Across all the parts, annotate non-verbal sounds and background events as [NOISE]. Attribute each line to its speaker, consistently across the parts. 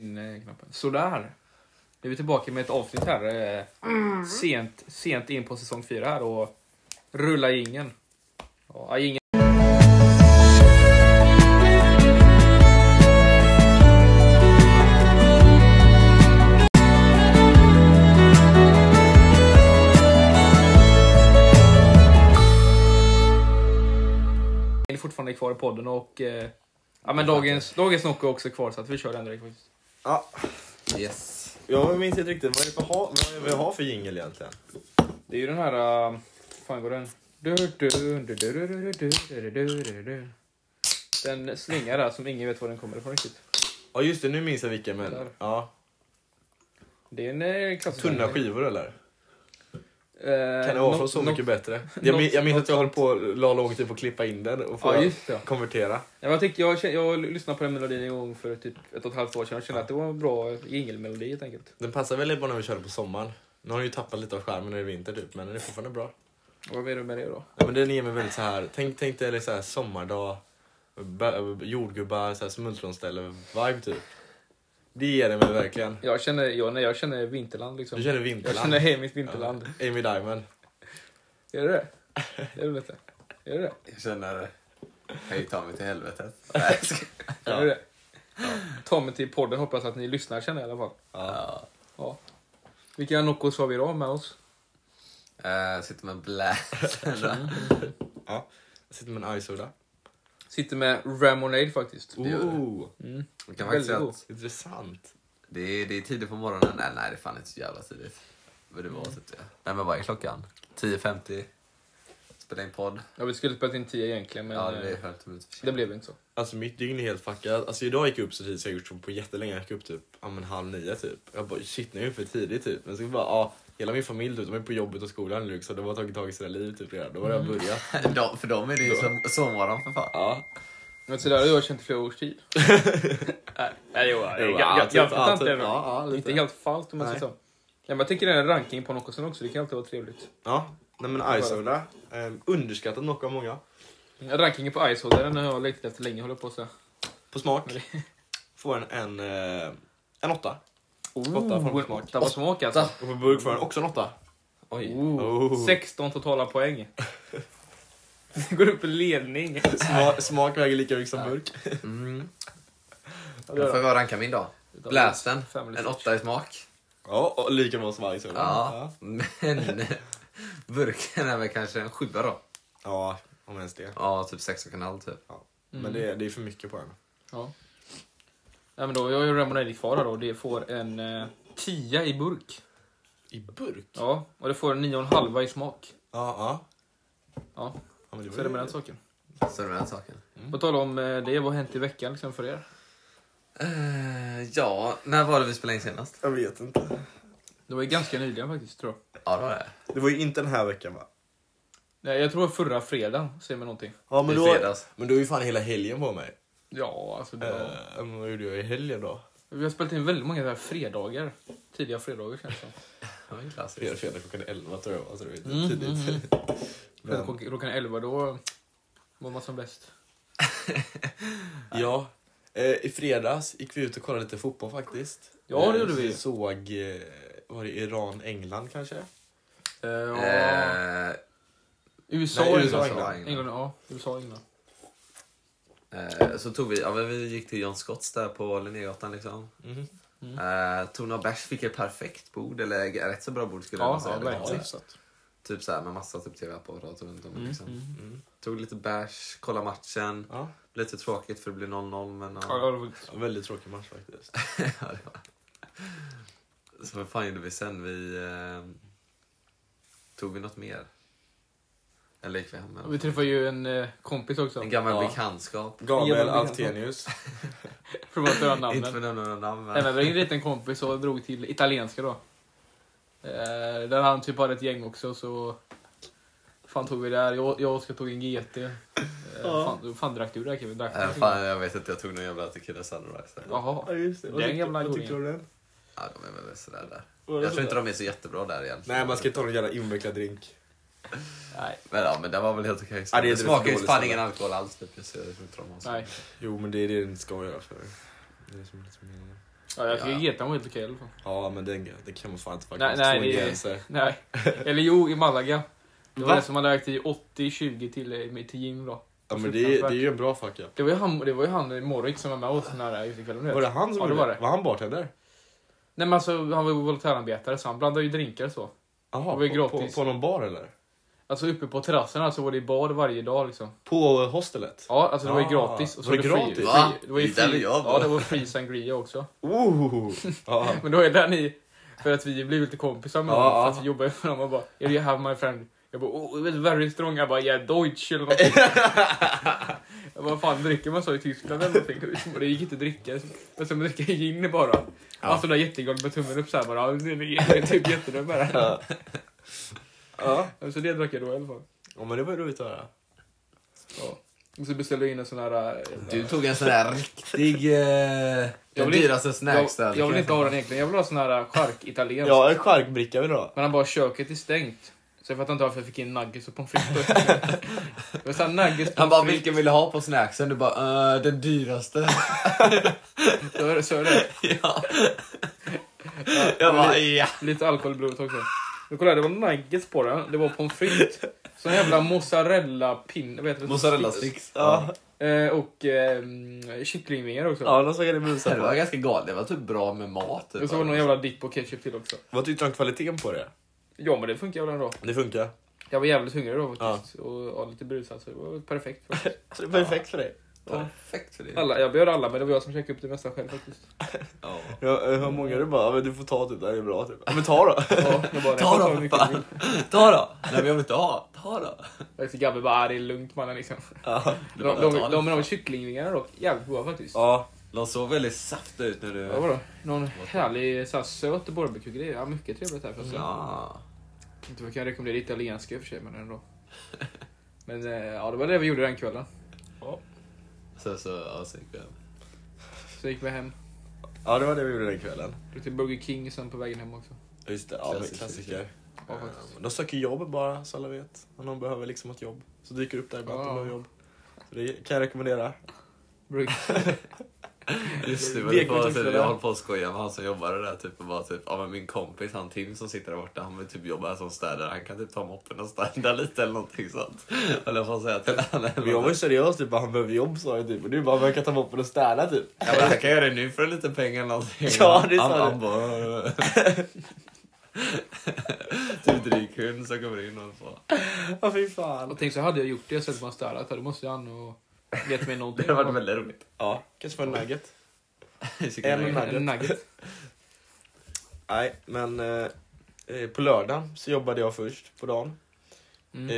Speaker 1: eh, knappen. Sådär! Nu är vi tillbaka med ett avsnitt här. Eh, sent, sent in på säsong fyra här och rulla ingen. Ja, ingen. Ni är fortfarande kvar i podden och eh, ja, men dagens, dagens Nocco är också kvar så att vi kör den direkt faktiskt.
Speaker 2: Ja,
Speaker 3: Yes.
Speaker 2: jag minns inte riktigt. Vad är det för ha, vad är det vi har för jingel egentligen?
Speaker 1: Det är ju den här... Uh, fan går den? Du, du, du, du, du, du, du, du, du, du, du, du. Den slingar där som ingen vet var den kommer ifrån riktigt.
Speaker 2: Ja just det, nu minns jag vilka men... Ja.
Speaker 1: Det är en eh, klassisk...
Speaker 2: Tunna skivor eller?
Speaker 1: Eh,
Speaker 2: Kan det vara
Speaker 1: no-
Speaker 2: från Så
Speaker 1: no-
Speaker 2: mycket bättre? Jag, min, jag minns att jag höll på la lång tid på att klippa in den och få
Speaker 1: Ja, just det.
Speaker 2: konvertera.
Speaker 1: Ja, men jag, tyckte, jag, kä- jag lyssnade på den melodin en gång för typ ett och ett halvt år sedan och kände att det var en bra jingelmelodi helt enkelt.
Speaker 2: Den passar väldigt bra när vi körde på sommaren. Nu har den ju tappat lite av skärmen när det är vinter typ, men den är fortfarande bra.
Speaker 1: Och vad menar du med det då?
Speaker 2: Ja, men den ger mig väldigt så här, tänk, tänk dig så här sommardag, bö- jordgubbar, så här smultronställe-vibe typ. Det ger den mig verkligen.
Speaker 1: Jag känner, jag, nej, jag känner vinterland liksom.
Speaker 2: Du känner
Speaker 1: jag
Speaker 2: vinterland.
Speaker 1: känner hem mitt vinterland.
Speaker 2: Ja, Amy Diamond.
Speaker 1: Gör du det? Gör du inte? Gör du det?
Speaker 3: Jag känner... Hej ta mig till helvetet. Nej, jag ska-
Speaker 1: Gör du det? Ta mig till podden hoppas att ni lyssnar känner jag i alla fall.
Speaker 3: ja.
Speaker 1: Ja. Vilka Noccos har vi idag med oss?
Speaker 3: Eh, sitter med bläsen.
Speaker 2: Ja. Jag sitter med en isoda.
Speaker 1: Sitter med Ramonade faktiskt.
Speaker 2: Oh.
Speaker 3: gör det.
Speaker 2: Ooh,
Speaker 1: Mm.
Speaker 3: Man
Speaker 1: Väldigt
Speaker 3: kan faktiskt säga
Speaker 1: god.
Speaker 3: att
Speaker 2: intressant.
Speaker 3: det är, det är tidigt på morgonen. Nej, nej, det är fan inte så jävla tidigt. Men det var typ det. Nej, men vad är klockan? 10.50. Spela in podd.
Speaker 1: Ja, vi skulle spelat in 10 egentligen men eh,
Speaker 3: ja, det
Speaker 1: det,
Speaker 3: är 50 minuter för
Speaker 1: blev inte så.
Speaker 2: Alltså mitt dygn är helt fuckat. Alltså idag gick jag upp så tidigt så jag gjort så på jättelänge. Jag gick upp typ ja, men halv nio typ. Jag bara shit nu är jag för tidigt typ. Men så bara ja, hela min familj typ, de är på jobbet och skolan nu så de har tagit tag i sina liv typ redan. Då har jag börjat.
Speaker 3: sent. [LAUGHS] De- för dem är det ju
Speaker 2: Då.
Speaker 3: som- sovmorgon för fan.
Speaker 2: Ja.
Speaker 1: Men så där har jag känt i flera års
Speaker 2: [LAUGHS]
Speaker 1: tid. Nej, nej, jo, jag- jag- jag- jag fattar inte.
Speaker 2: ja, typ.
Speaker 1: ändå.
Speaker 2: ja,
Speaker 1: Inte
Speaker 2: lite.
Speaker 1: helt fallt om man
Speaker 2: Nej.
Speaker 1: säger så. Ja, men jag tänker en ranking på Noccosen också, det kan alltid vara trevligt.
Speaker 2: Ja, nej men Isoda. Eh, underskattat nog av många.
Speaker 1: Rankingen på Icehold, den har jag letat efter länge håller jag på så.
Speaker 2: På smak. Får en en, eh, en åtta. Åtta får en på smak.
Speaker 1: Åtta på smak alltså.
Speaker 2: Och på burk får den också en åtta.
Speaker 3: Oj.
Speaker 1: Oh.
Speaker 2: Oh.
Speaker 1: 16 totala poäng. Går upp i ledning.
Speaker 2: Sma, smak väger lika mycket som burk.
Speaker 3: Mm.
Speaker 1: Ja, det
Speaker 3: Då
Speaker 1: gör
Speaker 3: får
Speaker 1: det.
Speaker 3: jag ranka min dag. Blästen.
Speaker 1: Family
Speaker 3: En
Speaker 1: search.
Speaker 3: åtta i smak.
Speaker 2: Ja, och lika bra som Isoda.
Speaker 3: Ja, men [LAUGHS] burken är väl kanske en sjua då.
Speaker 2: Ja, om ens det.
Speaker 3: Ja, typ sex och en halv typ.
Speaker 2: Ja. Men det, är- det är för mycket på den.
Speaker 1: Ja. Nej, men då, jag har ju Ramonade kvar här då. Det får en eh, 10 i burk.
Speaker 2: I burk? Ja,
Speaker 1: Ja, och det får en 9,5 i smak.
Speaker 2: ja.
Speaker 1: Ja,
Speaker 2: ja men det
Speaker 1: så är det med
Speaker 2: var
Speaker 1: den
Speaker 2: ju...
Speaker 1: saken.
Speaker 3: Så är det med den saken.
Speaker 1: På tal om eh, det, vad har hänt i veckan liksom för er?
Speaker 3: Eh, ja, när var det vi spelade in senast?
Speaker 2: Jag vet inte.
Speaker 1: Det var ju ganska nyligen faktiskt, tror jag.
Speaker 3: Ja, det var det.
Speaker 2: Det var ju inte den här veckan va?
Speaker 1: Nej, jag tror förra fredagen, säger man någonting.
Speaker 2: Ja,
Speaker 3: I fredags.
Speaker 2: men du har ju fan hela helgen på mig.
Speaker 1: Ja, alltså det var...
Speaker 2: Eh, men vad gjorde jag i helgen då?
Speaker 1: Vi har spelat in väldigt många så här fredagar. Tidiga fredagar känns det som.
Speaker 3: Det var ju
Speaker 2: Det är
Speaker 3: klassiskt.
Speaker 2: fredag klockan 11 tror jag alltså, det var inte
Speaker 1: Mm,
Speaker 2: tidigt.
Speaker 1: mm,
Speaker 2: Men-
Speaker 1: Fredag Klockan 11, då var man som bäst.
Speaker 2: ja. Eh, I fredags gick vi ut och kollade lite fotboll faktiskt.
Speaker 1: Ja, det
Speaker 2: Eh,
Speaker 1: gjorde vi.
Speaker 2: Såg, eh, var det Iran-England kanske?
Speaker 1: Eh, ja.
Speaker 3: Eh,
Speaker 1: USA,
Speaker 2: nej,
Speaker 1: USA,
Speaker 2: USA,
Speaker 1: England.
Speaker 3: England.
Speaker 1: England. Ja, USA, England.
Speaker 3: eh, så tog vi, ja, men vi gick till John Scotts där på Linnégatan liksom.
Speaker 2: Mhm.
Speaker 1: Mm.
Speaker 3: Eh, tog några bärs, fick ett perfekt bord, eller rätt så bra bord skulle
Speaker 1: Ja,
Speaker 3: jag
Speaker 1: ja,
Speaker 3: säga. Det var
Speaker 1: verkligen.
Speaker 3: så här- typ så här med massa typ tv-apparater runt om. Liksom.
Speaker 1: Mm, mm.
Speaker 3: Tog lite bärs, kollade matchen.
Speaker 2: Ja.
Speaker 3: Lite tråkigt för det blev 0-0 men
Speaker 1: Ja,
Speaker 3: ja.
Speaker 1: det var-
Speaker 2: Väldigt tråkig match faktiskt.
Speaker 3: [LAUGHS] Ja, det var. Så vad fan gjorde vi sen? Vi... Eh, tog vi något mer? Eller gick vi hem med
Speaker 1: Vi träffade ju en eh, kompis också.
Speaker 3: En gammal
Speaker 2: Ja.
Speaker 3: bekantskap.
Speaker 2: Gabriel
Speaker 1: Iran-England.
Speaker 2: Altenius.
Speaker 1: För att
Speaker 3: [LAUGHS]
Speaker 1: höra
Speaker 3: Inte för
Speaker 1: namnen.
Speaker 3: att nämna några namn. men-
Speaker 1: Nej, men vi
Speaker 3: [LAUGHS]
Speaker 1: ringde dit en kompis och drog till italienska då. Eh, där han typ hade ett gäng också så... Fan tog vi där. Jag, jag och Oskar tog en GT. Eh, fan, fan drack du där Kevin? Drack du
Speaker 3: Eh,
Speaker 1: någonting?
Speaker 3: fan, jag vet att jag tog någon jävla Tequila Sunrise. där.
Speaker 1: Jaha.
Speaker 2: just
Speaker 1: Vad Den tyckte- gamla vad tyckte
Speaker 2: du om den?
Speaker 3: Ja, de är väl sådär där. Jag tror inte de är så jättebra där egentligen.
Speaker 2: Nej, man ska inte ha någon jävla invecklad drink.
Speaker 1: Nej.
Speaker 3: Men, ja, men det var väl helt okej.
Speaker 2: Ja, det är
Speaker 3: det
Speaker 2: inte
Speaker 3: smakar ju
Speaker 2: dåligt
Speaker 3: fan
Speaker 2: sådär.
Speaker 3: ingen alkohol alls. Typ. Så jag tror inte de har så.
Speaker 1: Nej.
Speaker 2: Jo, men det är det den ska göra för. Det är som lite meningen.
Speaker 1: Ja, jag tycker
Speaker 2: Ja.
Speaker 1: Geta var helt okej i alla fall.
Speaker 2: Ja men det, det kan man fan inte fucka
Speaker 1: Nej,
Speaker 2: med.
Speaker 1: nej,
Speaker 2: Två
Speaker 1: det är-
Speaker 2: gränser.
Speaker 1: Nej. Eller jo, i Malaga. Det var
Speaker 2: Va?
Speaker 1: det som hade lagt i 80-20 till, eh, till Jim då.
Speaker 2: Ja men det, är- det är ju en bra fuck up.
Speaker 1: Det var ju han, det var ju han eh, Moritz som var med oss den här utekvällen. du vet.
Speaker 2: Var det han som
Speaker 1: Ja, det
Speaker 2: gjorde
Speaker 1: var det.
Speaker 2: Var han bartender?
Speaker 1: Nej men alltså han var ju volontärarbetare så han blandade ju drinkar och så.
Speaker 2: Jaha,
Speaker 1: Det var ju
Speaker 2: på, på,
Speaker 1: gratis.
Speaker 2: på någon bar eller?
Speaker 1: Alltså uppe på terrasserna så var det bad varje dag liksom.
Speaker 2: På hostelet?
Speaker 1: Ja, alltså det var ju
Speaker 2: Ah,
Speaker 1: gratis. Och så
Speaker 2: var det gratis?
Speaker 1: Free,
Speaker 3: Va?
Speaker 1: free, det var ju
Speaker 3: Det där
Speaker 1: free,
Speaker 3: vill jag
Speaker 1: ja,
Speaker 3: vara.
Speaker 1: det var free sangria också.
Speaker 2: Oh! [LAUGHS] Ja.
Speaker 1: Men då är den i, för att vi blev lite kompisar med
Speaker 2: Ja,
Speaker 1: honom, för
Speaker 2: ja.
Speaker 1: att vi jobbar med honom och bara Är you have my friend? Jag bara oh, it's very strong, jag bara yeah deutsch eller något. jag bara fan dricker man så i Tyskland eller någonting? Och Det gick inte att dricka. Men sen dricker jag gin bara. Alltså det där jättegott med tummen upp såhär bara. "Ja, det är Typ jättedum med det.
Speaker 2: ja. ja.
Speaker 1: Så det drack jag då i alla fall.
Speaker 2: Ja men det var ju roligt att höra.
Speaker 1: Ja. Och så beställde jag in en sån här... eh,
Speaker 3: Du tog en
Speaker 2: [LAUGHS]
Speaker 3: sån där riktig... Eh, den
Speaker 1: vill-
Speaker 3: dyraste
Speaker 1: jag,
Speaker 3: snacksdallriken.
Speaker 1: jag vill inte ha den egentligen. Jag vill ha sån här eh, chark-italiensk.
Speaker 2: Ja en charkbricka vill du ha?
Speaker 1: Men han bara, köket är stängt. Så jag fattar inte varför jag fick in nuggets och pommes
Speaker 3: [LAUGHS]
Speaker 1: frites. Det var så här nuggets,
Speaker 3: Han bara,
Speaker 1: pommes
Speaker 3: vilken vill du ha på snacksen? Du bara, eh, den dyraste.
Speaker 1: frites. Så är det- Så är det.
Speaker 3: [LAUGHS] ja.
Speaker 1: Jag
Speaker 3: [LAUGHS] Jag
Speaker 1: bara,
Speaker 3: bara, ja.
Speaker 1: Lite alkohol i blodet också. Men kolla, här, det var nuggets på den. Det var pommes frites. Så en jävla mozzarella-pinne. vet du?
Speaker 3: Mozzarella sticks.
Speaker 2: Ja,
Speaker 1: Eh, och eh, kycklingvingar också.
Speaker 2: ja någon som hade
Speaker 3: Det
Speaker 2: brusat
Speaker 3: var
Speaker 2: på.
Speaker 3: ganska galet. Det var typ bra med mat. Typ.
Speaker 1: och så var det någon jävla dipp och ketchup till också.
Speaker 2: Vad tyckte du om kvaliteten på det?
Speaker 1: Ja, men det funkar väl ändå.
Speaker 2: Det funkar.
Speaker 1: Jag var jävligt hungrig då faktiskt. Och ja, lite brusad, så det var
Speaker 3: [LAUGHS]
Speaker 1: perfekt. faktiskt.
Speaker 2: Så Alltså, det är perfekt för dig.
Speaker 3: Perfekt för dig.
Speaker 1: Alla, jag bjöd alla, men det var jag som käkade upp det mesta själv faktiskt.
Speaker 3: Ja.
Speaker 2: Ja, eh, hur många du bara, ja, men du får ta typ, det här är bra typ. Ja, men ta [LAUGHS] då!
Speaker 1: Ja, jag bara,
Speaker 3: Ta
Speaker 1: jag
Speaker 3: då,
Speaker 1: får
Speaker 3: för
Speaker 1: mycket
Speaker 3: fan. Ta då. Nej, men jag vill inte ha. Ta då.
Speaker 1: Jag är så Gabbe bara, "Ah, det är lugnt mannen liksom.
Speaker 2: Ja.
Speaker 1: De, de, de, de, de kycklingvingarna dock, jävligt goda faktiskt.
Speaker 2: ja.
Speaker 3: De såg väldigt saftiga ut när du...
Speaker 1: Ja, vadå? Någon härlig så här, söt barbecue-grej. Ja, mycket trevligt här förresten.
Speaker 3: Ja.
Speaker 1: Inte för att jag rekommendera italienska i och för sig, men ändå. [LAUGHS] Men eh, ja, det var det vi gjorde den kvällen.
Speaker 3: Så, så, ja, så gick vi hem.
Speaker 1: Så gick vi hem,
Speaker 2: Ja det var det vi gjorde den kvällen.
Speaker 1: drog till Burger King sen på vägen hem också.
Speaker 2: Ja, Just det, ja, men
Speaker 3: Klassiker.
Speaker 2: klassiker.
Speaker 1: Ja, faktiskt.
Speaker 2: Eh, De söker jobb bara så alla vet. Om någon behöver liksom ett jobb. Så dyker det upp där ibland att de
Speaker 1: Ja.
Speaker 2: behöver jobb. Så det kan jag rekommendera.
Speaker 1: Burger
Speaker 3: Just det, men
Speaker 2: Lek
Speaker 3: det
Speaker 2: med
Speaker 3: var, typ,
Speaker 2: tillfällen.
Speaker 3: jag höll på att skoja med han som jobbade där. Typ, och bara, typ, ja, men min kompis, han Tim som sitter där borta, han vill typ jobba här som städare. Han kan typ ta moppen och städa lite eller någonting sånt. Eller jag får säga till honom.
Speaker 2: Men jag var ju seriös typ, bara, han behöver jobb sa jag typ. Och du bara, men jag kan ta moppen och städa typ.
Speaker 3: Ja, men han kan göra det nu för lite pengar eller någonting.
Speaker 2: Ja, det sa
Speaker 3: han,
Speaker 2: du.
Speaker 3: han bara... [LAUGHS] typ dryg hund som kommer in och så.
Speaker 2: [LAUGHS] Ja fy fan.
Speaker 1: Och tänk så hade jag gjort det, så hade man städat här. Då måste han och gett mig någonting.
Speaker 3: [LAUGHS] Det var väldigt roligt.
Speaker 2: Ja, kanske få en nugget.
Speaker 3: Chicken
Speaker 2: En
Speaker 3: nugget.
Speaker 1: En nugget.
Speaker 2: Nej men eh, eh, på lördagen så jobbade jag först på dagen.
Speaker 1: Mm.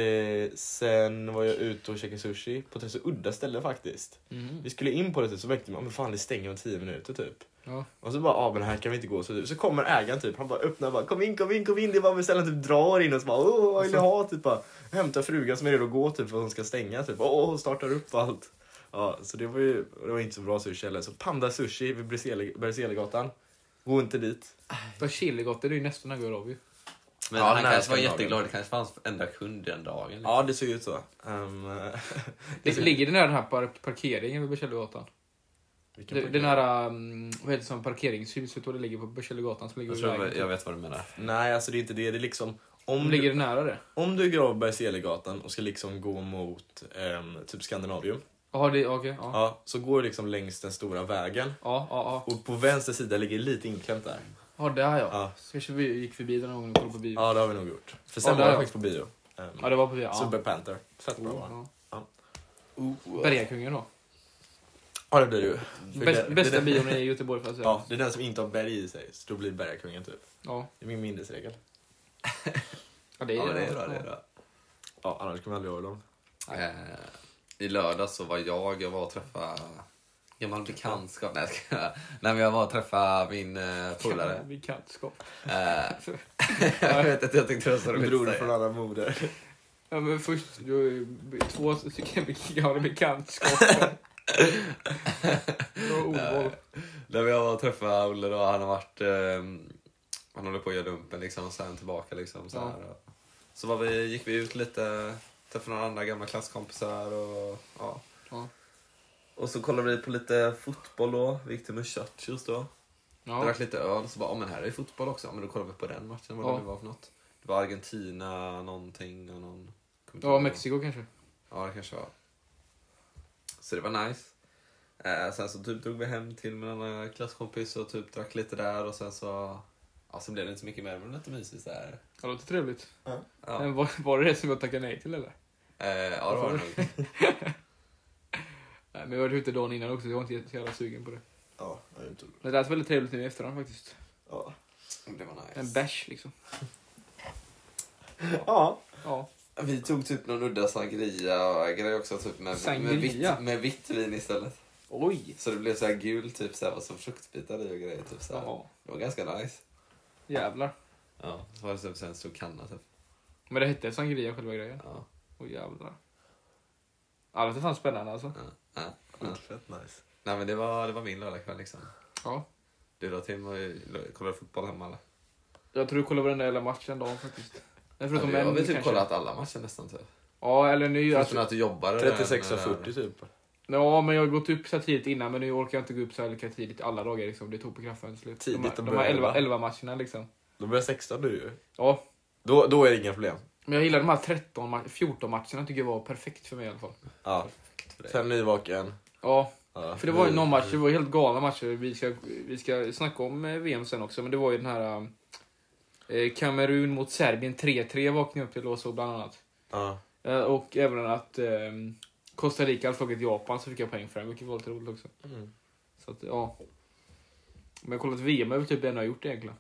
Speaker 2: Eh, sen var jag ute och käkade sushi på ett rätt så udda ställe faktiskt.
Speaker 1: Mm.
Speaker 2: Vi skulle in på det typ, så märkte man men fan det stänger om 10 minuter typ.
Speaker 1: Ja.
Speaker 2: Och så bara, ah, men här kan vi inte gå. Så, typ. så kommer ägaren typ, han bara öppnar bara, kom in, kom in, kom in. Det är bara beställaren typ drar in och så bara, åh, vad vill du ha? Typ bara, hämtar frugan som är redo att gå typ för att hon ska stänga typ. Åh, hon startar upp och allt. Ja, så det var ju, det var inte så bra sushi heller. Så Panda Sushi vid Berzelii- Berzeligatan. Gå inte dit.
Speaker 1: Fast Chiligotter det är ju nästan nugget av ju.
Speaker 3: Men
Speaker 2: Ja,
Speaker 3: han
Speaker 2: den här
Speaker 3: kanske var
Speaker 2: skandalen.
Speaker 3: jätteglad. Det kanske fanns enda kund den dagen. liksom.
Speaker 2: Ja, det såg ut så. Um,
Speaker 1: Det ligger den här, den här par- parkeringen vid Berzelgatan? Det, den här, um, vad heter det, som parkeringshuset och det ligger på Berzelgatan som ligger
Speaker 3: Jag,
Speaker 1: vid vägen.
Speaker 3: tror, jag vet vad du menar.
Speaker 2: Nej, alltså det är inte det. Det är liksom, om,
Speaker 1: Om
Speaker 2: du,
Speaker 1: ligger det nära det?
Speaker 2: om du går av Berzeligatan och ska liksom gå mot ehm, typ Skandinavium.
Speaker 1: Jaha, det, okej. ja.
Speaker 2: Ja, så går du liksom längs den stora vägen.
Speaker 1: Ja, ja, ja.
Speaker 2: Och på vänster sida ligger lite inklämt där.
Speaker 1: Ja, där ja.
Speaker 2: Ja.
Speaker 1: Så kanske vi gick förbi den någon gång och kollade på bio. Ja,
Speaker 2: Ja, det har vi nog gjort. För sen
Speaker 1: Ja,
Speaker 2: var
Speaker 1: där,
Speaker 2: jag
Speaker 1: ja.
Speaker 2: faktiskt på bio. Um,
Speaker 1: det var på bio. Ja. Oh, Mm.
Speaker 2: Super Panther. Fett bra va?
Speaker 1: Ja.
Speaker 2: Ja.
Speaker 1: Bergakungen då.
Speaker 2: Ja, det blir det ju. För
Speaker 1: Bäst,
Speaker 2: det- det-
Speaker 1: bästa
Speaker 2: det-
Speaker 1: bion i Göteborg får jag säga.
Speaker 2: Mm. Ja, det är den som inte har berg i sig. Så då blir Bergakungen typ.
Speaker 1: Ja.
Speaker 2: Det är min minnesregel.
Speaker 1: Ja, det är
Speaker 3: Ja,
Speaker 1: det.
Speaker 3: det är bra, det är bra.
Speaker 2: Ja, annars kommer jag aldrig ihåg dem.
Speaker 3: Eh, I lördag så var jag, jag var och träffade gammal bekantskap. Nej, jag ska, [LAUGHS] nej men jag var och träffade min eh,
Speaker 1: [LAUGHS]
Speaker 3: polare.
Speaker 1: Bekantskap.
Speaker 3: Eh, jag vet inte, jag tyckte det var så roligt.
Speaker 2: Bror
Speaker 3: att
Speaker 2: från
Speaker 3: säga.
Speaker 2: andra moder. [LAUGHS]
Speaker 1: Ja, men först, du, två stycken [LAUGHS] bekanta bekantskap. Bra ordval.
Speaker 3: Nej, men jag var och träffade Olle då, han har varit, eh, han håller på att göra lumpen liksom, sen tillbaka liksom. Så,
Speaker 1: Ja.
Speaker 3: här, och, så var vi, gick vi ut lite, träffade några andra gamla klasskompisar och ja.
Speaker 1: Ja.
Speaker 3: Och så kollade vi på lite fotboll då, vi gick till Muchachos då.
Speaker 1: Ja.
Speaker 3: Drack lite öl, så bara, "Ja, men här är ju fotboll också. Ja, men då kollar vi på den matchen, vad
Speaker 1: Ja.
Speaker 3: det nu var för något. Det var Argentina någonting och någon... kommer inte
Speaker 1: ja,
Speaker 3: ihåg.
Speaker 1: Mexiko kanske.
Speaker 3: Ja, det kanske var. Så det var nice. Eh, sen så typ drog vi hem till min annan klasskompis och typ drack lite där och sen så... Ja, så blev det inte så mycket mer, men det var lite mysigt där.
Speaker 1: Ja, Det låter trevligt.
Speaker 3: Ja,
Speaker 1: Men var, var det det som jag tackade nej till eller?
Speaker 3: eh, ja det var det nog.
Speaker 1: Nej, men jag var ute dagen innan också, så jag var inte så jävla sugen på det.
Speaker 4: Ja, jag är inte roligt.
Speaker 1: Men det lät väldigt trevligt nu i efterhand faktiskt.
Speaker 4: Ja.
Speaker 3: Det var nice.
Speaker 1: En bash liksom.
Speaker 4: ja.
Speaker 1: [LAUGHS] Ja.
Speaker 3: Vi tog typ någon udda sangria-grej också, typ med, med,
Speaker 1: Sangria?
Speaker 3: vitt, med vitt vin istället.
Speaker 1: Oj!
Speaker 3: Så det blev så här gul, typ så här, som fruktbitar i och grejer. Typ, så här.
Speaker 1: Jaha.
Speaker 3: Det var ganska nice.
Speaker 1: Jävlar.
Speaker 3: Ja, så var det typ så här en stor kanna typ.
Speaker 1: Men det hette sangria själva grejen.
Speaker 3: Ja.
Speaker 1: Åh jävlar. Ja, det låter fan spännande alltså.
Speaker 3: Ja. Ja. Ja.
Speaker 4: Fett nice.
Speaker 3: Nej men det var, det var min lördagkväll liksom.
Speaker 1: Ja.
Speaker 3: Du då Tim, var ju- kollade fotboll hemma eller?
Speaker 1: Jag tror du kollade varenda jävla match den dagen faktiskt. Men
Speaker 3: Ja,
Speaker 1: förutom
Speaker 3: vi har
Speaker 1: en
Speaker 3: väl typ
Speaker 1: kanske.
Speaker 3: kollat alla matcher nästan typ.
Speaker 1: Ja, eller nu.
Speaker 3: Förutom
Speaker 1: Alltså,
Speaker 3: att du jobbade.
Speaker 5: 36 av
Speaker 3: den, eh,
Speaker 5: 40 typ.
Speaker 1: ja, men jag har gått upp så här tidigt innan, men nu orkar jag inte gå upp så här lika tidigt alla dagar. Liksom. Det tog på kraften till slut.
Speaker 5: Tidigt
Speaker 1: de
Speaker 5: att
Speaker 1: här, de här
Speaker 5: börja
Speaker 1: 11,
Speaker 5: elva.
Speaker 1: 11 matcherna liksom.
Speaker 5: Då börjar 16 nu ju.
Speaker 1: Ja,
Speaker 5: Då, då är det inga problem.
Speaker 1: men jag gillar de här 13, ma- 14 matcherna tycker jag var perfekt för mig i alla fall.
Speaker 5: Ja.
Speaker 3: dig.
Speaker 5: Sen nyvaken.
Speaker 1: Ja,
Speaker 5: Ja.
Speaker 1: För det var ju någon match, det var helt galna matcher. Vi ska, vi ska snacka om eh, VM sen också, men det var ju den här... eh, Kamerun mot Serbien 3-3 vaknade jag upp till och så bland annat.
Speaker 5: Ja.
Speaker 1: Eh, Och även att eh, Costa Rica hade slagit Japan så fick jag poäng för det, vilket var lite roligt också.
Speaker 5: Mm.
Speaker 1: Så att, ja. Men jag har kollat VM är väl typ det enda jag har gjort egentligen.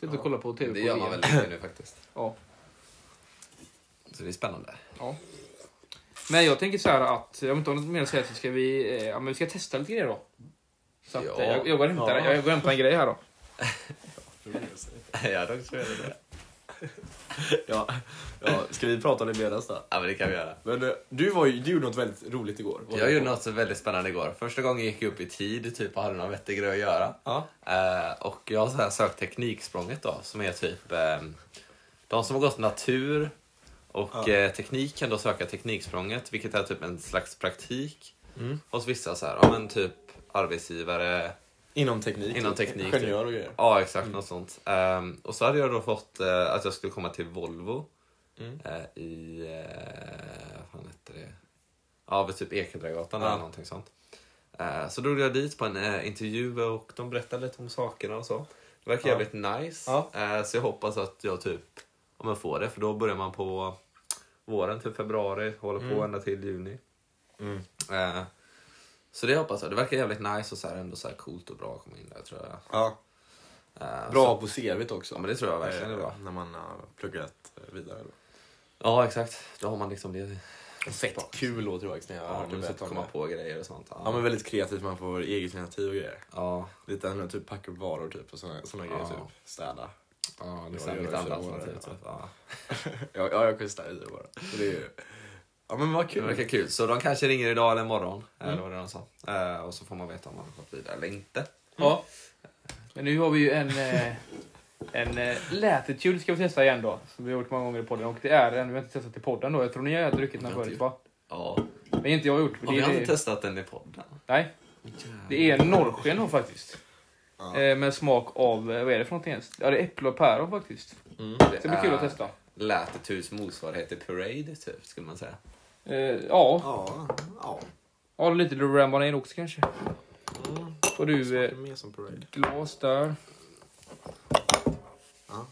Speaker 1: Sitter och kollar på TV typ, på
Speaker 3: Det gör
Speaker 1: VM.
Speaker 3: man väl lite nu faktiskt.
Speaker 1: Ja.
Speaker 3: Så det är spännande.
Speaker 1: ja. Men jag tänker så här att, jag vet inte om något mer att säga så ska vi, eh, ja, men vi ska testa lite grejer då. Så att, eh,
Speaker 3: Ja.
Speaker 1: jag, jag går och hämtar,
Speaker 5: Ja.
Speaker 1: jag går och hämtar en grej här då.
Speaker 3: [LAUGHS] ja, då tror jag det. är det.
Speaker 5: Ja. ja. Ska vi prata om det medan då?
Speaker 3: Ja men det kan vi göra.
Speaker 5: Men eh, du, var ju, du gjorde något väldigt roligt igår.
Speaker 3: Jag gjorde något så väldigt spännande igår. Första gången gick jag upp i tid typ, och hade någon vettig grej att göra.
Speaker 5: Ja.
Speaker 3: Eh, och jag har så här sökt tekniksprånget då, som är typ eh, de som har gått natur och
Speaker 5: Ja.
Speaker 3: eh, teknik kan då söka tekniksprånget, vilket är typ en slags praktik hos vissa så här, ja men typ arbetsgivare,
Speaker 5: Inom teknik.
Speaker 3: Inom
Speaker 5: typ.
Speaker 3: teknik,
Speaker 5: Ingenjör och grejer.
Speaker 3: ja exakt något sånt. Ehm, och så hade jag då fått eh, att jag skulle komma till Volvo
Speaker 5: Mm.
Speaker 3: eh, i, eh, vad fan hette det? Ja, vid typ Ekedragatan eller
Speaker 5: Ja.
Speaker 3: någonting sånt. Eh, så drog jag dit på en eh, intervju och de berättade lite om sakerna och så. Det verkar
Speaker 5: Ja.
Speaker 3: jävligt nice.
Speaker 5: Ja.
Speaker 3: Eh, så jag hoppas att jag typ om jag får det, för då börjar man på våren till februari, håller på ända till juni.
Speaker 5: Mm.
Speaker 3: Eh, så det hoppas jag. Det verkar jävligt nice och så här, ändå så här coolt och bra att komma in där tror jag.
Speaker 5: Ja.
Speaker 3: Eh,
Speaker 5: Bra
Speaker 3: Så,
Speaker 5: på CVt också. Eh,
Speaker 3: ja, men det tror jag verkligen är bra.
Speaker 5: När man har pluggat eh, vidare. Då.
Speaker 3: Ja, exakt. Då har man liksom det.
Speaker 5: Fett kul låter det faktiskt när jag har
Speaker 3: Ja,
Speaker 5: hört det
Speaker 3: man måste
Speaker 5: berätta om
Speaker 3: komma
Speaker 5: det.
Speaker 3: på grejer och sånt. Ja,
Speaker 5: Ja men väldigt kreativt, man får eget initiativ och grejer.
Speaker 3: ja,
Speaker 5: Lite ändå typ packa upp varor typ och såna, såna
Speaker 3: Ja.
Speaker 5: grejer typ. Städa.
Speaker 3: ja det
Speaker 5: Ja,
Speaker 3: är
Speaker 5: det
Speaker 3: mitt
Speaker 5: gör
Speaker 3: andra
Speaker 5: jag så
Speaker 3: alternativ.
Speaker 5: bra,
Speaker 3: Typ. Ja.
Speaker 5: Ja, ja jag kan ju städa i det bara. Så det är ju... Ja men vad
Speaker 3: Det
Speaker 5: kul.
Speaker 3: verkar kul. Mm. Så de kanske ringer idag eller imorgon. Eller vad det är de sa. Eh, och så får man veta om man har gått vidare eller inte.
Speaker 1: Ja. Men nu har vi ju en, eh, en eh, Latitude ska vi testa igen då. Som vi har gjort många gånger i podden. Och det är en vi har inte testat i podden då. Jag tror ni har druckit den här
Speaker 3: Jag har
Speaker 1: förut
Speaker 3: inte
Speaker 1: va?
Speaker 3: Ja.
Speaker 1: Men inte jag har gjort. för
Speaker 3: Och
Speaker 1: det
Speaker 3: vi
Speaker 1: är-
Speaker 3: har inte testat den i podden.
Speaker 1: Nej, det är norrsken då faktiskt.
Speaker 5: Ja.
Speaker 1: Eh, Med smak av, eh, vad är det för någonting ens? Ja, det är äpple och päron faktiskt.
Speaker 5: Mm.
Speaker 1: Det blir kul att
Speaker 5: Äh.
Speaker 1: testa.
Speaker 3: Latitudes motsvarighet till Parade, typ, skulle man säga.
Speaker 1: Eh, ja,
Speaker 5: Ja, ja.
Speaker 1: ja lite Rambanade också kanske.
Speaker 5: Mm.
Speaker 1: Och du, eh,
Speaker 5: Smakar mer som parade.
Speaker 1: glas där.
Speaker 5: Ja.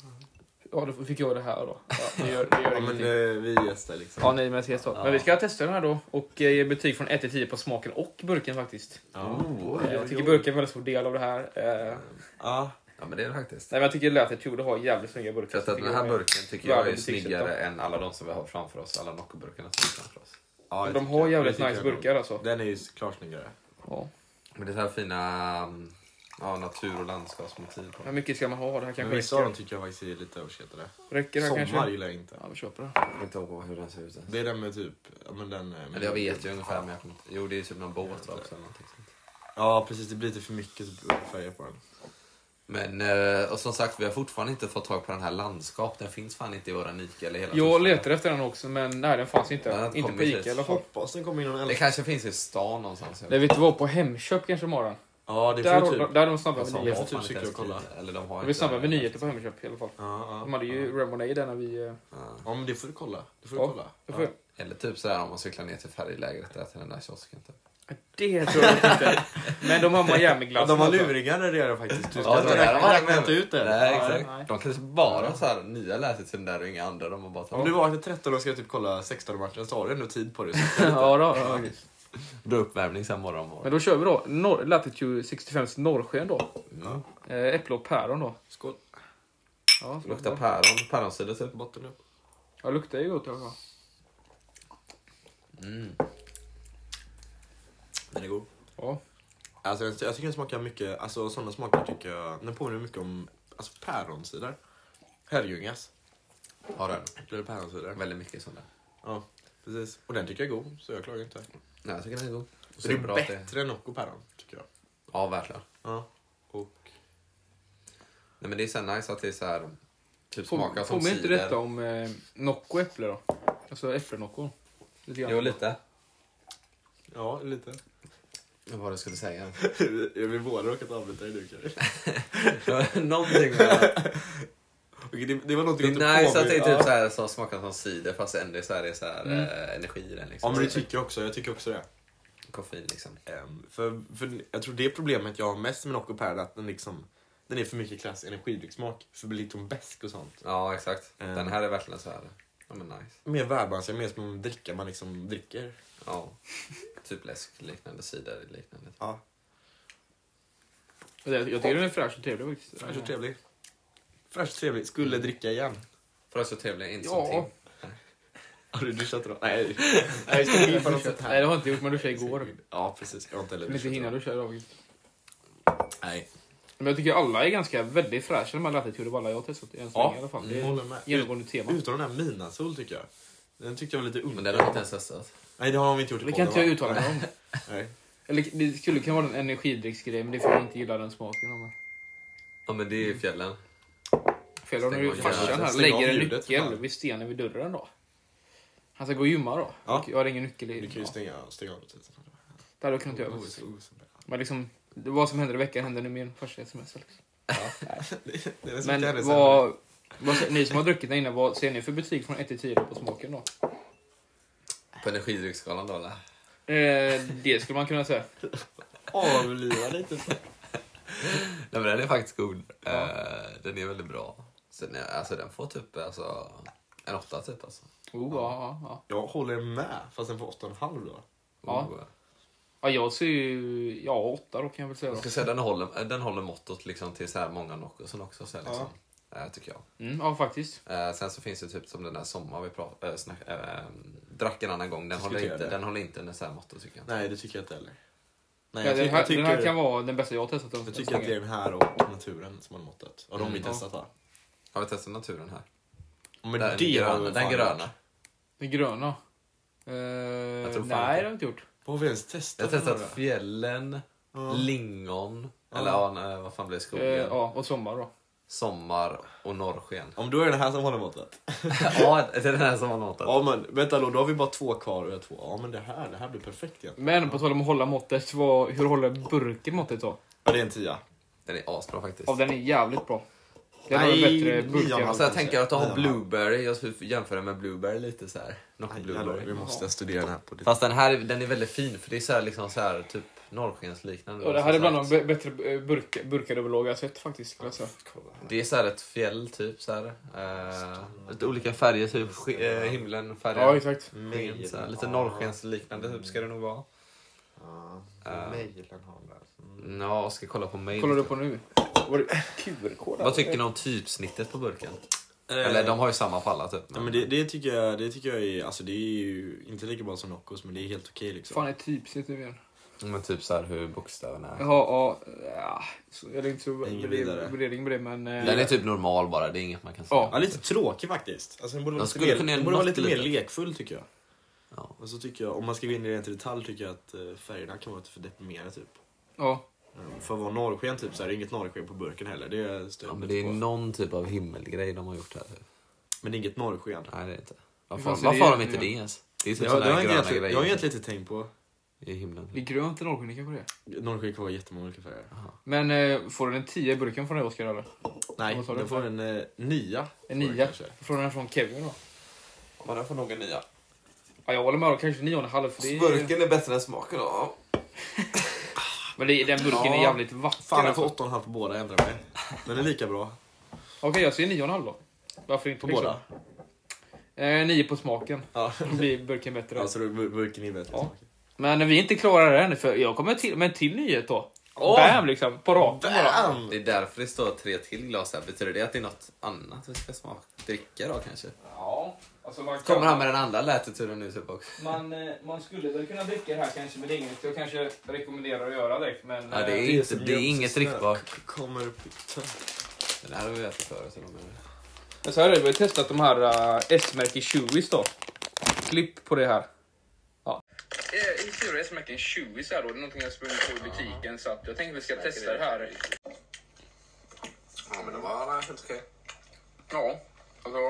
Speaker 1: Ja, då fick jag det här då. Ja, det gör, det gör
Speaker 5: Ja men
Speaker 1: ingenting.
Speaker 5: eh, vi gästar liksom.
Speaker 1: Ja, nej, men, jag ser så.
Speaker 3: Ja.
Speaker 1: men vi ska testa den här då och eh, ge betyg från 1 till 10 på smaken och burken faktiskt.
Speaker 5: Ja.
Speaker 1: Oh, jag tycker burken är en väldigt stor del av det här. Eh, nej,
Speaker 5: ja.
Speaker 3: Ja, men det är det faktiskt.
Speaker 1: men jag tycker Latitude har jävligt snygga burkar.
Speaker 3: För att
Speaker 1: Så
Speaker 3: den
Speaker 1: tycker
Speaker 3: här
Speaker 1: jag-
Speaker 3: burken tycker jag är
Speaker 1: Världens
Speaker 3: snyggare
Speaker 1: butiksuttal.
Speaker 3: än alla de som vi har framför oss. Alla Nocco-burkarna som är framför oss.
Speaker 5: ja
Speaker 1: Men
Speaker 5: jag
Speaker 1: de
Speaker 5: tycker-
Speaker 1: har jävligt
Speaker 5: det tycker
Speaker 1: nice
Speaker 5: jag nog.
Speaker 1: burkar alltså.
Speaker 5: Den är ju klart snyggare.
Speaker 1: Ja.
Speaker 3: Men det är så här fina mm, ja, natur och landskapsmotiv på
Speaker 1: Hur
Speaker 3: dem.
Speaker 1: mycket ska man ha? Det här
Speaker 5: Men
Speaker 1: kanske
Speaker 5: vissa av dem
Speaker 1: räcker.
Speaker 5: tycker jag faktiskt är lite överskattade.
Speaker 1: Räcker det här
Speaker 5: Sommar
Speaker 1: kanske?
Speaker 5: gillar jag inte.
Speaker 1: Ja, vi köper den.
Speaker 3: Jag kommer inte ihåg hur den ser ut. ens.
Speaker 5: Det är den med typ, ja men den...
Speaker 1: Mm.
Speaker 5: eh,
Speaker 3: Eller jag vet ju ungefär, men jag kommer inte... Jo, det är typ någon båt va, också. Eller någonting sånt.
Speaker 5: Ja precis, det blir lite för mycket typ, färger på den.
Speaker 3: Men eh, och som sagt, vi har fortfarande inte fått tag på den här landskap. Den finns fan inte i våra Nike eller hela
Speaker 1: Jag
Speaker 3: Tyskland.
Speaker 1: letar efter den också, men nej, den fanns inte.
Speaker 3: Den har inte
Speaker 1: inte på
Speaker 3: kommit
Speaker 1: Ica
Speaker 3: hit.
Speaker 1: i alla fall.
Speaker 5: Hoppas den kommer in någon
Speaker 3: Det
Speaker 5: äldre.
Speaker 3: kanske finns i stan någonstans. jag
Speaker 1: Nej,
Speaker 3: vet.
Speaker 1: vet du vad? På Hemköp kanske de har den.
Speaker 2: Ja, det
Speaker 1: Där,
Speaker 2: får
Speaker 1: håller-
Speaker 2: typ...
Speaker 1: där är de snabba
Speaker 3: Alltså,
Speaker 1: med
Speaker 3: de
Speaker 2: det
Speaker 3: har
Speaker 1: nyheter.
Speaker 2: får typ
Speaker 3: fan inte
Speaker 2: cykla
Speaker 3: ens
Speaker 2: och kolla.
Speaker 3: tid, Eller de har
Speaker 1: De är
Speaker 3: inte-
Speaker 1: snabba med nyheter på Hemköp i alla fall.
Speaker 2: Ja,
Speaker 1: De
Speaker 2: ja,
Speaker 1: hade ju Remonade där när vi... eh,
Speaker 3: Ja.
Speaker 2: ja, men det får du kolla. Det får du
Speaker 1: Ja.
Speaker 2: kolla.
Speaker 1: jag får-
Speaker 3: Eller typ sådär om man cyklar ner till färglägret där till den där kiosken. Typ.
Speaker 1: Det tror jag inte. Men de har [LAUGHS] Miami-glassen.
Speaker 2: de har
Speaker 1: alltså.
Speaker 2: luringar när det gör det faktiskt. Du ska
Speaker 3: Ja,
Speaker 2: inte
Speaker 3: det där
Speaker 2: räkna-
Speaker 3: var-
Speaker 2: räkna inte ut det.
Speaker 3: Nej,
Speaker 1: Ja,
Speaker 3: exakt.
Speaker 1: nej.
Speaker 3: De kanske bara så här, nya läser till den där och inga andra. De har bara
Speaker 2: Om
Speaker 3: tagit
Speaker 2: du vaknar 13 och ska typ kolla 16-matchen så har du ändå tid på dig. Så
Speaker 1: Ja, då, ja.
Speaker 3: dra uppvärmning sen morgon
Speaker 1: Men
Speaker 3: morgon.
Speaker 1: då kör vi då. Nor- Latitude 65s norrsken då. Eh, äpple och päron då.
Speaker 2: skål.
Speaker 1: Ja, så-
Speaker 3: Luktar päron, päronsider typ.
Speaker 2: Botten upp.
Speaker 1: Ja, luktar ju gott i alla fall.
Speaker 2: Den är god.
Speaker 1: Ja.
Speaker 2: Alltså, jag, jag tycker den smakar mycket, alltså sådana smaker tycker jag, den påminner mycket om alltså, päronsider. Herrljungas.
Speaker 3: Har den.
Speaker 2: Äckligare päronsider.
Speaker 3: Väldigt mycket sånt där.
Speaker 2: Ja, precis. Och den tycker jag är god, så jag klagar inte.
Speaker 3: Nej, jag tycker den är god. Och
Speaker 2: Så det
Speaker 3: så
Speaker 2: är
Speaker 3: bra att det-
Speaker 2: bättre än Nocco päron, tycker jag.
Speaker 3: Ja, verkligen.
Speaker 2: Ja. Och...
Speaker 3: Nej, men det är så här nice att det är så här... Typ
Speaker 1: Påminner
Speaker 3: smakar som cider.
Speaker 1: inte detta om eh, Nocco äpple då? Alltså äpplenocco. Lite grann.
Speaker 3: Jo, lite.
Speaker 2: Ja, [LAUGHS] lite.
Speaker 3: Vad var det jag skulle säga?
Speaker 2: vi båda råkat avbryta dig nu kanske.
Speaker 3: [LAUGHS] Någonting med...
Speaker 2: Okej, det, det var någonting
Speaker 3: Det är
Speaker 2: jag inte
Speaker 3: nice att det är
Speaker 2: påminner-
Speaker 3: typ så här, som smakar som cider fast ändå så här, det är så här, eh, energi i
Speaker 2: Mm.
Speaker 3: den.
Speaker 2: Ja,
Speaker 3: Liksom.
Speaker 2: men det typ- tycker jag också. Jag tycker också det.
Speaker 3: Koffein liksom.
Speaker 2: Ehm, för, för jag tror det problemet jag har mest med Nocco päron är att den liksom den är för mycket klass energidryckssmak. För det blir lite som besk och sånt.
Speaker 3: Ja, exakt.
Speaker 2: Mm.
Speaker 3: Den här är verkligen så här... Ja, men nice.
Speaker 2: Mer välbalanserad, mer som en dricka man liksom dricker.
Speaker 3: Ja. Typ läsk liknande, cider liknande.
Speaker 2: Ja,
Speaker 1: Jag, jag tycker den är fräsch och trevlig faktiskt.
Speaker 2: fräsch och trevlig. Fräsch och trevlig. Skulle dricka igen.
Speaker 3: För oss är trevliga, inte som
Speaker 1: Ja.
Speaker 3: ting.
Speaker 2: Har du duschat idag? Nej.
Speaker 1: Nej, just det,
Speaker 2: Vi
Speaker 1: jag
Speaker 2: får
Speaker 1: har duschat.
Speaker 2: något sånt här.
Speaker 1: Nej, det har jag inte gjort, men duschade igår.
Speaker 2: Ja, precis. Jag har inte heller
Speaker 1: Jag vill inte hinna duscha idag. faktiskt.
Speaker 2: Nej.
Speaker 1: Men jag tycker alla är ganska väldigt fräscha, de här Latitude och alla jag har testat än så
Speaker 2: Ja, Mm.
Speaker 1: länge i alla fall. Det
Speaker 2: jag håller med.
Speaker 1: är genomgående tema.
Speaker 2: Utom den här Minasol tycker jag. Den tyckte jag var lite
Speaker 3: Men
Speaker 2: udda.
Speaker 3: den har vi inte ens testat.
Speaker 2: Nej, det har de inte gjort i
Speaker 1: Det kan inte
Speaker 2: podden,
Speaker 1: jag
Speaker 2: va?
Speaker 1: uttala mig
Speaker 2: [LAUGHS]
Speaker 1: om.
Speaker 2: Nej.
Speaker 1: Eller det skulle kunna vara en energidrycksgrej, men det är för att jag inte gillar den smaken. av det.
Speaker 3: Ja, men det är ju fjällen.
Speaker 1: Fel om
Speaker 3: Stäng
Speaker 1: nu
Speaker 3: av
Speaker 1: farsan
Speaker 2: ljudet.
Speaker 1: här
Speaker 2: Stäng av
Speaker 1: lägger en
Speaker 2: ljudet, för
Speaker 1: nyckel
Speaker 2: fan.
Speaker 1: vid stenen vid dörren då. Han ska gå och gymma då.
Speaker 2: Ja.
Speaker 1: Jag har ingen nyckel i.
Speaker 2: Du kan ju
Speaker 1: Ja.
Speaker 2: stänga, stänga av lite.
Speaker 1: Det hade jag kunnat göra. Men liksom, det- vad som händer i veckan händer nu med min farsa i sms. Liksom.
Speaker 2: Det är
Speaker 1: Men
Speaker 2: Men vad...
Speaker 1: vad, vad, ser- ni som har druckit där inne, vad ser ni för betyg från 1 till 10 då på smaken då?
Speaker 3: På energidrycksskalan då eller?
Speaker 1: Eh, det skulle man kunna säga.
Speaker 2: Avliva lite.
Speaker 3: Nej men den är faktiskt god.
Speaker 1: Ja.
Speaker 3: Eh, den är väldigt bra. Så den, är- alltså, den får typ alltså, en åtta typ alltså.
Speaker 1: Oh, ja. Ja, ja.
Speaker 2: Jag håller med, fast den får 8,5 då.
Speaker 1: Ja.
Speaker 3: Oh.
Speaker 1: ja, jag ser ju... Ja, 8 då kan jag väl säga.
Speaker 3: Jag ska
Speaker 1: Då.
Speaker 3: säga den håller, eh, den håller måttot liksom till så här många Noccosen också så här, liksom. Eh, tycker jag.
Speaker 1: Mm, ja, faktiskt.
Speaker 3: Eh, sen så finns det typ som den där sommar vi pra- eh, snack, eh, drack en annan gång. Den håller,
Speaker 2: Diskutera
Speaker 3: inte,
Speaker 2: det.
Speaker 3: den håller inte en så här motto tycker jag.
Speaker 2: Nej, det tycker jag inte heller. Nej,
Speaker 1: ja,
Speaker 2: jag,
Speaker 1: den,
Speaker 2: ty-
Speaker 1: här,
Speaker 2: jag
Speaker 1: den här
Speaker 2: tycker,
Speaker 1: kan vara den bästa jag har testat. än
Speaker 2: jag
Speaker 1: så
Speaker 2: tycker att det
Speaker 1: länge.
Speaker 2: är den här och naturen som man måttat. Och de har vi
Speaker 1: Mm.
Speaker 2: testat va?
Speaker 3: Har vi testat naturen här?
Speaker 2: Men
Speaker 3: den
Speaker 2: det har
Speaker 3: gröna.
Speaker 2: vi
Speaker 3: Den
Speaker 2: fan
Speaker 3: gröna.
Speaker 2: gjort.
Speaker 1: Den gröna. Eh,
Speaker 3: tror fan
Speaker 1: nej, det har
Speaker 3: inte.
Speaker 1: jag inte gjort.
Speaker 2: Vad har vi ens testat?
Speaker 3: Jag har
Speaker 2: för några?
Speaker 3: testat fjällen, lingon, eller ja, nej, vad fan blir det?
Speaker 1: Eh,
Speaker 3: skogen?
Speaker 1: ja, och sommar då.
Speaker 3: Sommar och norrsken.
Speaker 2: Om då är det den här som håller måttet.
Speaker 3: ja, det är den här som har något.
Speaker 2: Ja men vänta då, då har vi bara två kvar och jag två. Ja men det här, det här blir perfekt igen.
Speaker 1: Men på tal om att hålla måttet, vad, hur håller burken måttet då?
Speaker 2: Ja det är en tia.
Speaker 3: Den är asbra faktiskt.
Speaker 1: Ja, den är jävligt bra. Den har
Speaker 2: Nej,
Speaker 1: en bättre
Speaker 2: nian,
Speaker 1: burk.
Speaker 3: Alltså
Speaker 2: Kanske.
Speaker 3: jag tänker att du
Speaker 2: Ja.
Speaker 3: har blueberry, jag skulle jämföra den med blueberry lite så här. Något
Speaker 2: Aj, jävlar,
Speaker 3: blueberry.
Speaker 2: vi måste studera den här på det.
Speaker 3: Fast den här är- den är väldigt fin för det är så här, liksom så här typ norrskensliknande.
Speaker 1: Ja, det här är bland de
Speaker 3: Som sagt,
Speaker 1: b- bättre eh, burk, burkar överlag jag sett faktiskt. skulle jag säga.
Speaker 3: Det är så här ett fjäll typ så här. Eh, lite olika färger typ, sk- eh, himlen färger.
Speaker 1: Ja, exakt.
Speaker 3: Sken, så här, lite norrskensliknande typ ska det nog vara. Eh.
Speaker 2: Mejlen har den.
Speaker 3: Ja, ska kolla på mig.
Speaker 1: Kollar du på nu? Var det QR-kod?
Speaker 3: Vad tycker ni om typsnittet på burken? Eller de har ju samma på alla typ.
Speaker 2: Eh. Ja, men det, det, tycker jag, det tycker jag är, alltså det är ju inte lika bra som Noccos men det är helt okej liksom.
Speaker 1: fan är typsnitt nu igen?
Speaker 3: Men typ så här hur bokstäverna är.
Speaker 1: Jaha, ja. ja så, jag är inte så
Speaker 2: Ingen
Speaker 1: värde-
Speaker 2: vidare.
Speaker 1: värdering på det, men... eh,
Speaker 3: Den är typ normal bara, det är inget man kan säga.
Speaker 1: Ja.
Speaker 2: Ja, lite tråkig faktiskt. Alltså, den borde, vara
Speaker 3: Jag
Speaker 2: lite
Speaker 3: skulle
Speaker 2: mer,
Speaker 3: kunna göra
Speaker 2: den borde vara
Speaker 3: något
Speaker 2: lite mer
Speaker 3: litet.
Speaker 2: lekfull tycker jag.
Speaker 3: Ja.
Speaker 2: Och så tycker jag, om man ska gå in i rent i detalj tycker jag att eh, färgerna kan vara lite för deprimerande typ.
Speaker 1: Ja.
Speaker 2: Mm, För att vara norrsken typ så är det inget norrsken på burken heller. Det stör
Speaker 3: Ja,
Speaker 2: jag
Speaker 3: men
Speaker 2: mig
Speaker 3: det är
Speaker 2: inte på.
Speaker 3: någon typ av himmelgrej de har gjort här. Typ.
Speaker 2: men det är inget norrsken.
Speaker 3: Nej, det är inte.
Speaker 1: Hur
Speaker 3: Varför,
Speaker 1: fan ser
Speaker 3: varför
Speaker 1: det
Speaker 3: har de
Speaker 1: ut
Speaker 3: inte
Speaker 1: nu?
Speaker 3: det ens? Det är typ
Speaker 2: Jag,
Speaker 3: sådana
Speaker 2: det har
Speaker 3: här
Speaker 2: jag,
Speaker 3: gröna
Speaker 2: egentligen-
Speaker 3: grejer.
Speaker 2: jag har egentligen inte tänkt på. i himlen.
Speaker 1: Det är grönt i Norrsken, kanske det är.
Speaker 2: Norrsken kan vara jättemånga olika färger.
Speaker 1: Men eh, får den en 10 i burken från dig Oskar eller?
Speaker 2: Nej,
Speaker 1: Vad sa du?
Speaker 2: den får en eh, nia.
Speaker 1: En
Speaker 2: får den
Speaker 1: 9?
Speaker 2: kanske.
Speaker 1: Från den från Kevin då?
Speaker 3: Ja, den får nog en nia.
Speaker 1: Ja, jag håller med, då kanske 9,5 för det är...
Speaker 3: Burken är bättre än smaken då.
Speaker 1: Men det, den burken är
Speaker 2: Ja.
Speaker 1: jävligt vacker
Speaker 2: Fan, den
Speaker 1: alltså.
Speaker 2: får 8,5 på båda. Ändra mig. Den är lika bra
Speaker 1: Okej, jag säger 9,5 då. Varför inte?
Speaker 2: på
Speaker 1: liksom?
Speaker 2: båda.
Speaker 1: Eh, 9 på smaken.
Speaker 2: Ja.
Speaker 1: Då blir burken bättre då.
Speaker 2: Alltså, bur- burken är bättre.
Speaker 1: Ja.
Speaker 2: smak.
Speaker 1: Men vi är inte klara än, för jag kommer till med en till nyhet då.
Speaker 2: Åh!
Speaker 1: Bam liksom, på raken bara.
Speaker 2: Bam!
Speaker 3: Det är därför det står tre till glas här. Betyder det att det är något annat vi ska smaka? Dricka då kanske?
Speaker 1: Ja, alltså man,
Speaker 3: Kommer han med den andra läteturen nu typ också?
Speaker 1: man, skulle väl kunna dricka det här kanske, men det är inget jag kanske rekommenderar att göra direkt. Men, eh,
Speaker 3: Ja, det är inte, det är inget drickbart.
Speaker 2: Kommer upp i tön.
Speaker 3: Den här har vi ätit förut. så de är-
Speaker 1: Men så här är det, vi har testat de här uh, S-märken Chewies då. Klipp på det här. Ja. Eh, I sura S-märken Chewies här då, det är någonting jag sprungit på i butiken så att jag tänkte vi ska testa det här.
Speaker 3: Ja, men det var helt okej.
Speaker 1: Ja, alltså.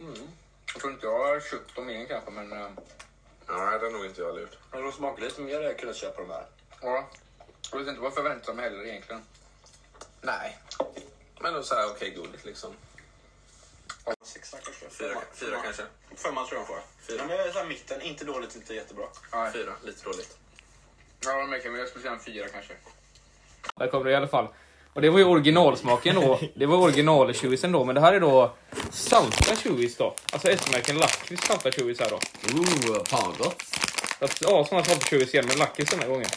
Speaker 1: mm. Jag tror inte jag har köpt dem igen kanske men eh,
Speaker 6: Nej, det har nog inte jag gjort.
Speaker 7: Hade de smakat lite mer hade jag kunnat köpa de här.
Speaker 1: ja. Jag vet inte vad jag förväntar mig heller egentligen.
Speaker 6: Nej. Men då så här, okej, godis liksom.
Speaker 7: Sexa kanske.
Speaker 6: Fyra, fyra kanske.
Speaker 7: Femma tror jag de får.
Speaker 6: Fyra.
Speaker 7: Men jag är så här mitten, inte dåligt, inte jättebra.
Speaker 1: Nej.
Speaker 6: Fyra, lite dåligt.
Speaker 1: Ja, de märker, men jag skulle säga en fyra kanske. Där kom det i alla fall. Och det var ju originalsmaken då.
Speaker 2: [LAUGHS]
Speaker 1: Det var original-chewisen då, men det här är då salta chewis då. Alltså S-märken lakrits salta chewis här då.
Speaker 3: Ooh, fan vad gott!
Speaker 1: Att- Ja, såna salta chewis igen med lakrits den här gången.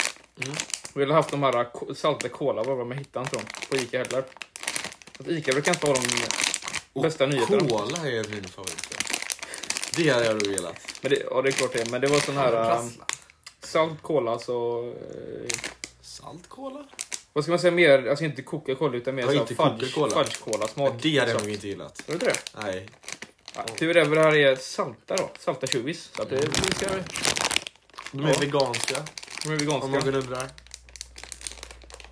Speaker 2: Mm.
Speaker 1: Vi ville haft de här äh, ko- salta cola bara, men hittade inte dem på Ica heller. Så att Ica brukar inte ha de bästa nyheterna.
Speaker 2: Cola är min favorit. Det hade jag nog velat.
Speaker 1: Men det, ja, det är klart det Men det var sån här äh,
Speaker 3: Prassla.
Speaker 1: salt cola, alltså... eh,
Speaker 2: Salt cola?
Speaker 1: vad ska man säga mer? Alltså inte Coca-Cola, utan mer
Speaker 2: Ja,
Speaker 1: såhär
Speaker 2: inte
Speaker 1: fudge-
Speaker 2: Coca-Cola.
Speaker 1: fudge-cola-smak.
Speaker 2: Det hade jag
Speaker 1: Så-
Speaker 2: nog inte gillat.
Speaker 1: Var det inte det?
Speaker 2: Nej.
Speaker 1: Ja, tur är väl det här är salta då. Salta tjuvis. Så att det, vi ska,
Speaker 2: De är
Speaker 1: Ja.
Speaker 2: veganska,
Speaker 1: de är
Speaker 2: om någon
Speaker 1: veganska.
Speaker 2: undrar.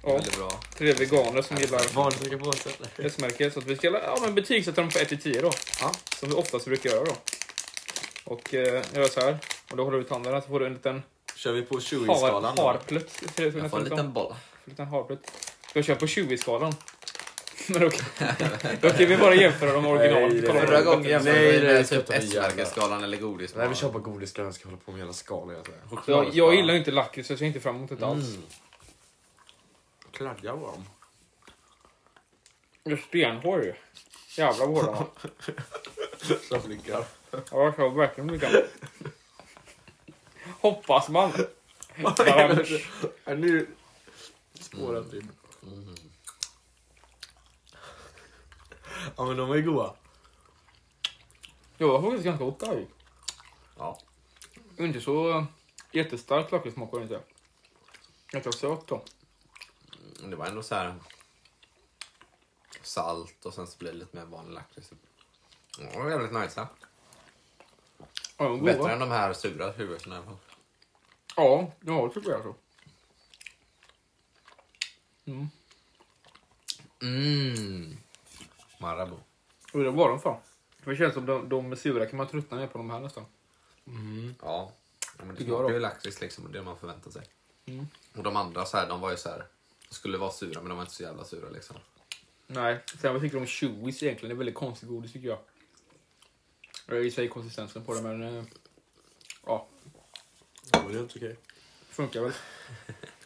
Speaker 1: Ja,
Speaker 3: Väldigt bra.
Speaker 1: tre veganer som gillar
Speaker 2: Vanligt att på sig.
Speaker 1: S-märket. Så att vi ska ja, men betygsätta dem på 1 till 10 då.
Speaker 2: Ja.
Speaker 1: Som vi oftast brukar göra då. Och eh, jag gör så här. Och då håller du ut handen här så får du en liten
Speaker 2: Kör vi på
Speaker 1: har,
Speaker 2: 20-skalan då?
Speaker 1: harplött. ser det ut
Speaker 3: Jag får
Speaker 1: nästan
Speaker 3: en
Speaker 1: som.
Speaker 3: liten boll.
Speaker 1: En liten harplött. Ska jag köra på 20-skalan? [LAUGHS] Men då kan,
Speaker 2: [LAUGHS]
Speaker 1: då kan vi bara jämföra dem
Speaker 2: Nej,
Speaker 1: original.
Speaker 2: det-
Speaker 1: Kolla vad
Speaker 3: Förra
Speaker 1: de-
Speaker 3: gången jämförde
Speaker 2: Nej,
Speaker 3: vi
Speaker 2: det är
Speaker 3: med typ
Speaker 2: köttet med jävla-
Speaker 3: S-märkesskalan eller godis.
Speaker 2: Nej vi kör på godisgrann, jag ska hålla på med hela skalan. Jag säger.
Speaker 1: jag, jag gillar ju inte lakrits så jag ser inte fram emot det alls.
Speaker 2: Mm. Kladdiga var de.
Speaker 1: Jag är stenhård ju. Jävlar vad hårda de var.
Speaker 2: Så flickar.
Speaker 1: Ja, jag tror verkligen mycket om det. Hoppas man. Bara,
Speaker 2: Ja, Nu spårar det
Speaker 3: typ?
Speaker 2: mm. Ja men de var ju goda.
Speaker 1: det var faktiskt ganska gott där ju.
Speaker 3: Ja.
Speaker 1: Inte så eh, jättestark lakritssmak var det inte. Ganska söt då.
Speaker 3: Men Det var ändå så här salt och sen så blir det lite mer vanlig lakrits. Ja, det var jävligt nice.
Speaker 1: Ja, de var
Speaker 3: Bättre
Speaker 1: goda.
Speaker 3: än de här sura huvudena i alla fall.
Speaker 1: Ja, ja, det tycker jag så. Mm.
Speaker 3: Mm. Marabou.
Speaker 1: Och det var de fan. För det känns som de, de sura kan man tröttna ner på de här nästan.
Speaker 2: Mm.
Speaker 3: Ja. ja men det
Speaker 1: Tycker jag
Speaker 3: smakar
Speaker 1: då.
Speaker 3: ju lakrits liksom, och det man förväntar sig.
Speaker 1: Mm.
Speaker 3: Och de andra så här, de var ju så här, de skulle vara sura men de var inte så jävla sura liksom.
Speaker 1: Nej, sen vad tycker du om chewies egentligen? Det är väldigt konstigt godis tycker jag. Jag gillar i sig konsistensen på det men... eh, Ja,
Speaker 2: Ja, men det är inte okej.
Speaker 1: funkar väl.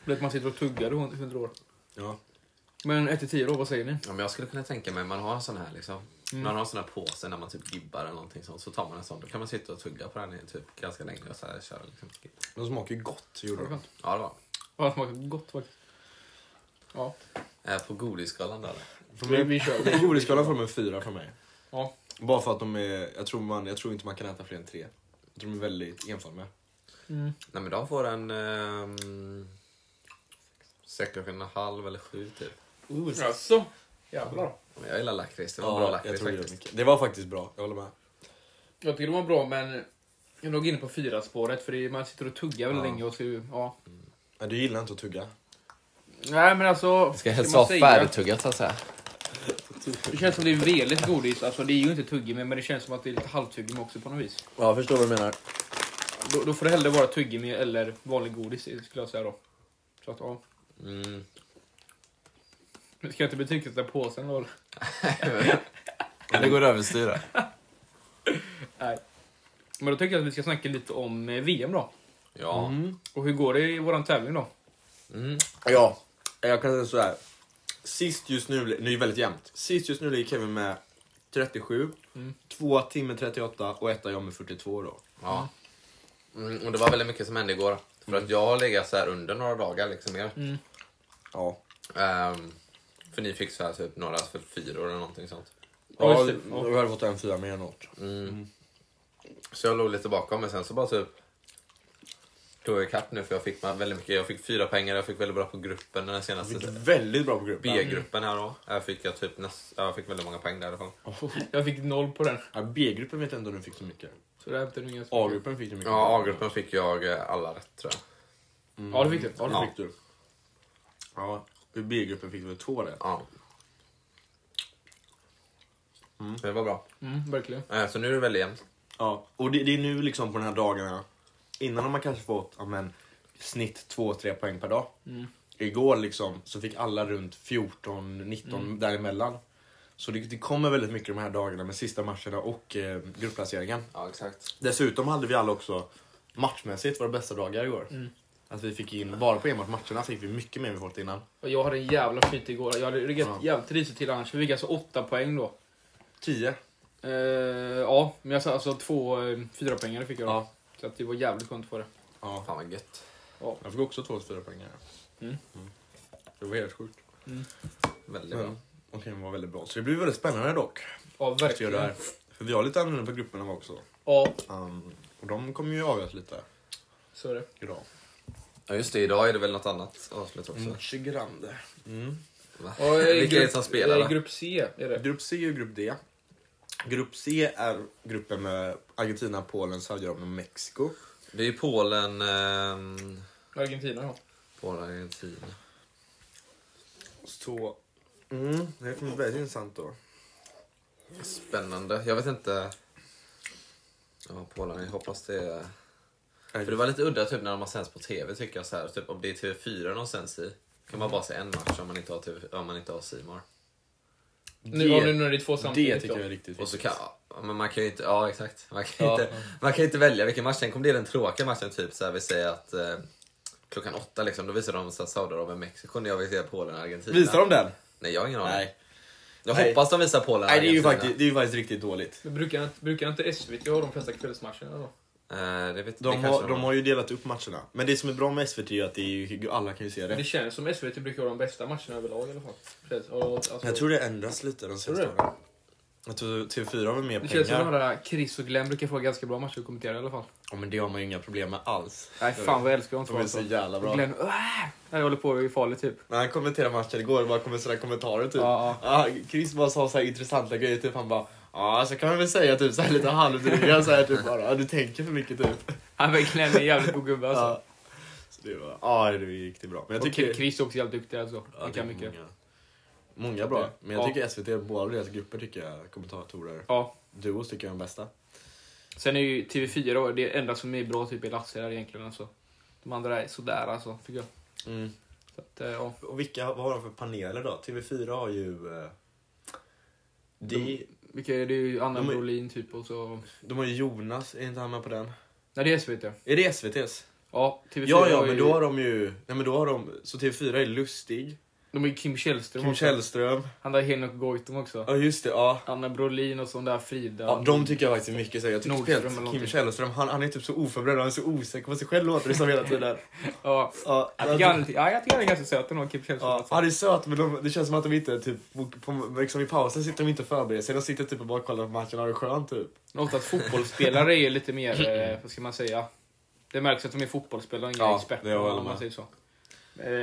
Speaker 1: Det är att man sitter och tuggar i hund- hundra år.
Speaker 2: Ja.
Speaker 1: Men 1 till 10 då, vad säger ni? Mm.
Speaker 3: Ja, men jag skulle kunna tänka mig, man har en sån här liksom.
Speaker 2: Mm.
Speaker 3: Man har en sån här påse när man typ gibbar eller någonting sånt. Så tar man en sån, då kan man sitta och tugga på den i typ ganska länge och så här köra liksom.
Speaker 2: De smakar ju gott gjorde de.
Speaker 3: Ja, det var.
Speaker 1: Ja, det smakar gott faktiskt. Ja,
Speaker 3: Eh, på godisskalan där.
Speaker 2: På
Speaker 1: vi,
Speaker 2: min-
Speaker 1: vi kör.
Speaker 2: [LAUGHS] på godisskalan får de en fyra från mig.
Speaker 1: Ja.
Speaker 2: Bara för att de är, jag tror, man, jag tror inte man kan äta fler än tre. Jag tror de är väldigt enformiga.
Speaker 1: Mm.
Speaker 3: Nej men de får en... ehm, Sex och en halv eller sju typ.
Speaker 1: Alltså, jävlar.
Speaker 3: Men jag gillar lakrits, det var
Speaker 2: jag
Speaker 3: bra lakrits
Speaker 2: tror det,
Speaker 3: faktiskt.
Speaker 2: är mycket. det var faktiskt bra, jag håller med.
Speaker 1: Jag tycker det var bra men jag är nog inne på fyra spåret för det är, man sitter och tuggar väldigt
Speaker 2: Ja.
Speaker 1: länge och så... Ja.
Speaker 2: Ja, du gillar inte att tugga.
Speaker 1: Nej men alltså...
Speaker 3: Ska jag helst
Speaker 1: man
Speaker 3: vara
Speaker 1: säga?
Speaker 3: färdigtuggat så att säga.
Speaker 1: Det känns som det är veligt godis. Alltså det är ju inte tuggummi men det känns som att det är lite halvtuggummi också på något vis.
Speaker 2: Ja, jag förstår vad du menar.
Speaker 1: Då, då får det hellre vara tuggummi eller vanlig godis skulle jag säga då. Så att, ja.
Speaker 2: Mm. [LAUGHS]
Speaker 1: Men Ska jag inte betygsätta påsen då? eller?
Speaker 2: Det går överstyr här.
Speaker 1: Nej. Men då tycker jag att vi ska snacka lite om eh, VM då.
Speaker 2: Ja.
Speaker 1: Och hur går det i våran tävling då?
Speaker 3: Mm.
Speaker 2: Ja, jag kan säga så här. Sist just nu, nu är det väldigt jämnt. Sist just nu ligger Kevin med 37, två timmar 38 och etta jag med 42 då.
Speaker 3: Ja. Mm, och det var väldigt mycket som hände igår. För att jag har legat så här under några dagar liksom mer.
Speaker 2: Ja.
Speaker 3: Ehm, för ni fick så här typ några för fyra eller någonting sånt. Mm.
Speaker 1: Ja,
Speaker 2: Ja,
Speaker 1: just det.
Speaker 2: vi hade fått en fyra mer än något.
Speaker 3: Så jag låg lite bakom men sen så bara typ tog jag ikapp nu för jag fick ma- väldigt mycket. Jag fick fyra pengar, jag fick väldigt bra på gruppen den här senaste
Speaker 2: Väldigt bra på gruppen.
Speaker 3: B-gruppen här då. Här fick jag typ näst, ja, jag fick väldigt många poäng därifrån.
Speaker 2: Mm.
Speaker 1: Jag fick noll på den.
Speaker 2: Ja, B-gruppen vet jag inte om du fick så mycket.
Speaker 1: Så det hämtade du inga spel.
Speaker 2: A-gruppen fick du mycket.
Speaker 3: Ja, A-gruppen fick jag eh, alla rätt tror jag.
Speaker 1: Ja, det fick du.
Speaker 2: Mm. Ja,
Speaker 1: Ja,
Speaker 2: det
Speaker 1: det
Speaker 2: fick du. Ja, i B-gruppen fick du väl två rätt?
Speaker 3: Ja. Det var bra.
Speaker 1: fick- mm, verkligen.
Speaker 3: Eh, Så nu är det väldigt jämnt.
Speaker 2: Ja, och det, det är nu liksom på de här dagarna. Innan har man kanske fått ja, men, snitt 2-3 poäng per dag. Igår liksom så fick alla runt 14-19 däremellan. Så det, det kommer väldigt mycket de här dagarna med sista matcherna och eh, gruppplaceringen.
Speaker 3: Ja, exakt.
Speaker 2: Dessutom hade vi alla också matchmässigt våra bästa dagar igår. Att vi fick in, bara på enbart matcherna fick vi mycket mer än vi fått innan.
Speaker 1: Och jag hade en jävla flyt igår. Jag hade legat
Speaker 2: Ja.
Speaker 1: jävligt risigt till annars. Vi fick alltså åtta poäng då.
Speaker 2: 10.
Speaker 1: Eh, ja, men jag sa alltså två eh, fyra pengar fick jag då.
Speaker 2: Ja.
Speaker 1: Så att det var jävligt skönt för det.
Speaker 2: Ja.
Speaker 3: Fan vad gött.
Speaker 2: Jag fick också 2-4 poäng här.
Speaker 1: Mm.
Speaker 2: Det var helt sjukt.
Speaker 3: Väldigt bra.
Speaker 2: Men, okej, det var väldigt bra. Så det blir väldigt spännande dock.
Speaker 1: Ja,
Speaker 2: att göra
Speaker 1: verkligen.
Speaker 2: det här. För vi har lite annorlunda på grupperna också.
Speaker 1: Ja,
Speaker 2: Um, och de kommer ju avgöras lite
Speaker 1: så är det.
Speaker 2: idag.
Speaker 3: Ja, just det. Idag är det väl något annat avslut också.
Speaker 2: Tjugorande. Mm.
Speaker 3: Va?
Speaker 1: Ja, eh,
Speaker 3: Vilka är det som
Speaker 1: grupp-
Speaker 3: spelar
Speaker 1: eh,
Speaker 3: då?
Speaker 1: Grupp C är det.
Speaker 2: Grupp C och grupp D. Grupp C är gruppen med Argentina, Polen, Saudiarabien och Mexiko.
Speaker 3: Det är ju Polen, ehm,
Speaker 1: Argentina ja.
Speaker 3: Polen, Argentina.
Speaker 2: Så... Mm, det kommer bli väldigt intressant då.
Speaker 3: Spännande. Jag vet inte. Ja, Polen, jag hoppas det är... För det var lite udda typ när de har sänds på TV tycker jag så här. Typ om det är TV4 de sänds i. Kan man bara se en match om man inte har, TV, om man inte har C-more.
Speaker 1: Nu, ja, nu nu är det två samtidigt.
Speaker 2: det tycker
Speaker 1: då.
Speaker 2: jag är riktigt
Speaker 3: Och så
Speaker 2: viktigt.
Speaker 3: kan, ja, men man kan ju inte, ja exakt. Man kan,
Speaker 1: Ja.
Speaker 3: inte, man kan inte välja vilken match. Sen kom det den tråkiga matchen, typ så här, vi säger att eh, klockan åtta liksom, då visar de så här Saudiarabien, Mexiko när jag vill se Polen, Argentina.
Speaker 2: Visar de den?
Speaker 3: Nej, jag har ingen aning.
Speaker 2: Nej.
Speaker 3: Jag
Speaker 2: Nej.
Speaker 3: hoppas de visar Polen,
Speaker 2: Nej, det är ju
Speaker 3: Argentina.
Speaker 2: faktiskt, det är ju faktiskt riktigt dåligt.
Speaker 1: Men brukar, inte- brukar inte SVT ha de flesta kvällsmatcherna då?
Speaker 3: Eh, det vet,
Speaker 2: De
Speaker 3: det
Speaker 2: har,
Speaker 3: kanske
Speaker 2: de har ju delat upp matcherna. Men det som är bra med SVT är ju att det är ju, alla kan ju se
Speaker 1: Det
Speaker 2: det.
Speaker 1: känns som SVT brukar ha de bästa matcherna överlag i alla fall. Precis. Och, alltså,
Speaker 2: Jag tror det ändras lite de
Speaker 1: Tror
Speaker 2: senaste
Speaker 1: du?
Speaker 2: åren. Jag tror TV4 har väl mer
Speaker 1: det känns som att
Speaker 2: pengar.
Speaker 1: de här Chris och Glenn brukar få ganska bra matcher att kommentera i alla fall.
Speaker 2: Ja, men det har man ju inga problem med alls.
Speaker 1: Nej fan vad jag älskar dem alltså.
Speaker 2: De är så jävla bra.
Speaker 1: Glenn "Åh!" när jag håller på i farligt typ.
Speaker 2: När han kommenterade matchen igår, det bara kommer sådana kommentarer typ.
Speaker 1: Ja,
Speaker 2: Ah, Chris bara sa så här intressanta grejer, typ han bara Ja, så kan man väl säga typ så här lite halvdryga så här typ bara. "Ja, Du tänker för mycket typ.
Speaker 1: Han men Glenn är en jävligt god gubbe alltså.
Speaker 2: Ja. Så det var, ja, det gick det bra. Men jag
Speaker 1: och
Speaker 2: tycker...
Speaker 1: Chris är också jävligt duktig alltså.
Speaker 2: Ja, det
Speaker 1: Han
Speaker 2: är
Speaker 1: kan mycket.
Speaker 2: Många, många bra. Men jag
Speaker 1: Ja.
Speaker 2: tycker SVT, båda deras grupper tycker jag, kommentatorer.
Speaker 1: Ja.
Speaker 2: Duos tycker jag är de bästa.
Speaker 1: Sen är ju TV4 då, det enda som är bra typ i Lasse där egentligen alltså. De andra är sådär alltså, tycker jag. Så att, eh, ja.
Speaker 2: Och vilka, vad har de för paneler då? TV4 har ju... eh, De,
Speaker 1: Vilka är det? Det är ju Anna
Speaker 2: De är-
Speaker 1: Brolin typ och så...
Speaker 2: de har ju Jonas, är inte han med på den?
Speaker 1: Nej det är SVT.
Speaker 2: Är det SVT's?
Speaker 1: Ja, TV4
Speaker 2: Ja, ja,
Speaker 1: har
Speaker 2: men
Speaker 1: ju-
Speaker 2: då har de ju... Nej, men då har de... Så TV4 är Lustig,
Speaker 1: De har ju Kim Källström
Speaker 2: Kim
Speaker 1: också.
Speaker 2: Källström.
Speaker 1: Han där Henok Goitom också.
Speaker 2: Ja, just det. Ja.
Speaker 1: Anna Brolin och sån där Frida.
Speaker 2: Ja, de tycker jag faktiskt är mycket så. här. Jag tycker
Speaker 1: Nordström
Speaker 2: speciellt
Speaker 1: eller
Speaker 2: Kim
Speaker 1: någonting.
Speaker 2: Källström, han, han är typ så oförberedd och han är så osäker på sig själv låter det som hela tiden.
Speaker 1: ja.
Speaker 2: Ja, [LAUGHS]
Speaker 1: Jag tycker han, ja, jag tycker han är ganska söt ändå, Kim Källström.
Speaker 2: Ja,
Speaker 1: alltså.
Speaker 2: han är söt men de, det känns som att de inte, typ, på, liksom i pausen sitter de inte och förbereder sig. De sitter typ och bara kollar på matchen och har det skönt typ.
Speaker 1: Men Oftast fotbollsspelare är ju lite mer, eh, vad ska man säga? Det märks att de är fotbollsspelare och inga
Speaker 2: Ja, det
Speaker 1: experter
Speaker 2: håller
Speaker 1: om man
Speaker 2: med.
Speaker 1: säger så.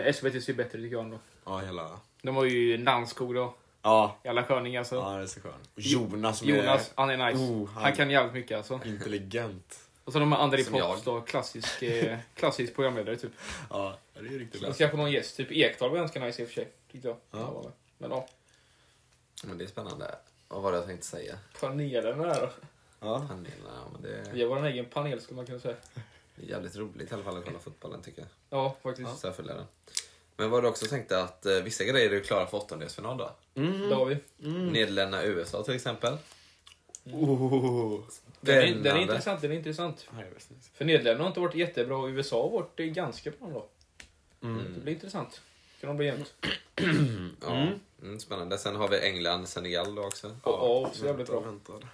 Speaker 1: Eh, SVT ser bättre tycker jag ändå.
Speaker 2: Ja, hela...
Speaker 1: De har ju Nanskog då.
Speaker 2: Ja,
Speaker 1: Jävla sköning alltså.
Speaker 2: ja det är så skönt. Och Jonas som
Speaker 1: Jonas, han är nice.
Speaker 2: Oh,
Speaker 1: han...
Speaker 2: han-
Speaker 1: kan jävligt mycket alltså.
Speaker 2: är intelligent.
Speaker 1: Och så de har André
Speaker 3: Som
Speaker 1: Pops då, klassisk,
Speaker 2: [LAUGHS]
Speaker 1: eh, klassisk programledare typ.
Speaker 2: Ja, det är ju riktigt bra.
Speaker 1: Och kanske någon gäst, typ Ekdal var ganska nice i och för sig. Tyckte jag.
Speaker 2: Ja.
Speaker 1: Han var med. Men ja,
Speaker 3: Men det är spännande. Vad var det jag tänkte säga?
Speaker 1: panelen här då.
Speaker 2: Ja.
Speaker 3: Panelerna, ja, men det...
Speaker 1: Vi är vår egen panel skulle man kunna säga.
Speaker 3: Jävligt roligt i alla fall att kolla fotbollen tycker jag.
Speaker 1: Ja, faktiskt.
Speaker 3: Så jag följer den. Men var du också tänkte att eh, vissa grejer är ju klara för åttondelsfinal då?
Speaker 2: Mm.
Speaker 1: Det har vi.
Speaker 3: Nederländerna USA till exempel.
Speaker 2: Oh.
Speaker 1: Den är, den är
Speaker 3: Spännande.
Speaker 1: intressant, den är intressant.
Speaker 2: Ja, jag vet inte.
Speaker 1: För Nederländerna har inte varit jättebra och USA har varit eh, ganska bra då. Det blir intressant. Kan de bli jämnt?
Speaker 3: Ja. Mm, spännande. Sen har vi England, Senegal då också.
Speaker 1: Ja, ja också jävligt
Speaker 2: Väntar,
Speaker 1: bra.
Speaker 2: väntar.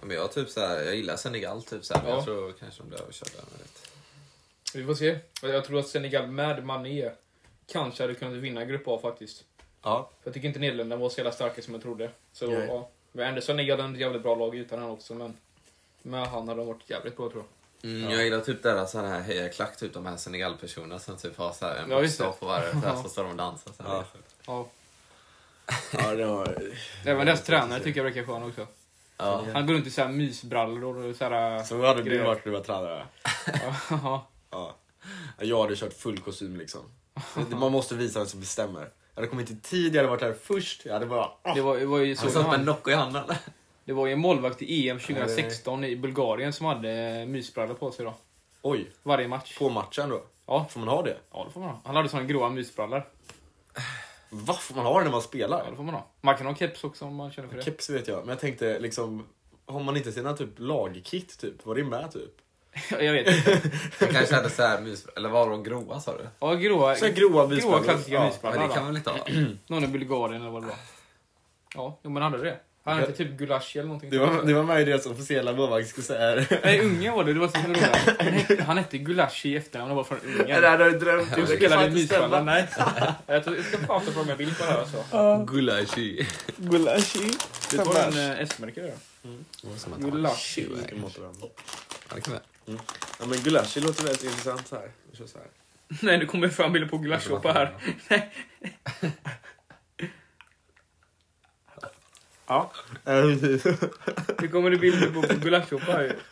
Speaker 3: Ja, Men jag, typ så här, jag gillar Senegal, typ så här, men
Speaker 1: Ja.
Speaker 3: jag tror kanske de blir överkörda. Jag vet.
Speaker 1: Vi får se. Jag tror att Senegal med Mané kanske hade kunnat vinna Grupp A faktiskt.
Speaker 2: Ja.
Speaker 1: För jag tycker inte Nederländerna var så jävla starka som jag trodde. Så,
Speaker 2: Nej.
Speaker 1: ja. Men Anderson är ju ett jävligt bra lag utan han också, men med han hade de varit jävligt bra tror jag.
Speaker 3: Mm, Jag gillar typ deras sån här hejaklack, typ de här Senegal-personerna som typ har så här en
Speaker 1: Ja, just
Speaker 3: bokstav
Speaker 1: det.
Speaker 3: på varje så, här, så står de och dansar. Så här.
Speaker 2: Ja.
Speaker 1: Ja.
Speaker 2: Ja, det var...
Speaker 1: Även deras tränare tycker jag verkar skön också.
Speaker 3: Ja.
Speaker 1: Han går runt i så här mysbrallor och så här...
Speaker 2: Så hade du
Speaker 1: grejer.
Speaker 2: varit när du var tränare?
Speaker 1: Ja.
Speaker 2: Ja. Jag hade kört full kostym liksom. Det- Man måste visa vem som bestämmer. Jag hade kommit i tid, jag hade varit där först. Jag hade bara...
Speaker 1: Det var, det var ju
Speaker 3: Han
Speaker 1: så
Speaker 3: satt med en
Speaker 1: han,
Speaker 3: Nocco i [LAUGHS] handen.
Speaker 1: Det var ju en målvakt i EM 2016 i Bulgarien som hade eh, mysbrallor på sig då.
Speaker 2: Oj,
Speaker 1: Varje match.
Speaker 2: på matchen då?
Speaker 1: Ja.
Speaker 2: Får man ha det?
Speaker 1: Ja, det får man ha. Han hade såna gråa mysbrallor.
Speaker 2: Vad får man ha det när man
Speaker 1: Ja, det
Speaker 2: spelar?
Speaker 1: får man ha. Man kan ha keps också om man känner för det.
Speaker 2: Keps vet jag, men jag tänkte liksom... Har man inte sina typ lagkit typ? Var det med typ?
Speaker 1: [LAUGHS] jag vet inte.
Speaker 3: Han kanske hade så här mys... Eller var de gråa sa du?
Speaker 1: Ja, gråa,
Speaker 2: [LAUGHS] Så här gråa mysbrallor.
Speaker 1: klassiska
Speaker 2: Ja,
Speaker 3: Men
Speaker 1: mysbrallor.
Speaker 3: det kan man väl inte ha?
Speaker 1: Någon i Bulgarien eller vad det var. Ja, jo, men hade det. Han hade inte typ gulasch eller någonting.
Speaker 2: Det var, det var med i deras officiella målvaktsdessert.
Speaker 1: Nej, Ungern var det. Det var så roligt. Han hette, han hette Gulasch i efternamn och var från
Speaker 2: [LAUGHS]
Speaker 1: Ungern.
Speaker 2: hade jag drömt
Speaker 1: Han spelade i mysbrallor. Nej. Jag, tror, jag ska fan ta fram en bild på det här alltså.
Speaker 3: Gulashi.
Speaker 2: Gulashi.
Speaker 1: Du tar en eh, S-märke där. Gulasch.
Speaker 3: Ja, det kan vi.
Speaker 2: Ja, men gulashi låter väldigt intressant så här. Vi kör så här.
Speaker 1: Nej, nu kommer fram bilder på gulaschsoppa här.
Speaker 2: Ja.
Speaker 1: Nu kommer det bilder på gulaschsoppa här.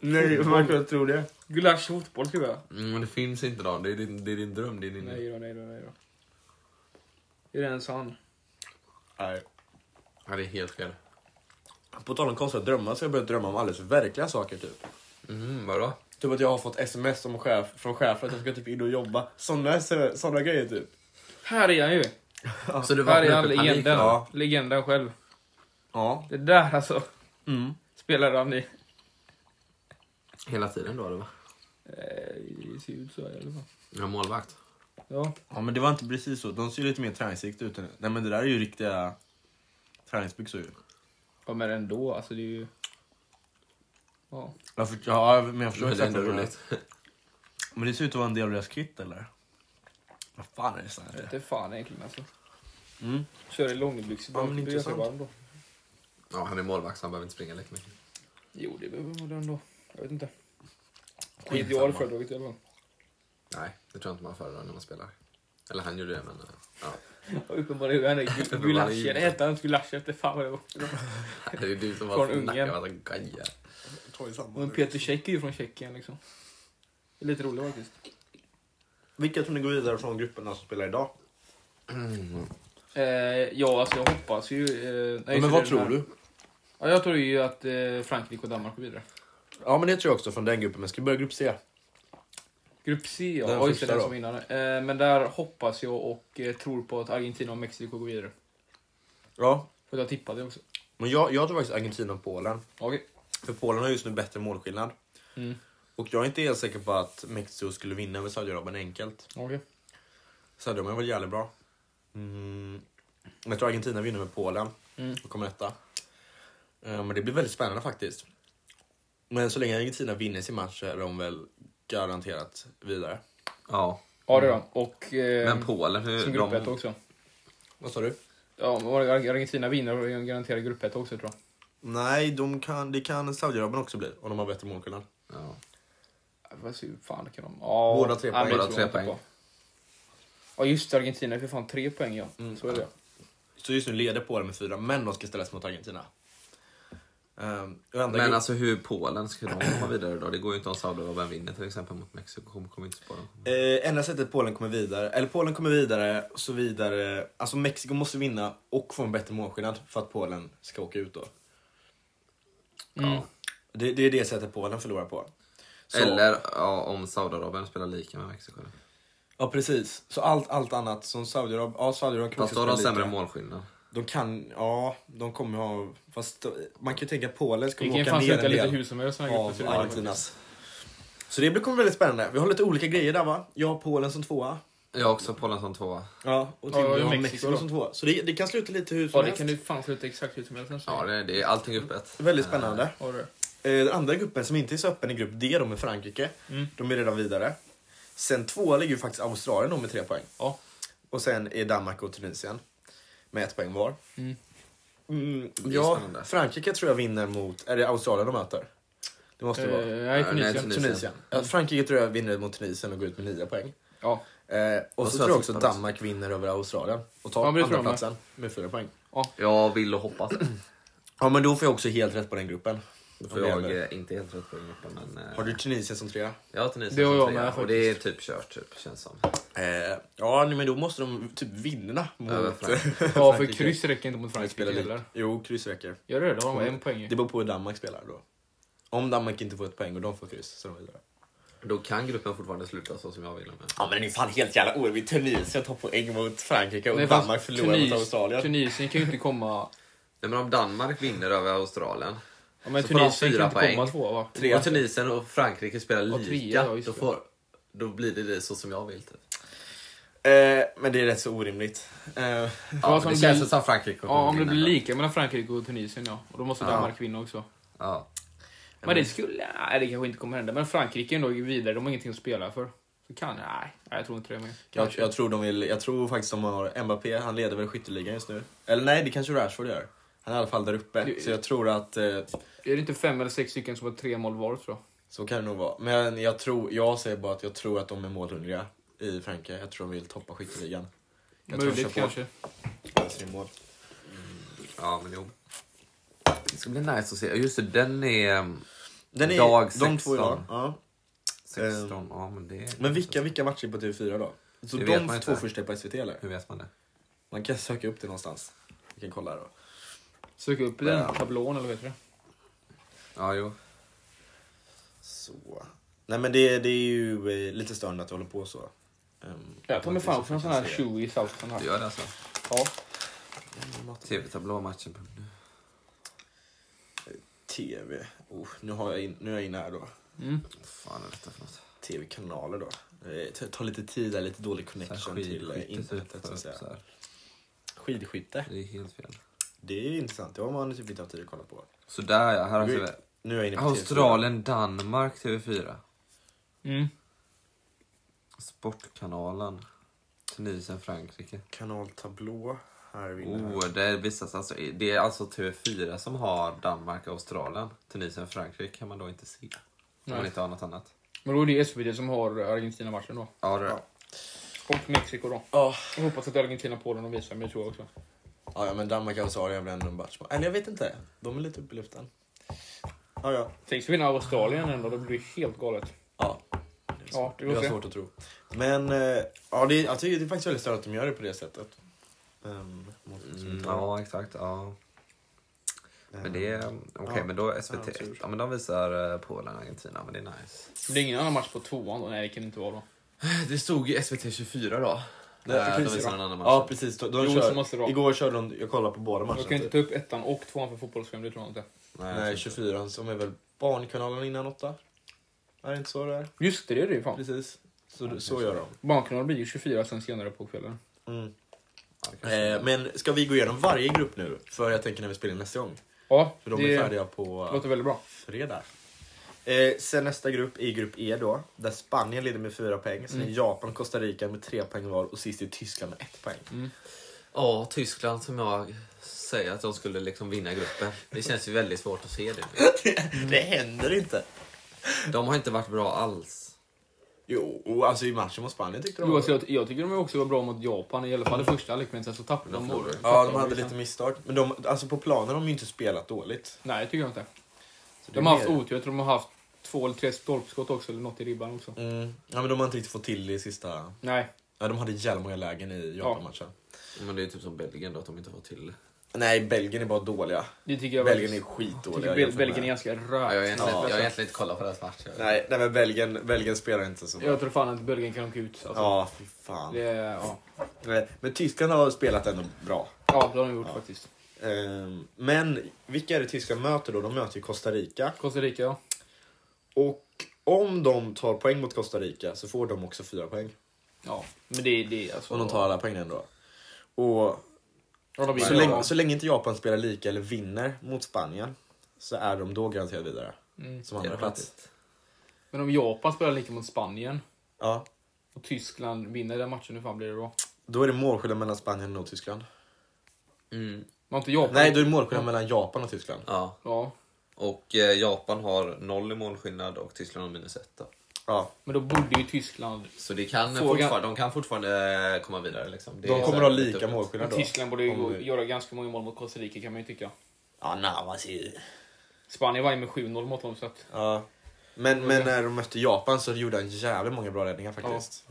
Speaker 2: Nej, man kunde tro det.
Speaker 1: Gulasch fotboll skriver jag.
Speaker 3: Mm, men det finns inte någon. Det är din, det är din dröm. Det är din...
Speaker 1: typ, Nej då, nej då, nej då. Är det ens han?
Speaker 2: Nej.
Speaker 3: Ja, det är helt fel.
Speaker 2: På tal om konstiga drömmar så har jag börjat drömma om alldeles verkliga saker typ.
Speaker 3: Mm, vadå?
Speaker 2: Typ att jag har fått sms som chef, från chefen att jag ska typ in och jobba. Såna, såna grejer typ.
Speaker 1: Här är han ju.
Speaker 3: Så du
Speaker 1: Här är
Speaker 3: vaknade
Speaker 1: han,
Speaker 3: upp i panik?
Speaker 1: legenden.
Speaker 3: då?
Speaker 2: Ja.
Speaker 1: Legenden själv.
Speaker 2: Ja.
Speaker 1: Det där alltså.
Speaker 2: Mm.
Speaker 1: Spelade han i.
Speaker 3: Hela tiden då, eller va?
Speaker 1: Det ser ut så här eh, i alla fall.
Speaker 3: Ja, målvakt.
Speaker 1: Ja.
Speaker 2: Ja men det var inte precis så. De ser lite mer träningssikt ut. än- Nej men det där är ju riktiga träningsbyxor ju.
Speaker 1: ja, men ändå. Alltså det är ju... Ja.
Speaker 2: Jag för, ja, men jag förstår
Speaker 3: Men det är
Speaker 2: exakt vad
Speaker 3: ändå
Speaker 2: du menar.
Speaker 3: roligt. [LAUGHS]
Speaker 2: Men det ser ut att vara en del av deras kit eller? Vad fan är det så
Speaker 1: Jag
Speaker 2: här?
Speaker 1: vet inte fan egentligen alltså.
Speaker 2: Mm.
Speaker 1: Kör i långbyxor. Ja,
Speaker 2: Ja, men
Speaker 1: det blir ganska
Speaker 2: intressant.
Speaker 1: varmt då.
Speaker 3: Ja, han är målvakt så han behöver inte springa lika mycket.
Speaker 1: Jo, det behöver vara det ändå. Jag vet inte. Det är ideal föredraget i alla fall.
Speaker 3: Nej, det tror jag inte man föredrar när man spelar. Eller han gjorde det, men... eh, Ja.
Speaker 1: [LAUGHS] Ja, Uppenbarligen.
Speaker 2: [LAUGHS]
Speaker 1: Han är gu- Gulaschen. Hette han Gulaschen efter fan vad det var.
Speaker 3: [LAUGHS] Det är du som
Speaker 1: Från
Speaker 3: har snackat
Speaker 1: Ungern.
Speaker 3: massa gajer.
Speaker 1: Men Peter Cech är ju från Tjeckien liksom. Det är lite roligt faktiskt.
Speaker 2: Vilka tror ni går vidare från grupperna som spelar idag?
Speaker 1: Eh, ja, alltså jag hoppas ju... Eh, nej, så
Speaker 2: Ja, men
Speaker 1: det är
Speaker 2: vad
Speaker 1: den
Speaker 2: tror
Speaker 1: här-
Speaker 2: du?
Speaker 1: Ja, jag tror ju att eh, Frankrike och Danmark går vidare.
Speaker 2: Ja men det tror jag också från den gruppen. Men ska vi börja grupp C?
Speaker 1: Grupp C, ja.
Speaker 2: Den
Speaker 1: Den just
Speaker 2: första
Speaker 1: det, den
Speaker 2: då.
Speaker 1: som var innan. Eh, men där hoppas jag och eh, tror på att Argentina och Mexiko går vidare.
Speaker 2: Ja.
Speaker 1: För jag tippade också.
Speaker 2: Men jag, jag tror faktiskt Argentina och Polen.
Speaker 1: Okej.
Speaker 2: För Polen har just nu bättre målskillnad.
Speaker 1: Mm.
Speaker 2: Och jag är inte helt säker på att Mexiko skulle vinna över Saudiarabien enkelt.
Speaker 1: Okej.
Speaker 2: Saudiarabien var jävligt bra. Mm. Men jag tror Argentina vinner med Polen
Speaker 1: Mm.
Speaker 2: och kommer etta. Eh, Men det blir väldigt spännande faktiskt. Men så länge Argentina vinner sin match så är de väl garanterat vidare.
Speaker 3: Ja,
Speaker 1: Ja, det då. Och... Eh,
Speaker 3: men Polen,
Speaker 1: som
Speaker 3: hur...
Speaker 1: grupp ett
Speaker 3: de...
Speaker 1: också.
Speaker 2: Vad sa du?
Speaker 1: Ja, men var det Ar- Argentina vinner och jag garanterar grupp ett också tror jag.
Speaker 2: Nej, de kan, det kan Saudiarabien också bli om de har bättre målskillnad.
Speaker 3: Ja.
Speaker 1: Ja, Vad sur fan kan de... Ja,
Speaker 2: Båda tre
Speaker 1: ja,
Speaker 2: poäng.
Speaker 1: men det
Speaker 3: Båda
Speaker 1: tror jag
Speaker 3: tre
Speaker 1: inte
Speaker 3: poäng.
Speaker 1: på. Ja just det, Argentina är för fan tre poäng ja. Så är det.
Speaker 2: Så just nu leder Polen med fyra, men de ska ställas mot Argentina. Ehm, och andra
Speaker 3: Men
Speaker 2: grupp-
Speaker 3: alltså hur Polen ska de komma vidare då? Det går ju inte om Saudiarabien vinner till exempel mot Mexiko. Kommer kom inte spara dem.
Speaker 2: Eh, enda sättet Polen kommer vidare, eller Polen kommer vidare och så vidare. Alltså Mexiko måste vinna och få en bättre målskillnad för att Polen ska åka ut då.
Speaker 1: Mm.
Speaker 3: Mm.
Speaker 2: Det, det är det sättet Polen förlorar på.
Speaker 3: Eller ja, om Saudiarabien spelar lika med Mexiko.
Speaker 2: Ja precis. Så allt, allt annat som Saudiarabien, ja Saudiarabien kan
Speaker 3: Fast
Speaker 2: också
Speaker 3: då har de
Speaker 2: spela
Speaker 3: sämre
Speaker 2: lite.
Speaker 3: målskillnad.
Speaker 2: De kan, ja de kommer ha, fast då- man kan ju tänka att Polen
Speaker 1: Det
Speaker 2: kommer
Speaker 1: kan ju
Speaker 2: åka
Speaker 1: fan
Speaker 2: ner en
Speaker 1: sluta
Speaker 2: del
Speaker 1: lite hur som helst. såna här grupper, så
Speaker 2: av
Speaker 1: det är bara-
Speaker 2: Argentinas. Så det blir- kommer bli väldigt spännande. Vi har lite olika grejer där va? Jag har Polen som tvåa.
Speaker 3: Jag har också Polen som tvåa.
Speaker 2: Ja, och Timrå
Speaker 1: Ja, och
Speaker 2: har Mexiko,
Speaker 1: Mexiko då.
Speaker 2: som tvåa. Så det, det kan sluta lite hur som
Speaker 1: Ja, det
Speaker 2: helst.
Speaker 1: kan du fan sluta exakt hur som helst nästan.
Speaker 3: Ja, det, det är allting öppet.
Speaker 2: Väldigt spännande.
Speaker 1: Har du?
Speaker 2: Eh, Den andra gruppen som inte är så öppen är grupp D då med Frankrike.
Speaker 1: Mm.
Speaker 2: De är redan vidare. Sen tvåa ligger ju faktiskt Australien då med tre poäng.
Speaker 1: Ja.
Speaker 2: Och sen är Danmark och Tunisien med ett poäng var.
Speaker 1: Mm.
Speaker 2: Mm,
Speaker 3: är
Speaker 2: ja,
Speaker 3: spännande.
Speaker 2: Frankrike tror jag vinner mot... Är det Australien de möter? Det måste det
Speaker 1: Eh,
Speaker 2: vara.
Speaker 1: nej,
Speaker 3: Ja, nej,
Speaker 1: Tunisien.
Speaker 3: Tunisien.
Speaker 2: Tunisien. Ja, Frankrike tror jag vinner mot Tunisien och går ut med nio poäng.
Speaker 1: Ja.
Speaker 2: Eh, och så
Speaker 3: så
Speaker 2: tror jag
Speaker 3: jag
Speaker 2: också
Speaker 3: tror jag-
Speaker 2: Danmark vinner över Australien och tar
Speaker 1: Ja, men det tror
Speaker 2: andra
Speaker 1: jag med.
Speaker 2: platsen med fyra poäng.
Speaker 3: Jag vill
Speaker 1: [CLEARS THROAT]
Speaker 3: och hoppas.
Speaker 2: Ja, men då får jag också helt rätt på den gruppen.
Speaker 3: Då får
Speaker 2: Om det
Speaker 3: jag
Speaker 2: gäller.
Speaker 3: eh, inte helt rätt på gruppen. Men, eh,
Speaker 2: Har du Tunisien som trea?
Speaker 3: Jag har Tunisien
Speaker 1: Det har
Speaker 3: som
Speaker 1: jag
Speaker 3: trea,
Speaker 1: med,
Speaker 3: Och det är typ kört, typ, känns som.
Speaker 2: Eh, ja, nej, men då måste de typ vinna mot...
Speaker 3: Över
Speaker 2: [LAUGHS]
Speaker 3: Frankrike.
Speaker 1: Ja, för kryss räcker inte mot Frankrike
Speaker 2: spelar
Speaker 1: heller.
Speaker 2: lite. Jo, kryss räcker.
Speaker 1: Gör det? Då har de en poäng.
Speaker 2: Det beror på hur Danmark spelar då. Om Danmark inte får ett poäng och de får kryss så är de vidare.
Speaker 3: Då kan gruppen fortfarande sluta så som jag vill. Men...
Speaker 2: Ja, men det är fan helt jävla orimligt. Tunisien tar poäng mot Frankrike och
Speaker 1: Nej, fast
Speaker 2: Danmark förlorar
Speaker 1: Tunis-
Speaker 2: mot Australien.
Speaker 1: Tunisien kan ju inte komma...
Speaker 3: Nej, men om Danmark vinner över Australien
Speaker 1: Ja, men
Speaker 3: Så får de
Speaker 1: Tunisien kan
Speaker 3: fyra
Speaker 1: inte
Speaker 3: poäng.
Speaker 1: komma två va?
Speaker 2: Tre.
Speaker 3: och Tunisien och Frankrike spelar
Speaker 1: Och
Speaker 3: lika,
Speaker 1: trea, ja, just
Speaker 3: då,
Speaker 1: det.
Speaker 3: får, då blir det det så som jag vill. Typ.
Speaker 2: Eh, men det är rätt så orimligt. Eh,
Speaker 1: Ja,
Speaker 3: Ja,
Speaker 1: som
Speaker 3: men det
Speaker 1: blir-
Speaker 3: känns som Frankrike kommer
Speaker 1: Ja, om det
Speaker 3: vinna
Speaker 1: blir
Speaker 3: då.
Speaker 1: lika mellan Frankrike och Tunisien ja. Och då måste
Speaker 3: Ja.
Speaker 1: Danmark vinna också.
Speaker 3: Ja.
Speaker 1: Men det skulle... Nej, det kanske inte kommer hända. Men Frankrike är ändå vidare. De har ingenting att spela för. Så kan... Nej, nej, jag tror inte det. Men...
Speaker 2: jag, jag, tror de vill, jag tror faktiskt de har Mbappé, han leder väl skytteligan just nu. Eller nej, det kanske Rashford gör. Han är i alla fall där uppe.
Speaker 1: Det-
Speaker 2: Så jag tror att eh,
Speaker 1: Är det inte fem eller sex stycken som har tre mål var tror jag?
Speaker 2: så kan det nog vara. Men jag, tror, jag säger bara att jag tror att de är målhungriga i Frankrike. Jag tror de vill toppa skytteligan. Jag tror de kör
Speaker 1: Möjligt
Speaker 2: på.
Speaker 1: kanske.
Speaker 2: Öser in mål.
Speaker 3: ja, men jo. Det ska bli nice att se. Just det, den är ehm,
Speaker 2: Den är,
Speaker 3: Dag
Speaker 2: de två
Speaker 3: 16.
Speaker 2: idag. Ja.
Speaker 3: 16. ja, men det
Speaker 2: Men vilka, vilka matcher på TV4 då? Så
Speaker 3: Det vet man
Speaker 2: de
Speaker 3: inte.
Speaker 2: två första är på SVT eller?
Speaker 3: Hur vet man det?
Speaker 2: Man kan söka upp det någonstans. Vi kan kolla då.
Speaker 1: Sök upp den tablån eller vad heter det?
Speaker 3: Ja, jo.
Speaker 2: Så. Nej men det, det är ju eh, lite störande att det håller på så. Ehm,
Speaker 1: Jag tar mig fan också en sån här
Speaker 2: se.
Speaker 1: chewy sauce.
Speaker 3: Du gör det alltså?
Speaker 1: Ja.
Speaker 3: TV-tablå matchen.
Speaker 2: TV. Oh, nu, har jag in, nu är jag inne här då.
Speaker 1: Mm.
Speaker 3: Vad fan är detta för något?
Speaker 2: TV-kanaler då. Eh, Det tar lite tid där, lite dålig
Speaker 3: Så här
Speaker 2: connection till eh,
Speaker 3: Skidskytte typ.
Speaker 2: internetet så
Speaker 3: tar upp
Speaker 2: att
Speaker 3: så
Speaker 2: säga.
Speaker 3: här.
Speaker 2: Skidskytte.
Speaker 3: Det är helt fel.
Speaker 2: Det är intressant, det har man typ inte haft tid att kolla på.
Speaker 3: Sådär ja, här har
Speaker 2: Nu,
Speaker 3: vi
Speaker 2: nu är jag inne på TV4.
Speaker 3: Australien, Danmark, TV4.
Speaker 1: Mm.
Speaker 3: Sportkanalen. Tunisien, Frankrike.
Speaker 2: Kanaltablå. Här är vi inne. här.
Speaker 3: Oh, det visas alltså, det är alltså TV4 som har Danmark, Australien, Tunisien, Frankrike kan man då inte se. Om man
Speaker 1: Nej.
Speaker 3: inte har något annat.
Speaker 1: Men då är det SVT som har Argentina-matchen då.
Speaker 3: Ja, det
Speaker 2: Ja.
Speaker 1: Och Mexiko då.
Speaker 2: Ja.
Speaker 1: Jag hoppas att Argentina, Polen och visar, men det tror jag också.
Speaker 2: Ja, ja, men Danmark och Australien är väl ändå en match. Eller jag vet inte. De är lite uppe i luften. Ja, ja.
Speaker 1: Tänk så vinna Australien ändå, då blir det helt galet.
Speaker 2: ja.
Speaker 1: Ja, det
Speaker 2: Det
Speaker 1: går
Speaker 2: är
Speaker 1: se.
Speaker 2: svårt att tro. Men eh, ja, det, är- jag tycker det är faktiskt väldigt störigt att de gör det på det sättet. Ehm, mot-
Speaker 3: Mm, ja, exakt. Ja. Men det är... Okej,
Speaker 2: Ja.
Speaker 3: men då SVT
Speaker 2: Ja, tur.
Speaker 3: ja, men de visar eh, Polen och Argentina, men det är nice.
Speaker 1: Det är ingen annan match på tvåan då? Nej, det kan det inte vara då.
Speaker 3: Det stod ju SVT 24 då.
Speaker 2: Nej,
Speaker 3: Eh, de
Speaker 2: precis,
Speaker 3: visar
Speaker 2: ja.
Speaker 3: en annan match.
Speaker 2: Ja, precis. De, de
Speaker 1: Jo,
Speaker 2: kör,
Speaker 1: så måste det vara.
Speaker 2: Igår körde de, jag kollade på båda matcherna.
Speaker 1: Jag kan inte
Speaker 2: typ.
Speaker 1: ta upp ettan och tvåan för fotbollsskärm, det tror jag inte.
Speaker 3: Nej,
Speaker 2: Nej, 24 som är väl Barnkanalen innan åtta. Är det inte så det är?
Speaker 1: Just det, det är det ju fan.
Speaker 2: Precis. Så, så gör de.
Speaker 1: Barnkanalen blir ju 24 sen senare på kvällen.
Speaker 2: Mm.
Speaker 3: ja, det kanske-
Speaker 2: Eh, men ska vi gå igenom varje grupp nu? För jag tänker när vi spelar in nästa gång.
Speaker 1: Ja,
Speaker 2: För de
Speaker 1: det
Speaker 2: är färdiga på...
Speaker 1: låter väldigt bra.
Speaker 2: fredag. Eh, sen nästa grupp är grupp E då, där Spanien leder med fyra poäng. Sen
Speaker 1: Mm.
Speaker 2: är Japan och Costa Rica med tre poäng var och sist är Tyskland med ett poäng.
Speaker 3: Ja, Tyskland som jag säger att de skulle liksom vinna gruppen. Det känns ju väldigt svårt att se det. nu.
Speaker 1: Mm.
Speaker 2: Det händer inte!
Speaker 3: De har inte varit bra alls.
Speaker 2: Jo, och alltså i matchen mot Spanien tyckte de...
Speaker 1: Jo, alltså, jag, jag tycker de också var bra mot Japan, i alla fall i första halvlek, men sen så tappade de mål.
Speaker 2: Mm. ja, de hade
Speaker 1: liksom?
Speaker 2: lite misstag. Men de, alltså på planen har de ju inte spelat dåligt.
Speaker 1: Nej, det tycker jag inte.
Speaker 2: Så det
Speaker 1: De
Speaker 2: är
Speaker 1: har haft
Speaker 2: mer-
Speaker 1: otur, jag tror de har haft två eller tre stolpskott också, eller något i ribban också.
Speaker 2: Mm. Ja, men de har inte riktigt fått till det i sista...
Speaker 1: Nej,
Speaker 2: Ja, de hade jävla många lägen i Japan-matchen.
Speaker 3: Men det är typ som Belgien då, att de inte får till
Speaker 2: Nej, Belgien är bara dåliga.
Speaker 1: Det tycker jag
Speaker 2: Belgien är
Speaker 1: faktiskt.
Speaker 2: skitdåliga.
Speaker 1: tycker Bel-
Speaker 2: jämfört med-
Speaker 1: Belgien är ganska
Speaker 3: Ja, jag har
Speaker 1: rökt.
Speaker 3: egentligen,
Speaker 2: Ja.
Speaker 3: jag har egentligen inte kollat på deras match.
Speaker 2: Nej, nej men Belgien, Belgien spelar inte så bra.
Speaker 1: Jag tror fan att Belgien kan åka ut. Alltså.
Speaker 2: Ja, fy fan.
Speaker 1: Det, är- ja.
Speaker 2: Nej, Men Tyskland har spelat ändå bra.
Speaker 1: ja, det har de gjort faktiskt.
Speaker 2: Ehm, Men vilka är det Tyskland möter då? De möter ju Costa Rica.
Speaker 1: Costa Rica, ja.
Speaker 2: Och om de tar poäng mot Costa Rica så får de också fyra poäng.
Speaker 1: ja. Men det, det är alltså...
Speaker 2: Om de tar alla poängen då. Och
Speaker 1: Ja, de vinner,
Speaker 2: så
Speaker 1: ja.
Speaker 2: länge, så länge inte Japan spelar lika eller vinner mot Spanien så är de då garanterat vidare.
Speaker 1: Mm.
Speaker 2: Som andra plats.
Speaker 1: Men om Japan spelar lika mot Spanien
Speaker 2: Ja.
Speaker 1: och Tyskland vinner den matchen, hur fan blir det då?
Speaker 2: Då är det målskillnad mellan Spanien och Tyskland.
Speaker 3: Mm,
Speaker 1: Var inte Japan...
Speaker 2: Nej, då är det målskillnad mellan Japan och Tyskland.
Speaker 3: ja.
Speaker 1: Ja.
Speaker 3: Och eh, Japan har noll i målskillnad och Tyskland har minus ett. Då.
Speaker 2: Ja.
Speaker 1: Men då borde ju Tyskland...
Speaker 3: Så det kan
Speaker 1: Fråga-
Speaker 3: fortfarande, de kan fortfarande eh, komma vidare. Liksom. Det är
Speaker 2: De
Speaker 3: så
Speaker 2: kommer
Speaker 3: här
Speaker 2: ha
Speaker 3: lite
Speaker 2: lika
Speaker 3: öppet.
Speaker 2: målskillnad då.
Speaker 1: Tyskland borde ju
Speaker 2: Om
Speaker 1: gå-
Speaker 2: vi-
Speaker 1: göra ganska många mål mot Costa Rica kan man ju tycka.
Speaker 2: Ja, närmast i-
Speaker 1: Spanien var ju med 7-0 mot dem så att...
Speaker 2: Ja. Men, men när de mötte Japan så gjorde han jävligt många bra räddningar faktiskt.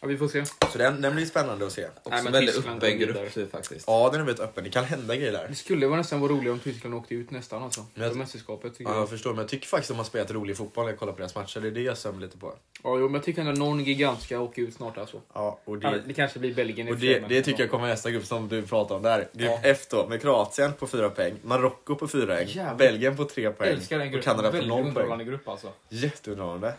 Speaker 1: Ja, vi får se.
Speaker 2: Så den, den blir spännande att se.
Speaker 3: Också
Speaker 1: Nej, men
Speaker 3: väldigt
Speaker 1: Tyskland
Speaker 3: öppen
Speaker 1: går vidare.
Speaker 3: grupp typ, faktiskt.
Speaker 2: Ja, den är väldigt öppen. Det kan hända grejer
Speaker 1: Det
Speaker 2: där.
Speaker 1: skulle vara nästan vara roligare om Tyskland åkte ut nästan alltså.
Speaker 2: Men jag-
Speaker 1: För mästerskapet tycker
Speaker 2: Ja, jag
Speaker 1: jag.
Speaker 2: förstår, men jag tycker faktiskt att de har spelat rolig fotboll när jag kollar på deras matcher. Det är det jag sömmer lite på.
Speaker 1: Ja, jo, men jag tycker ändå någon gigant ska åka ut snart alltså.
Speaker 2: Ja, och
Speaker 1: Det,
Speaker 2: det,
Speaker 1: det kanske blir Belgien i liksom.
Speaker 2: och
Speaker 1: och för sig,
Speaker 2: det,
Speaker 1: men-
Speaker 2: det tycker jag kommer i nästa grupp som du pratar om där. Grupp F då, med Kroatien på fyra poäng, Marocko på fyra poäng,
Speaker 1: Jävlar.
Speaker 2: Belgien på tre
Speaker 1: Jag
Speaker 2: poäng
Speaker 1: älskar den
Speaker 2: och
Speaker 1: gruppen.
Speaker 2: Kanada på
Speaker 1: Väldigt
Speaker 2: noll poäng.
Speaker 1: underhållande grupp alltså.
Speaker 2: Jätteunderhållande.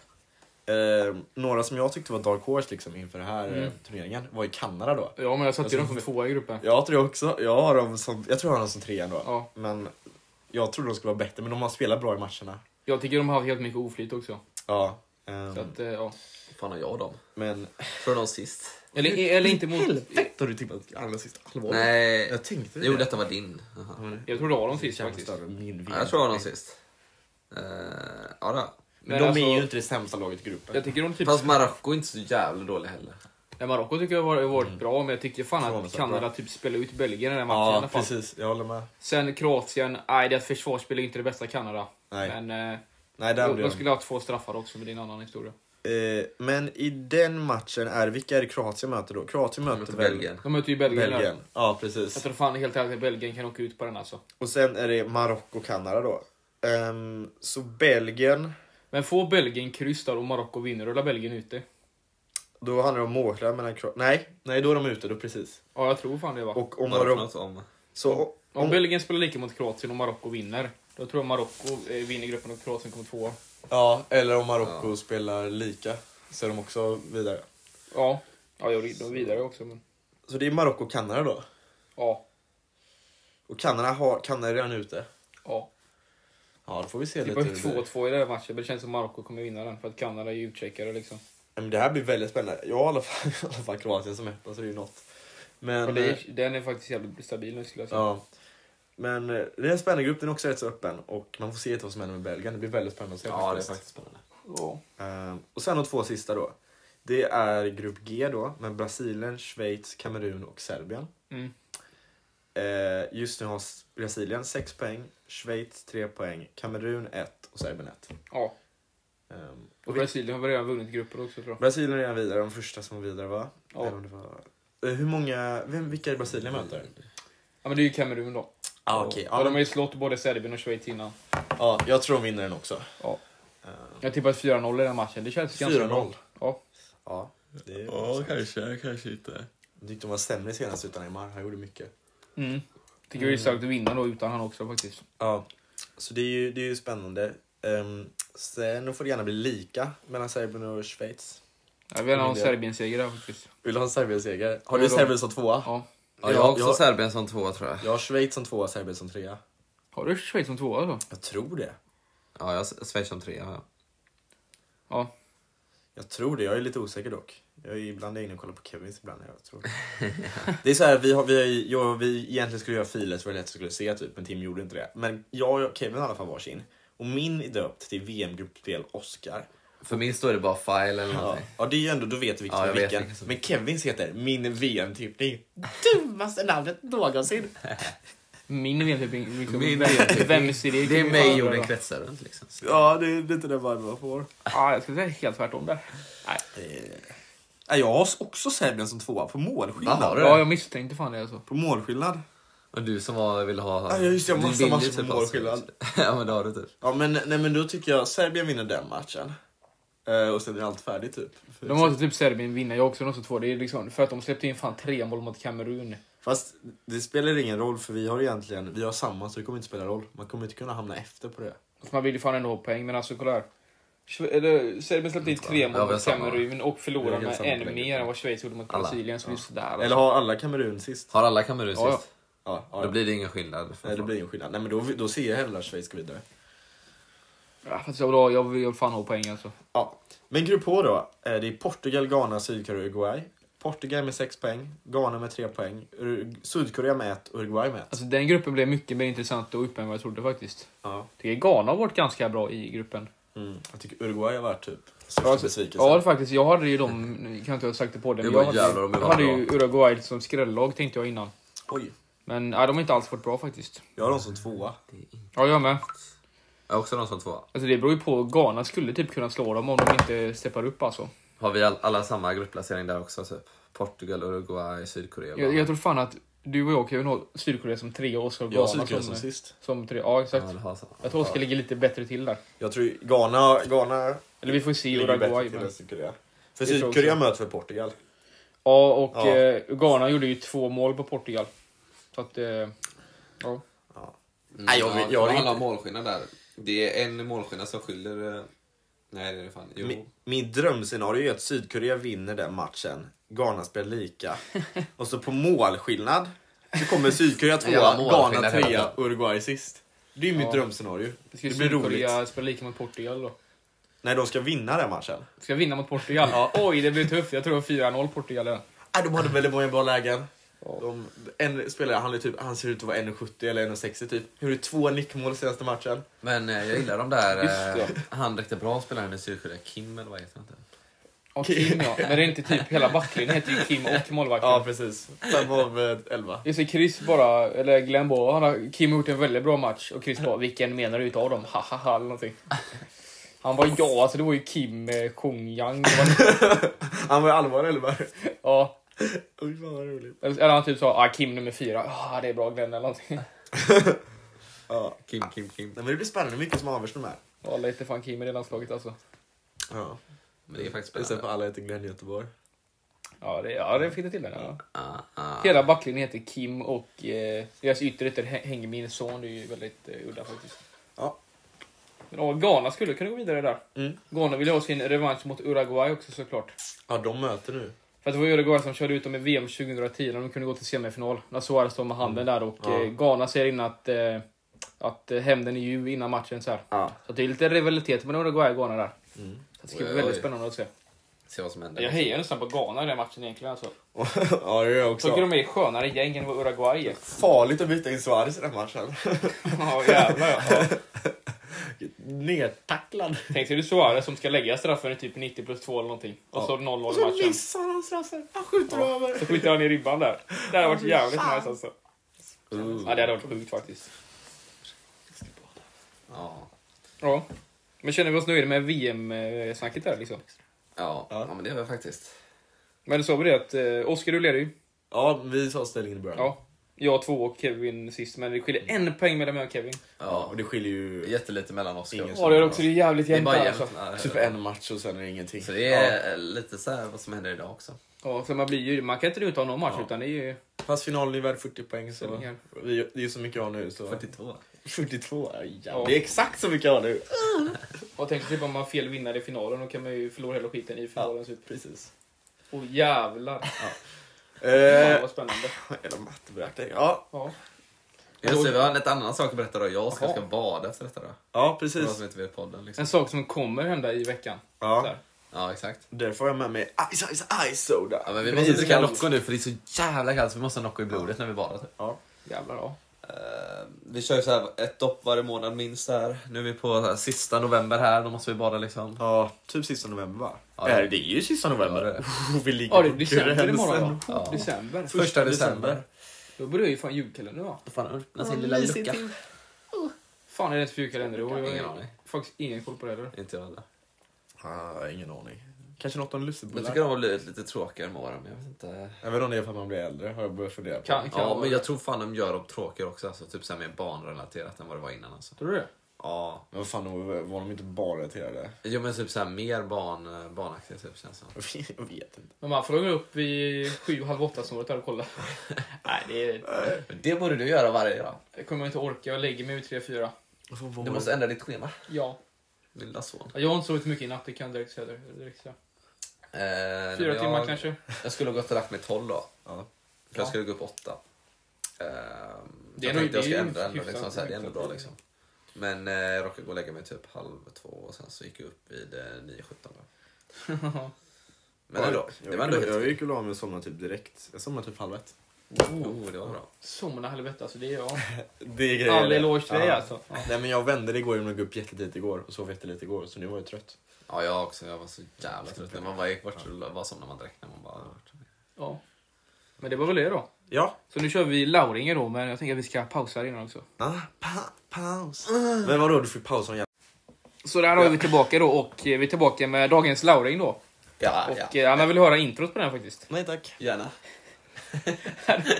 Speaker 2: Eh, några som jag tyckte var dark horse liksom inför den
Speaker 1: Mm.
Speaker 2: här eh, turneringen var i Kanada då.
Speaker 1: Ja, men jag satte ju dem
Speaker 2: Alltså,
Speaker 1: som tvåa i gruppen.
Speaker 2: Jag tror jag också. Jag har dem som, jag tror jag har dem som trea ändå.
Speaker 1: Ja.
Speaker 2: Men jag tror de skulle vara bättre, men de har spelat bra i matcherna.
Speaker 1: Jag tycker de har haft helt mycket oflyt också.
Speaker 2: Ja. ehm,
Speaker 1: Så att, eh, ja.
Speaker 3: fan har jag dem?
Speaker 2: men...
Speaker 3: Från de sist?
Speaker 1: eller, eller inte mot...
Speaker 2: Helvete har du tippat allra sist allvar?
Speaker 3: Nej.
Speaker 2: Jag tänkte
Speaker 3: Jo,
Speaker 2: det.
Speaker 3: detta var din. Jaha.
Speaker 1: Jag tror det var dem
Speaker 2: Det är
Speaker 1: sist
Speaker 2: jävla
Speaker 1: typ faktiskt.
Speaker 2: större än min
Speaker 3: Ja, jag
Speaker 2: vind.
Speaker 3: tror jag var de sist. Uh, ja, då.
Speaker 2: Men
Speaker 1: Men
Speaker 2: de
Speaker 1: alltså-
Speaker 2: är ju inte det sämsta laget i gruppen.
Speaker 1: Jag tycker de typ...
Speaker 3: Fast Marocko är inte så jävla dåliga heller.
Speaker 1: Nej, Marocko tycker jag har varit-
Speaker 2: Mm.
Speaker 1: varit bra, men jag tycker fan att
Speaker 2: Förvånansvärt
Speaker 1: Kanada
Speaker 2: bra.
Speaker 1: typ spelade ut Belgien i den matchen i alla
Speaker 2: ja,
Speaker 1: fall.
Speaker 2: precis. Jag håller med.
Speaker 1: Sen Kroatien, nej deras försvarsspel är inte det bästa Kanada.
Speaker 2: Nej.
Speaker 1: Men eh,
Speaker 2: Nej, där
Speaker 1: de,
Speaker 2: blir
Speaker 1: de
Speaker 2: de.
Speaker 1: skulle ha två straffar också, men det är en annan historia.
Speaker 2: Eh, men i den matchen är vilka är det Kroatien möter då? Kroatien möter,
Speaker 3: Mot
Speaker 2: väl-
Speaker 3: Belgien.
Speaker 1: De möter ju Belgien. där.
Speaker 2: Belgien. Ja,
Speaker 1: Jag
Speaker 2: precis.
Speaker 1: tror fan helt ärligt att Belgien kan åka ut på den alltså.
Speaker 2: Och sen är det Marocko och Kanada då. Ehm, så Belgien,
Speaker 1: Men får Belgien kryss där och Marocko vinner, rullar Belgien ute.
Speaker 2: då handlar det om målskillnad mellan Kroatien. Nej, nej, då är de ute. Då precis.
Speaker 1: Ja, jag tror fan det va.
Speaker 2: Och om
Speaker 3: Marocko
Speaker 2: Marocko...
Speaker 3: något om.
Speaker 2: Så
Speaker 1: alltså. Om,
Speaker 2: om...
Speaker 1: Belgien spelar lika mot Kroatien och Marocko vinner, då tror jag Marocko eh, vinner gruppen och Kroatien kommer tvåa.
Speaker 2: Ja, eller om Marocko spelar lika så är de också vidare.
Speaker 1: Ja, ja jag de är vidare också. Men,
Speaker 2: Så det är Marocko och Kanada då.
Speaker 1: ja,
Speaker 2: Och Kanada, har, Kanada är redan ute.
Speaker 1: ja.
Speaker 2: Ja, då får vi se
Speaker 1: Det
Speaker 2: lite
Speaker 1: var
Speaker 2: hur typ det blir.
Speaker 1: 2-2 i den här matchen, men det känns som Marocko kommer vinna den för att Kanada är ju utcheckare liksom.
Speaker 2: Ja, Men det här blir väldigt spännande. Jag har i alla fall, [LAUGHS] i alla fall Kroatien som etta, så det är ju något. Men, eh,
Speaker 1: Och det är, den är faktiskt jävligt stabil nu skulle jag säga.
Speaker 2: ja. Men eh, det är en spännande grupp, den är också rätt så öppen. Och man får se lite vad som händer med Belgien. Det blir väldigt spännande att se.
Speaker 3: Ja, det är faktiskt spännande.
Speaker 1: Ja.
Speaker 2: Ehm, och sen de två sista då. Det är grupp G då, med Brasilien, Schweiz, Kamerun och Serbien.
Speaker 1: Mm.
Speaker 2: Eh, just nu har S- Brasilien 6 poäng, Schweiz 3 poäng, Kamerun 1 och Serbien 1.
Speaker 1: ja.
Speaker 2: Ehm,
Speaker 1: Och Brasilien har väl redan vunnit gruppen också tror jag.
Speaker 2: Brasilien är redan vidare, de första som var vidare va?
Speaker 1: Ja.
Speaker 2: Eller om det var... Eh, Hur många, vem, vilka är det Brasilien möter?
Speaker 1: Ja men det är ju Kamerun då.
Speaker 2: Ah, okay.
Speaker 1: Ja, de har ju slått både Serbien och Schweiz innan.
Speaker 2: Ja, jag tror de vinner den också.
Speaker 1: Ja. Jag tippar 4-0 i den här matchen. Det känns ganska bra.
Speaker 2: 4-0?
Speaker 1: Ja.
Speaker 2: Ja, det är...
Speaker 3: kanske, kanske inte.
Speaker 2: Jag tyckte de var sämre senast utan Neymar, han gjorde mycket.
Speaker 1: Mm. Tycker det är sökt att vinna då utan han också faktiskt.
Speaker 2: Ja, så det är ju, det är ju spännande. Um, sen får det gärna bli lika mellan Serbien och Schweiz.
Speaker 1: Jag vill ha en
Speaker 2: det-
Speaker 1: Serbien-seger där faktiskt.
Speaker 2: Vill du ha en Serbien-seger? Har
Speaker 1: Ja,
Speaker 2: du
Speaker 1: de-
Speaker 2: Serbien som tvåa?
Speaker 1: Ja.
Speaker 3: Ja, jag har också Serbien som tvåa tror jag.
Speaker 2: jag har Schweiz som tvåa, Serbien som trea.
Speaker 1: Har du Schweiz som alltså? tvåa då?
Speaker 2: Jag tror det.
Speaker 3: Ja, jag har Schweiz som trea. Ja.
Speaker 1: Ja.
Speaker 2: Jag tror det, jag är lite osäker dock. Jag är ibland inne och kollar på Kevins ibland. Jag tror. det är så här, vi, har, vi, har, ju- jag, vi egentligen skulle göra filer så var det lätt att skulle se typ, men Tim gjorde inte det. Men jag och Kevin har i alla fall varsin. Och min är döpt till VM-gruppspel Oscar.
Speaker 3: För min står det bara file eller
Speaker 2: Ja.
Speaker 3: någonting.
Speaker 2: ja, det är ju ändå, då vet vi vilken
Speaker 3: Ja,
Speaker 2: som
Speaker 3: jag
Speaker 2: är
Speaker 3: vet
Speaker 2: vilken.
Speaker 3: vilken som-
Speaker 2: Men Kevins heter Min VM-tippning. Dummaste namnet någonsin.
Speaker 1: Min VM-tippning. Liksom,
Speaker 3: Min
Speaker 1: vem,
Speaker 3: VM-tippning.
Speaker 1: vem ser det?
Speaker 3: Det är mig jorden kretsar runt liksom.
Speaker 2: Ja, det är lite den varmen man får.
Speaker 1: Ja, jag skulle säga helt tvärtom där. Nej.
Speaker 2: Nej, jag har också Serbien som tvåa på målskillnad.
Speaker 5: Va, har du?
Speaker 1: Ja, jag misstänkte fan det alltså.
Speaker 2: På målskillnad.
Speaker 3: Och du som var, ville ha...
Speaker 2: Ja, just det, jag
Speaker 3: du
Speaker 2: måste
Speaker 3: vill
Speaker 2: ha
Speaker 3: ju
Speaker 2: match på
Speaker 3: ha-
Speaker 2: målskillnad.
Speaker 3: [LAUGHS] ja, men det har du typ.
Speaker 2: Ja, men, nej, men då tycker jag Serbien vinner den matchen. Eh, och sen är allt färdigt typ. För-
Speaker 1: De måste typ Serbien vinna. Jag också de som två. Det är liksom för att de släppte in fan tre mål mot Kamerun.
Speaker 2: Fast det spelar ingen roll för vi har egentligen, vi har samma så det kommer inte spela roll. Man kommer inte kunna hamna efter på det.
Speaker 1: Fast Man vill ju fan ändå ha poäng. Men alltså kolla här. Schwe- eller, Serbien släppte in tre
Speaker 3: Ja, vi
Speaker 1: mål
Speaker 3: har
Speaker 1: mot
Speaker 3: samma.
Speaker 1: Kamerun och
Speaker 2: Vi har
Speaker 1: förlorade
Speaker 2: helt
Speaker 1: med
Speaker 2: samma
Speaker 1: en
Speaker 2: poäng.
Speaker 1: mer än vad Schweiz gjorde mot
Speaker 3: Alla.
Speaker 1: Brasilien. Så det är sådär.
Speaker 2: Eller
Speaker 1: Alltså.
Speaker 2: har alla Kamerun sist?
Speaker 3: Har alla Kamerun
Speaker 1: Ja, ja.
Speaker 3: sist?
Speaker 2: Ja, ja.
Speaker 3: Då blir det ingen skillnad.
Speaker 2: Nej, det blir ingen skillnad. Nej, men då, då ser jag hellre att Schweiz går vidare.
Speaker 1: Ja, fast jag, vill ha, jag vill fan ha poäng alltså.
Speaker 2: Ja. Men grupp H då. eh, Det är Portugal, Ghana, Sydkorea, Uruguay. Portugal med 6 poäng, Ghana med 3 poäng, Ur- Sydkorea med 1 och Uruguay med 1.
Speaker 1: Alltså den gruppen blev mycket mer intressant och öppen än vad jag trodde faktiskt.
Speaker 2: Ja.
Speaker 1: Jag tycker Ghana har varit ganska bra i gruppen.
Speaker 2: Mm. Jag tycker Uruguay har varit typ största
Speaker 1: alltså,
Speaker 2: besvikelsen.
Speaker 1: Ja, det faktiskt. Jag hade ju dem, nu kan jag inte ha sagt det på det, men
Speaker 3: Mm. Det var
Speaker 1: jag hade,
Speaker 3: jävlar om det
Speaker 1: jag
Speaker 3: var
Speaker 1: hade ju Uruguay som skrällag tänkte jag innan.
Speaker 2: Oj,
Speaker 1: Men nej, de har inte alls varit bra faktiskt.
Speaker 2: jag har dem som tvåa.
Speaker 1: Ja, jag med.
Speaker 3: Jag har också de som två.
Speaker 1: Alltså det beror ju på. Ghana skulle typ kunna slå dem om de inte steppar upp alltså.
Speaker 3: Har vi all, alla samma gruppplacering där också? Typ? Portugal, Uruguay, Sydkorea.
Speaker 1: Jag, jag tror fan att du och jag kan ha Sydkorea som trea och Oskar
Speaker 2: Jag har
Speaker 1: Ghana
Speaker 2: Sydkorea som
Speaker 1: som, som,
Speaker 2: sist.
Speaker 1: trea. Ja, exakt.
Speaker 3: Ja, det har samma.
Speaker 1: Jag tror Oskar ligger lite bättre till där.
Speaker 2: Jag tror Ghana, Ghana
Speaker 1: Eller vi får se
Speaker 2: ligger bättre
Speaker 1: Uruguay.
Speaker 2: till
Speaker 1: men-
Speaker 2: än Sydkorea.
Speaker 1: Det
Speaker 2: För
Speaker 1: tror jag
Speaker 2: Sydkorea
Speaker 1: också.
Speaker 2: möter väl Portugal?
Speaker 1: Ja, och
Speaker 2: Ja.
Speaker 1: Eh, Ghana gjorde ju två mål på Portugal. Så att, eh, ja.
Speaker 2: Mm. Nej, jag vill- jag vill
Speaker 3: Mm. alla
Speaker 2: inte.
Speaker 3: målskillnad där. Det är en målskillnad som skiljer... eh, Nej, det är det fan. Jo.
Speaker 2: Min, min drömscenario är att Sydkorea vinner den matchen, Ghana spelar
Speaker 3: [LAUGHS]
Speaker 2: lika och så på målskillnad så kommer
Speaker 3: [LAUGHS]
Speaker 2: Sydkorea tvåa,
Speaker 3: jävla målskillnad
Speaker 2: Ghana
Speaker 3: hela
Speaker 2: trea, Uruguay sist. Det är ju mitt
Speaker 1: Ja.
Speaker 2: drömscenario.
Speaker 1: Det ska
Speaker 2: Det
Speaker 1: ju
Speaker 2: blir roligt.
Speaker 1: Sydkorea spela lika mot Portugal då.
Speaker 2: Nej, de ska vinna den matchen.
Speaker 1: Ska jag vinna mot Portugal? [LAUGHS] Oj, det blir tufft. Jag tror 4-0 Portugal. är.
Speaker 2: Nej, de hade väldigt många bra lägen. De, en spelare, han, är typ, han ser ut att vara 1,70 eller 1,60 typ. Gjorde två nickmål senaste matchen.
Speaker 3: Men eh, jag gillar de där...
Speaker 1: Just
Speaker 3: Eh, han riktigt bra spelaren i Sydkorea. Kim eller vad heter han? inte?
Speaker 1: Och Kim ja. Men det är inte typ hela backlinjen heter ju Kim och målvakten.
Speaker 2: Ja, precis. Fem av eh, elva.
Speaker 1: Jag ser Chris bara, eller Glenn bara, han har, Kim har gjort en väldigt bra match och Chris bara, vilken menar du utav dem? [LAUGHS] Hahaha eller någonting. Han var ja, alltså det var ju Kim eh, Kong Yang. Det var-
Speaker 2: Han var ju allvarlig elva.
Speaker 1: [LAUGHS] Ja.
Speaker 2: Oj, fan vad roligt.
Speaker 1: Eller eller han typ sa, ah, Kim nummer fyra, [LAUGHS] ah, det är bra Glenn eller någonting.
Speaker 2: Ja.
Speaker 3: Kim, Kim, Kim.
Speaker 2: Nej, men det blir spännande mycket som avgörs med de här.
Speaker 1: Ja, lite fan Kim i det landslaget alltså.
Speaker 2: Ja.
Speaker 3: Men det är faktiskt
Speaker 2: Istället för
Speaker 3: spännande.
Speaker 2: alla heter Glenn Göteborg.
Speaker 1: Ja, det, ja, det fick det till den. Ja.
Speaker 3: Ah, ah.
Speaker 1: Hela backlinjen heter Kim och eh, deras yttre heter H- Hengmin Son. Det är ju väldigt eh, udda faktiskt.
Speaker 2: Ja.
Speaker 1: Men ja, Ghana skulle kunna gå vidare där.
Speaker 2: Mm.
Speaker 1: Ghana vill ju ha sin revansch mot Uruguay också såklart.
Speaker 2: Ja, de möter nu.
Speaker 1: För att det var Uruguay som körde ut dem i VM 2010 när de kunde gå till semifinal. När Suarez stod med handen där och
Speaker 2: Ja.
Speaker 1: eh, Ghana säger innan att, eh, att eh, hämnden är ljuv innan matchen. Så, här.
Speaker 2: Ja.
Speaker 1: så att det är lite rivalitet mellan Uruguay och Ghana där. Så det ska bli
Speaker 3: Oj,
Speaker 1: väldigt
Speaker 3: oj.
Speaker 1: spännande att se.
Speaker 3: Se vad som händer.
Speaker 1: Jag hejar nästan på Ghana i den matchen egentligen. Alltså.
Speaker 2: [LAUGHS] ja, det gör jag
Speaker 1: Tycker
Speaker 2: också.
Speaker 1: de är skönare gäng än vad Uruguay är.
Speaker 2: Farligt att byta in Suarez i den matchen. [LAUGHS]
Speaker 1: Ja, jävlar ja. ja.
Speaker 2: Nertacklad.
Speaker 1: Tänk dig det är Suarez som ska lägga straffen i typ 90 plus 2 eller någonting. Och så 0-0
Speaker 2: Och
Speaker 1: i
Speaker 2: så
Speaker 1: matchen.
Speaker 2: missar han straffen. Han skjuter över.
Speaker 1: Så skjuter han i ribban där. Det hade varit jävligt nice alltså. Ja, det hade varit sjukt faktiskt.
Speaker 3: Ja.
Speaker 1: Ja. Men känner vi oss nöjda med VM-snacket där liksom?
Speaker 3: Ja.
Speaker 2: Ja.
Speaker 3: ja, men det är väl faktiskt.
Speaker 1: Men så var det att eh, Oskar du leder ju.
Speaker 2: Ja, vi sa ställningen i början.
Speaker 1: Ja. Jag två och Kevin sist, men det skiljer en poäng mellan mig och Kevin.
Speaker 2: Ja, och det skiljer
Speaker 3: Det är
Speaker 2: ju...
Speaker 3: Jättelite mellan oss.
Speaker 2: Ingen
Speaker 1: Ja, det är också det är jävligt
Speaker 3: Det är
Speaker 1: jämnt
Speaker 3: bara
Speaker 1: där,
Speaker 3: jämnt.
Speaker 1: alltså.
Speaker 3: Ja,
Speaker 2: Typ en match och sen är det ingenting.
Speaker 3: Så det är eh, lite så här vad som händer idag också.
Speaker 1: Ja, så man blir ju... Man kan inte njuta av någon match, utan det är ju...
Speaker 2: Ja. Fast finalen är värd 40 poäng så...
Speaker 1: Ställningar.
Speaker 2: Vi, det är så mycket jag har nu så...
Speaker 3: 42.
Speaker 2: 42? Ja,
Speaker 1: Ja.
Speaker 2: jävlar. Det är exakt så mycket jag har nu.
Speaker 1: Och tänk typ om man har fel vinnare i finalen, då kan man ju förlora hela skiten i finalen.
Speaker 2: Ja,
Speaker 1: Åh
Speaker 2: precis.
Speaker 1: oh, jävlar! Fan,
Speaker 2: Eh,
Speaker 1: vad spännande.
Speaker 2: Jävla matteberäkning. Ja,
Speaker 1: Ja.
Speaker 3: Just det, vi har en lite annan sak att berätta då. Jag och Oskar
Speaker 1: Jaha.
Speaker 3: ska bada efter detta då.
Speaker 2: ja
Speaker 3: För de som
Speaker 2: precis.
Speaker 3: inte vet podden liksom.
Speaker 1: En sak som kommer hända i veckan.
Speaker 2: Ja.
Speaker 1: Där.
Speaker 3: Ja, exakt.
Speaker 2: Därför har jag med mig Ice Ice Ice
Speaker 3: Ja,
Speaker 2: Soda.
Speaker 3: men vi
Speaker 2: Det
Speaker 3: måste
Speaker 2: är
Speaker 3: dricka
Speaker 2: iskallt.
Speaker 3: Nocco nu för det är så jävla kallt så vi måste ha Nocco i blodet när vi badar. Typ.
Speaker 2: Ja.
Speaker 1: Jävlar, ja.
Speaker 3: Eh, vi kör ju så här ett dopp varje månad minst här. Nu är vi på så här, sista november här, då måste vi bada liksom.
Speaker 2: Ja, typ sista november va?
Speaker 3: Ja,
Speaker 2: Ja,
Speaker 3: det-
Speaker 2: det, är ju sista november.
Speaker 3: Ja, det är det.
Speaker 2: Oh, [LAUGHS] vi ligger
Speaker 1: Ja, det är
Speaker 2: på
Speaker 1: december
Speaker 2: gränsen.
Speaker 1: imorgon ja.
Speaker 3: Ja.
Speaker 1: December.
Speaker 3: Första december.
Speaker 1: Då börjar ju fan julkalendern va?
Speaker 3: Då får han öppna sin lilla lucka.
Speaker 1: Fan är det ens för julkalender i år? Jag har
Speaker 3: Ingen aning.
Speaker 1: Faktiskt ingen koll på det heller.
Speaker 3: Inte jag heller.
Speaker 2: Ah, ingen aning. Kanske något om
Speaker 3: Jag
Speaker 2: lussebullar?
Speaker 3: tycker de har blivit lite tråkigare med åren, men jag vet inte.
Speaker 5: Även om det är för att man blir äldre har jag börjat fundera på.
Speaker 1: Kan, kan
Speaker 3: Ja, men jag tror fan de gör dem tråkigare också. Alltså, typ så här mer barnrelaterat än vad det var innan. Alltså.
Speaker 1: Tror du det?
Speaker 3: Ja.
Speaker 5: Men vad fan, de var, var de inte bara
Speaker 2: [LAUGHS]
Speaker 5: irriterade?
Speaker 3: Jo, men typ så här mer barn, barnaktiga typ, känns det som.
Speaker 5: Jag vet inte.
Speaker 1: Men man får nog upp vid sju, halv åtta snåret här och kolla. Nej, det,
Speaker 3: Men Det borde du göra varje dag.
Speaker 1: det kommer jag inte orka. Jag lägger mig vid tre, fyra.
Speaker 3: Du måste ändra ditt schema.
Speaker 1: Ja.
Speaker 3: Min lilla son.
Speaker 1: Jag har inte sovit mycket i natt, det kan jag direkt säga. Direkt säga.
Speaker 3: Eh, nej,
Speaker 1: Fyra
Speaker 3: men jag,
Speaker 1: timmar kanske.
Speaker 3: Jag skulle ha gått och lagt mig 12 då.
Speaker 5: Ja.
Speaker 3: För jag skulle gå upp 8. Eh, det är jag
Speaker 1: nog-
Speaker 3: tänkte jag
Speaker 1: det
Speaker 3: ska
Speaker 1: är ju
Speaker 3: ändra ändå.
Speaker 1: hyfsat-
Speaker 3: Liksom, så här, det är ändå
Speaker 1: hyfsat.
Speaker 3: bra liksom. Men eh, jag råkade gå och lägga mig typ halv två och sen så gick jag upp vid eh, 9.17.
Speaker 1: [LAUGHS]
Speaker 3: då. Men ändå, det var ändå
Speaker 2: jag,
Speaker 3: helt...
Speaker 2: jag gick och la mig och somnade typ direkt. Jag somnade typ halv ett.
Speaker 3: Oh, det var bra.
Speaker 1: Somna helvete alltså, det är jag.
Speaker 2: Det är
Speaker 1: All eloge till dig
Speaker 2: Ja.
Speaker 1: alltså. Ja.
Speaker 2: Nej men jag vände det igår, jag gick upp jättetidigt igår och sov jättelite igår så nu var jag trött.
Speaker 3: Ja, jag också. Jag var så jävla trött. När man bara gick bort så bara somnade man direkt. När man bara...
Speaker 1: Ja. Men det var väl det då.
Speaker 2: Ja.
Speaker 1: Så nu kör vi Lauringer då, men jag tänker att vi ska pausa här innan också.
Speaker 2: Ah, pa- paus. Ah. Men vadå, du fick paus om jag...
Speaker 1: Så där har vi tillbaka då och eh, vi är tillbaka med dagens Lauring då.
Speaker 3: Ja,
Speaker 1: Och eh, Anna vill höra introt på den här faktiskt.
Speaker 2: Nej tack.
Speaker 3: Gärna.
Speaker 1: [LAUGHS] här,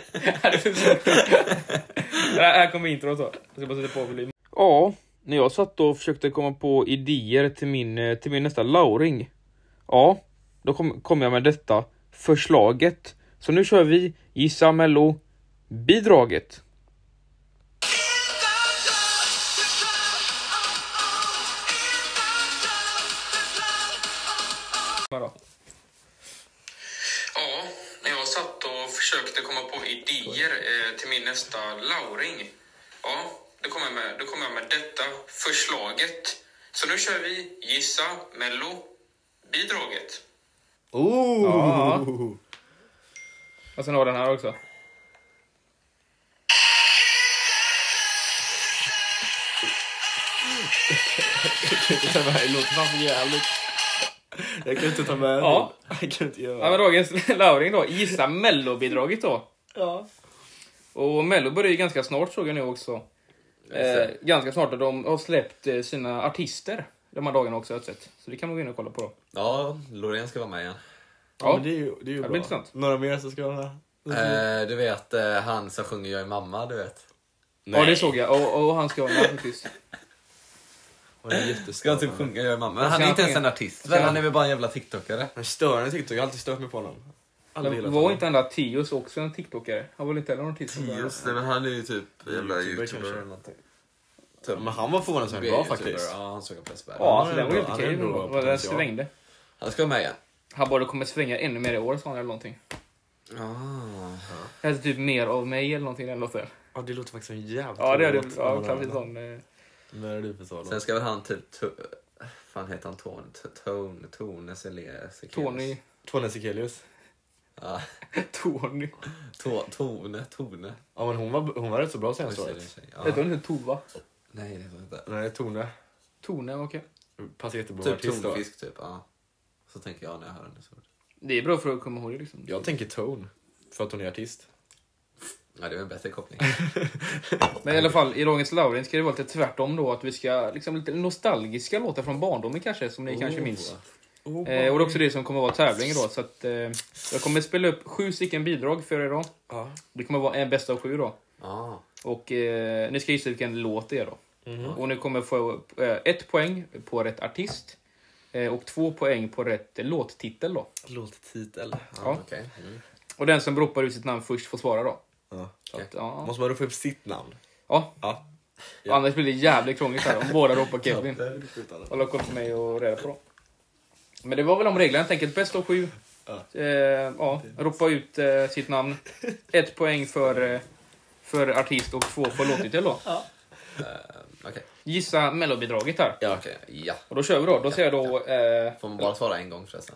Speaker 1: här kommer introt då. Jag ska bara sätta på volym. Ja, när jag satt och försökte komma på idéer till min, eh, till min nästa Lauring. Ja, då kom, kom jag med detta förslaget. Så nu kör vi Gissa Mello bidraget. Vadå?
Speaker 8: Ja, när jag satt och försökte komma på idéer eh, till min nästa lauring. Ja, då kom, jag med, då kom jag med detta förslaget. Så nu kör vi Gissa Mello bidraget.
Speaker 2: Oh!
Speaker 1: Ja. Och sen har den här också.
Speaker 2: [LAUGHS] Det här låter fan för jävligt. Jag kan inte ta med
Speaker 1: Ja.
Speaker 2: den. Jag kan inte
Speaker 1: Ja,
Speaker 2: göra
Speaker 1: men dagens [LAUGHS] Lauring då. Gissa mellobidraget då. Och mello börjar ju ganska snart såg jag nu också. Eh, ganska snart och de har släppt eh, sina artister de här dagarna också har jag sett. Så det kan man gå in och kolla på då.
Speaker 3: Ja, Loreen ska vara med igen.
Speaker 2: Ja,
Speaker 1: Ja,
Speaker 2: men det är ju, det är ju
Speaker 1: det
Speaker 2: bra.
Speaker 1: blir intressant.
Speaker 2: Några mer som ska vara med?
Speaker 3: Eh, du vet eh, han som sjunger Jag är mamma, du vet.
Speaker 1: ja det såg jag. Och, och han ska vara med [LAUGHS] faktiskt.
Speaker 2: Och det är
Speaker 3: Ska han
Speaker 2: jättestörande.
Speaker 3: typ sjunga Jag är mamma? Men han är
Speaker 1: han
Speaker 3: inte ens en
Speaker 1: sjunga?
Speaker 3: artist väl? Han är väl bara en jävla tiktokare?
Speaker 2: Men störande TikTok, jag har alltid stört mig på honom. Aldrig
Speaker 1: Men
Speaker 2: gillat
Speaker 1: Var
Speaker 2: honom.
Speaker 1: inte den där Tios också en tiktokare? Han var väl inte heller någon tiktokare?
Speaker 3: det, men han är ju typ
Speaker 2: jävla youtuber kanske.
Speaker 3: någonting.
Speaker 2: Ja, Men han var förvånansvärt bra faktiskt.
Speaker 3: Ja, han såg upp Pressberg.
Speaker 1: Ja, alltså
Speaker 2: Han är
Speaker 1: den var ju
Speaker 2: bra-
Speaker 1: helt
Speaker 2: han är
Speaker 1: okej.
Speaker 2: bra
Speaker 1: Den var- Den
Speaker 2: potential.
Speaker 1: svängde.
Speaker 3: Han ska vara med igen.
Speaker 1: Han bara, det kommer svänga ännu mer i år, sa han eller någonting.
Speaker 3: Ah.
Speaker 1: Det här är typ mer av mig eller någonting i den låten.
Speaker 2: Ja, det låter faktiskt som en jävligt
Speaker 1: Ja, det är
Speaker 2: bra
Speaker 1: det.
Speaker 2: låt.
Speaker 1: Ja, klart en sån. eh,
Speaker 2: Vad är det du för sån
Speaker 3: Sen
Speaker 2: låt?
Speaker 3: ska väl han typ... To- fan heter han Tone? T- Tone? Tone? Sele- Sekelius?
Speaker 1: Tony.
Speaker 2: Tone Sekelius.
Speaker 3: Ja.
Speaker 1: [LAUGHS] Tony.
Speaker 3: To- Tone? Tone?
Speaker 2: Ja, men hon var, hon var rätt så bra senaste
Speaker 3: Oj,
Speaker 2: året.
Speaker 3: tjej.
Speaker 1: Hette
Speaker 3: Ja.
Speaker 1: hon inte Tova?
Speaker 3: Nej, det heter inte.
Speaker 2: Nej, Tone.
Speaker 1: Tone, okej.
Speaker 2: Passar jättebra
Speaker 3: Typ
Speaker 2: artist då.
Speaker 3: tonfisk, typ. Ja. Så tänker jag när jag hör hennes ord.
Speaker 1: Det är bra för att komma ihåg det liksom.
Speaker 2: Jag tänker Tone. För att hon är artist.
Speaker 3: Ja, det är en bättre [LAUGHS] koppling.
Speaker 1: Men i alla fall, i dagens Laurin ska det vara lite tvärtom då. Att vi ska liksom lite nostalgiska låtar från barndomen kanske, som ni
Speaker 3: Oh.
Speaker 1: kanske minns.
Speaker 2: Oh,
Speaker 1: Eh, och det är också det som kommer vara tävlingen då. Så att, eh, jag kommer spela upp sju stycken bidrag för er då.
Speaker 2: Ja.
Speaker 1: Det kommer vara en bästa av sju då.
Speaker 3: Ah.
Speaker 1: Och eh, ni ska gissa vilken låt det är då. Och ni kommer få eh, ett poäng på rätt artist. Eh, och två poäng på rätt eh, låttitel då.
Speaker 2: Låttitel.
Speaker 1: Ja.
Speaker 3: Okej. Mm.
Speaker 1: Och den som ropar ut sitt namn först får svara då.
Speaker 2: Ja.
Speaker 1: Så att, ja.
Speaker 2: Måste man få upp sitt namn?
Speaker 1: ja,
Speaker 2: Ja.
Speaker 1: Ja. Annars blir det jävligt krångligt här om båda ropar Kevin. Hålla koll på mig och reda på dem. Men det var väl de reglerna helt enkelt. Bäst av sju. Eh, ja, ropa ut eh, sitt namn. Ett poäng för, eh, för artist och två för låttitel då.
Speaker 3: Okej.
Speaker 1: Gissa mellobidraget här.
Speaker 3: Ja, okej. Ja.
Speaker 1: Och då kör vi då. Då säger jag då eh,
Speaker 3: Får man bara svara en gång förresten?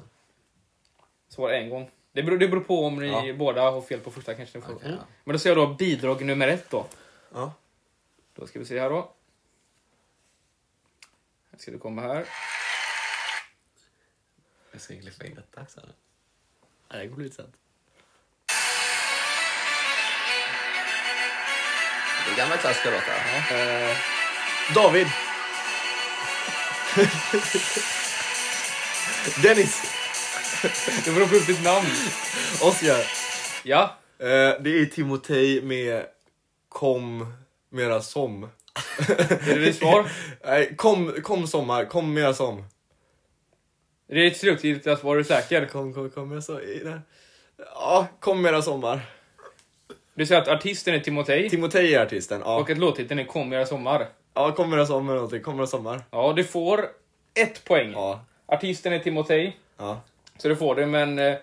Speaker 1: svara en gång. Det beror, det beror på om ni båda har fel på första kanske. Ni får.
Speaker 3: Okej, ja.
Speaker 1: Men då säger jag då bidrag nummer ett då.
Speaker 2: Ja.
Speaker 1: Då ska vi se här då. Här Ska det komma här.
Speaker 3: Jag ska klippa in detta också. nu.
Speaker 2: Nej, det kommer bli intressant.
Speaker 3: Det är gamla klassiska låtar.
Speaker 1: Eh,
Speaker 2: David! Dennis!
Speaker 1: Det beror på upp ditt namn.
Speaker 2: Oscar,
Speaker 1: Ja.
Speaker 2: eh, det är Timotej med kom mera som.
Speaker 1: Är det ditt svar?
Speaker 2: Nej, kom, kom sommar, kom mera som.
Speaker 1: Det är ditt slutgiltiga svar, är du säker?
Speaker 2: Kom, kom, kom mera som. i det- Ja, kom mera sommar.
Speaker 1: Du säger att artisten är Timotej
Speaker 2: Timotej är artisten. Ja,
Speaker 1: och att låttiteln är Kom era sommar.
Speaker 2: ja kom mera sommar någonting, kom mera sommar.
Speaker 1: Ja, du får ett poäng.
Speaker 2: Ja,
Speaker 1: Artisten är Timotej,
Speaker 2: ja.
Speaker 1: så du får det, men eh,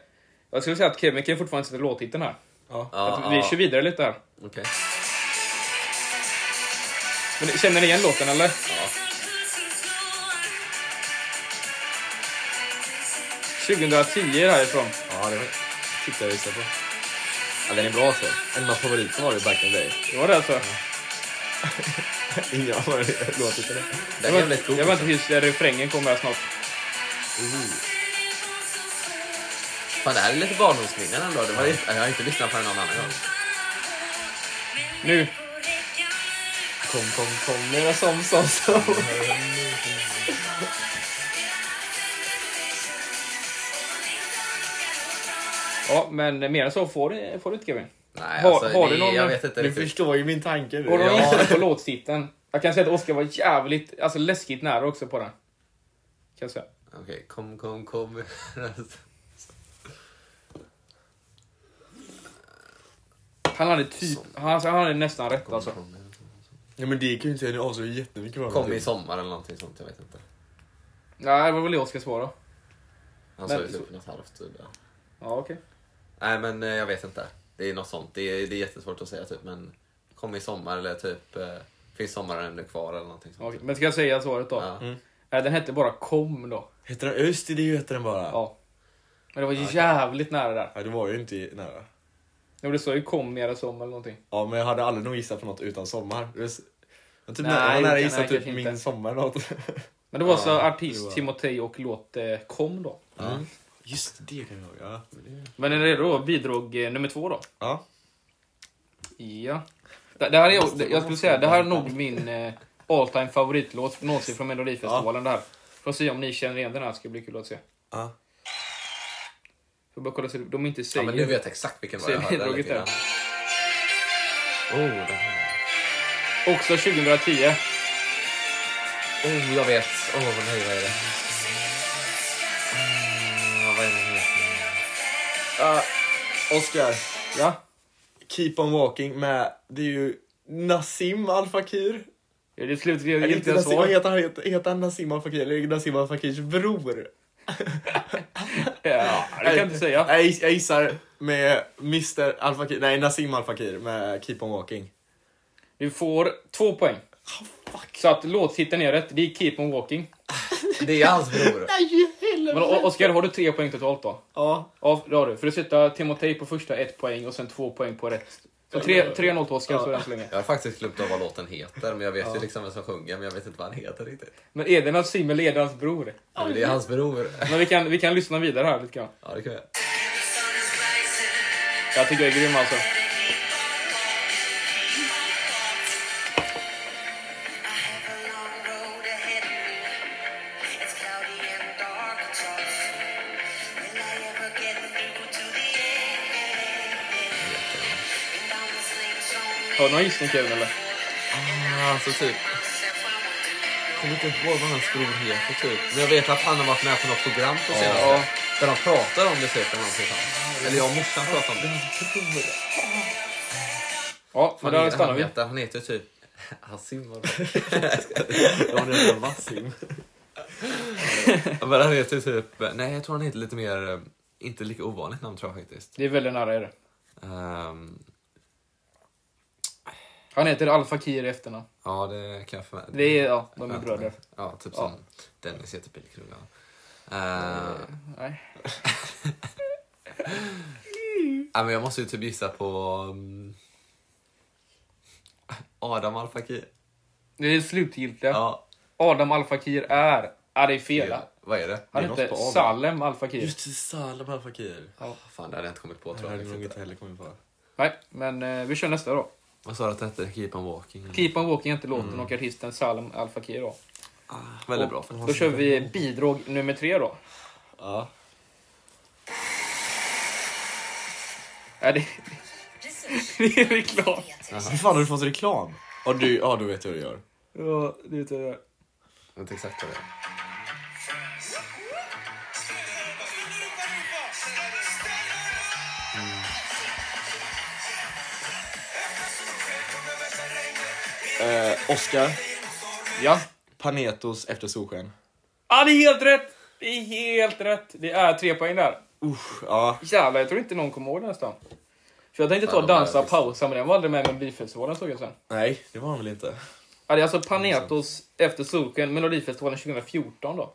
Speaker 1: jag skulle säga att Kevin kan ju fortfarande sätta låttiteln här.
Speaker 3: Ja,
Speaker 1: att vi kör vidare lite här.
Speaker 3: Okej.
Speaker 1: Men, känner ni igen låten eller?
Speaker 3: Ja.
Speaker 1: 2010 är det härifrån.
Speaker 2: Ja, det tyckte jag visste på. Ja, den är bra alltså. En av mina favoriter var det back in the [LAUGHS] day.
Speaker 1: Det var det alltså.
Speaker 2: Ingen aning vad det låter för det.
Speaker 3: Den är
Speaker 1: Jag
Speaker 3: jävligt god.
Speaker 1: väntar jag tills refrängen kommer här snart.
Speaker 3: Fan, det här är lite barndomsminnen ändå. Det var, ju- jag har inte lyssnat på den någon annan gång.
Speaker 1: Nu.
Speaker 2: Kom, kom, kom, mera som, som, som.
Speaker 1: Ja, men mer än så får du, får du inte Kevin.
Speaker 3: Nej,
Speaker 1: Har-
Speaker 3: alltså,
Speaker 1: har du
Speaker 3: det-
Speaker 1: någon-
Speaker 3: jag vet inte
Speaker 2: Du
Speaker 3: riktigt.
Speaker 2: förstår ju min tanke nu.
Speaker 1: Och de
Speaker 2: Ja.
Speaker 1: gissade på låttiteln. Jag kan säga att Oskar var jävligt, alltså läskigt nära också på den. Kan jag säga.
Speaker 3: Okej, kom, kom, kom. [LAUGHS]
Speaker 1: Han hade typ, han, alltså, han hade nästan rätt alltså.
Speaker 2: Ja, men det kan ju inte säga, ni avslöjar jättemycket typ. vad
Speaker 3: kom i sommar eller någonting sånt. Jag vet inte.
Speaker 1: Nej, det var väl jag ska svara.
Speaker 3: Han sa
Speaker 1: Men-
Speaker 3: ju typ något halvt. typ, ja.
Speaker 1: Ja, okej.
Speaker 3: Nej, men eh, jag vet inte. Det är något sånt. Det är, det är jättesvårt att säga typ, men kom i sommar eller typ eh, finns sommaren ännu kvar eller någonting sånt. typ.
Speaker 1: Okej, Men ska jag säga svaret då? Mm,
Speaker 3: Ja.
Speaker 1: Nej, den hette bara Kom då.
Speaker 2: Heter den Öst? Det heter den bara. Ja.
Speaker 1: Ja. Men det var jävligt nära där.
Speaker 2: det var ju inte nära.
Speaker 1: Jo, det står ju Kom mera som eller någonting.
Speaker 2: Ja, men jag hade aldrig nog gissat på något utan sommar. Det är s- Jag typ
Speaker 1: Nej,
Speaker 2: nära, jag har nära
Speaker 1: nej,
Speaker 2: gissat typ
Speaker 1: kanske
Speaker 2: min
Speaker 1: inte.
Speaker 2: sommar eller något.
Speaker 1: Men det var så artist Timotej och låt eh, Kom då.
Speaker 2: Mm. Just det, kan jag ihåg. Ja.
Speaker 1: Men är det då bidrag eh, nummer två då?
Speaker 2: ja.
Speaker 1: Ja. Det, det här är, jag, jag skulle säga, det här är nog min eh, all time favoritlåt någonsin från Melodifestivalen. Det här. Får se om ni känner igen den här, ska bli kul att se.
Speaker 2: Ja.
Speaker 1: Får bara kolla så de inte
Speaker 3: Ja,
Speaker 1: säger...
Speaker 3: men nu vet jag exakt vilken var
Speaker 1: Säger
Speaker 3: jag hörde. den
Speaker 1: bidraget
Speaker 3: lite
Speaker 1: där.
Speaker 3: grann. Oh, det här.
Speaker 1: Också 2010.
Speaker 3: oh, jag vet. Åh, oh, nej, vad är det? Ah, vad är det nu?
Speaker 2: Oscar,
Speaker 1: Ja.
Speaker 2: Keep on walking med, det är ju Nassim Al Fakir.
Speaker 1: Det är det slutliga
Speaker 2: Eller inte
Speaker 1: giltiga
Speaker 2: Nassim, vad
Speaker 1: svar.
Speaker 2: heter han? Heter, heter han Nassim Al Fakir? Eller är det Nassim Al Fakirs bror?
Speaker 1: Ja, det kan jag inte säga.
Speaker 2: Jag, giss- jag gissar med Mr Al Fakir, nej Nassim Al Fakir med Keep on walking.
Speaker 1: Du får två poäng. Så att låttiteln är rätt. Det är Keep on walking.
Speaker 3: Det är hans
Speaker 1: [LAUGHS]
Speaker 3: bror.
Speaker 1: Men O- Oskar, har du tre poäng totalt då?
Speaker 2: Ja,
Speaker 1: Ja, det har du. För du sätter Timotej på första ett poäng och sen två poäng på rätt. Så tre- 3-0 till Oskar så än så länge.
Speaker 3: Jag har faktiskt glömt av vad låten heter, men jag vet ju liksom vem som sjunger, men jag vet inte vad han heter riktigt.
Speaker 1: Men är det Nassim eller är det hans bror?
Speaker 3: Ja, men det är hans bror.
Speaker 1: Men vi kan, vi kan lyssna vidare här lite grann.
Speaker 3: Ja, det kan jag.
Speaker 1: Jag tycker jag är grym alltså. Har du någon gissning Kevin eller?
Speaker 3: Alltså typ... Kommer inte ihåg vad hans bror heter typ. Men jag vet att han har varit med på något program på senaste.
Speaker 1: Ja.
Speaker 3: Där de pratar om det typ eller någonting sånt. Eller jag och morsan pratar om det.
Speaker 1: Ja, men
Speaker 3: Fan,
Speaker 1: där
Speaker 3: han-
Speaker 1: stannar
Speaker 3: han
Speaker 1: vi.
Speaker 3: heter- Han heter typ... [LAUGHS] Hassim var
Speaker 2: ja men det är Nassim.
Speaker 3: det. Men han heter typ... Nej, jag tror han heter lite mer... eh, Inte lika ovanligt namn tror jag faktiskt.
Speaker 1: Det är väldigt nära är det.
Speaker 3: Ehm,
Speaker 1: Han heter Al Fakir i efternamn.
Speaker 3: ja, det kan jag för...
Speaker 1: Det är, ja, de är bröder.
Speaker 3: Ja, typ
Speaker 1: Ja.
Speaker 3: som Dennis heter Bilkrulla. Uh,
Speaker 1: Nej.
Speaker 3: ja, men jag måste ju typ gissa på... mm, Adam Al Fakir.
Speaker 1: Det är det slutgiltiga.
Speaker 3: Ja.
Speaker 1: Adam Al Fakir är... Ja, det är fel.
Speaker 3: Ja, Vad är det?
Speaker 1: Han
Speaker 2: Det är
Speaker 1: heter
Speaker 2: något på Adam.
Speaker 1: Salem Al Fakir.
Speaker 2: Just det, Salam Al Fakir.
Speaker 3: Fan, det hade jag inte kommit på
Speaker 2: Det
Speaker 3: tror
Speaker 2: hade
Speaker 3: jag.
Speaker 2: jag nog
Speaker 3: faktiskt
Speaker 2: inte
Speaker 3: inte.
Speaker 2: heller kommit på.
Speaker 1: Nej, men eh, vi kör nästa då.
Speaker 3: Vad sa du att det hette? Keep on walking?
Speaker 1: Keep on walking är inte låten
Speaker 2: Mm.
Speaker 1: och artisten Salem Al Fakir då.
Speaker 3: Väldigt bra.
Speaker 1: Då kör vi bidrag nummer tre då.
Speaker 2: Ja.
Speaker 1: Ja, det, [LAUGHS] det är reklam.
Speaker 2: Hur fan har du fått reklam?
Speaker 5: Ja, du, ja, då vet jag hur du gör.
Speaker 1: Ja, det vet jag.
Speaker 5: Jag vet exakt vad det är.
Speaker 2: Eh, Oscar,
Speaker 1: Ja.
Speaker 2: Panetos efter solsken.
Speaker 1: Ja, det är helt rätt! Det är helt rätt. Det är tre poäng där.
Speaker 2: Usch, ja.
Speaker 1: Jävlar, jag tror inte någon kommer ihåg den nästan. För jag tänkte ta
Speaker 3: de
Speaker 1: dansa
Speaker 3: där,
Speaker 1: och
Speaker 3: visst.
Speaker 1: pausa, men den var aldrig med med Melodifestivalen såg jag sen.
Speaker 2: Nej, det var han väl inte?
Speaker 1: Ja, det är alltså Panetos Efter Solsken, Melodifestivalen 2014 då.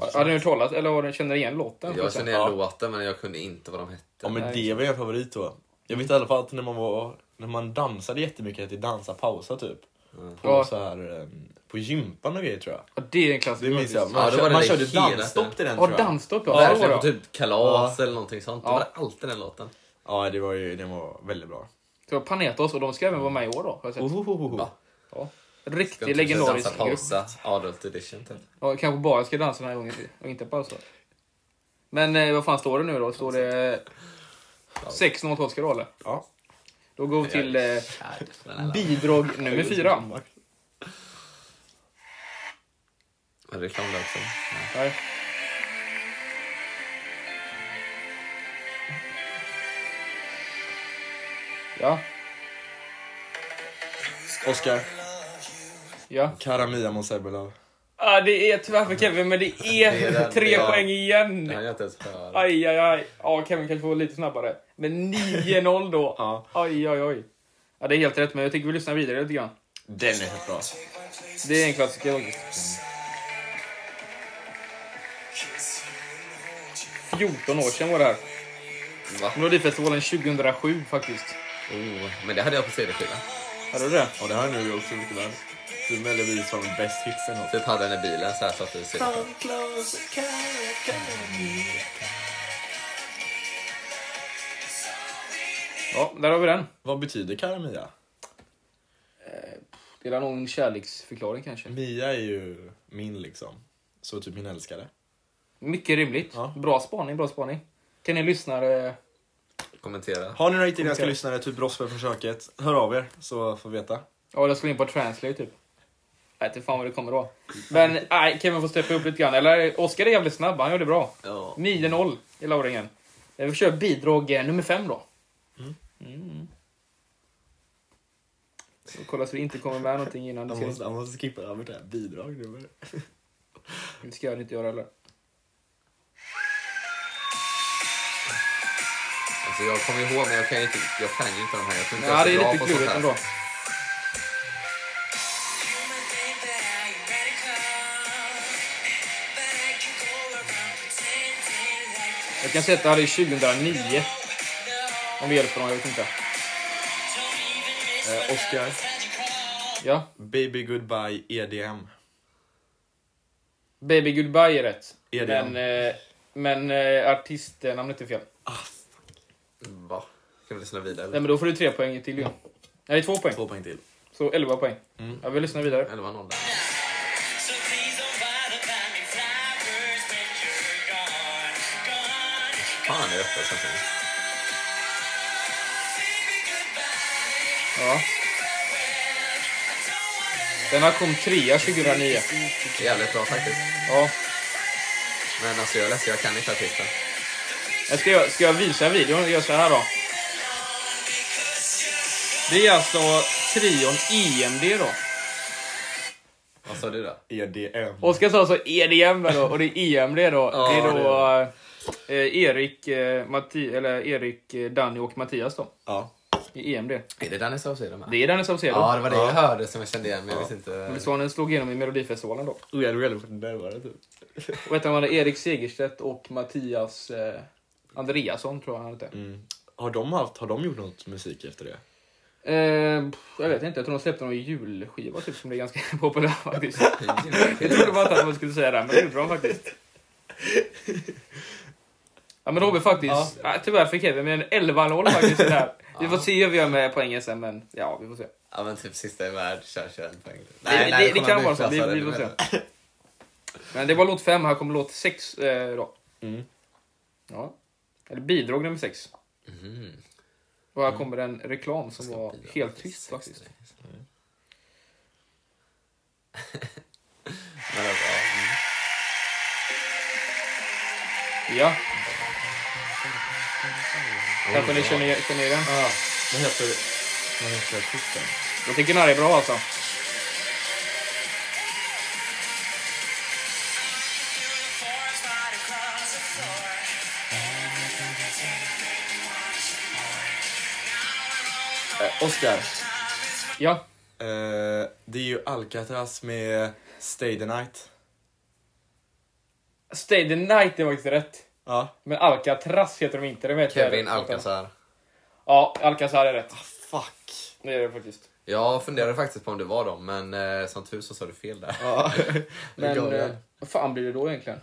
Speaker 1: Har- Har du hört talas, eller har du, känner igen låten?
Speaker 3: Jag känner
Speaker 2: Ja.
Speaker 3: igen låten, men jag kunde inte vad de hette.
Speaker 2: Ja men
Speaker 1: Nej,
Speaker 2: det var en favorit då. Jag vet i alla fall att när man var när man dansade jättemycket, att det dansa pausa typ.
Speaker 3: Mm.
Speaker 2: På
Speaker 1: Ja.
Speaker 2: så här, eh, på gympan och grejer tror jag.
Speaker 1: Ja, det är en klassiker.
Speaker 2: Det minns jag. Man,
Speaker 3: Ja, då
Speaker 2: kö-
Speaker 3: var det
Speaker 2: man
Speaker 3: det
Speaker 2: körde
Speaker 3: hela-
Speaker 2: dansstopp till den
Speaker 1: Ja,
Speaker 2: tror jag.
Speaker 1: dansstopp ja. det var
Speaker 3: Verkligen
Speaker 1: det.
Speaker 3: på typ kalas
Speaker 2: Ja.
Speaker 3: eller någonting sånt. Då
Speaker 1: Ja.
Speaker 3: var det alltid den låten.
Speaker 2: Ja det var ju, den var väldigt bra.
Speaker 1: Det var Panetos och de ska även vara med i år då. Har jag sett.
Speaker 2: Ohohoho.
Speaker 3: Va?
Speaker 1: Ja.
Speaker 3: Ska
Speaker 1: Riktig
Speaker 3: inte
Speaker 1: legendarisk
Speaker 3: dansa
Speaker 1: grupp.
Speaker 3: pausa, adult edition typ.
Speaker 1: Ja, kanske bara ska dansa den här gången till, och inte pausa. Men eh, vad fan står det nu då? Står det 6-0 till Oskar då eller?
Speaker 2: Ja.
Speaker 1: Då går vi till eh, bidrag nummer fyra.
Speaker 3: Var det reklam där också?
Speaker 1: Nej. Ja,
Speaker 2: Oscar,
Speaker 1: ja.
Speaker 2: Karamia Monsebelov.
Speaker 1: Ah, det är tyvärr för Kevin, men det är,
Speaker 3: Det är den,
Speaker 1: tre
Speaker 3: ja.
Speaker 1: poäng igen.
Speaker 3: Nej, jag inte ens hör.
Speaker 1: Aj, aj, aj. Ja, Kevin kanske får lite snabbare. Men 9-0 då.
Speaker 2: Ja.
Speaker 1: Aj, aj, aj. Ja, det är helt rätt, men jag tycker vi lyssnar vidare lite grann.
Speaker 2: Den är helt bra.
Speaker 1: Det är en klassiker faktiskt. 14 år sedan var det här.
Speaker 3: Va?
Speaker 1: Melodifestivalen 2007 faktiskt.
Speaker 3: Oh, men det hade jag på CD-skiva.
Speaker 1: Hade du det?
Speaker 2: Ja det här är nu också mycket väl. Du melder vi som bäst hitsen också.
Speaker 3: Typ hade den i bilen så här satt i CD.
Speaker 1: Ja, där har vi den.
Speaker 2: Vad betyder Karamia?
Speaker 1: Det är nog en kärleksförklaring kanske.
Speaker 2: Mia är ju min liksom. Så typ min älskare.
Speaker 1: Mycket rimligt.
Speaker 2: Ja.
Speaker 1: Bra spaning, bra spaning. Kan ni lyssnare...
Speaker 3: Kommentera.
Speaker 2: Har ni några italienska
Speaker 1: Okej.
Speaker 2: lyssnare, typ försöket, hör av er så får vi veta.
Speaker 1: Ja, jag skulle in på translate typ. Jag vet inte fan vad det kommer då. Men nej, Kevin får steppa upp lite grann. Eller Oskar är jävligt snabb, han gjorde bra.
Speaker 3: Ja.
Speaker 1: 9-0 i lauringen. Eh, Vi kör bidrag eh, nummer 5 då. Mm. Så kolla så det inte kommer med någonting innan. Det ska,
Speaker 2: måste, jag måste skippa över det här bidrag nu. [LAUGHS] Eh,
Speaker 1: det ska jag inte göra heller.
Speaker 3: Alltså, jag kommer ihåg, men jag kan ju inte, jag kan ju inte de här. Jag tror inte
Speaker 1: Ja,
Speaker 3: jag
Speaker 1: det
Speaker 3: är
Speaker 1: är
Speaker 3: så bra
Speaker 1: lite
Speaker 3: på sånt
Speaker 1: klurigt
Speaker 3: här.
Speaker 1: ändå. Jag kan säga att det här är 2009. Om vi hjälper dem, jag vet inte.
Speaker 2: Eh, Oscar,
Speaker 1: Ja.
Speaker 2: Baby Goodbye E EDM.
Speaker 1: Baby Goodbye är rätt.
Speaker 2: Är det
Speaker 1: men eh, men eh, artistnamnet är fel.
Speaker 2: Ah,
Speaker 3: Va? Ska vi lyssna vidare?
Speaker 1: Nej, men då får du tre poäng till ju. Nej, två Mm. poäng.
Speaker 2: Två poäng till.
Speaker 1: Så 11 poäng. Ja, vi lyssnar vidare.
Speaker 3: 11-0 där. Fan är detta som finns?
Speaker 1: Ja. Den här kom trea 2009.
Speaker 3: Det är Jävligt bra faktiskt.
Speaker 1: Ja.
Speaker 3: Men alltså jag är ledsen, jag kan inte artisten.
Speaker 1: Jag ska, jag, ska jag visa videon? Jag gör så här då. Det är alltså trion EMD då.
Speaker 3: Vad sa du då?
Speaker 2: E EDM.
Speaker 1: Oskar sa alltså EDM då och det är EMD [LAUGHS] då.
Speaker 3: Ja,
Speaker 1: det är då eh, Erik, eh, Matti, eller Erik, eh, Danny och Mattias då.
Speaker 2: Ja.
Speaker 1: I EMD.
Speaker 3: Är det Danny Saucedo med?
Speaker 1: Det är Danny Saucedo.
Speaker 3: Ja, det var det jag hörde som jag kände igen, men jag visste inte.
Speaker 1: Det var när han slog igenom i Melodifestivalen då.
Speaker 2: Oh, jag hade närmare typ.
Speaker 1: Och ett av dem var Erik Segerstedt och Mattias eh, Andreasson tror jag han hette.
Speaker 2: Mm. Har, de haft, har de gjort något musik efter det?
Speaker 1: Eh, pff, jag vet inte, jag tror de släppte någon julskiva typ som blev ganska [LAUGHS] populär faktiskt. jag trodde bara inte att man skulle säga det, här, men det gjorde de faktiskt. Ja men Robin faktiskt, ja. tyvärr för Kevin, men 11-0 faktiskt det här. Vi får se hur vi gör med poängen sen, men ja vi får se.
Speaker 3: Ja, men typ sista i värld, kör 21 poäng.
Speaker 1: det- det
Speaker 3: kommer
Speaker 1: kan
Speaker 3: bli
Speaker 1: vara så. Vi-
Speaker 3: utklassade,
Speaker 1: vi
Speaker 3: du
Speaker 1: får se.
Speaker 3: menar.
Speaker 1: Men det var låt 5, här kommer låt 6 eh, då.
Speaker 2: Mm.
Speaker 1: Ja. Eller bidrag nummer 6. Och här kommer en reklam som var helt tyst faktiskt.
Speaker 3: [LAUGHS] Men, alltså, ja,
Speaker 1: Ja. Kanske ni känner, känner igen den?
Speaker 2: Vad heter, vad heter artisten?
Speaker 1: Jag tycker den här är bra alltså.
Speaker 2: Eh, Oscar.
Speaker 1: Ja.
Speaker 2: Eh, det är ju Alcatraz med Stay the Night.
Speaker 1: Stay the night är faktiskt rätt.
Speaker 2: Ja.
Speaker 1: Men Alcatraz heter de inte. Det vet jag.
Speaker 3: Kevin Alcazar.
Speaker 1: Ja, Alcazar är rätt.
Speaker 2: Ah, Fuck.
Speaker 1: Det är det faktiskt.
Speaker 3: Jag funderade faktiskt på om det var dem, men eh, som tur så sa du fel där.
Speaker 2: [LAUGHS] Ja.
Speaker 1: Men eh, vad fan blir det då egentligen?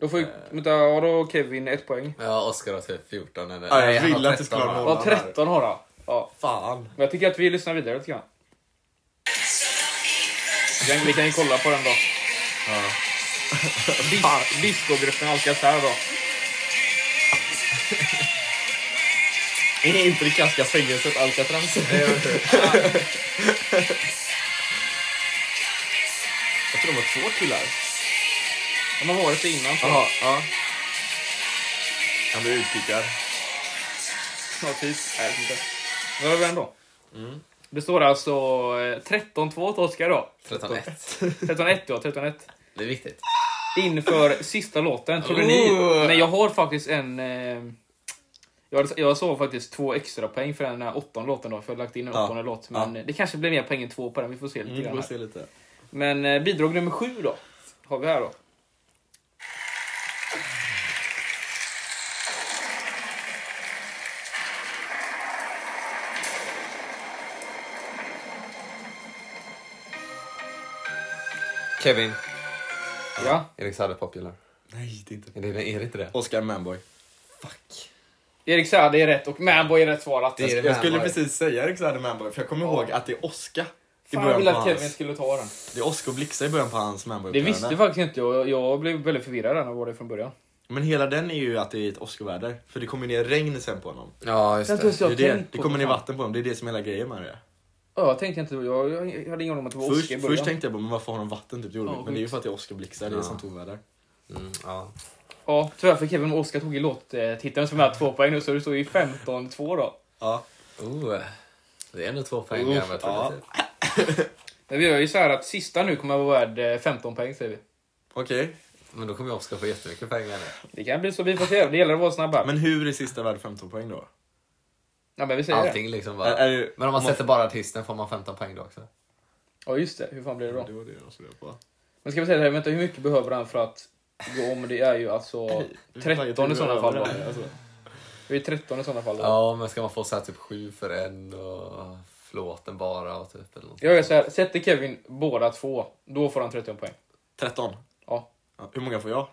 Speaker 1: Då får ju... Vänta, har då Kevin ett poäng?
Speaker 3: Ja, Oscar har typ 14 eller...
Speaker 2: Ja, jag
Speaker 3: han har
Speaker 2: ville att det
Speaker 3: 13,
Speaker 2: skulle vara
Speaker 3: va?
Speaker 2: noll.
Speaker 1: Ja, 13 har han. Ja.
Speaker 2: Fan.
Speaker 1: Men jag tycker att vi lyssnar vidare lite grann. Vi kan- Vi kan ju kolla på den då. [LAUGHS] Ja. Discogruppen Alcazar då.
Speaker 2: Är inte det kaska fängelset Alcatraz? [LAUGHS] Jag tror de var två killar.
Speaker 1: De har varit det innan. tror jag.
Speaker 2: Jaha, ja. Han blev utkickad.
Speaker 1: Ja, typ. Nej, jag vet inte. Då har vi den då.
Speaker 2: Mm.
Speaker 1: Det står alltså eh, 13-2 till Oscar då.
Speaker 3: 13-1.
Speaker 1: 13-1 ja, 13-1.
Speaker 3: Det är viktigt.
Speaker 1: Inför sista låten, trodde ni? Men jag har faktiskt en... Eh, jag, hade- jag såg faktiskt två extra poäng för den här åttonde låten då, för jag har lagt in en
Speaker 2: Ja. Mm,
Speaker 1: åttonde låt. Men det kanske blir mer poäng än två på den, vi får se lite
Speaker 2: Vi
Speaker 1: grann
Speaker 2: får
Speaker 1: här.
Speaker 2: se lite.
Speaker 1: Men eh, bidrag nummer sju då, har vi här då.
Speaker 3: Kevin.
Speaker 1: Ja.
Speaker 3: Erik Saade Popular.
Speaker 2: Nej, det är inte...
Speaker 3: Är det, är det inte det?
Speaker 2: Oscar Manboy.
Speaker 1: Erik Saade är rätt och Manboy är rätt svarat.
Speaker 3: Det är
Speaker 2: Jag skulle
Speaker 3: Manboy.
Speaker 2: precis säga Alexander Manboy, för jag kommer ihåg att det är Oscar. I
Speaker 1: Fan, jag
Speaker 2: början
Speaker 1: ville
Speaker 2: på
Speaker 1: att Kevin
Speaker 2: hans,
Speaker 1: skulle ta den.
Speaker 2: det är Oscar och Blixtar i början på hans
Speaker 1: Det
Speaker 2: Manboy-uppträdande.
Speaker 1: visste faktiskt inte jag. Jag blev väldigt förvirrad när jag var det från början.
Speaker 2: Men hela den är ju att det är ett Oscar-väder. För det kommer ner regn sen på honom.
Speaker 3: Ja, just det.
Speaker 2: Det, är det. det kommer ner vatten på honom, det är det som är hela grejen med det.
Speaker 1: Ja, jag tänkte inte. Jag, jag hade ingen aning om att det var
Speaker 2: Först,
Speaker 1: Oscar i början.
Speaker 2: först tänkte jag bara, men varför har de vatten? Typ, det gjorde
Speaker 1: Ja,
Speaker 2: vi. men det är ju
Speaker 1: sjukt.
Speaker 2: för att det är Oscar Blixtar, det är
Speaker 3: Ja.
Speaker 2: sånt oväder.
Speaker 3: Mm, ja.
Speaker 1: Ja, tyvärr för Kevin och Oscar tog ju låttiteln som är två poäng nu, så det står ju 15-2 då.
Speaker 2: Ja.
Speaker 3: Oh, det är ändå två poäng över tror
Speaker 2: ja.
Speaker 3: jag, typ.
Speaker 1: Men vi gör ju så här att sista nu kommer att vara värd eh, 15 poäng säger vi.
Speaker 2: Okej.
Speaker 3: Men då kommer jag också få jättemycket pengar nu.
Speaker 1: Det kan bli så, vi får se. Det gäller att vara snabb här.
Speaker 2: Men hur är sista värd 15 poäng då?
Speaker 1: ja, men vi säger det.
Speaker 3: Allting liksom bara.
Speaker 2: Är- är det-
Speaker 3: Men om man sätter bara artisten får man 15 poäng då också.
Speaker 1: Ja, just det. Hur fan blir det då?
Speaker 2: Det var det jag skulle på.
Speaker 1: Men ska vi säga det här, vänta, hur mycket behöver han för att gå om? Det är ju alltså 13 i sådana fall. va? Det är ju 13 i sådana fall. då.
Speaker 3: Alltså. Ja, men ska man få så här typ sju för en och flåten bara och typ eller något.
Speaker 1: Jag gör så här, sätter Kevin båda två, då får han 13 poäng.
Speaker 2: 13.
Speaker 1: Ja.
Speaker 2: Ja, Hur många får jag?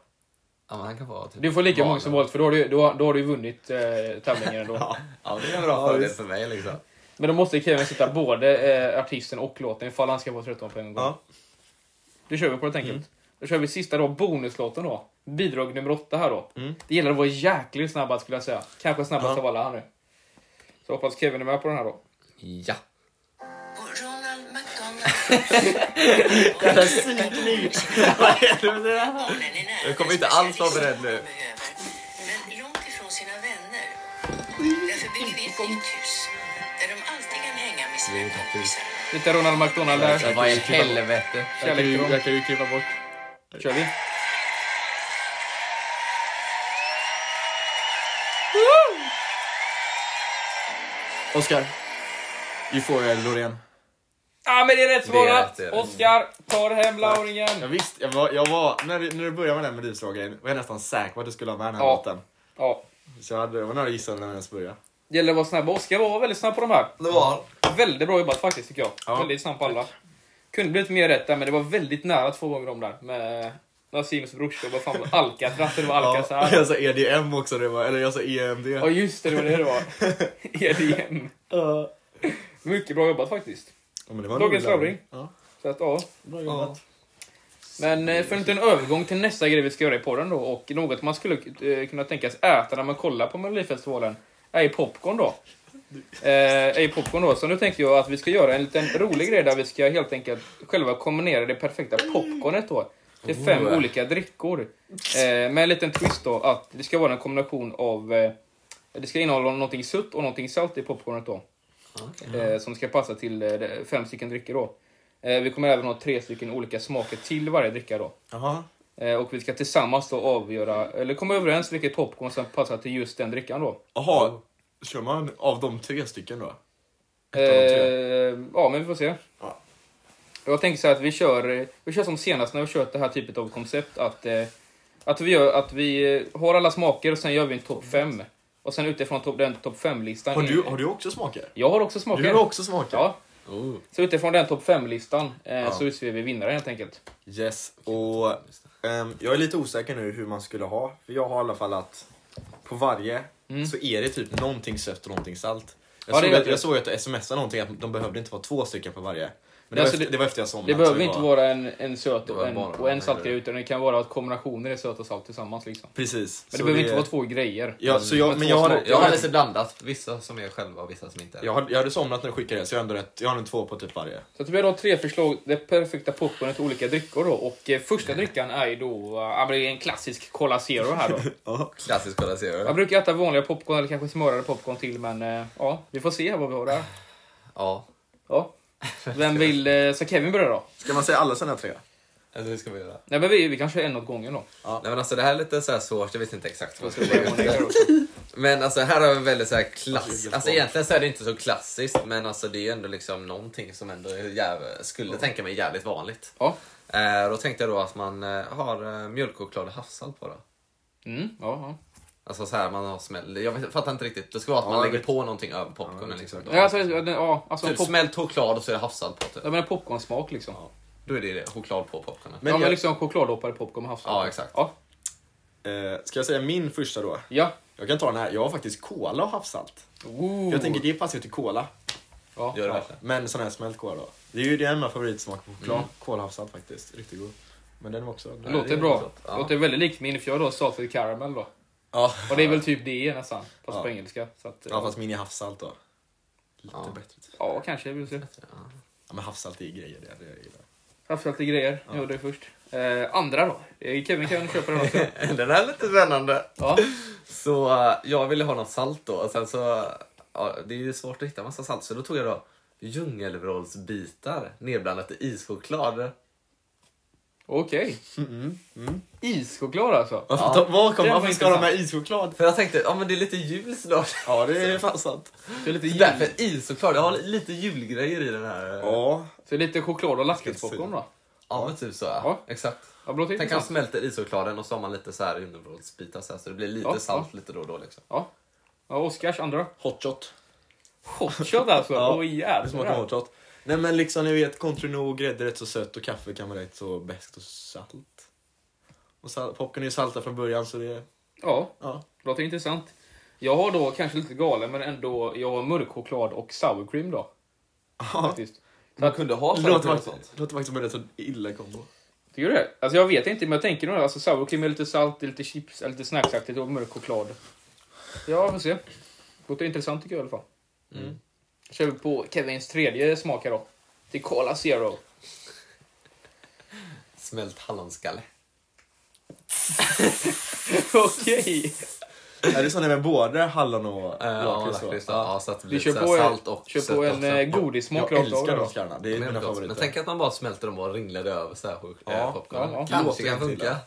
Speaker 3: Ja, men han kan få typ
Speaker 1: Du får lika
Speaker 3: barnen.
Speaker 1: många som vanligt, för då har du, då, då har du ju vunnit eh, tävlingen ändå.
Speaker 3: [LAUGHS] Ja, det är en bra fördel för mig liksom.
Speaker 1: Men då måste Kevin sitta både eh, artisten och låten ifall han ska få 13 poäng. Ja.
Speaker 2: Ja.
Speaker 1: Då kör vi på det enkelt.
Speaker 3: Mm.
Speaker 1: Då kör vi sista då, bonuslåten då. Bidrag nummer åtta här då.
Speaker 3: Mm.
Speaker 1: Det gäller att vara jäkligt snabb skulle jag säga. Kanske snabbast av alla här nu. Så hoppas Kevin är med på den här då.
Speaker 3: Ja.
Speaker 9: Ronald McDonald. Barnen är nära
Speaker 3: Jag kommer inte alls vara beredd nu.
Speaker 9: behöver, men långt ifrån sina vänner. Därför bygger vi ett nytt hus där de alltid kan hänga med sina kompisar.
Speaker 1: Lite Ronald McDonald där.
Speaker 3: Vad i helvete?
Speaker 2: Jag kan, ju,
Speaker 1: Kärlek till
Speaker 2: jag
Speaker 1: dem.
Speaker 2: kan ju klippa bort.
Speaker 1: Kör vi.
Speaker 2: Oscar. Euphoria eller Loreen.
Speaker 1: Ja ah, men det är rätt
Speaker 3: Det är
Speaker 1: svarat!
Speaker 3: rätt, det är rätt.
Speaker 1: Oskar tar hem
Speaker 2: Jag
Speaker 1: lauringen.
Speaker 2: visste, jag var, jag var, när, det- när du började med den här melodifrågan var jag nästan säker på att du skulle ha med den här
Speaker 1: Ja.
Speaker 2: låten.
Speaker 1: Ja.
Speaker 2: Så jag, hade, jag var nära att gissa när jag ens började.
Speaker 1: Det gäller att vara snabb. Oskar var väldigt snabb på de här.
Speaker 3: Det var
Speaker 1: Väldigt bra jobbat faktiskt tycker jag.
Speaker 2: Ja.
Speaker 1: Väldigt snabb på alla. Kunde blivit mer rätt där, men det var väldigt nära två gånger om där. Med Nassims brorsa och vad fan var det? Alcatraz, det var
Speaker 2: Ja, [LAUGHS]
Speaker 3: [LAUGHS]
Speaker 1: Alcazar.
Speaker 2: jag sa EDM också, det var, eller jag sa E EMD.
Speaker 1: Ja just det, det var det det
Speaker 3: [LAUGHS]
Speaker 1: var. EDM. Mycket bra jobbat faktiskt.
Speaker 2: Ja, men det var en
Speaker 1: Dagens
Speaker 2: rolig
Speaker 1: Lauring.
Speaker 2: Ja.
Speaker 1: Så att, ja. Men eh, för en liten övergång till nästa grej vi ska göra i podden då och något man skulle eh, kunna tänkas äta när man kollar på Melodifestivalen är popcorn då. Eh, är popcorn då. Så nu tänkte jag att vi ska göra en liten rolig grej där vi ska helt enkelt själva kombinera det perfekta popcornet då. Det är fem
Speaker 3: Oh.
Speaker 1: olika drickor. Eh, med en liten twist då att det ska vara en kombination av eh, det ska innehålla någonting sutt och någonting salt i popcornet då.
Speaker 2: Mm.
Speaker 1: Eh, som ska passa till eh, de- fem stycken drycker då. Eh, vi kommer även ha tre stycken olika smaker till varje dricka då.
Speaker 2: Jaha.
Speaker 1: Eh, och vi ska tillsammans då avgöra, eller komma överens vilket popcorn som passar till just den drickan då.
Speaker 2: Jaha, kör man av de tre stycken då? av de tre.
Speaker 1: Eh, ja, men vi får se.
Speaker 2: Ja.
Speaker 1: Jag tänker så här att vi kör, eh, vi kör som senast när vi kört det här typet av koncept. Att, eh, att, vi, gör, att vi eh, har alla smaker och sen gör vi en topp fem. Och sen utifrån topp- den topp fem-listan...
Speaker 2: Har du, har du också smaker?
Speaker 1: Jag har också smaker.
Speaker 2: Du har också smaker?
Speaker 1: Ja. Så utifrån den topp fem-listan eh, så utser vi vinnare helt enkelt.
Speaker 2: Yes, och ehm, jag är lite osäker nu hur man skulle ha. För jag har i alla fall att på varje så är det typ någonting sött och någonting salt. Jag,
Speaker 1: Mm. Ja, det
Speaker 2: såg,
Speaker 1: är
Speaker 2: att,
Speaker 1: rätt.
Speaker 2: jag såg att jag smsade någonting att de behövde inte vara två stycken på varje. Men det,
Speaker 1: alltså,
Speaker 2: var, efter,
Speaker 1: det-
Speaker 2: det var efter jag
Speaker 1: Det
Speaker 2: somnade. så
Speaker 1: behöver
Speaker 2: det
Speaker 1: inte
Speaker 2: var-
Speaker 1: vara en, en söt
Speaker 3: var
Speaker 1: och en,
Speaker 3: bara
Speaker 1: och en
Speaker 3: den här
Speaker 1: saltgrej
Speaker 3: grejen.
Speaker 1: utan det kan vara att kombinationer är söt och salt tillsammans. Liksom.
Speaker 2: Precis.
Speaker 1: Men det
Speaker 2: så
Speaker 1: behöver inte vara två grejer.
Speaker 2: Ja, så jag, men
Speaker 1: två
Speaker 2: jag har,
Speaker 1: smaker.
Speaker 3: Jag
Speaker 2: jag,
Speaker 3: har
Speaker 2: har,
Speaker 3: lite blandat. Vissa som är själva och vissa som inte är
Speaker 2: jag, har, jag hade somnat när du skickade det, så jag har ändå rätt. Jag har en två på typ varje.
Speaker 1: Så att vi har då tre förslag, det perfekta popcornet till olika drycker då. Och eh, första drickan är ju då, eh, ja, men det är en klassisk Cola Zero här då.
Speaker 3: klassisk Cola Zero.
Speaker 1: Jag brukar äta vanliga popcorn eller kanske smörade popcorn till men eh, ja, vi får se vad vi har där.
Speaker 3: Ja.
Speaker 1: Ja. Vem vill, eh, ska Kevin börja då?
Speaker 2: Ska man säga alla sina tre?
Speaker 3: Eller hur ska vi göra?
Speaker 1: Nej men vi, vi kanske en åt gången då.
Speaker 3: Nej men alltså det här är lite så här svårt, jag vet inte exakt vad jag
Speaker 1: Ska vi
Speaker 3: ska
Speaker 1: börja med det
Speaker 3: lägga
Speaker 1: här
Speaker 3: ut.
Speaker 1: då?
Speaker 3: Men alltså här har vi en väldigt så här klass... Alltså egentligen så är det inte så klassiskt men alltså det är ju ändå liksom någonting som ändå är jäv... skulle tänka mig jävligt vanligt.
Speaker 1: Ja.
Speaker 3: Eh, då tänkte jag då att man eh, har eh, mjölkchoklad och havssalt på då.
Speaker 1: Mm, ja,
Speaker 3: Alltså så här man har smäll... Jag vet, fattar inte riktigt. Det ska vara att man lägger på någonting över popcornen liksom.
Speaker 1: ja. ja. Alltså, ja, den- ja, alltså en
Speaker 3: Typ
Speaker 1: pop,
Speaker 3: smält choklad och så är det havssalt på typ.
Speaker 1: ja, men en popcornsmak liksom.
Speaker 3: Då är det det, choklad på popcornen.
Speaker 1: Men ja, men
Speaker 2: jag-
Speaker 1: liksom chokladdoppade popcorn med havssalt.
Speaker 3: Ja, exakt.
Speaker 1: Ja. liksom-
Speaker 2: Eh, ska jag säga min första då?
Speaker 1: ja.
Speaker 2: Jag kan ta den här. Jag har faktiskt cola och havssalt.
Speaker 1: Ooh.
Speaker 2: Jag tänker det passar ju till cola.
Speaker 1: Oh. ja.
Speaker 3: Gör det verkligen.
Speaker 2: Men sån här smält kola då. Det är ju det är min favoritsmak på choklad. Kålhavssalt faktiskt. Riktigt god. Men den var också...
Speaker 1: Mm. Det låter
Speaker 3: är
Speaker 1: bra.
Speaker 3: gott. Ja.
Speaker 1: Låter väldigt likt min, för jag har då salted caramel då.
Speaker 2: Ja.
Speaker 1: Och det är väl typ det nästan, fast
Speaker 2: Ja.
Speaker 1: på engelska. Så att,
Speaker 2: ja, fast min är havssalt då. Lite
Speaker 3: Ja.
Speaker 2: bättre. typ.
Speaker 1: ja, kanske. Vi får se.
Speaker 2: Ja, men havssalt är ju grejer det. det är ju det.
Speaker 1: Havssaltig grejer. Jag gjorde det först. Eh, andra då? Eh, Kevin kan köpa den också.
Speaker 3: [LAUGHS] Den här är lite spännande.
Speaker 1: Ja.
Speaker 3: Så eh, jag ville ha något salt då. Och sen så, eh, ja, det är ju svårt att hitta massa salt. Så då tog jag då djungelvrålsbitar nedblandat i ischoklad.
Speaker 1: Okej. Ischoklad alltså?
Speaker 2: Varför, ta, var kom,
Speaker 1: Det var
Speaker 2: varför ska de
Speaker 1: intressant.
Speaker 2: med ischoklad?
Speaker 3: För jag tänkte, ja men det är lite jul snart. [LAUGHS]
Speaker 2: Ja, det är fan sant.
Speaker 1: Så lite,
Speaker 3: Så
Speaker 1: jul,
Speaker 3: Därför ischoklad. Jag har lite julgrejer i den här. eh.
Speaker 2: Ja.
Speaker 1: så lite choklad och lakritspopcorn då?
Speaker 3: Ja men typ så ja.
Speaker 1: Ja.
Speaker 3: Exakt.
Speaker 1: Ja, blått
Speaker 3: Tänk att man
Speaker 1: intressant.
Speaker 3: smälter ischokladen och så har man lite så här djungelvrålsbitar så, här, så det blir lite
Speaker 1: Ja,
Speaker 3: salt lite då och då liksom.
Speaker 1: Ja. ja Oskars andra?
Speaker 2: Hot shot.
Speaker 1: Hotshot alltså? Åh
Speaker 2: Ja. Det smakar
Speaker 1: jävlar.
Speaker 2: hot shot. Nej men liksom ni vet, kontrinor, grädde är rätt så sött och kaffe kan vara rätt så bäst och salt. Och sal- popcorn är ju salta från början så det...
Speaker 1: Ja,
Speaker 2: Ja.
Speaker 1: låter intressant. Jag har då kanske lite galen, men ändå, jag har mörkchoklad och sour cream då. Faktiskt. Så att,
Speaker 3: kunde ha
Speaker 2: Låter faktiskt, låter faktiskt som en rätt så illa kombo.
Speaker 1: Tycker du det? Alltså jag vet inte, men jag tänker nog det. alltså sour cream är lite salt, det är lite chips, det är lite snacksaktigt och mörk choklad. Ja, vi får se. Låter intressant tycker jag i alla fall.
Speaker 3: Mm.
Speaker 1: Kör vi på Kevins tredje smak här då. Till Cola Zero. [LAUGHS]
Speaker 3: Smält hallonskalle.
Speaker 1: Okej!
Speaker 2: Är det sådana med både hallon och
Speaker 3: Eh, Ja,
Speaker 2: lakrits? då?
Speaker 3: lakrits då. Ja, så att det
Speaker 1: Vi
Speaker 3: blir
Speaker 1: kör
Speaker 3: så här
Speaker 1: på,
Speaker 3: salt och
Speaker 1: kör
Speaker 3: sött
Speaker 1: på en
Speaker 3: också.
Speaker 1: eh, godissmak
Speaker 2: Jag
Speaker 1: rakt av
Speaker 2: älskar
Speaker 1: då.
Speaker 2: de skallarna, det är
Speaker 3: Men,
Speaker 2: mina
Speaker 3: gott. men tänk
Speaker 2: favoriter.
Speaker 3: att man bara smälter dem och ringlar det över så här sjukt.
Speaker 2: Ja,
Speaker 3: eh, popcornen.
Speaker 1: ja, ja.
Speaker 3: Kanske
Speaker 2: Låter
Speaker 3: kan
Speaker 2: inte
Speaker 3: funka.
Speaker 2: illa.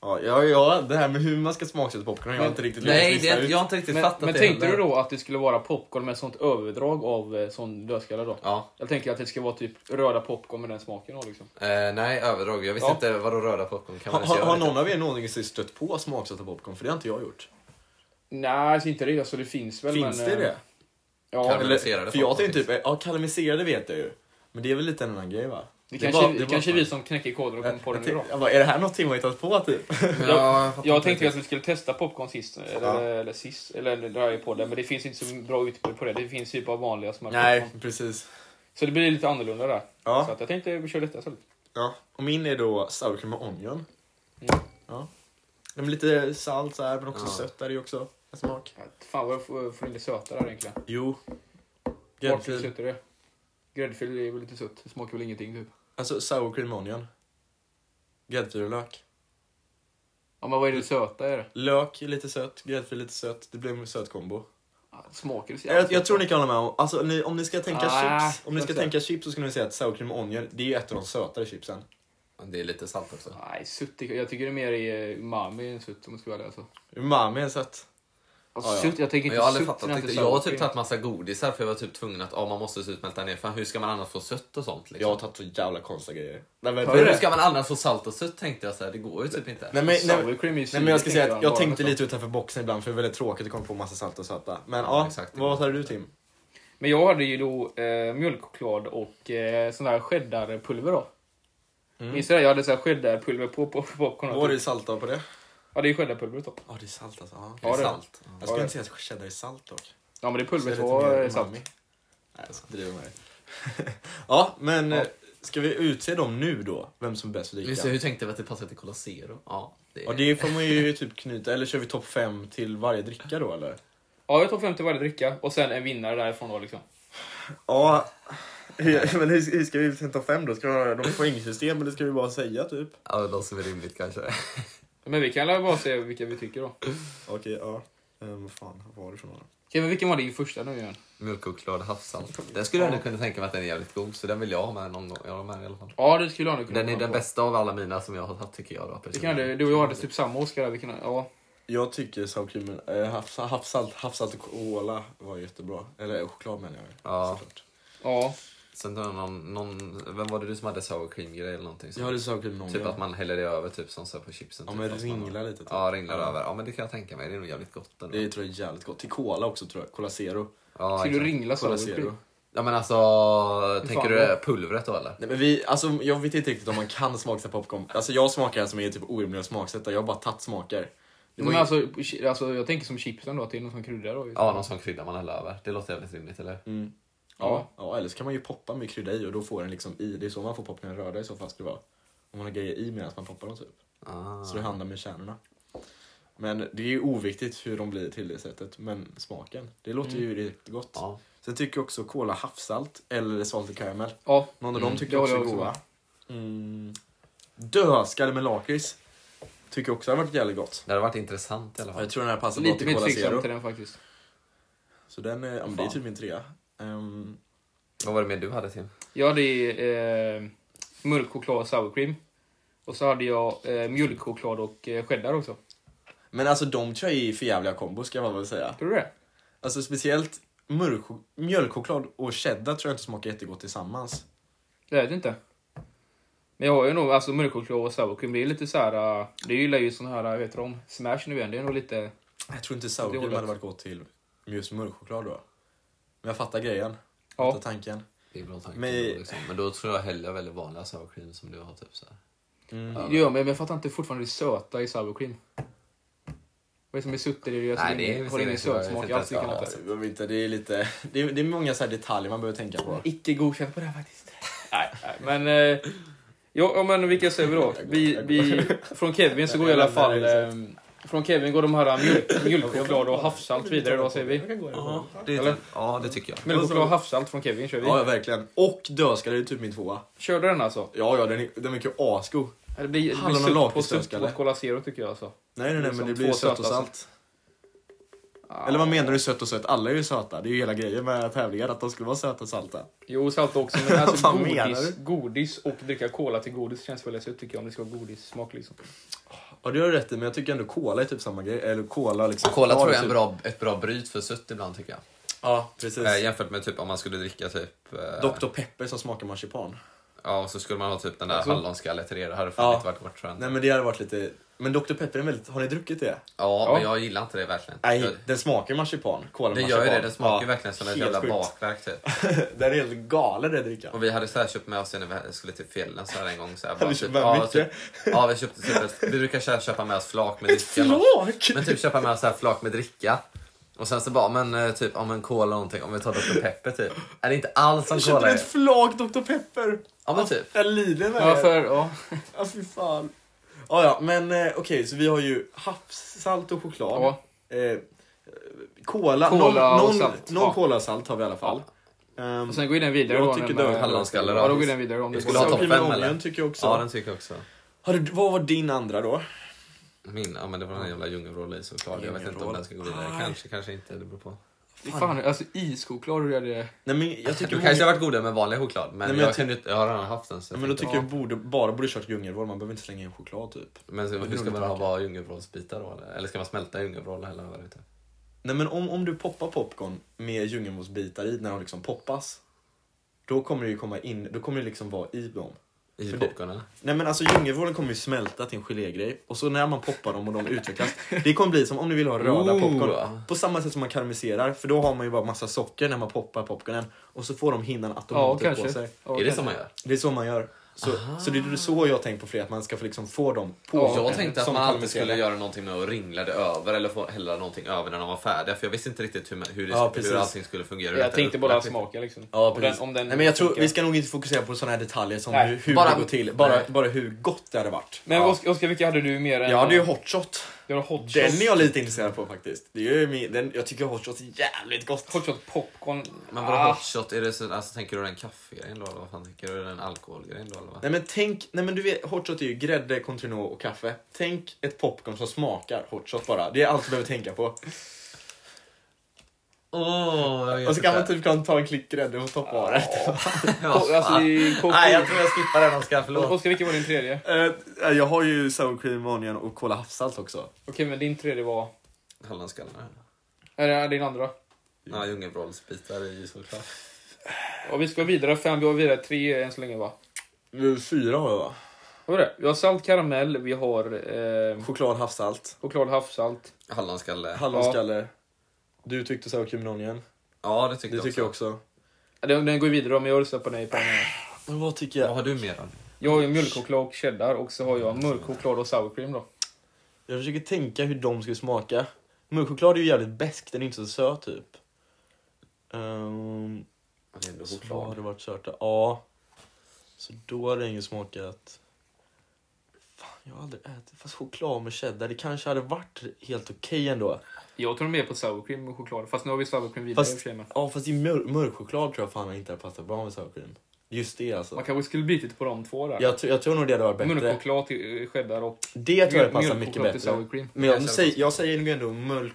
Speaker 2: Ja, ja, ja, det här med hur man ska smaksätta popcorn har jag inte riktigt
Speaker 3: Nej,
Speaker 2: lyckats
Speaker 3: det
Speaker 2: lista
Speaker 3: är, inte-
Speaker 2: ut.
Speaker 3: jag har inte riktigt
Speaker 1: Men,
Speaker 3: fattat
Speaker 1: men
Speaker 3: det
Speaker 1: tänkte du
Speaker 3: heller.
Speaker 1: då att det skulle vara popcorn med sånt överdrag av eh, sån dödskalle då?
Speaker 3: Ja.
Speaker 1: Jag tänker att det ska vara typ röda popcorn med den smaken då liksom.
Speaker 3: Eh, nej, överdrag. Jag visste
Speaker 1: Ja.
Speaker 3: inte vad de röda popcorn kan man
Speaker 2: Har,
Speaker 3: ens
Speaker 2: har,
Speaker 3: göra.
Speaker 2: har någon av er någonsin stött på smaksatta popcorn? För det har inte jag gjort.
Speaker 1: Nej, alltså inte det. Alltså det finns väl
Speaker 2: Finns
Speaker 1: men...
Speaker 2: det
Speaker 1: eh,
Speaker 2: det?
Speaker 1: Ja,
Speaker 3: Eller- Karamelliserade
Speaker 2: för jag
Speaker 3: popcorn
Speaker 2: tänkte typ, ja karamelliserade vet jag ju. Men det är väl lite en annan grej va?
Speaker 1: det
Speaker 2: är
Speaker 1: kanske,
Speaker 2: bara-
Speaker 1: det
Speaker 2: är bara-
Speaker 1: kanske är vi som knäcker koden och
Speaker 2: Jag-
Speaker 1: kommer på den
Speaker 2: jag
Speaker 1: idag.
Speaker 2: tänkte- jag bara, är det här något Tim har hittat på typ?
Speaker 3: Men
Speaker 1: jag-
Speaker 3: ja, jag fattar
Speaker 1: Jag
Speaker 3: inte
Speaker 1: tänkte att
Speaker 3: riktigt.
Speaker 1: vi skulle testa popcorn sist, eller,
Speaker 2: Ja.
Speaker 1: eller sist, eller det här är på det, men det finns inte så bra utbud på det. Det finns typ av vanliga smörpopcorn.
Speaker 2: Nej, precis.
Speaker 1: Så det blir lite annorlunda där.
Speaker 2: Ja.
Speaker 1: Så att jag tänkte vi kör detta istället.
Speaker 2: Ja. Och min är då sour cream och onion.
Speaker 1: Mm.
Speaker 2: Ja. Den är lite salt så här, men också
Speaker 3: Ja.
Speaker 2: sött är det ju också.
Speaker 10: Smak.
Speaker 1: Fan vad jag får, får in det söta där egentligen.
Speaker 2: Jo.
Speaker 1: Vart är
Speaker 2: Gräddfil.
Speaker 1: det? är. Gräddfil är väl lite sött. Det smakar väl ingenting typ.
Speaker 2: Alltså sour cream onion. Gräddfil och lök.
Speaker 1: Ja men vad är det söta är det?
Speaker 2: Lök är lite sött, gräddfil är lite sött. Det blir en söt kombo.
Speaker 1: Ja, det smakar det så
Speaker 2: Jag, jag tror ni kan hålla med om, alltså ni, om ni ska tänka
Speaker 1: Ah,
Speaker 2: chips, om ni
Speaker 1: jag
Speaker 2: ska
Speaker 1: ser.
Speaker 2: tänka chips så skulle ni säga att sour cream onion, det är ju ett av de sötare chipsen.
Speaker 3: Men Det är lite salt också.
Speaker 1: Nej, sutt. är- Jag tycker det är mer är umami än sutt om jag ska vara ärlig. Alltså.
Speaker 2: Umami är sött.
Speaker 1: Och sutt, jag tänker
Speaker 3: Men
Speaker 1: inte
Speaker 3: jag har aldrig
Speaker 1: sutt
Speaker 3: fattat
Speaker 1: när inte
Speaker 3: det. Jag har typ
Speaker 1: söker.
Speaker 3: tagit massa godisar för jag var typ tvungen att ah, man måste smälta ner. Fan, hur ska man annars få sött och sånt?
Speaker 2: Jag har
Speaker 3: Liksom?
Speaker 2: tagit så jävla konstiga grejer. Nej men,
Speaker 1: Hör
Speaker 3: Men
Speaker 1: du
Speaker 3: hur
Speaker 1: det?
Speaker 3: ska man annars få salt och sött tänkte jag så här. Det går ju typ inte.
Speaker 2: nej, men, nej,
Speaker 1: Sour cream är ju
Speaker 2: nej men jag ska
Speaker 1: syrligt,
Speaker 2: säga att
Speaker 1: bara,
Speaker 2: jag tänkte
Speaker 1: liksom.
Speaker 2: lite utanför boxen ibland för det är väldigt tråkigt att komma på massa salt och söta. Men ja,
Speaker 3: Ja, exakt.
Speaker 2: vad hade du Tim?
Speaker 1: Men jag hade ju då eh, mjölkchoklad och eh, sån där cheddarpulver då.
Speaker 3: Mm.
Speaker 1: Minns du det? Jag hade så här cheddarpulver på, på, på popcorn.
Speaker 2: Vad är det salta på det?
Speaker 1: Ja, det är cheddarpulvret då.
Speaker 2: Ja det är salt alltså. Ja.
Speaker 1: Ja, det är det.
Speaker 3: salt. Ja.
Speaker 2: Jag skulle inte säga att cheddar är salt dock.
Speaker 1: Ja, men det
Speaker 2: Så är
Speaker 1: pulvret
Speaker 2: det lite
Speaker 1: var
Speaker 2: mer
Speaker 1: eh, salt.
Speaker 2: umami. Nej, jag driver med dig. [LAUGHS] ja, men eh, ska vi utse dem nu då? Vem som är bäst
Speaker 3: Just det,
Speaker 2: lika?
Speaker 3: hur tänkte vi att det passade till Cola Zero? Ja, det är...
Speaker 2: Ja, det får man ju [LAUGHS] typ knyta, eller kör vi topp fem till varje dricka då eller?
Speaker 1: Ja, jag tog 50 varje dricka och sen en vinnare därifrån då liksom.
Speaker 2: Ja, [LAUGHS] men hur, ska vi utse topp fem då? Ska vi ha något poängsystem eller ska vi bara säga typ?
Speaker 3: Ja, det låter väl rimligt kanske.
Speaker 1: Men vi kan väl bara se vilka vi tycker då.
Speaker 10: Okej, ja. Ehm, vad fan var det för några?
Speaker 1: Kevin, vilken var din första nu igen?
Speaker 3: Mjölkchoklad havssalt. Den skulle jag ändå kunna tänka mig att den är jävligt god, så den vill jag ha med någon gång. Jag har med den i alla fall.
Speaker 1: Ja, det skulle jag nog kunna
Speaker 3: Den är
Speaker 1: komma
Speaker 3: den
Speaker 1: på.
Speaker 3: bästa av alla mina som jag har haft tycker jag. Då,
Speaker 1: Vi kan, ha det. du och jag hade typ samma Oscar där. Vi kan, ha- ja.
Speaker 2: Jag tycker sour cream, eh, havs, havssalt, havssalt och cola var jättebra. Eller eh, choklad menar jag
Speaker 3: Ja.
Speaker 2: såklart.
Speaker 1: ja.
Speaker 3: Sen har jag någon, någon, vem var det du som hade sour cream grej eller någonting?
Speaker 2: Jag hade sour cream någon
Speaker 3: Typ
Speaker 2: gång.
Speaker 3: att man häller det över typ som så här på chipsen.
Speaker 2: Ja
Speaker 3: typ,
Speaker 2: men
Speaker 3: fast man-
Speaker 2: ringla lite typ.
Speaker 3: Ja, ringlar över. Ja men det kan jag tänka mig. Det är nog jävligt gott ändå.
Speaker 2: Det tror jag är jävligt gott. Till cola också tror jag. Cola zero.
Speaker 3: Ja,
Speaker 1: Skulle du
Speaker 3: exakt.
Speaker 1: ringla så?
Speaker 2: Cola
Speaker 1: här,
Speaker 2: zero.
Speaker 3: ja men alltså, tänker du
Speaker 1: vad-
Speaker 3: pulvret då eller?
Speaker 2: Nej, men vi, alltså, jag vet inte riktigt om man kan smaksätta popcorn. Alltså, jag smakar en som är typ orimlig att smaksätta. Jag har bara tagit smaker. Det
Speaker 1: Men
Speaker 2: var ju-
Speaker 1: alltså, chi- alltså, jag tänker som chipsen då, till någon som kryddar då.
Speaker 3: Ja, någon sån krydda man häller över. Det låter jävligt rimligt eller?
Speaker 2: ja. ja, eller så kan man ju poppa med krydda i och då får den liksom i. Det är så man får popcorn röda i så fall skulle det vara. Om man har grejer i medan man poppar dem typ.
Speaker 3: Ah.
Speaker 2: Så det handlar med kärnorna. Men det är ju oviktigt hur de blir till det sättet. Men smaken, det låter ju riktigt gott.
Speaker 3: Ja.
Speaker 2: Sen tycker jag också cola havssalt eller salt och karamell.
Speaker 1: Ja.
Speaker 2: Någon av dem tycker
Speaker 1: det
Speaker 2: jag också är
Speaker 1: håller jag
Speaker 2: goda.
Speaker 1: också
Speaker 2: Mm. Dödskalle med lakrits. Tycker jag också har varit jävligt gott.
Speaker 3: Det hade varit intressant i alla
Speaker 2: Ja,
Speaker 3: fall.
Speaker 2: Jag tror den här passar bra
Speaker 1: Lite
Speaker 2: till
Speaker 1: mer
Speaker 2: Cola Zero.
Speaker 1: tveksam till den faktiskt.
Speaker 2: Så den är, ja, men det är typ min trea. Ehm,
Speaker 3: Vad var det mer du hade Tim?
Speaker 1: Jag hade eh, mörk choklad och sour cream. Och så hade jag eh, mjölkchoklad och eh, cheddar också.
Speaker 2: men alltså de tror jag är för jävliga kombo ska jag väl säga.
Speaker 1: Tror du det?
Speaker 2: Alltså speciellt mörk- mjölkchoklad och cheddar tror jag inte smakar jättegott tillsammans.
Speaker 1: Jag vet inte. Men jag har ju nog alltså mörkchoklad och sour cream. Det är ju lite så här. eh, Det gillar ju sån här, vad heter de? Smash nu igen. Det är nog lite...
Speaker 2: Jag tror inte
Speaker 1: Det är
Speaker 2: sour cream
Speaker 1: hållet.
Speaker 2: hade varit gott till just mjölkchoklad då. Men jag fattar grejen.
Speaker 1: Ja.
Speaker 2: Jag fattar tanken.
Speaker 3: Det är bra tanke.
Speaker 2: Men-
Speaker 3: Men... Liksom. men då tror jag hellre väldigt vanliga sour cream som du har typ så här.
Speaker 1: Jo, men jag fattar inte fortfarande det söta i sour cream. Vad är det som är sutt i det? Jag
Speaker 3: Nej, det är
Speaker 1: ingen-
Speaker 3: väl
Speaker 1: har ingen
Speaker 3: säkert så. Jag vet
Speaker 1: sötsmak
Speaker 3: inte
Speaker 1: alls. Det kan
Speaker 3: ens vad
Speaker 1: jag
Speaker 3: det
Speaker 1: inte.
Speaker 2: Alltså, Jag vet inte, det är lite... Det är, det är många så här detaljer man behöver tänka på.
Speaker 1: Icke godkänt på det här faktiskt. [LAUGHS] Nej, nej, men... Eh, ja, ja, men vilka säger vi då? Vi, vi, från Kevin så går i
Speaker 2: [LAUGHS]
Speaker 1: alla fall... Eh, från Kevin går de här eh, mjölk- mjölkchoklad och havssalt vidare. Vad säger vi?
Speaker 3: Det typ-
Speaker 1: Eller?
Speaker 3: Ja, det tycker jag.
Speaker 1: Mjölkchoklad och havssalt från Kevin kör
Speaker 2: Ja,
Speaker 1: vi.
Speaker 2: ja, verkligen. Och dödskalle är typ min tvåa.
Speaker 1: Kör du den alltså?
Speaker 2: Ja, ja, den, är, den verkar ju asgod.
Speaker 1: Det blir, det blir
Speaker 2: Hallon och
Speaker 1: sutt på
Speaker 2: lakritsdösk,
Speaker 1: sutt på
Speaker 2: eller?
Speaker 1: Cola Zero tycker jag alltså.
Speaker 2: Nej, nej, nej,
Speaker 1: Liksom
Speaker 2: men det blir ju
Speaker 1: två
Speaker 2: sött och
Speaker 1: söta
Speaker 2: salt. Eller vad menar du sött och sött? Alla är ju söta. Det är ju hela grejen med tävlingar, att de skulle vara söta och salta.
Speaker 1: Jo, salt också.
Speaker 2: [LAUGHS]
Speaker 1: Men alltså
Speaker 2: fan menar
Speaker 1: godis, godis och dricka cola till godis känns väl sutt tycker jag om det ska vara godissmak liksom.
Speaker 2: Ja, det har du rätt i, men jag tycker ändå cola är typ samma grej. Eller cola liksom.
Speaker 3: Cola
Speaker 2: Ja,
Speaker 3: tror jag
Speaker 2: typ.
Speaker 3: är en bra, ett bra bryt för sött ibland tycker jag.
Speaker 2: Ja, precis.
Speaker 3: Eh, jämfört med typ om man skulle dricka typ... Eh,
Speaker 2: Dr. Pepper som smakar marsipan.
Speaker 3: Ja, och så skulle man ha typ den där hallonskallet till det. Det hade fan
Speaker 2: Alltså- Ja.
Speaker 3: inte varit gott tror jag.
Speaker 2: Nej, men det hade varit lite... Men Dr. Pepper är väldigt... Har ni druckit det?
Speaker 3: Ja, men
Speaker 1: Ja.
Speaker 3: jag gillar inte det verkligen.
Speaker 2: Nej,
Speaker 3: Jag-
Speaker 2: den smakar marsipan. Cola
Speaker 3: Det
Speaker 2: marsipan.
Speaker 3: gör ju det. Det smakar ju
Speaker 2: Ja,
Speaker 3: verkligen som ett
Speaker 2: helt
Speaker 3: jävla
Speaker 2: sjukt.
Speaker 3: bakverk typ.
Speaker 2: [LAUGHS] Den är helt galen den drickan.
Speaker 3: Och vi hade så här köpt med oss när vi skulle till fjällen så här en gång. Så här,
Speaker 2: vi köpt med mycket?
Speaker 3: typ, ja, vi köpte typ ett, Vi brukar så här köpa med oss flak med
Speaker 2: Ett
Speaker 3: dricka. eller något.
Speaker 2: flak?
Speaker 3: Men typ köpa med oss så här flak med dricka. Och sen så bara, men eh, typ om en cola eller någonting, om vi tar Dr Pepper typ. Är det inte alls som
Speaker 2: [LAUGHS] Jag köpte
Speaker 3: cola är?
Speaker 2: ett flak Dr. Pepper.
Speaker 3: Ja men typ.
Speaker 2: Jag lider med er.
Speaker 1: Varför? Ja.
Speaker 2: Ja, fy fan. Ja, ja, men eh, okej, så vi har ju havssalt och choklad. Eh,
Speaker 1: Cola
Speaker 2: Cola, någon,
Speaker 1: och
Speaker 2: någon,
Speaker 1: salt.
Speaker 2: någon
Speaker 1: Ja.
Speaker 2: kolasalt har vi i alla fall. Ehm,
Speaker 1: Och sen går ju den vidare
Speaker 2: Jag
Speaker 1: då.
Speaker 2: tycker
Speaker 1: den
Speaker 2: det var
Speaker 1: med-
Speaker 3: hallonskallar,
Speaker 1: Ja,
Speaker 3: ja.
Speaker 1: då går den vidare. Om
Speaker 3: Vi
Speaker 1: det
Speaker 3: skulle ha
Speaker 1: ska-
Speaker 3: topp
Speaker 2: Sour cream
Speaker 3: fem
Speaker 2: and
Speaker 3: eller?
Speaker 2: onion tycker jag också.
Speaker 3: Ja, den tycker jag också.
Speaker 2: Har du, vad var din andra då?
Speaker 3: Min, ja men det var den jävla djungelvrål i såklart. Jag vet inte om den ska gå vidare. Kanske, kanske inte. Det beror på.
Speaker 1: Fan, alltså ischoklad hur är det?
Speaker 2: Nej men jag
Speaker 3: De [LAUGHS]
Speaker 2: tycker...
Speaker 3: kanske har varit goda med vanlig choklad, men,
Speaker 2: men
Speaker 3: jag,
Speaker 2: jag ty-
Speaker 3: kunde inte, jag har redan haft den. Så
Speaker 2: Nej, men då tycker jag borde, bara borde kört djungelvrål, man behöver inte slänga in choklad typ.
Speaker 3: men så, hur
Speaker 2: nog
Speaker 3: ska man
Speaker 2: inte
Speaker 3: ha bara djungelvrålsbitar då? Eller, eller ska man smälta djungelvrål? Eller vad det heter?
Speaker 2: Nej men om, om du poppar popcorn med djungelvrålsbitar i när de liksom poppas. Då kommer det ju komma in, då kommer det liksom vara i dem.
Speaker 3: I
Speaker 2: För det-
Speaker 3: popcornen?
Speaker 2: Nej men alltså djungelvrålen kommer ju smälta till en gelégrej och så när man poppar dem och de utvecklas. Det kommer bli som om ni vill ha röda
Speaker 3: Ooh.
Speaker 2: popcorn. På samma sätt som man karamelliserar för då har man ju bara massa socker när man poppar popcornen. Och så får de hinnan
Speaker 1: Ja,
Speaker 2: automatiskt på
Speaker 1: kanske.
Speaker 2: sig.
Speaker 1: Ja,
Speaker 3: är det
Speaker 1: kanske.
Speaker 3: som man gör?
Speaker 2: Det är så man gör. Så, så det är så jag tänkt på fler, att man ska få liksom få dem på
Speaker 1: Ja,
Speaker 2: en
Speaker 3: Jag tänkte att
Speaker 2: som
Speaker 3: man alltid
Speaker 2: karamelliserar.
Speaker 3: skulle göra någonting med att ringla det över eller få hälla någonting över när de var färdiga. För jag visste inte riktigt hur, hur, det,
Speaker 2: Ja, precis.
Speaker 3: hur allting skulle fungera.
Speaker 1: Jag tänkte bara
Speaker 3: Upplagt.
Speaker 1: smaka liksom.
Speaker 2: Ja,
Speaker 1: Om
Speaker 2: precis.
Speaker 1: den- om den
Speaker 2: Nej, men jag tror,
Speaker 1: funkar.
Speaker 2: vi ska nog inte fokusera på sådana här detaljer som
Speaker 1: Nej,
Speaker 2: hur, hur
Speaker 3: bara-
Speaker 2: det går till. Bara,
Speaker 3: Nej.
Speaker 2: bara hur gott det hade varit.
Speaker 1: Men Oskar, Oskar, vilka hade du mer än...
Speaker 2: Jag hade ju hot shot.
Speaker 1: Jag hade hot
Speaker 2: Den
Speaker 1: shot.
Speaker 2: är jag lite intresserad på faktiskt. Det är ju min, den, jag tycker hot shot är jävligt gott.
Speaker 1: Hot shot popcorn.
Speaker 3: Men vadå
Speaker 1: Ah.
Speaker 3: hot shot? Är det så, alltså, tänker du den kaffegrejen då? Eller vad fan tänker du? Är det Den alkoholgrejen då? Eller vad?
Speaker 2: Nej men tänk, nej men du vet, hot shot är ju grädde, Continuo och kaffe. Tänk ett popcorn som smakar hot shot bara. Det är allt du behöver tänka på.
Speaker 3: Åh, jag vet
Speaker 2: Och så kan man
Speaker 3: inte.
Speaker 2: typ kan ta en klick grädde och toppa av det.
Speaker 3: Ja,
Speaker 2: Ah.
Speaker 1: Alltså,
Speaker 3: fan.
Speaker 1: det är popcorn.
Speaker 3: Nej, jag tror jag skippar den Oskar. Förlåt.
Speaker 1: Oskar, vilken var din tredje?
Speaker 2: Eh, jag har ju sour cream, onion och kola havssalt också.
Speaker 1: Okej, men din tredje var...
Speaker 3: Hallonskallarna.
Speaker 1: Eller din andra.
Speaker 3: Ja, djungelvrålsbitar är ju såklart.
Speaker 1: Och vi ska vidare fem, vi har vidare tre än så länge va?
Speaker 2: Fyra har jag va?
Speaker 1: Vad var det? Vi har salt karamell, vi har eh,
Speaker 2: Choklad, havssalt,
Speaker 1: choklad havssalt.
Speaker 3: Hallonskalle.
Speaker 2: hallonskalle. Du tyckte sour cream and onion.
Speaker 3: Ja, det tycker
Speaker 2: Det
Speaker 3: jag
Speaker 2: tycker jag
Speaker 3: också.
Speaker 2: också.
Speaker 1: Ja, Den, den går vidare om jag röstar på nej på den här.
Speaker 2: Men vad tycker
Speaker 3: Vad har du mer då?
Speaker 1: Jag har ju mjölkchoklad och cheddar och så har jag mörk choklad och sour cream då.
Speaker 2: Jag försöker tänka hur de skulle smaka. Mörkchoklad är ju jävligt besk, den är inte så söt typ. Ehm,
Speaker 3: Det är ändå
Speaker 2: så vad har
Speaker 3: choklad.
Speaker 2: det varit sört? Ja. Så då hade den ju smakat... Fan, jag har aldrig ätit... Fast choklad med cheddar, det kanske hade varit helt okej ändå.
Speaker 1: Jag tror mer på sour cream och choklad. Fast nu har vi sour cream vidare i och för
Speaker 2: Fast,
Speaker 1: sig. Men.
Speaker 2: ja, fast i mör- mörkchoklad tror jag fan inte hade passat bra med sour cream. Just det alltså.
Speaker 1: Man kanske skulle byta på de två där.
Speaker 2: Jag, tror- jag tror nog det hade varit bättre.
Speaker 1: Mörkchoklad till eh, cheddar och
Speaker 2: Det tror jag passar
Speaker 1: mjölkchoklad
Speaker 2: mycket
Speaker 1: till
Speaker 2: bättre.
Speaker 1: sour cream.
Speaker 2: Men jag, säger, jag säger nog ändå mörk...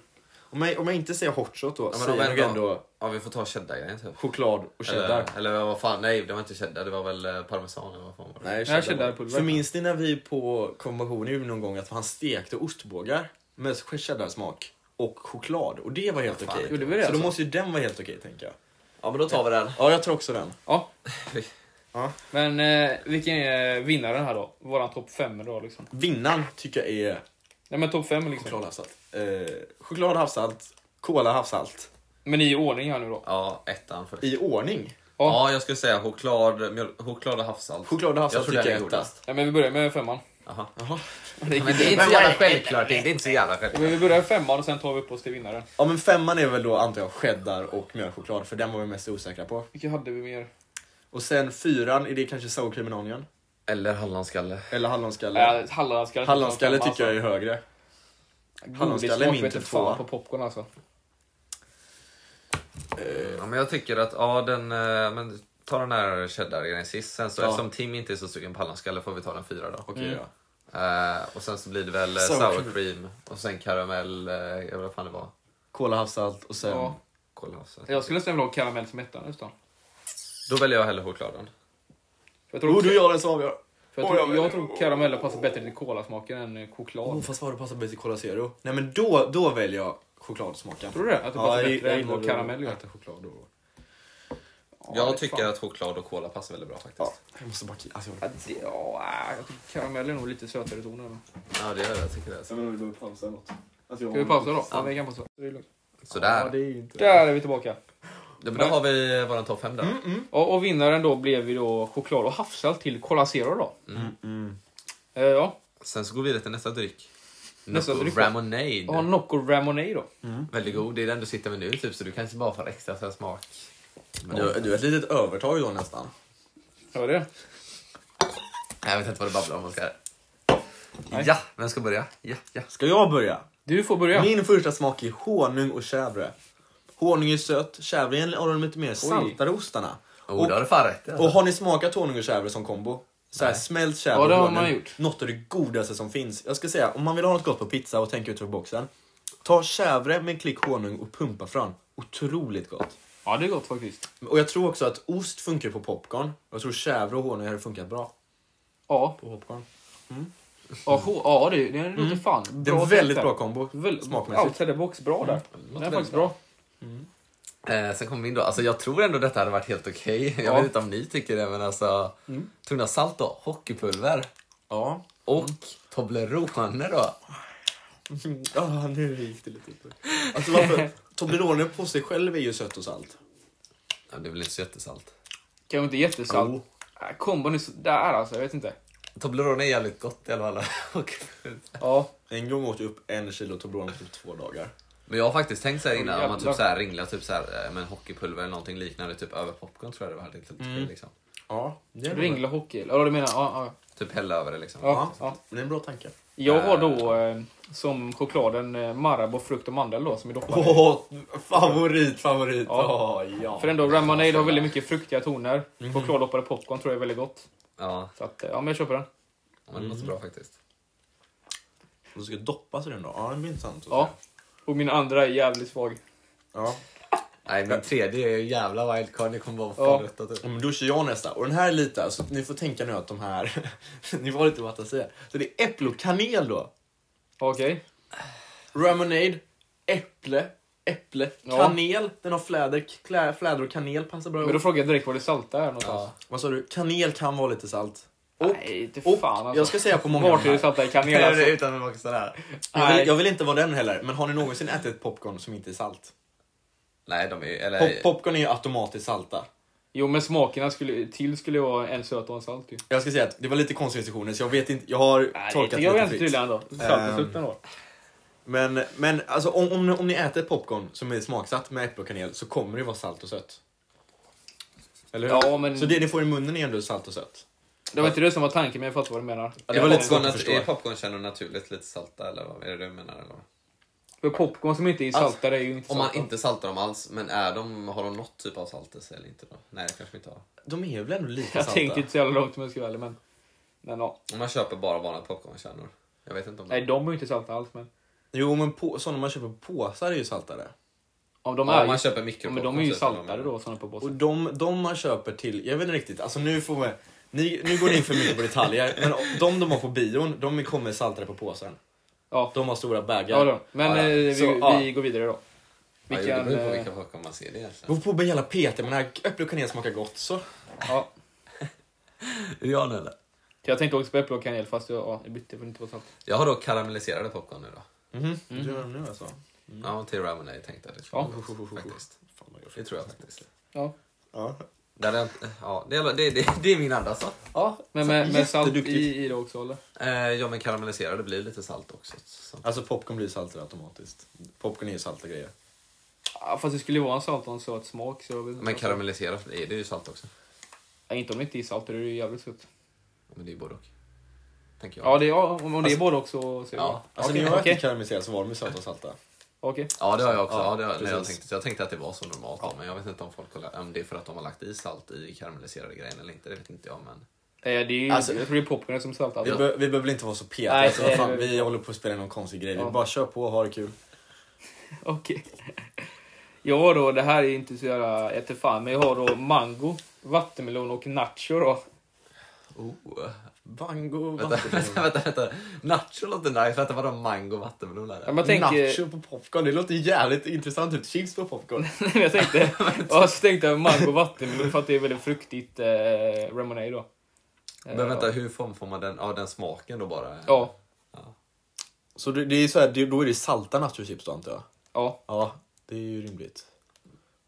Speaker 2: Om jag, om jag inte säger hot shot då,
Speaker 3: Ja, men
Speaker 2: säger jag
Speaker 3: om
Speaker 2: nog
Speaker 3: ändå-
Speaker 2: ändå
Speaker 3: Ja, vi får ta cheddargrejen typ.
Speaker 2: choklad och cheddar.
Speaker 3: Eller, eller vad fan, nej det var inte cheddar, det var väl eh, parmesan eller vad fan var det?
Speaker 2: Nej,
Speaker 1: Nej, cheddarpulver.
Speaker 2: För minns ni när vi på konfirmationen någon gång att han stekte ostbågar med cheddarsmak och choklad? Och det var helt okej.
Speaker 1: gjorde vi det
Speaker 2: Så
Speaker 1: alltså?
Speaker 2: då måste ju den vara helt okej, tänker jag.
Speaker 3: Ja men då tar vi den.
Speaker 2: Ja, jag tror också den.
Speaker 1: Ja.
Speaker 2: [LAUGHS] Ja.
Speaker 1: Men eh, vilken är vinnaren här då? Våran topp fem då liksom.
Speaker 2: Vinnaren tycker jag är
Speaker 1: Nej men topp fem liksom.
Speaker 2: choklad och havssalt. Eh, choklad och havssalt, kola och havssalt.
Speaker 1: Men i ordning här nu då.
Speaker 3: Ja, ettan först.
Speaker 2: I ordning.
Speaker 3: Ja, jag skulle säga choklad, mjöl, choklad och havssalt.
Speaker 2: Choklad och havssalt
Speaker 3: Jag tror
Speaker 2: tycker jag
Speaker 3: den är
Speaker 2: är etta.
Speaker 3: godast.
Speaker 1: Ja, men vi börjar med femman.
Speaker 3: Jaha.
Speaker 1: Det är-
Speaker 3: Men det är inte så jävla självklart. Det är inte så jävla självklart.
Speaker 1: Men vi börjar med femman och sen tar vi upp oss till vinnaren.
Speaker 2: Ja, men femman är väl då antar jag cheddar och mjölkchoklad, för den var vi mest osäkra på.
Speaker 1: Vilka hade vi mer?
Speaker 2: Och sen fyran, är det kanske sour cream and onion?
Speaker 3: Eller hallonskalle.
Speaker 2: Eller hallonskalle?
Speaker 1: Äh, hallonskalle.
Speaker 2: hallonskalle tycker jag är högre. hallonskalle är min
Speaker 1: inte
Speaker 2: typ
Speaker 1: fan
Speaker 2: tvåa. Mm.
Speaker 1: på popcorn alltså.
Speaker 3: Ja, men jag tycker att, ja den, eh, men ta den här cheddargrejen sist. Sen så
Speaker 2: Ja.
Speaker 3: eftersom Tim inte är så sugen på hallonskalle får vi ta den fyra då.
Speaker 2: Okej, ja.
Speaker 3: Eh, och sen så blir det väl eh,
Speaker 2: Sour
Speaker 3: sour cream och sen karamell, eh, jag vet inte vad fan det var.
Speaker 2: Kola, havssalt och sen...
Speaker 1: Ja.
Speaker 3: Kolhavssalt.
Speaker 1: Jag skulle nästan vilja ha karamell som etta nästan.
Speaker 3: Då väljer jag hellre chokladen.
Speaker 1: För Jag tror,
Speaker 2: Jo, du gör den som avgör.
Speaker 1: för jag tror, jag tror karamell passar bättre till kolasmaken än eh, choklad.
Speaker 2: Oh, fast vad det passar bäst i Cola Zero? Nej, men då, då väljer jag chokladsmaken.
Speaker 1: Tror du det? Att det passar bättre än vad karamell gör?
Speaker 2: äta choklad då.
Speaker 1: Ja,
Speaker 3: jag
Speaker 1: det
Speaker 3: tycker
Speaker 1: fan.
Speaker 3: att choklad och kola passar väldigt bra faktiskt.
Speaker 2: Ja.
Speaker 3: Ja,
Speaker 2: Jag måste bara... ki- Alltså, jag...
Speaker 1: Ja, det- ja, äh, jag tycker karamell är nog lite sötare i tonen.
Speaker 3: det gör jag. Tycker det.
Speaker 2: Jag menar, vi behöver pausa något. Alltså,
Speaker 1: Ska vi pausa då? Ja, vi kan pausa. Det är lugnt.
Speaker 3: Sådär.
Speaker 2: Ja, det är ju inte...
Speaker 1: Där är vi tillbaka.
Speaker 3: Ja, men då har vi eh, våran topp 5 där.
Speaker 1: Mm, Ja, och vinnaren då blev ju då choklad och havssalt till Cola Zero då.
Speaker 2: Mm.
Speaker 1: Eh, ja,
Speaker 3: Sen så går vi vidare till nästa dryck.
Speaker 1: Nästa
Speaker 3: Nocco
Speaker 1: dryck, va?
Speaker 3: Ramonade.
Speaker 1: och Nocco Ramonade då.
Speaker 3: Väldigt god. Det är den du sitter med nu typ så du kanske bara får extra så här smak.
Speaker 2: Men Du, du har ett litet övertag då nästan.
Speaker 1: Ja, det är det.
Speaker 3: Nej, Jag vet inte vad du babblar om Oskar. Ja, vem ska börja? Ja, ja.
Speaker 2: Ska jag börja?
Speaker 1: Du får börja.
Speaker 2: Min första smak är honung och chèvre. Honung är sött, chèvren har de lite mer saltare ostarna.
Speaker 3: Oh, det har du fan rätt i, alltså.
Speaker 2: och har ni smakat honung och chèvre som kombo? Så här, smält chèvre
Speaker 1: Ja, det
Speaker 2: och
Speaker 1: har
Speaker 2: honung,
Speaker 1: man gjort.
Speaker 2: Något av det godaste som finns. Jag ska säga, om man vill ha något gott på pizza och tänker utanför boxen. Ta chèvre med en klick honung och pumpafrön. Otroligt gott.
Speaker 1: Ja, det är gott faktiskt.
Speaker 2: Och jag tror också att ost funkar på popcorn. Jag tror chèvre och honung hade funkat bra
Speaker 1: Ja,
Speaker 2: på popcorn.
Speaker 1: Mm.
Speaker 2: Mm.
Speaker 1: ja, ho- ja det, det låter fan
Speaker 2: Det är en väldigt bra kombo
Speaker 1: Väl,
Speaker 2: smakmässigt. Mm.
Speaker 1: Outside the box, bra där. Den är faktiskt bra.
Speaker 3: Eh, sen kommer vi in då. Alltså, jag tror ändå detta hade varit helt okej. [LAUGHS] Jag vet inte om ni tycker det, men alltså...
Speaker 1: Mm.
Speaker 3: Tunna salt då, hockeypulver
Speaker 2: Ja.
Speaker 1: Mm.
Speaker 3: och Toblerone då.
Speaker 2: Ja, nu gick det lite upp. Alltså [LAUGHS] varför? Toblerone på sig själv är ju sött och salt.
Speaker 3: Ja, det är väl inte så jättesalt.
Speaker 1: Kanske inte jättesalt.
Speaker 2: Jo.
Speaker 1: Oh. Kombon är sådär alltså, jag vet inte.
Speaker 3: Toblerone är jävligt gott i alla fall. [LAUGHS] Hockeypulver.
Speaker 1: Ja,
Speaker 2: En gång åt jag upp en kilo Toblerone på typ två dagar.
Speaker 3: Men jag har faktiskt tänkt såhär innan, om man
Speaker 1: jävlar.
Speaker 3: typ såhär ringlar typ såhär, eh, med en hockeypulver eller någonting liknande typ över popcorn tror jag det var helt okej
Speaker 1: Mm.
Speaker 3: liksom.
Speaker 2: Ja, det är en bra,
Speaker 1: ringla hockey. Ja, du menar, ja, ja.
Speaker 3: Typ hälla över det liksom.
Speaker 1: ja, ja.
Speaker 2: det är en bra tanke.
Speaker 1: Jag har då eh, som chokladen eh, Marabou frukt och mandel då som är doppade.
Speaker 2: Åh, favorit, favorit.
Speaker 1: Ja.
Speaker 2: Ja. ja.
Speaker 1: För ändå, Ramonade har väldigt mycket fruktiga toner.
Speaker 2: Mhm.
Speaker 1: Chokladdoppade popcorn tror jag är väldigt gott.
Speaker 3: Ja,
Speaker 1: Så att, eh, ja men jag köper den.
Speaker 3: men det
Speaker 1: Mm.
Speaker 3: låter bra faktiskt.
Speaker 2: Du ska doppa sig den då? Ja, det blir intressant. att
Speaker 1: Ja.
Speaker 2: se.
Speaker 1: Och min andra är jävligt svag.
Speaker 2: ja.
Speaker 3: Nej, min tredje är ju jävla wildcard, ni kommer bara få
Speaker 1: Ja.
Speaker 3: detta typ.
Speaker 2: Ja, Men Mm, då kör jag nästa. Och den här är lite, alltså, ni får tänka nu att de här, [LAUGHS] ni var lite vad jag säger. Så det är äpple och kanel då.
Speaker 1: Okej.
Speaker 2: Ramonade, äpple, äpple,
Speaker 1: Ja.
Speaker 2: kanel. Den har fläder, klä, fläder och kanel passar bra
Speaker 1: Men då
Speaker 2: ihop.
Speaker 1: frågar jag direkt var det salta är någonstans.
Speaker 2: Vad sa du? Kanel kan vara lite salt. Och,
Speaker 1: Nej, inte
Speaker 2: och
Speaker 1: fan alltså.
Speaker 2: jag ska säga på många av
Speaker 1: Vart
Speaker 2: de
Speaker 1: är
Speaker 2: här.
Speaker 1: det salta i kanel
Speaker 3: Eller
Speaker 1: alltså?
Speaker 3: utan att vara sådär.
Speaker 2: Jag
Speaker 1: Nej.
Speaker 2: vill, jag vill inte vara den heller, men har ni någonsin ätit popcorn som inte är salt?
Speaker 3: Nej, de är ju, eller...
Speaker 2: Pop, popcorn är ju automatiskt salta.
Speaker 1: Jo men smakerna skulle, till skulle ju vara en söt och en salt ju.
Speaker 2: Jag ska säga att det var lite konsistensjoner så jag vet inte, jag har
Speaker 1: Nej, det
Speaker 2: tolkat
Speaker 1: tycker jag är
Speaker 2: lite
Speaker 1: inte
Speaker 2: fritt.
Speaker 1: tydligen ändå. Salt och
Speaker 2: Ehm.
Speaker 1: sött ändå.
Speaker 2: Men, men alltså, om, om, ni- om ni äter popcorn som är smaksatt med äpple och kanel så kommer det vara salt och sött. Eller hur?
Speaker 1: Ja, men-
Speaker 2: Så det ni får i munnen är ändå salt och sött.
Speaker 1: Det var inte det som var tanken men jag fattar vad du menar.
Speaker 2: Ja, det var lite svårt
Speaker 3: popcorn,
Speaker 2: att förstå.
Speaker 3: är popcornkärnor naturligt lite salta eller vad är det du menar? Eller? vad?
Speaker 1: För popcorn som inte är saltade är ju inte
Speaker 3: Om man
Speaker 1: salta.
Speaker 3: inte saltar dem alls, men är de, har de något typ av salt i sig eller inte då? Nej, det kanske de inte har.
Speaker 2: De är väl ändå lite
Speaker 1: Jag
Speaker 2: salta?
Speaker 1: tänkte inte så jävla långt om jag ska vara ärlig men. Men ja.
Speaker 3: Om man köper bara vanliga popcornkärnor. Jag vet inte om
Speaker 1: Nej de är ju inte salta alls men.
Speaker 2: Jo, men på, sådana man köper på påsar är ju saltare.
Speaker 1: Om de
Speaker 3: Ja,
Speaker 1: är
Speaker 3: om man
Speaker 1: ju,
Speaker 3: köper typ,
Speaker 1: ja,
Speaker 3: mikropopcorn.
Speaker 1: men de är ju
Speaker 3: så är det de
Speaker 1: saltade
Speaker 3: är.
Speaker 1: då sådana på
Speaker 2: Och
Speaker 1: påsen.
Speaker 2: de, de man köper till, jag vet inte riktigt, alltså nu får man, ni, nu går ni in för mycket på detaljer, men de de har på bion, de kommer saltade på påsen.
Speaker 1: Ja.
Speaker 2: De har stora bagar.
Speaker 1: Ja, då. Men
Speaker 3: Ja, ja.
Speaker 1: eh, vi,
Speaker 2: Så, ja.
Speaker 1: vi går vidare då.
Speaker 3: Ja, jo,
Speaker 1: Vilken,
Speaker 3: det beror på
Speaker 1: eh,
Speaker 3: vilka popcorn man ser det egentligen.
Speaker 2: Gå på med hela PT, men här äpple och kanel smakar gott så. Mhm.
Speaker 1: ja.
Speaker 3: Är det jag nu eller?
Speaker 1: Jag tänkte också på äpple och kanel fast jag, ja, jag bytte för det inte var salt.
Speaker 3: Jag har då karamelliserade popcorn nu då.
Speaker 1: Mm.
Speaker 2: Mhm. Du gör de nu alltså?
Speaker 3: Ja, till Ramonade tänkte jag det skulle
Speaker 1: Ja.
Speaker 3: vara gott, faktiskt. Det tror jag faktiskt.
Speaker 1: Ja.
Speaker 2: Ja.
Speaker 3: Där är, ja, det, är, det, det, det är min andra salt.
Speaker 1: ja men med, med salt
Speaker 2: jätteduktigt.
Speaker 1: i, i det också eller?
Speaker 3: Eh, ja, men karamelliserade blir lite salt också. Så.
Speaker 2: Alltså popcorn blir saltare automatiskt. Popcorn är ju salta grejer.
Speaker 1: Ja, fast det skulle ju vara en salt och en söt smak. Så jag vet inte
Speaker 3: Men
Speaker 1: vad-
Speaker 3: karamelliserat är det ju salt också.
Speaker 1: ja, inte om det inte är salt, då är det ju jävligt sött.
Speaker 3: Ja, Men det är ju både och. Tänker jag.
Speaker 1: Ja, det, ja om, om det är både också så är det
Speaker 3: ja.
Speaker 2: Alltså
Speaker 1: Okej,
Speaker 2: när jag
Speaker 1: okej.
Speaker 2: ätit karamelliserat så var de ju söta och salta.
Speaker 1: Okej.
Speaker 3: Ja, det har jag också.
Speaker 2: Ja,
Speaker 3: Ja, det har, nej, jag,
Speaker 2: precis.
Speaker 3: tänkte, så jag tänkte att det var så normalt. då, Men jag vet inte om folk har, lagt- om det är för att de har lagt i salt i karamelliserade grejen eller inte. Det vet inte jag. Men...
Speaker 1: Eh, Det är ju,
Speaker 2: Alltså-
Speaker 1: jag tror det är popcornen som saltar.
Speaker 2: Vi,
Speaker 1: Ja.
Speaker 2: be, vi behöver väl inte vara så petiga,
Speaker 1: Nej,
Speaker 2: alltså,
Speaker 1: nej,
Speaker 2: vad fan,
Speaker 1: nej, nej.
Speaker 2: vi håller på att spela någon konstig grej.
Speaker 1: Ja.
Speaker 2: Vi bara kör på och har det kul.
Speaker 1: Okej. Ja då, det här är inte så jävla jag vet inte fan, men jag har då mango, vattenmelon och nacho då. [LAUGHS]
Speaker 3: Oh.
Speaker 2: Bango,
Speaker 3: Vänta, vänta, vänta, vänta. Nacho låter nice. Vänta, vadå mango och vattenmelon?
Speaker 1: Ja,
Speaker 3: Är det?
Speaker 1: man tänker,
Speaker 2: Nacho på popcorn, det låter jävligt intressant. Typ chips på popcorn.
Speaker 1: Nej, men jag
Speaker 3: [LAUGHS]
Speaker 1: tänkte, och så tänkte jag mango och vattenmelon för att det är väldigt fruktigt eh, lemonade då. Eh,
Speaker 3: Men vänta, hur får får man den, ja, den smaken då bara?
Speaker 1: Ja,
Speaker 2: Så det, det är så här, det, då är det salta nachochips då antar jag?
Speaker 1: ja.
Speaker 2: Ja, det är ju rimligt.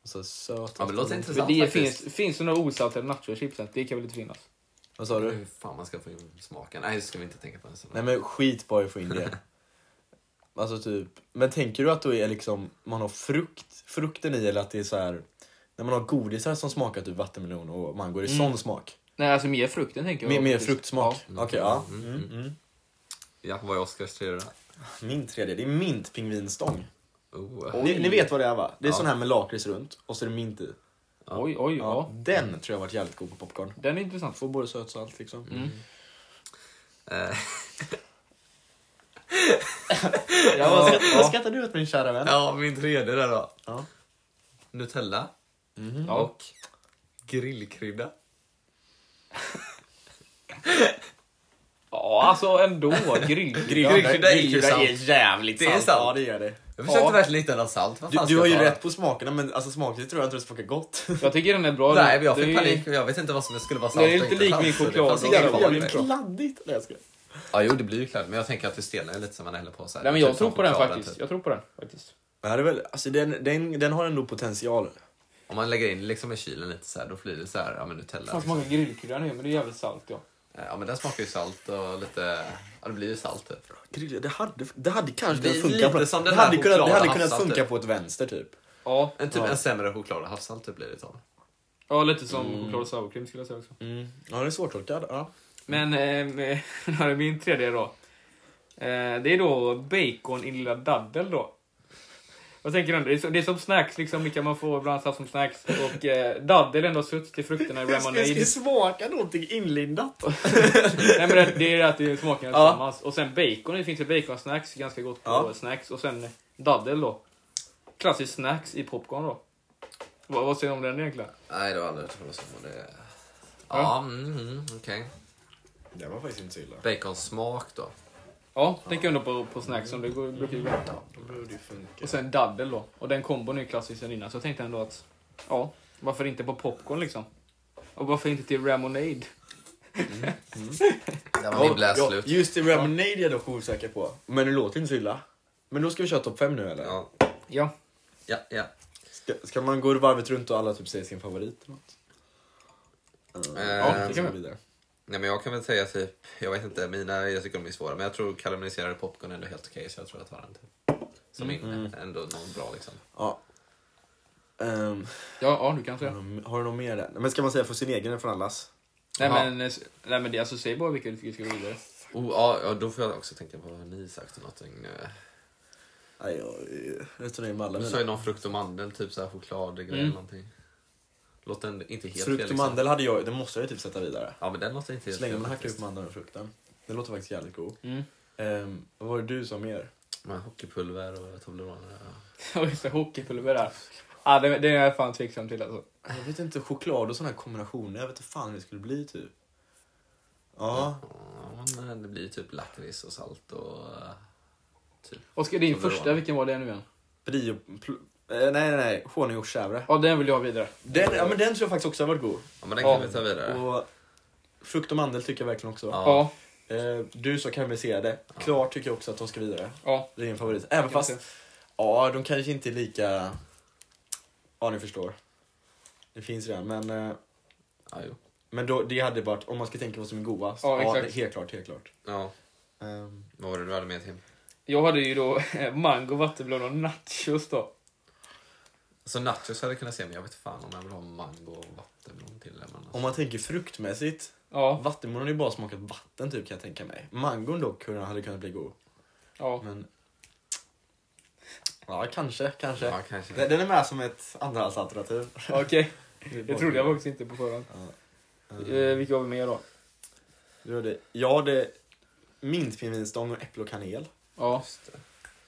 Speaker 2: Och så söt.
Speaker 3: Ja, men det låter
Speaker 1: Men
Speaker 3: intressant
Speaker 1: det
Speaker 3: faktiskt.
Speaker 1: finns, finns det några osaltade nachochipsen? Det kan väl inte finnas?
Speaker 2: Vad sa du?
Speaker 3: Hur fan man ska få in smaken? Nej, det ska vi inte tänka på. Ens.
Speaker 2: Nej men skit bara i att få in
Speaker 3: [LAUGHS]
Speaker 2: det. Alltså typ, men tänker du att då är liksom, man har frukt, frukten i eller att det är så här när man har godisar som smakar typ vattenmelon och mango, är det sån smak?
Speaker 1: Nej, alltså mer frukten tänker jag.
Speaker 2: Mer, mer
Speaker 1: faktiskt.
Speaker 2: Mm, fruktsmak? Okej, ja.
Speaker 3: Ja, vad är Oscars teori då?
Speaker 2: Min tredje, det är mintpingvinstång.
Speaker 3: Oh.
Speaker 2: Ni, ni vet vad det är va? Det är sån här med lakrits runt och så är det mint i.
Speaker 1: Oj, oj,
Speaker 2: Ja.
Speaker 1: ja.
Speaker 2: Den tror jag varit jävligt god på popcorn.
Speaker 1: Den är intressant. Mm.
Speaker 2: Får både sött och salt liksom.
Speaker 3: Mm. Eh, [LAUGHS]
Speaker 2: Ja, vad, skrattar, vad skrattar du åt min kära vän?
Speaker 3: Ja, min tredje där då.
Speaker 2: Ja.
Speaker 3: Nutella
Speaker 1: Ja.
Speaker 3: och grillkrydda.
Speaker 1: ja, alltså
Speaker 3: [LAUGHS]
Speaker 1: ändå. Grillkrydda.
Speaker 3: Grillkrydda är ju salt.
Speaker 2: jävligt
Speaker 3: Det är salt.
Speaker 2: Ja, det gör det.
Speaker 3: Jag försökte
Speaker 1: Ja.
Speaker 3: verkligen hitta något salt. Vad
Speaker 2: Du,
Speaker 3: fan
Speaker 2: du
Speaker 3: ska
Speaker 2: har ju
Speaker 3: jag ta?
Speaker 2: rätt på smakerna men alltså smakligt tror jag inte det smakar gott.
Speaker 1: Jag tycker den är bra.
Speaker 3: Nej, men jag
Speaker 1: Det
Speaker 3: fick
Speaker 1: är-
Speaker 3: panik. Jag vet inte vad som skulle vara
Speaker 1: Nej,
Speaker 3: salt.
Speaker 1: det är inte lik min choklad.
Speaker 3: choklad.
Speaker 1: Det är jävligt
Speaker 2: kladdigt. Nej, jag skojar.
Speaker 3: Ja, jo, det blir ju klart. Men jag tänker att det stelnar ju lite som man häller på. Så här.
Speaker 1: Nej, men jag
Speaker 3: Typ
Speaker 1: tror
Speaker 3: som
Speaker 1: på den
Speaker 3: chokladen,
Speaker 1: faktiskt.
Speaker 3: typ.
Speaker 1: Jag tror på den faktiskt.
Speaker 2: Men här är väl, alltså den, den, den har ändå potential.
Speaker 3: Om man lägger in liksom i kylen lite så här, då blir det så här, ja men Nutella.
Speaker 1: Fan
Speaker 3: Liksom.
Speaker 1: smakar grillkrydda nu, men det är jävligt salt ja.
Speaker 3: Ja, men den smakar ju salt och lite, ja det blir ju salt typ.
Speaker 2: Grilla, det hade, det hade kanske
Speaker 3: Det är
Speaker 2: kunnat funka,
Speaker 3: lite
Speaker 2: på,
Speaker 3: som
Speaker 2: det
Speaker 3: den
Speaker 2: hade kunnat,
Speaker 3: här
Speaker 2: det
Speaker 3: chokladen
Speaker 2: hade kunnat
Speaker 3: havssalt,
Speaker 2: funka
Speaker 3: typ.
Speaker 2: på ett vänster typ.
Speaker 1: Ja,
Speaker 3: En, typ, en sämre choklad och havssalt typ blir det som.
Speaker 1: ja lite som
Speaker 3: Mm.
Speaker 1: choklad och sour cream skulle jag säga också.
Speaker 2: Ja, det är svårtolkad. Ja.
Speaker 1: Men eh, [LAUGHS] här är min tredje då. Eh, det är då bacon i lilla daddel då. Vad tänker du? om Det Det är, som, det är som snacks, liksom, vilka man får ibland så här som snacks. Och eh, daddel ändå suttit i
Speaker 3: [LAUGHS]
Speaker 1: frukterna i lemonade.
Speaker 2: smaka någonting inlindat.
Speaker 1: Nej men det, det är att det smakar tillsammans. Och sen bacon, det finns ju baconsnacks, ganska gott på
Speaker 2: Ja.
Speaker 1: snacks. Och sen daddel då. Klassisk snacks i popcorn då. Vad, vad säger du om den egentligen?
Speaker 3: Nej, det har jag aldrig hört talas om. och Det...
Speaker 1: Ja.
Speaker 3: Ja, mm, mm, okej.
Speaker 2: Det var faktiskt inte så illa.
Speaker 3: Baconsmak då.
Speaker 1: Ja, tänk ändå på, på snacks som det går- brukar ju gå. Och sen daddel då. Och den kombon är ju klassisk sen innan. Så jag tänkte ändå att, ja, varför inte på popcorn liksom? Och varför inte till Ramonade?
Speaker 3: Där var min bläs slut.
Speaker 2: just det, Lemonade är jag dock osäker på. Men det låter inte så illa. Men då ska vi köra topp 5 nu eller?
Speaker 3: Ja,
Speaker 1: Ja.
Speaker 3: ja, ja.
Speaker 2: Ska, ska man gå varvet runt och alla typ säger sin favorit? Eller något?
Speaker 3: Eh,
Speaker 1: det kan vi.
Speaker 2: Så vidare.
Speaker 3: Nej, men jag kan väl säga typ, jag vet inte, mina, jag tycker de är svåra, men jag tror karamelliserade popcorn är ändå helt okej, så jag tror jag tar den. Typ. Som in, ändå någon bra liksom.
Speaker 2: Ja. Ehm,
Speaker 1: Ja, ja, du kan säga.
Speaker 2: har du något mer där? Men ska man säga för sin egen eller för allas?
Speaker 1: Nej,
Speaker 3: Jaha.
Speaker 1: men, eh, s- nej men det, alltså säg bara vilka du tycker ska gå vidare. [LAUGHS]
Speaker 3: Oh, ja, ja, då får jag också tänka på, har ni sagt någonting? eh,
Speaker 2: Nej, jag är rätt så nöjd med alla
Speaker 3: Du
Speaker 2: mina.
Speaker 3: sa ju någon frukt och mandel, typ såhär chokladgrej eller någonting. Låter ändå inte helt fel
Speaker 2: Frukt och
Speaker 3: liksom.
Speaker 2: mandel hade jag, det måste jag ju typ sätta vidare.
Speaker 3: Ja men den låter inte helt
Speaker 2: Så länge
Speaker 3: fel
Speaker 2: man hackar
Speaker 3: faktiskt.
Speaker 2: upp mandeln och frukten. Det låter faktiskt jävligt god.
Speaker 1: Mm.
Speaker 2: Ehm, vad var det du sa mer?
Speaker 3: Med hockeypulver och Toblerone. ja.
Speaker 1: Ja, just det. Hockeypulver där. Ja, det, det är jag fan tveksam till alltså.
Speaker 2: Jag vet inte, choklad och sådana här kombinationer. Jag vet inte fan hur det skulle bli typ. Ja,
Speaker 3: Ja, men det blir typ lakrits och salt och... eh, Typ.
Speaker 1: Oskar, din
Speaker 3: Toblerone.
Speaker 1: första, vilken var det nu igen?
Speaker 2: brio... Pl- eh, nej, nej, nej. Honung och chèvre.
Speaker 1: Ja, den vill jag ha vidare.
Speaker 2: Den, ja, men den tror jag faktiskt också har varit god.
Speaker 3: Ja men den kan
Speaker 1: Ja,
Speaker 3: vi ta vidare.
Speaker 2: Och frukt och mandel tycker jag verkligen också.
Speaker 3: Ja.
Speaker 1: Äh. Ja,
Speaker 2: Eh, du sa karamelliserade. Klart tycker jag också att de ska vidare.
Speaker 1: ja.
Speaker 2: Det är en favorit. Även
Speaker 1: Kan
Speaker 2: fast...
Speaker 1: jag
Speaker 2: Ja, de kanske inte är lika... Ja, ni förstår. Det finns redan, men... eh,
Speaker 3: Ja, jo.
Speaker 2: Men då, det hade varit, om man ska tänka vad som är godast.
Speaker 1: Ja, exakt.
Speaker 2: det- helt klart, helt klart.
Speaker 3: ja.
Speaker 2: Ehm,
Speaker 3: Vad var det du hade med Tim?
Speaker 1: Jag hade ju då eh, mango, vattenmelon och nachos då.
Speaker 3: Alltså nachos hade jag kunnat se men jag vet fan om jag vill ha mango och vattenmelon till det. Men alltså.
Speaker 2: om man tänker fruktmässigt.
Speaker 1: Ja,
Speaker 2: Vattenmelon har ju bara smakat vatten typ kan jag tänka mig. Mangon dock kunde- hade kunnat bli god.
Speaker 1: ja.
Speaker 2: Men... Ja, kanske, kanske.
Speaker 3: Ja kanske.
Speaker 2: Den, den är med som ett [LAUGHS] andrahandsalternativ.
Speaker 1: Okej. Det trodde jag faktiskt inte på förhand. Eh, vilka har vi mer då?
Speaker 2: Du hade, jag hade mintpingvinstång och äpple och kanel.
Speaker 1: Ja.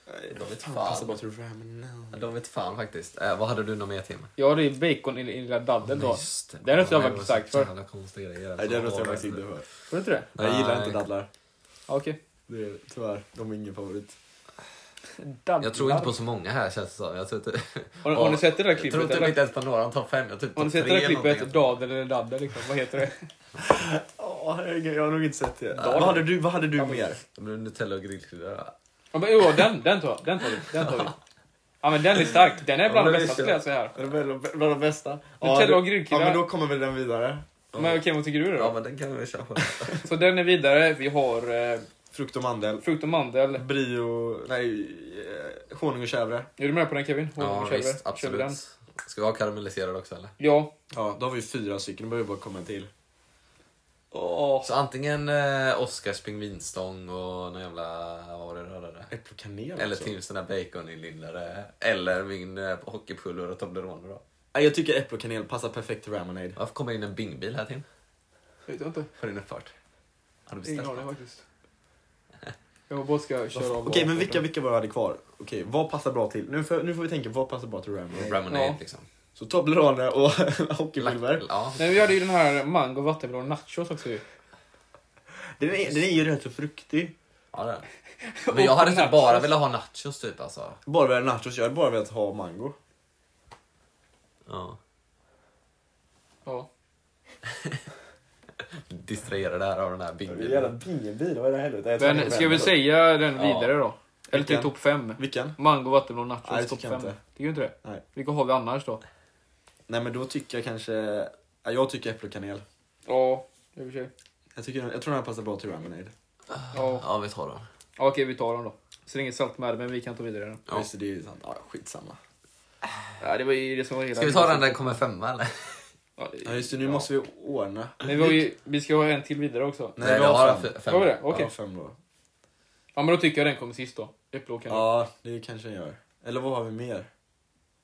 Speaker 2: Nej,
Speaker 3: De vet
Speaker 2: Passar
Speaker 3: fan.
Speaker 2: bara till det men no.
Speaker 3: Ja, De vet fan faktiskt. Eh, vad hade du något mer Tim?
Speaker 1: Jag hade ju bacon i i lilla daddeln då.
Speaker 3: Just det.
Speaker 1: Den har inte jag
Speaker 3: Det
Speaker 1: varit
Speaker 3: var
Speaker 1: stark
Speaker 3: så
Speaker 1: för.
Speaker 3: jävla konstiga grejer.
Speaker 2: Nej, den röstar jag faktiskt inte för.
Speaker 1: Får du inte det?
Speaker 2: Nej, Jag gillar
Speaker 3: Nej.
Speaker 2: inte dadlar.
Speaker 1: Ja, Okej.
Speaker 2: Det är, tyvärr, de är ingen favorit.
Speaker 1: Dadlar.
Speaker 3: Jag tror inte på så många här känns det som. Jag tror inte...
Speaker 1: Har, har ni sett det där
Speaker 3: Jag tror
Speaker 1: klippet?
Speaker 3: inte
Speaker 1: eller?
Speaker 3: riktigt ens på några. De tar fem. Jag typ
Speaker 1: Har ni
Speaker 3: tar
Speaker 1: sett det där
Speaker 3: tre
Speaker 1: klippet?
Speaker 3: någonting.
Speaker 1: Dadel eller daddel liksom? Vad heter det?
Speaker 2: Åh, herregud, jag har nog inte sett det. Vad hade du, vad hade du mer?
Speaker 3: Det blir Nutella och grillkrydda.
Speaker 1: Ja, men, jo, den, den tar den tar vi. Den
Speaker 3: [LAUGHS]
Speaker 1: tar vi. Ja men den är stark. Den är bland
Speaker 3: men
Speaker 1: de
Speaker 3: det
Speaker 1: bästa
Speaker 3: visste
Speaker 1: skulle
Speaker 3: jag.
Speaker 1: jag säga här.
Speaker 2: Är det Bland de- bland de bästa?
Speaker 1: Nutella
Speaker 2: du-
Speaker 1: och grillkrydda.
Speaker 2: Ja, men då kommer väl den vidare.
Speaker 1: Men okej, vad tycker du
Speaker 3: Ja
Speaker 1: då?
Speaker 3: men den kan vi köpa.
Speaker 1: Så den är vidare. Vi har eh,
Speaker 2: Frukt och mandel.
Speaker 1: frukt och mandel.
Speaker 2: Brio... Nej, eh, honung och chèvre.
Speaker 1: Är du med på den Kevin? Hon
Speaker 3: [LAUGHS] ja
Speaker 1: kör
Speaker 3: visst,
Speaker 1: den. Kör den.
Speaker 3: absolut. Ska vi ha karamelliserad också eller?
Speaker 1: Ja.
Speaker 2: Ja, då har vi fyra stycken. Då behöver vi bara komma en till.
Speaker 1: Åh.
Speaker 3: Så antingen eh, Oscars pingvinstång och någon jävla... Vad var det röda där?
Speaker 2: Äpple och kanel
Speaker 3: Eller
Speaker 2: också.
Speaker 3: till såna baconinlindare. Eller min eh, hockeypulver och Toblerone då.
Speaker 2: Nej, Jag tycker äpple och kanel passar perfekt till Ramonade.
Speaker 3: Varför kommer in en bingbil här Tim?
Speaker 1: Vet jag inte.
Speaker 3: Har din uppfart? Har du
Speaker 1: Ingen
Speaker 3: beställt?
Speaker 1: aning faktiskt. Jag bara ska köra av.
Speaker 2: Okej, men vilka, vilka var hade kvar? Okej, vad passar bra till? Nu får, nu får vi tänka, vad passar bra till Ramonade?
Speaker 3: Ramonade
Speaker 1: Ja.
Speaker 3: liksom.
Speaker 2: Så Toblerone och [LAUGHS] hockeypulver.
Speaker 3: Ja.
Speaker 1: Nej, vi hade ju den här mango vattenmelon nachos också ju.
Speaker 2: Den är, den är ju rätt så fruktig.
Speaker 3: ja det är
Speaker 1: [LAUGHS]
Speaker 3: det. Men jag hade typ
Speaker 1: nachos.
Speaker 3: bara velat ha nachos typ alltså.
Speaker 2: Bara velat nachos, jag hade bara velat ha mango.
Speaker 3: Ja.
Speaker 1: Ja.
Speaker 3: Distrahera det här av den här
Speaker 2: Jävla
Speaker 3: bingbilen.
Speaker 2: bingbil, vad är det här helvete? Jag tror
Speaker 1: Men
Speaker 2: jag
Speaker 1: ska vi
Speaker 2: vänder.
Speaker 1: säga den vidare
Speaker 3: Ja.
Speaker 1: då? Eller till
Speaker 2: Vilken?
Speaker 1: topp 5?
Speaker 2: Vilken?
Speaker 1: Mango vattenmelon nachos
Speaker 2: Nej, det
Speaker 1: topp
Speaker 2: tycker jag
Speaker 1: 5.
Speaker 2: inte.
Speaker 1: Tycker du inte det?
Speaker 2: Nej.
Speaker 1: Vilka har vi annars då?
Speaker 2: Nej men då tycker jag kanske... ja, Jag tycker äpple och kanel.
Speaker 1: Ja, i och för sig.
Speaker 2: Jag, tycker, jag tror den här passar bra till Ramonade.
Speaker 1: Ja.
Speaker 3: Ja vi tar dem.
Speaker 1: Ja, okej, vi tar dem då. Så det är inget salt med det, men vi kan ta vidare den.
Speaker 2: Ja. Visst, det är ju sant. Ja, skitsamma.
Speaker 1: Ja, det var ju det som var hela...
Speaker 3: Ska vi ta den där kommer femma eller?
Speaker 1: Ja, det-
Speaker 2: Ja just det, nu måste vi ordna.
Speaker 1: Men vi, har ju, vi ska ha en till vidare också.
Speaker 3: Nej, vi har en f-
Speaker 1: Har vi
Speaker 3: femma.
Speaker 1: det? Okej.
Speaker 2: Ja, fem då.
Speaker 1: Ja, men då tycker jag den kommer sist då. Äpple och kanel.
Speaker 2: Ja, det kanske den gör. Eller vad har vi mer?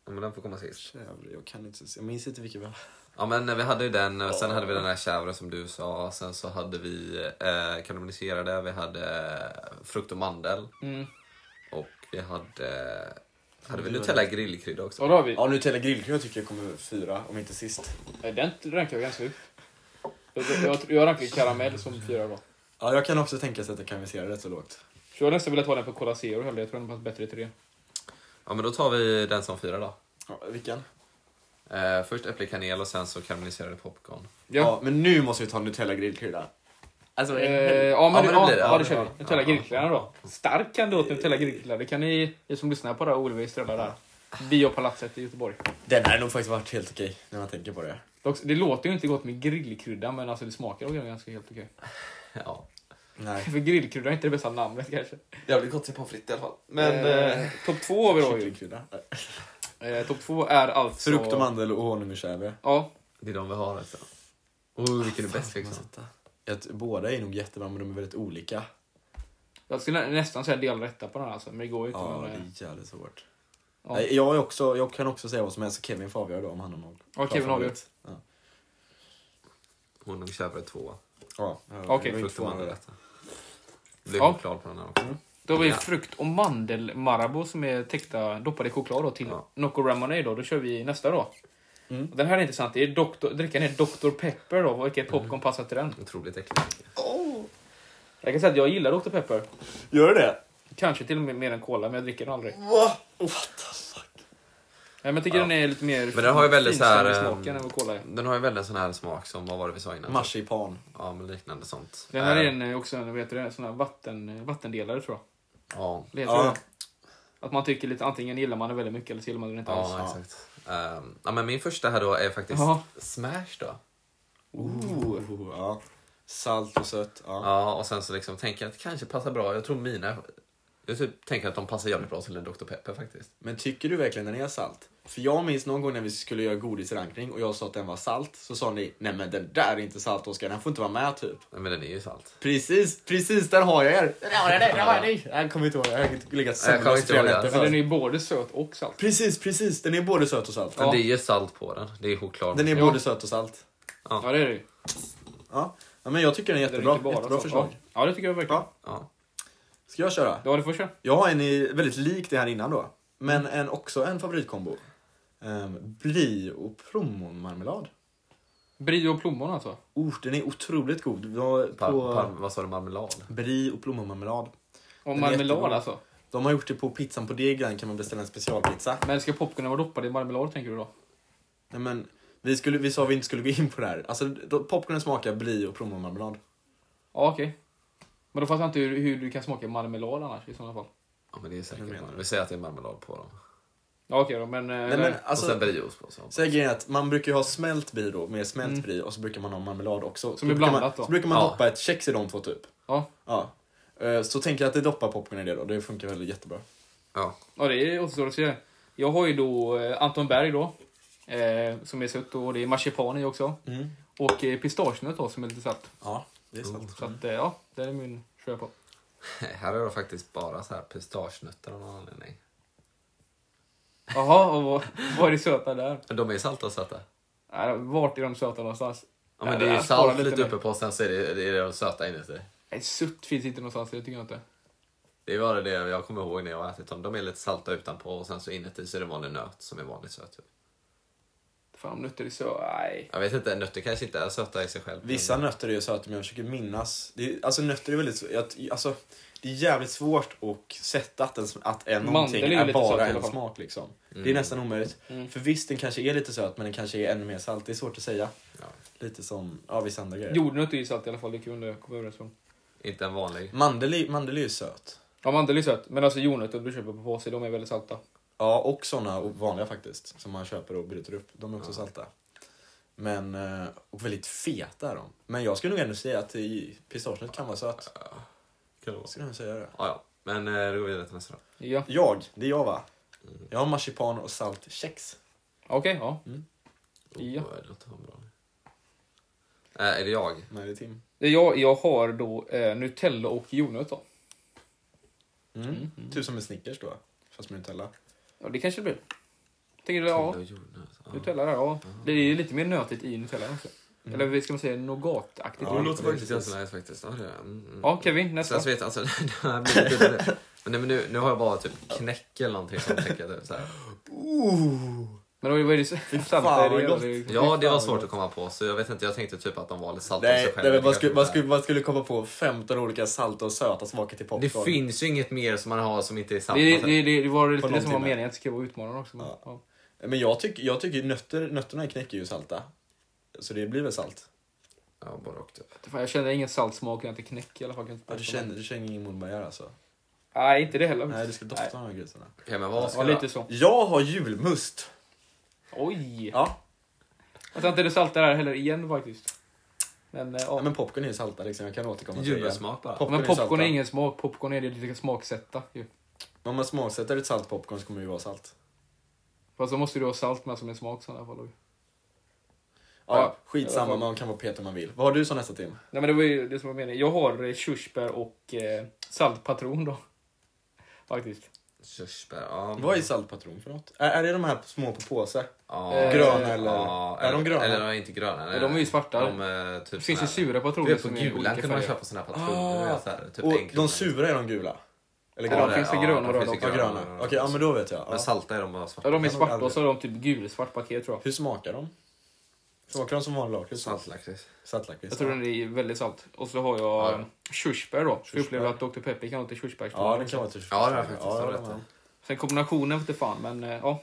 Speaker 3: Ja, men den får komma sist.
Speaker 2: Jävlar, jag kan inte se. Jag minns inte vilka vi har.
Speaker 3: Ja men eh, vi hade ju den, eh, sen hade vi den här chèvre som du sa, sen så hade vi eh, kanoniserade, vi hade eh, frukt och mandel
Speaker 1: Mm.
Speaker 3: och vi hade, hade vi Nutella grillkrydda
Speaker 1: Ja,
Speaker 3: också.
Speaker 1: då har vi.
Speaker 2: Ja, Nutella grillkrydda tycker jag kommer fyra, om inte sist.
Speaker 1: Nej, Den rankar jag ganska högt. Jag, jag, jag rankar karamell som fyra då.
Speaker 2: Ja, jag kan också tänka sig att jag kan visera rätt så lågt.
Speaker 1: Så jag nästan velat ha den på Cola Zero heller. Jag tror den passar bättre till det.
Speaker 3: Ja men då tar vi den som fyra då.
Speaker 2: Ja, vilken?
Speaker 3: Eh, först äpple kanel och sen så karamelliserade popcorn.
Speaker 2: Ja.
Speaker 1: Ja.
Speaker 2: men nu måste vi ta Nutella grillkrydda.
Speaker 3: Alltså,
Speaker 1: Eh, ja, men,
Speaker 3: men det
Speaker 1: ja,
Speaker 3: blir det.
Speaker 1: ja,
Speaker 3: Ja,
Speaker 1: det
Speaker 3: det
Speaker 1: kör
Speaker 3: blir
Speaker 1: vi.
Speaker 3: det.
Speaker 1: Nutella
Speaker 3: Ja,
Speaker 1: grillkläderna då. Stark kan du åt Nutella grillkläder. Det kan ni, ni som lyssnar på det här, Olve i Strölla där. Biopalatset i Göteborg.
Speaker 2: Den här har nog faktiskt varit helt okej, när man tänker på det.
Speaker 1: Dock, Det låter ju inte gott med grillkrydda, men alltså det smakar nog ganska helt okej.
Speaker 3: Ja.
Speaker 2: Nej.
Speaker 1: För grillkrydda är inte det bästa namnet kanske.
Speaker 3: Jävligt gott till pommes frites i alla fall.
Speaker 1: Men eh, topp två har vi då ju.
Speaker 2: Kycklingkrydda.
Speaker 1: Eh, topp två är alltså...
Speaker 2: Frukt och mandel och honung och chèvre.
Speaker 1: Ja,
Speaker 3: Det är de vi har alltså. Oh, vilken är bäst liksom?
Speaker 2: Att båda är nog jättebra men de är väldigt olika.
Speaker 1: jag skulle nä- nästan säga delrätta på den här alltså, men det går ju inte.
Speaker 2: Ja,
Speaker 1: men,
Speaker 2: det
Speaker 1: eh,
Speaker 2: är jävligt svårt.
Speaker 1: Ja.
Speaker 2: Nej, Jag, är också, jag kan också säga vad som helst, så Kevin får avgöra då om han har någon
Speaker 1: Ja, Kevin avgör.
Speaker 2: Ja.
Speaker 3: Honung, chèvre tvåa.
Speaker 2: Ja,
Speaker 1: Okej.
Speaker 2: det var inte
Speaker 3: Frukt och mandel
Speaker 2: svårare.
Speaker 3: etta. Blev
Speaker 1: Ja.
Speaker 3: choklad på den här också.
Speaker 1: Då har vi
Speaker 3: Ja.
Speaker 1: frukt och mandelmarabou som är täckta, doppade i choklad då, till
Speaker 3: Ja. Mm.
Speaker 1: Nocco Ramonade. Då. då kör vi nästa då. Den här är intressant. Det är doktor, drickan är Dr. Pepper då. Vilket
Speaker 3: Mm.
Speaker 1: popcorn passar till den?
Speaker 3: Otroligt äckligt.
Speaker 1: Jag kan säga att jag gillar Dr. Pepper.
Speaker 2: Gör du det?
Speaker 1: Kanske till och med mer än cola, men jag dricker den aldrig.
Speaker 2: Va? What the fuck?
Speaker 1: Nej, men jag tycker den är lite mer
Speaker 3: Men den har ju väldigt
Speaker 1: finstämd
Speaker 3: så här,
Speaker 1: i smaken
Speaker 3: ehm,
Speaker 1: än vad cola är.
Speaker 3: Den har ju väldigt sån här smak som, vad var det vi sa innan?
Speaker 2: Marsipan.
Speaker 3: Ja, men liknande sånt.
Speaker 1: Den här
Speaker 3: Eh,
Speaker 1: är en, eh, också en, vad heter det, sån här vatten, vattendelare tror jag.
Speaker 3: Ja,
Speaker 1: Det heter
Speaker 2: Ja.
Speaker 1: det. Att man tycker lite, antingen gillar man den väldigt mycket eller så gillar man den inte alls.
Speaker 3: ja exakt. Ehm, ja, men min första här då är faktiskt
Speaker 1: Ja.
Speaker 3: Smash då.
Speaker 2: Oh, ja. Salt och sött. Ja.
Speaker 3: Ja, och sen så liksom tänker jag att det kanske passar bra. Jag tror mina... Jag typ tänker att de passar jävligt bra till en Dr. Pepper faktiskt.
Speaker 2: Men tycker du verkligen den är salt? För jag minns någon gång när vi skulle göra godisrankning och jag sa att den var salt. Så sa ni, nej men den där är inte salt Oskar, den får inte vara med typ.
Speaker 3: Men den är ju salt.
Speaker 2: Precis, precis där har jag er! Där har jag dig, där har jag dig! Jag kommer inte ihåg, jag har legat
Speaker 3: Jag
Speaker 2: sömnlös
Speaker 3: kommer inte
Speaker 2: flera
Speaker 3: ihåg det.
Speaker 2: nätter
Speaker 1: Men den är
Speaker 2: för.
Speaker 1: ju både söt och salt.
Speaker 2: Precis, precis! Den är både söt och salt.
Speaker 3: Men
Speaker 1: Ja.
Speaker 3: det är ju salt på den. Det är choklad.
Speaker 2: Den är
Speaker 1: Ja.
Speaker 2: både söt och salt.
Speaker 1: Ja, det är det ju.
Speaker 2: Ja. ja, men jag tycker den är
Speaker 1: Det är
Speaker 2: jättebra.
Speaker 1: inte bara
Speaker 2: Jättebra
Speaker 1: salt.
Speaker 2: förslag.
Speaker 1: Ja, Ja, det tycker jag verkligen.
Speaker 2: Ja.
Speaker 3: Ja.
Speaker 2: Ska jag köra?
Speaker 1: Ja, du får köra.
Speaker 2: Jag har en i- väldigt lik det här innan då. Men en, också en favoritkombo. Um, bli och plommonmarmelad.
Speaker 1: Brie och plommon alltså.
Speaker 2: Oh, den är otroligt god. Vi var
Speaker 3: Par,
Speaker 2: på
Speaker 3: par, vad sa du? Marmelad?
Speaker 2: brie och plommonmarmelad.
Speaker 1: Och
Speaker 2: är
Speaker 1: marmelad
Speaker 2: jättegod.
Speaker 1: alltså.
Speaker 2: De har gjort det på pizzan på Degen kan man beställa en specialpizza.
Speaker 1: Men ska popcornen vara doppad i marmelad tänker du då?
Speaker 2: Nej, men vi, skulle, vi sa vi inte skulle gå in på det här. Alltså, då, popcornen smakar brie och plommonmarmelad.
Speaker 1: Ja, okej. Men då fattar jag inte hur, hur du kan smaka marmelad annars i sådana fall.
Speaker 3: Ja, men det är säkert
Speaker 2: menar
Speaker 3: marmelad. Vi säger att det är marmelad på dem.
Speaker 1: Ja, okej då, men... eh,
Speaker 2: Nej, men alltså,
Speaker 3: och sen brieost på. Så.
Speaker 2: så är grejen att man brukar ju ha smält brie då, med smält brie och så brukar man ha marmelad också.
Speaker 1: Mm. Som alltså.
Speaker 2: Så
Speaker 1: är
Speaker 2: brukar man,
Speaker 1: blandat då.
Speaker 2: Så brukar man
Speaker 3: Ja.
Speaker 2: doppa ett kex i de två typ.
Speaker 1: Ja.
Speaker 2: Ja. Eh, Så tänker jag att det doppar popcorn i det då, det funkar väl jättebra.
Speaker 3: Ja.
Speaker 1: Ja, det är återstår att se. Jag har ju då eh, Anton Berg då. Eh, som är sött och det är marsipan i också.
Speaker 2: Mm.
Speaker 1: Och eh, pistagenöt då som är lite salt.
Speaker 2: Ja, det är sant.
Speaker 3: Mm.
Speaker 1: Så att, eh, ja, det är min kör jag på.
Speaker 3: Nej, här är det faktiskt bara så här pistagenötter av någon anledning.
Speaker 1: Jaha, och vad, vad är det söta där?
Speaker 3: Men de är salta och söta.
Speaker 1: Nej, Vart är de söta någonstans?
Speaker 3: Ja, men det är ju
Speaker 1: Jag sparar
Speaker 3: salt lite
Speaker 1: mer.
Speaker 3: uppe på sen så är det, det, är de söta inuti.
Speaker 1: Nej, sutt finns inte någonstans, det tycker jag inte.
Speaker 3: Det är bara det jag kommer ihåg när jag har ätit dem. De är lite salta utanpå och sen så inuti så är det vanlig nöt som är vanligt söt. typ.
Speaker 1: Fan, om nötter är så... Nej.
Speaker 3: Jag vet inte, nötter kanske inte är söta i sig själv.
Speaker 2: Vissa
Speaker 3: men-
Speaker 2: nötter är ju söta men jag försöker minnas. Det är, alltså nötter är väldigt sv- jag, alltså, Det är jävligt svårt att sätta att en, sm- att en
Speaker 1: Mandel
Speaker 2: någonting
Speaker 1: är ju
Speaker 2: är
Speaker 1: lite söt i
Speaker 2: bara
Speaker 1: alla
Speaker 2: en
Speaker 1: fall. Mm.
Speaker 2: smak liksom. Det är nästan omöjligt. För visst den kanske är lite söt men den kanske är ännu mer salt. Det är svårt att säga.
Speaker 3: Ja.
Speaker 2: Lite som ja, vissa andra grejer.
Speaker 1: Jordnöt är ju salt i alla fall, det kunde jag komma överens om.
Speaker 3: Inte en vanlig.
Speaker 2: Mandel, är- mandel är ju söt.
Speaker 1: Ja, mandel är sött, men alltså jordnötter du köper på påse, de är väldigt salta.
Speaker 2: Ja och såna och vanliga faktiskt. Som man köper och bryter upp. De är också salta. Men, eh, och väldigt feta är de. Men jag skulle nog ändå säga att eh, pistagenöt kan vara söt.
Speaker 3: Kan det vara.
Speaker 2: Skulle jag nog säga det.
Speaker 3: Ja, ja. Men eh, då går vi vidare till nästa då.
Speaker 1: Ja,
Speaker 2: Jag, det är jag va? Jag har marsipan och saltkex.
Speaker 1: okej, ja.
Speaker 3: Mm.
Speaker 1: Ja.
Speaker 3: Oh, det låter bra. Eh, är det jag?
Speaker 2: Nej, det är Tim.
Speaker 1: Jag, jag har då eh, Nutella och jordnöt då.
Speaker 2: Mm. Typ som en Snickers då, fast med Nutella.
Speaker 1: Ja, det kanske det blir. Tänker du, ja,
Speaker 3: Eller jordnöt? Ja. Mm.
Speaker 1: Nutella där, ja. Det är ju lite mer nötigt i Nutella också. Eller ska man säga nougataktigt?
Speaker 3: Ja, det låter faktiskt ganska nice faktiskt. Ja, det är det. Mm, mm.
Speaker 1: Ja, Kevin,
Speaker 3: Så jag
Speaker 1: nästa.
Speaker 3: vet, alltså, [LAUGHS] det här blir lite... Men, nej, men nu, nu har jag bara typ knäck eller någonting som tänker typ, så här.
Speaker 1: Men vad är det [LAUGHS] salta
Speaker 2: fan,
Speaker 1: är det?
Speaker 2: vad gott.
Speaker 1: eller är det-
Speaker 3: Ja, det var svårt att komma på så jag vet inte, jag tänkte typ att de var lite salta i
Speaker 2: Nej,
Speaker 3: sig
Speaker 2: nej
Speaker 3: själva.
Speaker 2: men man,
Speaker 3: Det
Speaker 2: skulle,
Speaker 3: kanske
Speaker 2: man,
Speaker 3: inte
Speaker 2: skulle, man skulle komma på 15 olika salta och söta smaker till
Speaker 3: är.
Speaker 2: popcorn.
Speaker 3: Det finns ju inget mer som man har som inte är salta.
Speaker 1: Det, det, det, det var lite
Speaker 2: alltså, På
Speaker 1: det
Speaker 2: någon
Speaker 1: som var
Speaker 2: timme.
Speaker 1: meningen, att det skulle vara utmanande också. Men,
Speaker 2: Ja.
Speaker 1: ja.
Speaker 2: Men jag tycker jag tycker nötter, nötterna i knäck är ju salta. Så det blir väl salt?
Speaker 3: Ja, både och typ.
Speaker 1: Fan, jag kände ingen saltsmak, jag inte knäck i alla fall. kan jag inte
Speaker 2: Ja, du,
Speaker 1: prata om
Speaker 2: känner, du känner ingen munbärgare alltså?
Speaker 1: det. Nej, inte det heller.
Speaker 2: Nej, du ska dofta av de här grisarna.
Speaker 3: Okej, men vad
Speaker 1: Ja,
Speaker 3: ska
Speaker 1: lite så.
Speaker 2: Jag har julmust.
Speaker 1: Oj!
Speaker 2: Ja.
Speaker 1: Jag tror inte det saltar här heller igen faktiskt. Men, eh, ja.
Speaker 2: ja men popcorn är ju salta liksom, jag kan återkomma
Speaker 3: jag...
Speaker 2: till det. igen.
Speaker 3: Julsmak bara.
Speaker 2: Popcorn
Speaker 1: men
Speaker 2: är
Speaker 1: popcorn
Speaker 2: salta.
Speaker 1: är ingen smak, popcorn är det du ska smaksätta. Ju.
Speaker 2: Om man smaksätter ett salt popcorn så kommer det ju vara salt.
Speaker 1: Fast så måste du ha salt med som en smak i alla fall.
Speaker 2: Ja,
Speaker 1: Ja,
Speaker 2: skitsamma,
Speaker 1: jag får-
Speaker 2: man kan vara petig om man vill. Vad har du som nästa Tim?
Speaker 1: Nej men det var ju det som var meningen. Jag har eh, körsbär och eh, saltpatron då. Faktiskt.
Speaker 3: Körsbär. Ja,
Speaker 2: Vad är saltpatron för något? Är, är det de här små på påse?
Speaker 3: ja,
Speaker 1: Eh,
Speaker 2: gröna eller?
Speaker 3: Ja,
Speaker 2: är de gröna?
Speaker 3: Eller de är inte gröna. nej.
Speaker 1: de är ju svarta.
Speaker 3: De är typ
Speaker 1: Det finns ju
Speaker 3: såna här-
Speaker 1: sura
Speaker 3: Du
Speaker 1: patroner
Speaker 3: vet, på
Speaker 1: som är
Speaker 3: gulan
Speaker 1: olika
Speaker 3: kunde man
Speaker 1: färger.
Speaker 3: köpa såna här patroner.
Speaker 2: Ah.
Speaker 3: så här, typ
Speaker 2: och
Speaker 3: en krona.
Speaker 2: de sura är de gula? Eller
Speaker 1: Ja,
Speaker 2: gröna?
Speaker 1: de
Speaker 3: det-
Speaker 1: finns ju
Speaker 3: ja,
Speaker 1: gröna
Speaker 3: de
Speaker 1: då,
Speaker 3: finns ju
Speaker 1: de-
Speaker 2: Ja, gröna. Okej, ja men då vet jag. Ja.
Speaker 3: Men salta är de bara svarta.
Speaker 1: Ja de är
Speaker 2: Jag har
Speaker 1: svarta
Speaker 2: aldrig-
Speaker 1: och så har de typ gulsvart paket tror jag.
Speaker 2: Hur smakar de? Smakar de som vanlig lakrits?
Speaker 3: [LAUGHS] Saltlakrits.
Speaker 2: Saltlakrits?
Speaker 1: Jag tror den är väldigt salt. Och så har jag
Speaker 3: Ja.
Speaker 1: körsbär då. För jag
Speaker 2: Körsbär.
Speaker 1: upplevde att Dr Pepper kan ha lite körsbärssmak.
Speaker 2: Ja, den kan vara till
Speaker 3: Ja, det har jag faktiskt
Speaker 2: Ja,
Speaker 3: rätt
Speaker 2: den har-
Speaker 1: Sen kombinationen vete fan men eh, ja.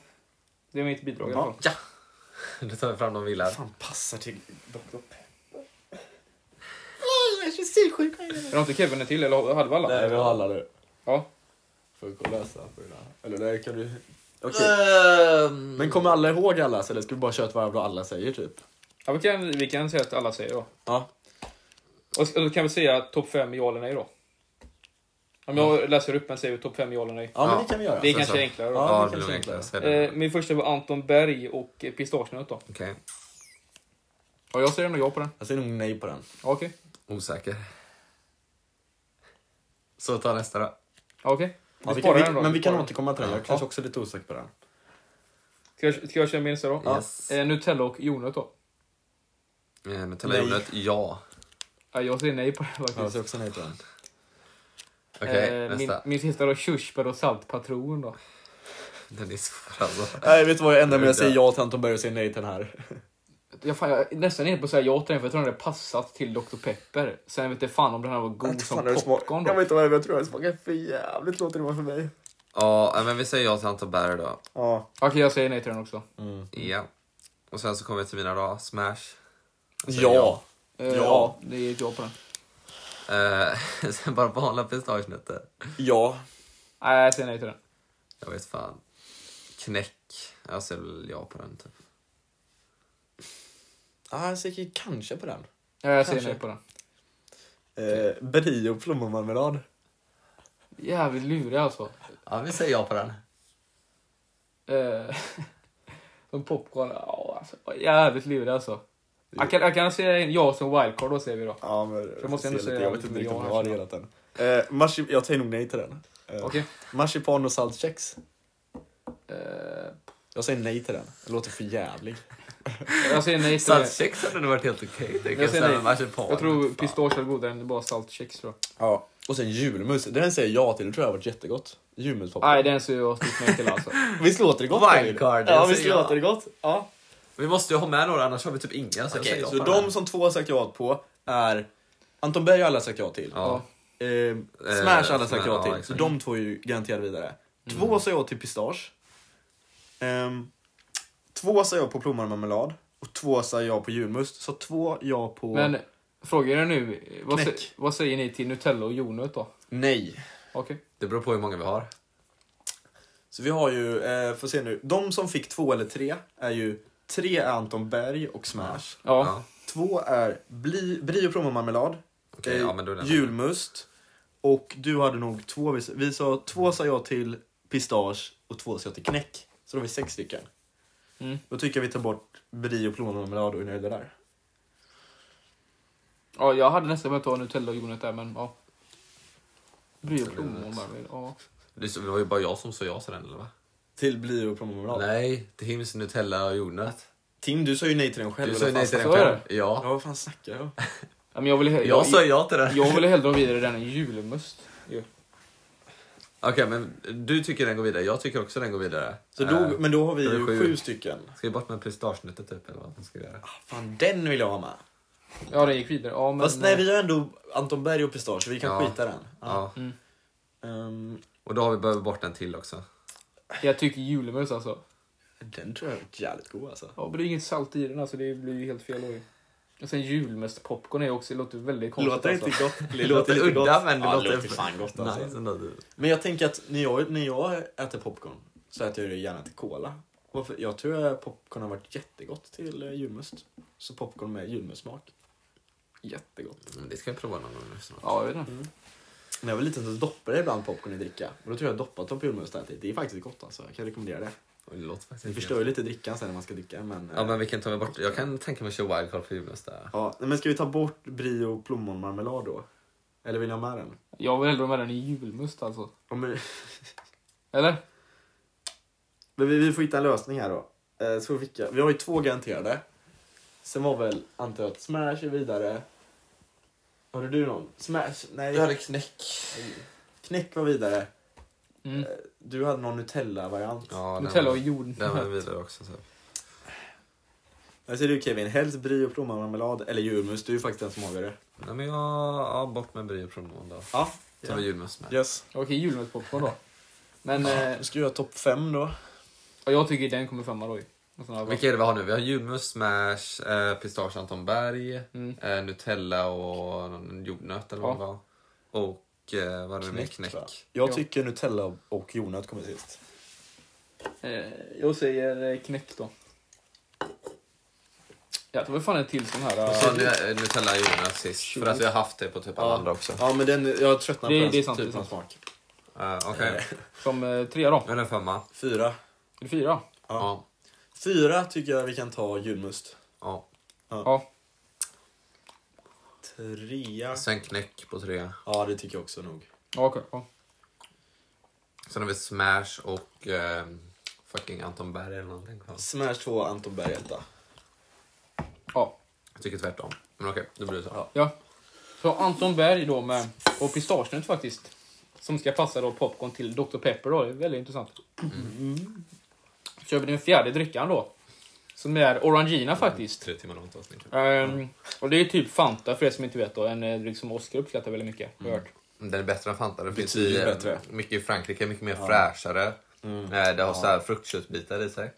Speaker 1: Det är mitt bidrag i alla
Speaker 2: Ja.
Speaker 1: fall.
Speaker 3: Nu tar vi fram de vill här.
Speaker 2: Fan, passar till Dr. Pepper.
Speaker 1: Har inte Kevin en till eller hade vi alla?
Speaker 2: Nej, vi har alla nu.
Speaker 1: Ja.
Speaker 2: Får vi kolla så här på det där. Eller nej, kan du... Okej.
Speaker 1: Ehm,
Speaker 2: Men kommer alla ihåg allas eller ska vi bara köra ett varv då alla säger typ?
Speaker 1: ja vi, kan, vi kan säga att alla säger då.
Speaker 2: Ja.
Speaker 1: Och så- då kan vi säga topp 5 ja eller nej då. Om jag läser upp en säger vi topp 5 ja eller nej.
Speaker 2: Ja, men
Speaker 3: Ja.
Speaker 2: det kan vi göra.
Speaker 1: Det är
Speaker 3: så-
Speaker 1: kanske enklare då.
Speaker 2: Ja,
Speaker 3: Ja,
Speaker 2: det
Speaker 3: det
Speaker 2: kanske
Speaker 3: blir
Speaker 2: är enklare.
Speaker 3: enklare. Säg det.
Speaker 1: Eh, min första var Anton Berg och eh, pistagenöt då.
Speaker 3: Okej.
Speaker 1: Ja, jag säger nog ja på den.
Speaker 2: Jag säger nog nej på den.
Speaker 1: Ja, Okej.
Speaker 3: Osäker. Så ta nästa då.
Speaker 1: Ja, okej.
Speaker 2: Ja, vi
Speaker 1: sparar
Speaker 2: kan, vi,
Speaker 1: den då,
Speaker 2: men vi kan
Speaker 1: sparar den.
Speaker 2: återkomma till den. Jag är kanske också lite osäker på den.
Speaker 1: Ska jag, ska jag köra min nästa då?
Speaker 3: Yes.
Speaker 1: Eh, Nutella och jordnöt då.
Speaker 3: Eh, Nutella
Speaker 2: Nej.
Speaker 3: jordnöt, ja.
Speaker 1: Ja, jag säger nej på den [LAUGHS]
Speaker 2: Ja,
Speaker 1: faktiskt.
Speaker 2: Jag säger också nej på den.
Speaker 3: Okej,
Speaker 1: eh, min,
Speaker 3: nästa.
Speaker 1: min sista då, körsbär och saltpatron då.
Speaker 3: Den är svår alltså.
Speaker 2: Nej, vet du vad? Jag ändrar mig.
Speaker 3: mig.
Speaker 2: Jag
Speaker 3: Jag
Speaker 2: säger
Speaker 3: säger
Speaker 2: ja till Anton Berg och säger nej till den här. [LAUGHS]
Speaker 1: Jag, fan, jag är nästan inne på att säga ja till den för jag tror den hade passat till Dr Pepper. Sen vet jag fan om den här var god som popcorn då.
Speaker 2: inte vad det är, men jag tror det smakar för jävligt låter det vara för mig.
Speaker 3: Ja, eh, men vi säger ja till Anton Berg då.
Speaker 2: Ja.
Speaker 1: Okej, jag säger nej till den också.
Speaker 3: Ja. Och sen så kommer vi till mina då. Smash. Jag säger
Speaker 2: Ja.
Speaker 1: Eh,
Speaker 2: Ja.
Speaker 1: ja, det är ett ja på den.
Speaker 3: ja. Eh, [LAUGHS] sen bara vanliga pistagenötter.
Speaker 2: Ja.
Speaker 1: Nej, jag säger nej till den.
Speaker 3: Jag vet fan. Knäck. Jag säger väl ja på den typ.
Speaker 2: Ah, jag säger kanske på den.
Speaker 1: Ja, jag säger
Speaker 2: Kanske.
Speaker 1: nej på den.
Speaker 2: Eh, Brio och plommonmarmelad.
Speaker 1: Jävligt lurig alltså.
Speaker 3: Ja, vi säger ja på den.
Speaker 1: [LAUGHS] Eh, som popcorn. Ja, alltså, jävligt lurig alltså. Jag kan, jag kan säga en ja som wildcard då säger vi då.
Speaker 2: Ja, men
Speaker 1: måste
Speaker 2: jag, måste
Speaker 1: ändå
Speaker 2: lite,
Speaker 1: säga
Speaker 2: jag vet inte
Speaker 1: lite
Speaker 2: riktigt om
Speaker 1: mer
Speaker 2: jag har
Speaker 1: ja
Speaker 2: delat den. Eh, marsi- jag säger nog nej till den. Eh,
Speaker 1: Okej.
Speaker 2: Marsipan och saltkex.
Speaker 1: Eh,
Speaker 2: Jag säger nej till den. Det låter för jävligt.
Speaker 1: jag säger nej till
Speaker 2: Eh,
Speaker 1: det.
Speaker 3: Saltkex hade nog varit helt okej. Okay,
Speaker 1: Jag
Speaker 3: jag,
Speaker 1: säger nej. Jag
Speaker 3: jag
Speaker 1: tror pistage är godare än bara saltkex tror jag.
Speaker 2: Ja. Och sen julmus. Den säger jag till. Det tror jag har varit jättegott. Julmuspapper.
Speaker 1: Nej, den ser jag stort nej till
Speaker 2: [LAUGHS]
Speaker 1: alltså.
Speaker 2: Visst låter det gott?
Speaker 3: Wildcard,
Speaker 2: Ja,
Speaker 3: jag
Speaker 2: visst
Speaker 3: säger ja.
Speaker 2: låter det gott? Ja.
Speaker 3: Vi måste ju ha med några, annars har vi typ inga. Så jag säger ja
Speaker 2: Så
Speaker 3: på den.
Speaker 2: de som två har sagt ja på är Anton Berg har alla sagt ja till.
Speaker 3: Ja.
Speaker 2: Eh, Smash har alla
Speaker 3: Smash,
Speaker 2: sagt ja
Speaker 3: ja,
Speaker 2: till. så
Speaker 3: exakt. Mm.
Speaker 2: de två är ju garanterade vidare. Två sa ja till pistage. Ehm, två sa ja på plommonmarmelad. Och två sa ja på julmust. Så två ja på...
Speaker 1: Men frågan är nu, vad,
Speaker 2: Knäck.
Speaker 1: sä- vad säger ni till Nutella och jordnöt då?
Speaker 2: Nej.
Speaker 1: Okej.
Speaker 3: Det beror på hur många vi har.
Speaker 2: Så vi har ju, eh, får se nu. De som fick två eller tre är ju... Tre är Anton Berg och Smash.
Speaker 1: Ja.
Speaker 3: Ja.
Speaker 2: Två är bli, Brie och plommonmarmelad.
Speaker 3: Okej,
Speaker 2: eh,
Speaker 3: ja, men då är det-
Speaker 2: julmust. Och du hade nog två. Vi, vi sa, två sa jag till pistage och två sa jag till knäck. Så då har vi sex stycken.
Speaker 1: Mm.
Speaker 2: Då tycker jag vi tar bort Brie och plommonmarmelad och är nöjda där.
Speaker 1: ja, jag hade nästan behövt ha Nutella och jordnöt där, men ja. Bry och plommon bara. men, Ja.
Speaker 3: Det var ju bara jag som sa ja till den, eller va?
Speaker 2: Till Brie och plommonmarmelad.
Speaker 3: Nej, det Hims, Nutella och jordnöt.
Speaker 2: Tim, du sa ju nej till den själv.
Speaker 3: Du
Speaker 2: eller
Speaker 3: sa
Speaker 2: vad fan
Speaker 3: ju nej till
Speaker 1: sa
Speaker 3: den
Speaker 1: jag
Speaker 3: själv.
Speaker 2: Ja,
Speaker 3: Ja.
Speaker 2: vad fan snackar jag om?
Speaker 1: Ja, men jag ville jag,
Speaker 3: Jag sa
Speaker 1: jag,
Speaker 3: ja till den.
Speaker 1: jag ville hellre ha vidare den än julmust.
Speaker 3: Okej, men du tycker den går vidare. Jag tycker också den går vidare.
Speaker 2: Så då,
Speaker 3: Eh,
Speaker 2: men då har vi
Speaker 3: det är
Speaker 2: ju sju.
Speaker 3: sju.
Speaker 2: stycken.
Speaker 3: Ska vi bort med pistagenötter typ, eller vad man ska göra?
Speaker 2: Fan, den vill jag ha med.
Speaker 1: Ja, den gick vidare. Ja, men, eh,
Speaker 2: Fast nej, vi har ändå Anton Berg och pistage, så vi kan
Speaker 3: Ja.
Speaker 2: skita den.
Speaker 3: Ja.
Speaker 1: Mm.
Speaker 2: Ehm,
Speaker 3: Och då har vi behövt bort en till också.
Speaker 1: eh, Jag tycker julmust alltså.
Speaker 2: den tror jag är jävligt god alltså.
Speaker 1: Ja, men det är inget salt i den alltså, det blir ju helt fel. då ju. Och sen julmust popcorn är också, det låter väldigt konstigt
Speaker 2: Låter
Speaker 1: alltså.
Speaker 2: inte gott.
Speaker 3: Det låter
Speaker 2: lite
Speaker 3: udda,
Speaker 2: gott.
Speaker 3: men det
Speaker 2: ja,
Speaker 3: låter-
Speaker 2: låter fan gott alltså.
Speaker 3: Nice ändå, du.
Speaker 2: Men jag tänker att när jag, när jag äter popcorn så äter jag det gärna till cola. Varför? Jag tror att popcorn har varit jättegott till eh, julmust. Så popcorn med julmustsmak. Jättegott.
Speaker 3: Men det ska vi prova någon gång nu snart.
Speaker 1: Ja, jag vet inte.
Speaker 2: När jag var liten så doppade jag ibland popcorn i dricka. Och då tror jag jag doppat dem på julmust och ätit. Det är faktiskt gott alltså. Jag kan rekommendera det.
Speaker 3: Det låter faktiskt
Speaker 2: Det
Speaker 3: inte
Speaker 2: förstör ju lite drickan sen när man ska dricka. Men, eh,
Speaker 3: Ja, men vilken tar vi bort? Jag kan tänka mig att köra wildcard för julmust där.
Speaker 2: ja, nej, men ska vi ta bort Brie och plommonmarmelad då? Eller vill jag ha med den?
Speaker 1: Jag vill hellre ha med den i julmust alltså.
Speaker 2: Ja, men, [LAUGHS]
Speaker 1: Eller?
Speaker 2: Men vi, vi får hitta en lösning här då. Eh, så vilka? Vi har ju två garanterade. Sen var väl, antar jag, att Smash är vidare. Har du någon? Smash? Nej.
Speaker 3: knäck.
Speaker 2: Knäck var vidare.
Speaker 1: Mm.
Speaker 2: Du hade någon Nutella-variant.
Speaker 3: Ja, den-
Speaker 1: Nutella och jordnöt.
Speaker 3: Den var vidare också. Så.
Speaker 2: Jag ser du Kevin, helst brie och plommonmarmelad eller julmust. Du är ju faktiskt den som avgör det.
Speaker 3: Nej, men jag... Ja, bort med Brie och Promon då.
Speaker 2: Ja.
Speaker 3: Så har vi julmust med.
Speaker 2: Yes.
Speaker 1: [LAUGHS] Okej, julmustpopcorn då. Men eh,
Speaker 2: Då ska vi göra topp fem då.
Speaker 1: och jag tycker den kommer femma då ju. Och sådana här-
Speaker 3: Vilka är det vi har nu? Vi har julmust, smash, eh, pistage Anton Berg,
Speaker 1: Mm.
Speaker 3: eh, Nutella och någon jordnöt eller vad
Speaker 1: Ja.
Speaker 3: det var. Och eh, vad är det med knäck?
Speaker 2: va? Jag
Speaker 1: Ja.
Speaker 2: tycker Nutella och jordnöt kommer sist.
Speaker 1: Eh, jag säger eh, knäck då. Ja, det var fan en till sån här. eh,
Speaker 3: Ja, nu, eh, Nutella och jordnöt sist. För att vi har haft det på typ alla andra också.
Speaker 2: Ja, men den, jag tröttnar
Speaker 1: Det-
Speaker 2: på
Speaker 1: det är
Speaker 2: den
Speaker 1: sant, det är
Speaker 2: typen av
Speaker 1: sant.
Speaker 2: smak.
Speaker 3: Eh, Okej,
Speaker 1: som eh, trea då.
Speaker 3: nu är det en femma.
Speaker 2: Fyra.
Speaker 1: Är det fyra?
Speaker 3: Ja.
Speaker 2: Fyra tycker jag vi kan ta julmust.
Speaker 3: Ja.
Speaker 1: Ja.
Speaker 2: Trea.
Speaker 3: Sen knäck på tre.
Speaker 2: Ja, det tycker jag också nog.
Speaker 1: Ja, okej. Ja.
Speaker 3: Sen har vi smash och eh, fucking Anton Berg eller någonting. kvar.
Speaker 2: Smash 2, Anton Berg etta.
Speaker 1: ja.
Speaker 3: Jag tycker tvärtom. Men okej, då blir det så.
Speaker 1: ja. Så Anton Berg då med, och pistagenöt faktiskt. Som ska passa då popcorn till Dr. Pepper då. Det är väldigt intressant.
Speaker 3: Mm.
Speaker 1: Kör vi den fjärde dryckan då. Som är Orangina faktiskt.
Speaker 3: Tre timmar långt avsnitt.
Speaker 1: Ehm, och det är typ Fanta för er som inte vet då. En eh, dryck som Oscar uppskattar väldigt mycket. har jag Hört.
Speaker 3: Mm, Den är bättre än Fanta. Den finns
Speaker 2: Betydligt
Speaker 3: i, ehm,
Speaker 2: bättre.
Speaker 3: mycket i Frankrike, mycket mer fräschare. Eh, Det har så här fruktköttbitar i sig.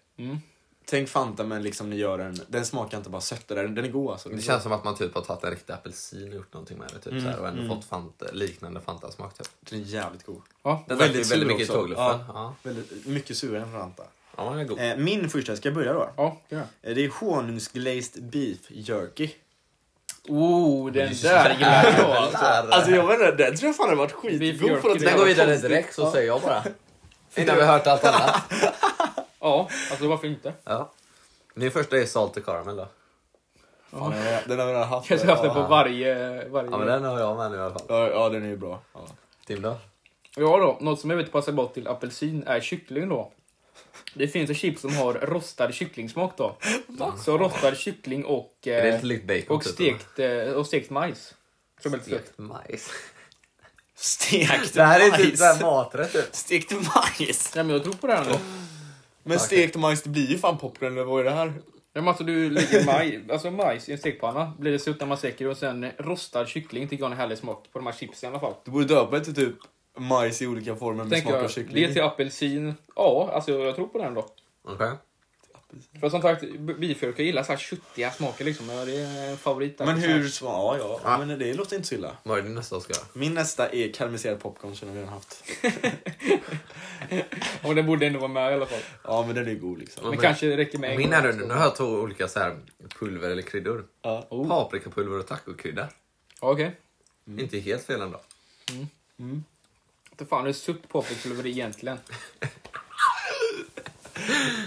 Speaker 2: Tänk Fanta men liksom ni gör den, den smakar inte bara sötare, den är god alltså.
Speaker 3: Det känns som att man typ har tagit en riktig apelsin och gjort någonting med det. Typ, så här, och ändå fått Fanta, liknande Fanta-smak. Typ.
Speaker 2: Den är jävligt god.
Speaker 1: Ja.
Speaker 3: Den
Speaker 2: Väldigt
Speaker 3: väldigt,
Speaker 2: sur
Speaker 3: väldigt mycket i
Speaker 2: också.
Speaker 3: tågluffen. Ja.
Speaker 2: Väldigt, mycket surare än Fanta.
Speaker 3: ja, den är god.
Speaker 2: Eh, min första, ska jag börja då?
Speaker 1: Ja, det gör jag.
Speaker 2: Eh, Det är honungsglazed beef jerky.
Speaker 1: Oh, den där gillar [LAUGHS] jag.
Speaker 3: Alltså,
Speaker 2: Alltså jag vet inte, den tror jag fan har varit
Speaker 1: Beef
Speaker 2: skitgod
Speaker 1: jerky,
Speaker 2: för att
Speaker 1: det
Speaker 3: den går vidare direkt så säger jag bara. Innan vi har hört allt annat.
Speaker 1: Ja, alltså varför inte?
Speaker 3: Ja. Min första är Salted Caramel då.
Speaker 2: Fan, den har- Eh, den har vi redan haft.
Speaker 1: Kanske haft den på
Speaker 2: Ja.
Speaker 1: varje... varje...
Speaker 3: Ja, men den har jag med nu i alla fall.
Speaker 2: Ja, ja, den är ju bra. Ja.
Speaker 3: Tim då?
Speaker 1: Ja då, något som jag vet passar bra till apelsin är kyckling då. Det finns ju chips som har rostad kycklingsmak då. Så rostad kyckling och,
Speaker 3: Är det
Speaker 1: eh,
Speaker 3: lite likt bacon?
Speaker 1: och, stekt, eh, och stekt majs. Som är lite gött.
Speaker 3: Stekt majs.
Speaker 2: Stekt
Speaker 3: Det här är typ
Speaker 2: majs.
Speaker 3: såhär maträtt typ.
Speaker 2: Stekt majs!
Speaker 1: Nej men jag tror på det här ändå.
Speaker 2: Men stekt majs, det blir ju fan popcorn eller vad är det här?
Speaker 1: Ja, men alltså du lägger maj, alltså majs i en stekpanna, blir det sött när man steker och sen eh, rostad kyckling tycker jag är en härlig smak på de här chipsen i alla fall.
Speaker 2: Du borde döpa det till typ majs i olika former med
Speaker 1: Tänker
Speaker 2: smak av
Speaker 1: jag,
Speaker 2: kyckling.
Speaker 1: det till apelsin, ja alltså jag tror på den då.
Speaker 3: Okej.
Speaker 1: För som sagt, b- bifjölk, jag gillar så här köttiga smaker liksom. Ja, det är en favorit. där.
Speaker 2: Men
Speaker 1: Så här.
Speaker 2: hur... sma- Ja, ja. ja. Men det låter inte så illa.
Speaker 3: Vad är din nästa Oskar?
Speaker 2: Min nästa är karamelliserad popcorn som vi redan haft.
Speaker 1: Och den borde ändå vara med i alla fall.
Speaker 2: Ja, men den är god liksom.
Speaker 1: Men kanske räcker med en
Speaker 3: Min
Speaker 1: gång.
Speaker 3: är det nu. Nu har jag två olika så Oh. här pulver eller kryddor.
Speaker 2: Ja.
Speaker 1: Oh,
Speaker 3: Paprikapulver och tacokrydda.
Speaker 1: Ja, Okej.
Speaker 3: Inte helt fel ändå.
Speaker 1: Inte fan hur sutt paprikapulver är
Speaker 2: [LAUGHS]
Speaker 1: egentligen.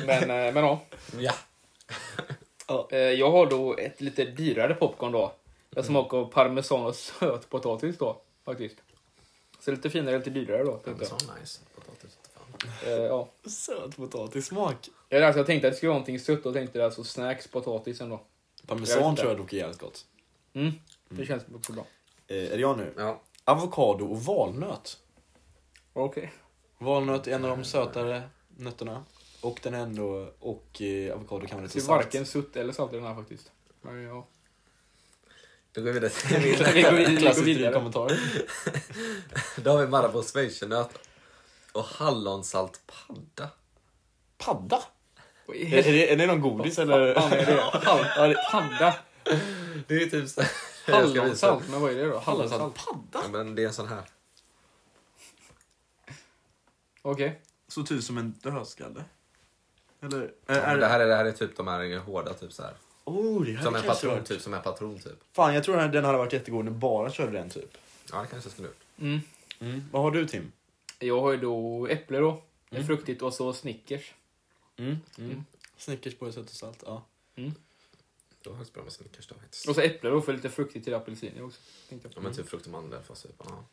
Speaker 1: men, eh, men ja.
Speaker 3: Ja.
Speaker 2: Ja.
Speaker 1: Eh, Jag har då ett lite dyrare popcorn då. Jag smakar parmesan och sötpotatis då. Faktiskt. Så lite finare, lite dyrare då. Tänkte jag.
Speaker 3: Så nice. Potatis. fan.
Speaker 1: Eh, ja.
Speaker 2: Sötpotatissmak.
Speaker 1: jag, alltså, jag tänkte att det skulle vara någonting sött och tänkte alltså snacks, potatisen då. Jag vet
Speaker 2: Parmesan
Speaker 1: inte.
Speaker 2: tror jag dock är jävligt gott.
Speaker 1: Mm. Det känns också bra.
Speaker 2: Eh, är det jag nu?
Speaker 3: Ja.
Speaker 2: Avokado och valnöt.
Speaker 1: Okej.
Speaker 2: Valnöt är en av de sötare nötterna. Och den är ändå... Och eh, avokado kan vara
Speaker 1: Det
Speaker 2: lite
Speaker 1: är
Speaker 2: salt.
Speaker 1: varken sutt eller salt i den här faktiskt. Men, ja.
Speaker 3: Då går vi vidare till min.
Speaker 1: Vi går, vi går
Speaker 2: Klassiskt i
Speaker 1: vidare.
Speaker 2: kommentarer.
Speaker 3: [LAUGHS] Då har vi Marabou schweizernöt och hallonsaltpadda.
Speaker 2: Padda? Är, är, det, är det någon godis [LAUGHS] eller?
Speaker 1: Fan, vad är det?
Speaker 2: Ja,
Speaker 1: Hall-
Speaker 2: det-
Speaker 1: Panda.
Speaker 3: Det är typ så här- Jag ska visa.
Speaker 1: Hallonsalt, men vad är det då? Hallonsalt.
Speaker 2: Padda?
Speaker 3: Ja, men det är en sån här.
Speaker 1: Okej.
Speaker 2: Såg ut som en dödskalle. Eller?
Speaker 3: Ja, men det, här är, det här är typ de här hårda typ så här.
Speaker 2: Oh, det här
Speaker 3: Som en
Speaker 2: kanske
Speaker 3: patron
Speaker 2: varit-
Speaker 3: typ. Som en patron typ.
Speaker 2: Fan, jag tror den, här- den hade varit jättegod om du bara körde den typ.
Speaker 3: Ja det kanske jag skulle gjort.
Speaker 2: Vad har du Tim?
Speaker 1: Jag har ju då äpple då. Fruktigt och så Snickers.
Speaker 2: Mm. Mm. Snickers på sött och salt, ja.
Speaker 3: Det var faktiskt bra med Snickers då faktiskt.
Speaker 1: Och så äpple då för lite fruktigt till apelsiner också. Tänkte
Speaker 3: Ja
Speaker 1: jag.
Speaker 3: men typ frukt och mandel fast typ. Ja.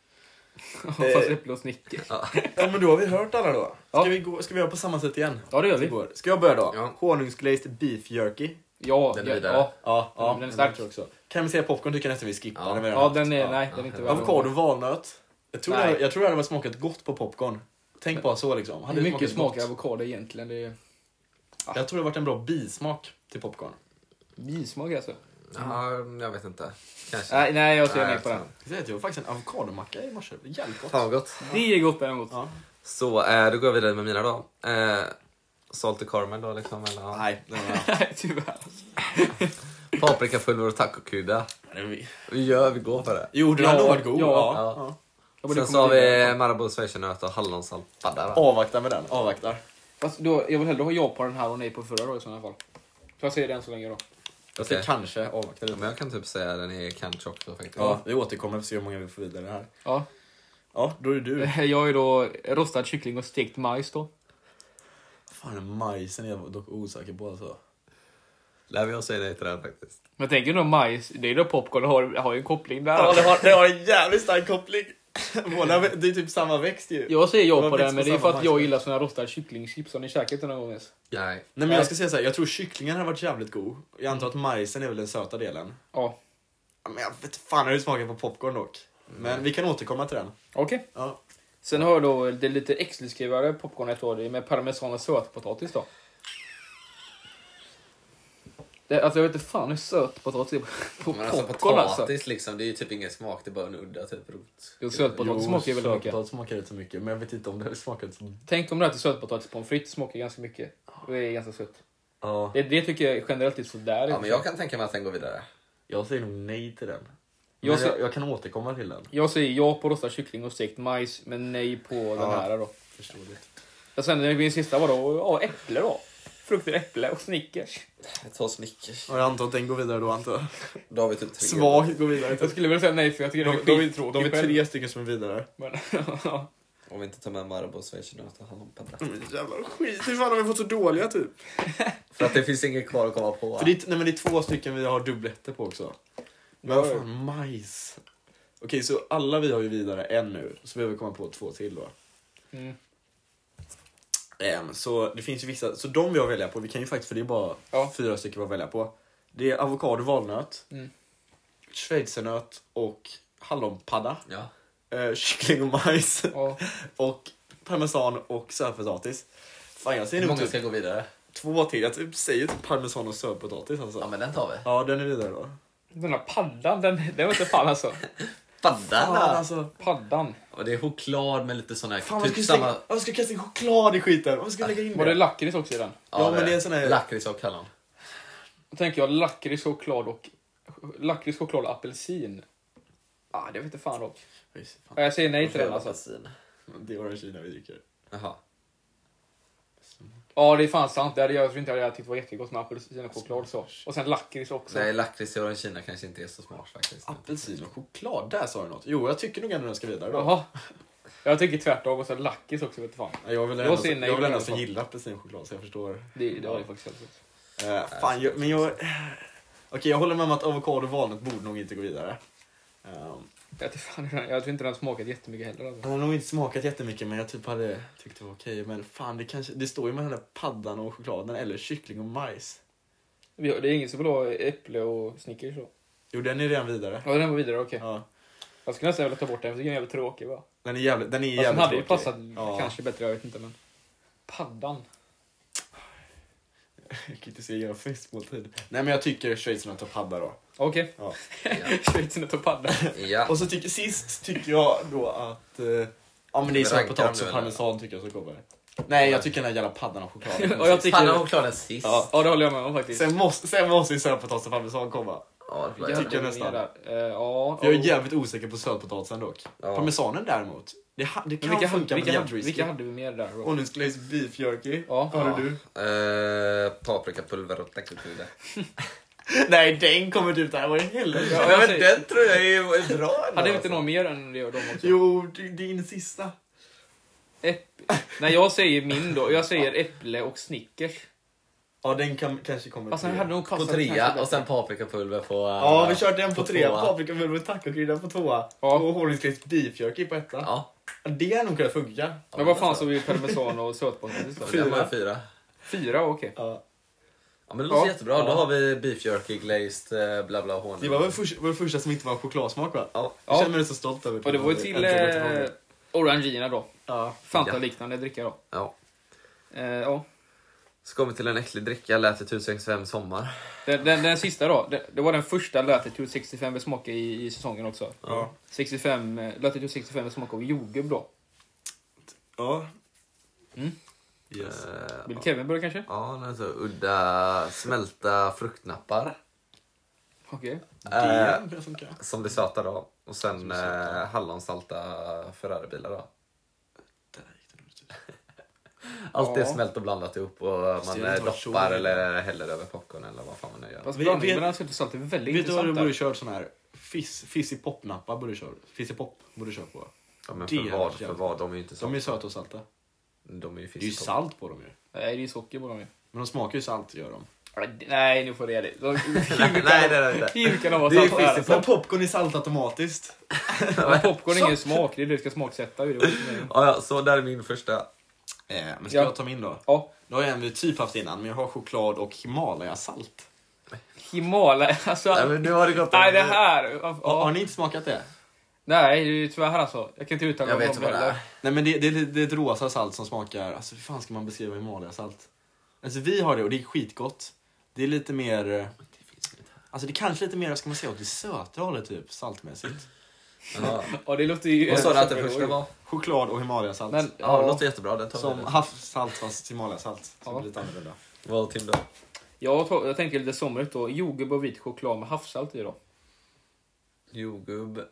Speaker 2: Eh,
Speaker 1: Fast äpple och Snickers.
Speaker 2: Ja men då har vi hört alla då. Ska,
Speaker 1: Ja.
Speaker 2: vi, gå, ska vi göra på samma sätt igen?
Speaker 1: Ja, det gör vi.
Speaker 2: Igår. Ska jag börja då?
Speaker 3: Ja.
Speaker 2: Honungsglazed beef jerky.
Speaker 1: Ja,
Speaker 3: Den är
Speaker 1: ja,
Speaker 3: vidare.
Speaker 1: ja.
Speaker 2: Ja, ja
Speaker 1: den är stark.
Speaker 2: tror jag också. Karamelliserad popcorn tycker jag nästan vi skippar.
Speaker 3: Ja.
Speaker 2: den vi redan
Speaker 1: ja,
Speaker 2: haft.
Speaker 1: den är... Nej, den är inte värd
Speaker 2: Avokado och valnöt. Jag tror, det,
Speaker 1: Nej.
Speaker 2: hade- jag tror det hade smakat gott på popcorn. Tänk bara så liksom. Hade
Speaker 1: Hur
Speaker 2: det
Speaker 1: mycket
Speaker 2: smakat
Speaker 1: smakar
Speaker 2: gott?
Speaker 1: avokado egentligen? Det är
Speaker 2: Jag tror det hade varit en bra bismak till popcorn.
Speaker 1: bismak alltså.
Speaker 3: Ja, jag vet inte. Kanske.
Speaker 1: Nej, nej jag ser
Speaker 3: Nej,
Speaker 1: nej på den.
Speaker 3: fan.
Speaker 2: Jag åt faktiskt en avokadomacka i morse. Det var Jävligt gott.
Speaker 3: Fan vad gott.
Speaker 1: Det är gott däremot.
Speaker 2: Ja.
Speaker 3: Så eh, då går jag vidare med mina då. Eh, Salted caramel då liksom. Eller, ja.
Speaker 2: Nej, nej, nej.
Speaker 1: [LAUGHS] Nej, tyvärr.
Speaker 3: Paprikapulver och tacokrydda.
Speaker 2: vi-
Speaker 3: Vi gör, vi går för det.
Speaker 2: Jo, den hade nog varit god.
Speaker 1: ja,
Speaker 2: Ja.
Speaker 3: ja.
Speaker 1: Jag borde
Speaker 3: Sen
Speaker 1: komma
Speaker 3: så har vi eh,
Speaker 1: vidare.
Speaker 3: Marabou schweizernöt och hallonsaltpadda. då.
Speaker 2: Avvaktar med den. Avvaktar.
Speaker 1: Fast då, jag vill hellre ha ja på den här och nej på förra då i sådana fall. Så jag säger den så länge då.
Speaker 2: Jag ska
Speaker 3: Okej.
Speaker 2: kanske avvakta
Speaker 3: Ja,
Speaker 2: lite.
Speaker 3: Men jag kan typ säga den är kanske också faktiskt.
Speaker 2: Ja, vi återkommer för att se hur många vi får vidare här.
Speaker 1: Ja.
Speaker 2: Ja, då är det
Speaker 1: [LAUGHS]
Speaker 2: du.
Speaker 1: Jag har ju då rostad kyckling och stekt majs då.
Speaker 2: Fan, den majsen är jag dock osäker på alltså.
Speaker 3: Lär vi oss säga nej till den faktiskt.
Speaker 1: Men jag tänker nog majs, det är då popcorn har, har ju en koppling där.
Speaker 2: Ja, det har, det har en jävligt stark koppling. Båda, det är typ samma växt ju.
Speaker 1: Jag säger
Speaker 2: Det
Speaker 1: ja
Speaker 2: var
Speaker 1: på den,
Speaker 2: växt
Speaker 1: men
Speaker 2: på
Speaker 1: det är för
Speaker 2: samma
Speaker 1: att jag
Speaker 2: majs.
Speaker 1: gillar såna rostade kycklingchips. Har ni käkat det någon gång ens?
Speaker 3: Nej.
Speaker 2: Nej men jag ska säga så här, jag tror kycklingen hade varit jävligt god. Jag antar att majsen är väl den söta delen.
Speaker 1: Ja.
Speaker 2: Ja, Men jag vet fan hur det smakar på popcorn dock. Men vi kan återkomma till den.
Speaker 1: Okej.
Speaker 2: Ja.
Speaker 1: Sen har jag då det lite exklusivare popcornet då, det är med parmesan och sötpotatis då. Det, alltså jag vet inte fan hur sötpotatis är på- [LAUGHS] på
Speaker 3: Men alltså
Speaker 1: popcorn alltså.
Speaker 3: potatis liksom, det är ju typ ingen smak, det är bara en udda typ rot.
Speaker 1: Jo, sötpotatis smakar ju väldigt mycket.
Speaker 2: sötpotatis smakar inte så mycket, men jag vet inte om det hade smakat så...
Speaker 1: Tänk om du äter sötpotatis pommes frites, smakar ganska mycket. Det är ganska sött.
Speaker 2: Ja,
Speaker 1: Det, det tycker jag generellt är sådär.
Speaker 3: Ja men jag kan tänka mig att den går vidare.
Speaker 2: jag säger nog nej till den. Men
Speaker 1: Jag
Speaker 2: jag,
Speaker 1: ser-
Speaker 2: jag, kan återkomma till den.
Speaker 1: Jag säger ja på rostad kyckling och stekt majs, men nej på den här då.
Speaker 2: Förståeligt.
Speaker 1: Och sen min sista var då ja, äpple då. Frukter, äpple och Snickers.
Speaker 3: Jag tar Snickers.
Speaker 2: Och jag antar att den går vidare då antar jag.
Speaker 3: Då har vi typ tre.
Speaker 2: Svagt går vidare.
Speaker 1: Jag skulle vilja säga nej för jag tycker
Speaker 2: De,
Speaker 1: den är
Speaker 2: de, de,
Speaker 1: skittråkig
Speaker 2: de är
Speaker 1: själv.
Speaker 2: tre stycken som är vidare.
Speaker 1: Men, [LAUGHS] ja.
Speaker 3: Om vi inte tar med Marabou så är Chinata handpenna.
Speaker 2: Mm, Jävla skit, hur fan har vi fått så dåliga typ?
Speaker 3: För att det finns inget kvar att komma på.
Speaker 2: För det, är- nej, men det är två stycken vi har dubbletter på också. Men vad fan, majs. Okej, så alla vi har ju vidare en nu, så behöver vi komma på två till då.
Speaker 1: Mm.
Speaker 2: Ehm, så det finns ju vissa, så de vi har att välja på, vi kan ju faktiskt, för det är bara
Speaker 1: Ja.
Speaker 2: fyra stycken vi har att välja på. Det är avokado, valnöt,
Speaker 1: Mm.
Speaker 2: schweizernöt och hallonpadda,
Speaker 3: Ja.
Speaker 2: eh, kyckling och majs
Speaker 1: Ja.
Speaker 2: [LAUGHS] och parmesan och sötpotatis. Fan jag säger
Speaker 3: Hur
Speaker 2: nog
Speaker 3: många
Speaker 2: typ
Speaker 3: ska gå vidare?
Speaker 2: två till, jag typ säger typ parmesan och sötpotatis alltså.
Speaker 3: Ja, men den tar vi.
Speaker 2: Ja, den är vidare då.
Speaker 1: Den där paddan, den, den vet inte fan alltså.
Speaker 2: Fan,
Speaker 3: Baddarna!
Speaker 2: alltså.
Speaker 1: Paddan.
Speaker 3: Och det är choklad med lite sån här...
Speaker 2: Fan, vad
Speaker 3: typ
Speaker 2: ska
Speaker 3: samma...
Speaker 2: jag ska kasta in choklad i skiten? Vad ska jag lägga in
Speaker 1: Var det
Speaker 2: det?
Speaker 1: lakrits också i den?
Speaker 2: Ja, men det är en sån här-
Speaker 3: eh, Lakrits och hallon.
Speaker 1: Då tänker jag lakrits, choklad och lakrits, choklad och apelsin. Ah, det vet inte fan dock.
Speaker 2: Oj, fan,
Speaker 1: Ja, Jag säger nej till den alltså.
Speaker 3: Apelsin.
Speaker 2: Det är orange vi dricker.
Speaker 3: Jaha.
Speaker 1: Ja, det är fan sant. Det hade jag, jag tror inte jag hade tyckt det var jättegott med apelsin och choklad så. Och sen lakrits också.
Speaker 3: Nej, lakrits i Kina kanske inte är så smart faktiskt.
Speaker 2: Apelsin och choklad, där sa du något. Jo, jag tycker nog ändå den ska vidare då.
Speaker 1: Jaha. Jag tycker tvärtom och sen lakrits också vet du fan.
Speaker 2: Ja, Jag vill
Speaker 1: Jag
Speaker 2: ändå,
Speaker 1: säger nej
Speaker 2: jag vill
Speaker 1: på
Speaker 2: ändå
Speaker 1: den
Speaker 2: som
Speaker 1: också.
Speaker 2: gillar apelsin och choklad så jag förstår.
Speaker 1: Det, det var det faktiskt väldigt gott.
Speaker 2: Eh, fan, jag, men jag... Okej, jag håller med om att avokado och valnöt borde nog inte gå vidare. Ehm,
Speaker 1: Jag, vet fan, hur den- jag tror inte den har smakat jättemycket heller. Alltså.
Speaker 2: Den har nog inte smakat jättemycket men jag typ hade tyckt det var okej. Men fan, det, kanske, det står ju med den där paddan och chokladen eller kyckling och majs.
Speaker 1: Vi har- Det är ingen som vill ha äpple och Snickers då.
Speaker 2: Jo, den är redan vidare.
Speaker 1: Ja, den var vidare, okej.
Speaker 2: Ja.
Speaker 1: Jag skulle nästan vilja ta bort den, för jag tycker den är jävligt tråkig va.
Speaker 2: Den är jävligt, den är
Speaker 1: Alltså, den
Speaker 2: jävligt
Speaker 1: hade ju
Speaker 2: tråkig.
Speaker 1: passat
Speaker 2: Ja.
Speaker 1: kanske bättre, jag vet inte men. Paddan.
Speaker 2: Jag kan inte se göra festmåltid. Nej men jag tycker schweizarna tar padda då.
Speaker 1: Okej. [LAUGHS]
Speaker 2: Ja.
Speaker 1: Schweizarna tar
Speaker 2: [LAUGHS]
Speaker 1: paddan.
Speaker 3: Ja.
Speaker 2: Och så tycker, sist tycker jag då att... Eh, ja men det är
Speaker 3: Rankar
Speaker 2: sötpotatis
Speaker 3: du
Speaker 2: och
Speaker 3: eller?
Speaker 2: parmesan tycker jag som kommer. Nej jag tycker den här jävla paddan och
Speaker 1: [LAUGHS]
Speaker 2: chokladen.
Speaker 1: och jag
Speaker 3: Panna och
Speaker 1: tycker...
Speaker 3: chokladen sist.
Speaker 1: Ja, ja, det håller jag med om faktiskt.
Speaker 2: sen, måste, sen måste ju sötpotatis och parmesan komma.
Speaker 3: Ja, det var-
Speaker 1: Jävlar,
Speaker 2: tycker jag nästan.
Speaker 1: där. Eh, ja,
Speaker 2: För jag är
Speaker 1: ja.
Speaker 2: jävligt osäker på sötpotatisen dock.
Speaker 3: Ja.
Speaker 2: Parmesanen däremot. Det, ha- det
Speaker 1: Men
Speaker 2: kan
Speaker 1: vilka, hade, vilka,
Speaker 2: funka men jävligt
Speaker 1: hade,
Speaker 2: risky.
Speaker 1: vilka hade vi mer där? Rob?
Speaker 2: Honest glazed beef jerky.
Speaker 1: Ja.
Speaker 2: Har du? [LAUGHS]
Speaker 3: Eh, paprikapulver och lakritskrydda.
Speaker 2: Nej den kommer typ där, vad i helvete.
Speaker 1: Ja, jag säger-
Speaker 3: Den tror jag är bra
Speaker 1: hade
Speaker 3: ändå,
Speaker 1: vi inte
Speaker 3: alltså.
Speaker 1: någon mer än det gör de också?
Speaker 2: Jo, det- din sista.
Speaker 1: Äpp- Nej, jag säger min då. Jag säger äpple och Snickers.
Speaker 2: Ja den kan, kanske kommer
Speaker 1: Alltså, den
Speaker 2: till.
Speaker 1: hade nog
Speaker 3: På
Speaker 1: passat kanske
Speaker 3: trea
Speaker 1: bättre.
Speaker 3: och sen paprikapulver på... eh,
Speaker 2: Ja, vi körde en på
Speaker 3: på
Speaker 2: tre.
Speaker 3: tvåa.
Speaker 2: Paprikamull med tacokrydda på tvåa.
Speaker 1: Alltså, Ja.
Speaker 2: Och honungskrets beefjerky på etta.
Speaker 3: Ja.
Speaker 2: Det hade nog kunnat funka.
Speaker 1: Men vad fan så vi parmesan och sötpotatis då?
Speaker 3: Fyra. Var fyra.
Speaker 1: Fyra, okej.
Speaker 2: Ja.
Speaker 3: Ja, men det låter
Speaker 1: Ja.
Speaker 3: jättebra. Då har vi beef jerky, glazed, eh, bla bla honung.
Speaker 2: Det var väl först, vår första som inte var chokladsmak va? Ja. Jag
Speaker 1: Ja.
Speaker 2: känner mig så stolt över
Speaker 1: Och det var ju
Speaker 2: att vi
Speaker 1: till
Speaker 2: äntligen gått ifrån
Speaker 1: eh,
Speaker 2: det.
Speaker 1: Orangina då.
Speaker 2: Ja.
Speaker 1: Fanta-liknande dricka då.
Speaker 3: Ja.
Speaker 1: Eh, ja.
Speaker 3: Så kommer vi till en äcklig dricka, Latitude 65 Sommar.
Speaker 1: Den, den, den sista då. Det, det var den första Latitude 65 vi smakade i, i säsongen också.
Speaker 2: Ja.
Speaker 1: 65, eh, Latitude 65 vi smakade av jordgubb då.
Speaker 2: ja.
Speaker 1: Mm.
Speaker 2: Yes.
Speaker 3: Eh,
Speaker 1: Vill Kevin börja kanske?
Speaker 3: ja, den är så udda smälta fruktnappar.
Speaker 1: Okej.
Speaker 2: det
Speaker 3: Eh,
Speaker 2: hade kunnat funka.
Speaker 3: som blir söta då. Och sen eh, hallonsalta Ferraribilar då.
Speaker 2: Där gick det nog ut.
Speaker 3: Allt det är
Speaker 1: Ja.
Speaker 3: smält och blandat ihop och man
Speaker 2: det har
Speaker 3: eh,
Speaker 2: inte varit så
Speaker 3: doppar
Speaker 2: länge.
Speaker 3: eller häller över popcorn eller vad fan man nu gör.
Speaker 1: Fast
Speaker 2: Vet-
Speaker 1: blandningen
Speaker 2: vet-
Speaker 1: mellan sött och salt är väldigt
Speaker 2: Vet du vad du
Speaker 1: intressant
Speaker 2: borde
Speaker 1: där.
Speaker 2: kört sån här? Fiss, fiss i popnappar borde du köra. Fiss i pop borde du köra på.
Speaker 3: Ja,
Speaker 2: det
Speaker 3: men för
Speaker 2: är
Speaker 3: vad,
Speaker 2: jävligt
Speaker 3: för vad? De är ju inte
Speaker 2: De är
Speaker 3: så.
Speaker 2: ju söta och salta.
Speaker 3: De är ju
Speaker 2: Det är ju
Speaker 3: fiskpop.
Speaker 2: salt på dem ju.
Speaker 1: Nej, det är socker på dem ju.
Speaker 2: Men de smakar ju salt gör de.
Speaker 1: Nej, nu får du ge dig. De- [LAUGHS] Hur
Speaker 3: nej,
Speaker 1: kan-
Speaker 3: det är det inte.
Speaker 1: hur kan de vara
Speaker 3: Det är
Speaker 1: salta här?
Speaker 3: fisk
Speaker 1: alltså?
Speaker 2: Men popcorn är salt automatiskt.
Speaker 1: Men Popcorn är ingen smak, det är det du ska smaksätta. ju. Det var inte meningen.
Speaker 3: Ja, ja, så där är min första.
Speaker 2: Eh, men ska
Speaker 1: Ja.
Speaker 2: jag ta min då?
Speaker 1: Ja,
Speaker 2: Nu har jag en vi typ haft innan, men jag har choklad och Himalaya-salt.
Speaker 1: Himalaya. [LAUGHS] Alltså,
Speaker 3: Nej, men nu har det gått
Speaker 1: nej, det
Speaker 3: över.
Speaker 1: här. Ja.
Speaker 2: Har- Har ni inte smakat det?
Speaker 1: Nej, det är tyvärr alltså. Jag kan inte uttala
Speaker 3: Jag
Speaker 1: mig
Speaker 3: vet
Speaker 1: om
Speaker 3: vad det
Speaker 1: heller.
Speaker 3: är.
Speaker 2: Nej men det, det, är- det är ett rosa salt som smakar, alltså hur fan ska man beskriva Himalaya-salt? Alltså vi har det och det är skitgott. Det är lite mer, eh, alltså det är kanske lite mer, ska man säga, åt det söta hållet typ, saltmässigt.
Speaker 3: Ja.
Speaker 1: Ja, det låter ju...
Speaker 3: Vad sa du att det första var?
Speaker 2: Choklad och Himalaya-salt.
Speaker 1: Men,
Speaker 3: Ja, det
Speaker 1: ja,
Speaker 3: låter jättebra. Det tar vi.
Speaker 2: Som havssalt fast Himalaya-salt. Som
Speaker 1: Ja.
Speaker 2: är lite annorlunda.
Speaker 3: Vad Tim då?
Speaker 1: jag, tar- jag tänker lite somrigt då. Jordgubb och vit choklad med havssalt i då.
Speaker 3: Jordgubb, eh,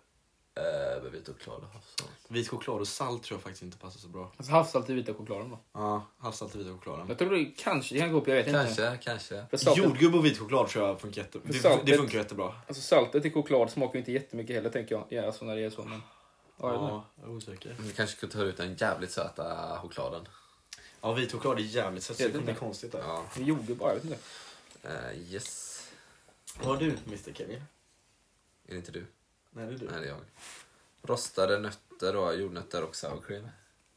Speaker 3: med vit och choklad och havssalt.
Speaker 2: Vit choklad och salt tror jag faktiskt inte passar så bra.
Speaker 1: Alltså havssalt i vita chokladen då.
Speaker 2: Ja, havssalt och vit choklad.
Speaker 1: Jag tror det kanske det kan gå upp, jag vet inte.
Speaker 3: Kanske, kanske.
Speaker 1: För saltet,
Speaker 2: Jordgubb och vit choklad tror jag funkar jätte... det,
Speaker 1: Saltet.
Speaker 2: det funkar jättebra.
Speaker 1: alltså saltet i choklad smakar ju inte jättemycket heller tänker jag. Ja, alltså när det är så. Men... Ja, jag vet inte.
Speaker 2: Ja, jag är osäker.
Speaker 3: Vi kanske kunde ta ut den jävligt söta chokladen.
Speaker 2: Ja, vit choklad är jävligt sött. så Det
Speaker 1: Vet
Speaker 2: kommer
Speaker 1: inte.
Speaker 2: bli konstigt där.
Speaker 3: Ja.
Speaker 1: Vi gjorde bara, jag vet inte.
Speaker 3: Eh, yes.
Speaker 2: Vad har du, Mr Kevin?
Speaker 3: Är det inte du?
Speaker 2: Nej, det är du.
Speaker 3: Nej, det är jag. Rostade nötter då, jordnötter och sour cream.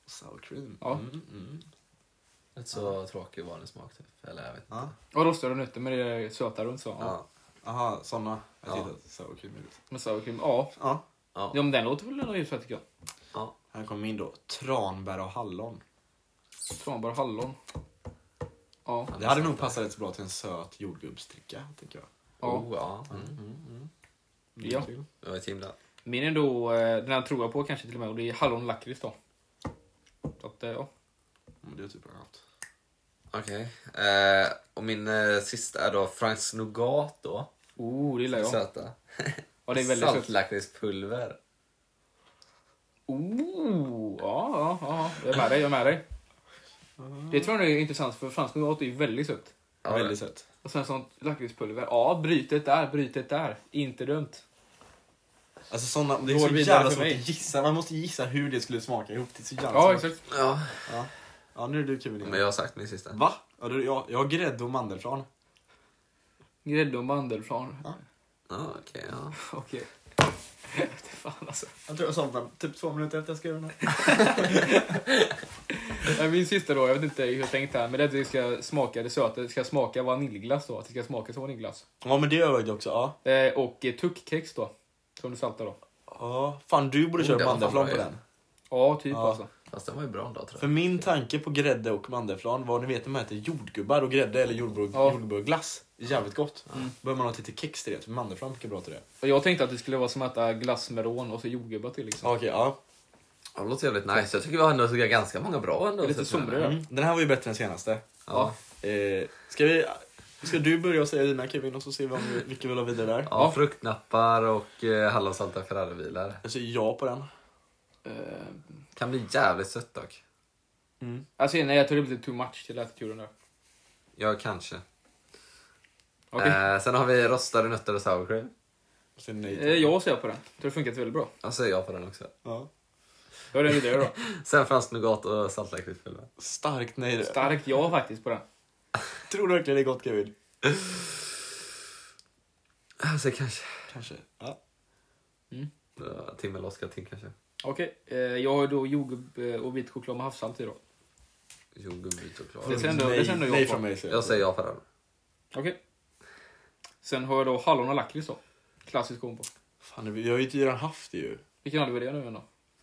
Speaker 2: Sour cream.
Speaker 1: Ja.
Speaker 2: Mm, mm.
Speaker 3: Rätt så tråkig vanlig smak typ. Eller jag vet inte.
Speaker 2: Ja.
Speaker 1: Och rostade nötter med det där söta runt så. Ja.
Speaker 3: Ja.
Speaker 2: Aha, såna. Jag
Speaker 3: Ja.
Speaker 2: tyckte att sour cream är gott.
Speaker 1: Med sour cream. Ja.
Speaker 2: Ja.
Speaker 3: Ja.
Speaker 1: ja, men den låter väl ändå hyfsat tycker jag.
Speaker 2: Här kommer min då. Tranbär och hallon.
Speaker 1: Tranbär och hallon. Ja.
Speaker 2: Det hade nog passat rätt så bra till en söt jordgubbsdricka, tänker jag.
Speaker 1: ja.
Speaker 3: Oh, ja. Mm.
Speaker 1: ja.
Speaker 3: Det var ett himla...
Speaker 1: Min är då, eh, den här tror jag på kanske till och med, och det är hallonlakrits då. Så att, eh, ja.
Speaker 2: Men det är typ annat.
Speaker 3: Okej. Eh, och min eh, sista är då Franks Nougat då.
Speaker 1: Oh, det gillar jag.
Speaker 3: Söta.
Speaker 1: Ja, det är
Speaker 3: [LAUGHS]
Speaker 1: väldigt sött.
Speaker 3: Saltlakritspulver.
Speaker 1: Oh, ja, ja, ja. Jag är med dig, jag är med dig. Det tror jag är intressant för fransk nougat är ju väldigt sött.
Speaker 3: Ja,
Speaker 2: Väldigt sött.
Speaker 1: Och sen sånt lakritspulver. Ja, brytet där, brytet där. Inte dumt.
Speaker 2: Alltså såna, det är
Speaker 1: Går
Speaker 2: så
Speaker 1: vidare
Speaker 2: jävla
Speaker 1: för
Speaker 2: svårt
Speaker 1: mig.
Speaker 2: att gissa. Man måste gissa hur det skulle smaka ihop. Det är så jävla
Speaker 1: Ja,
Speaker 2: svårt.
Speaker 1: exakt.
Speaker 3: Ja,
Speaker 2: Ja, nu är det du Kevin.
Speaker 3: men jag har sagt min sista.
Speaker 2: Va? Ja, du, jag, jag har grädde och mandelflarn.
Speaker 1: Grädde och mandelflarn.
Speaker 3: Ja, okej. ja.
Speaker 1: [LAUGHS] Okej. Fy Fan alltså.
Speaker 2: Jag tror jag somnade typ två minuter efter jag skrev den här.
Speaker 1: Nej, Min sista då, jag vet inte hur jag tänkt här, men det är att det ska smaka det söta, det ska smaka vaniljglass då. Att det ska smaka som vaniljglass.
Speaker 2: Ja, men det övervägde jag också. Ja.
Speaker 1: Eh, och eh, tuckkex då. Som du saltar då.
Speaker 2: ja. Fan, du borde
Speaker 3: Oh,
Speaker 2: köra
Speaker 3: den var fan
Speaker 2: mandelflarn på
Speaker 3: bra ju.
Speaker 2: den.
Speaker 1: Ja, typ
Speaker 2: Ja.
Speaker 1: alltså.
Speaker 3: Fast den var ju bra då tror
Speaker 2: För
Speaker 3: jag.
Speaker 2: min tanke på grädde och mandelflarn var, ni vet de heter jordgubbar och grädde eller jordbur-
Speaker 1: Ja. Mm.
Speaker 2: jordgubbarglass. Jävligt gott. Behöver man ha lite kex till det, för mandelflarn brukar bra till det.
Speaker 1: Och jag tänkte att det skulle vara som att äta glass med rån och så jordgubbar till liksom.
Speaker 2: Ja, Okej, ja.
Speaker 3: Ja, det låter jävligt nice. Jag tycker vi har ändå såg ganska många bra ändå.
Speaker 1: Det är lite
Speaker 3: så att-
Speaker 1: somrigt.
Speaker 2: Mm. Den här var ju bättre än senaste.
Speaker 3: Ja.
Speaker 2: Eh, ska, vi, ska du börja och säga dina Kevin och så ser vi om vi, vilka vi la vidare där?
Speaker 3: Ja, fruktnappar och eh, hallonsalta ferraribilar.
Speaker 2: Jag säger ja på den.
Speaker 1: Eh,
Speaker 3: Kan bli jävligt sött dock.
Speaker 1: alltså nej, jag tror det blir lite too much till attituden där.
Speaker 3: Ja, kanske.
Speaker 1: Okej.
Speaker 3: Eh, sen har vi rostade nötter och sour cream.
Speaker 2: Jag säger nej till
Speaker 1: Eh,
Speaker 2: den.
Speaker 1: jag ser på den. Jag tror det funkat väldigt bra.
Speaker 3: Jag säger ja på den också.
Speaker 2: Ja.
Speaker 1: Jag är den vidare då. [LAUGHS]
Speaker 3: Sen fransk nougat och saltlakritspulver.
Speaker 2: Starkt nej. det.
Speaker 1: Starkt ja faktiskt på den.
Speaker 2: Tror du verkligen det är gott Kevin?
Speaker 3: Alltså kanske...
Speaker 2: Kanske. Ja.
Speaker 3: Ja, Tim eller Oskar Tim kanske.
Speaker 1: Okej, eh, jag har då jordgubb eh, och vit choklad med havssalt i då.
Speaker 3: Jordgubb,
Speaker 1: Det
Speaker 3: choklad.
Speaker 1: ser ändå, det ser ändå
Speaker 2: nej
Speaker 1: jag på.
Speaker 2: från
Speaker 1: Okej.
Speaker 2: mig säger
Speaker 3: Jag säger ja på den.
Speaker 1: Sen har jag då hallon och lakrits då. Klassisk kombo.
Speaker 2: Fan, vi har ju inte redan haft det ju.
Speaker 1: Vilken hade vi det nu igen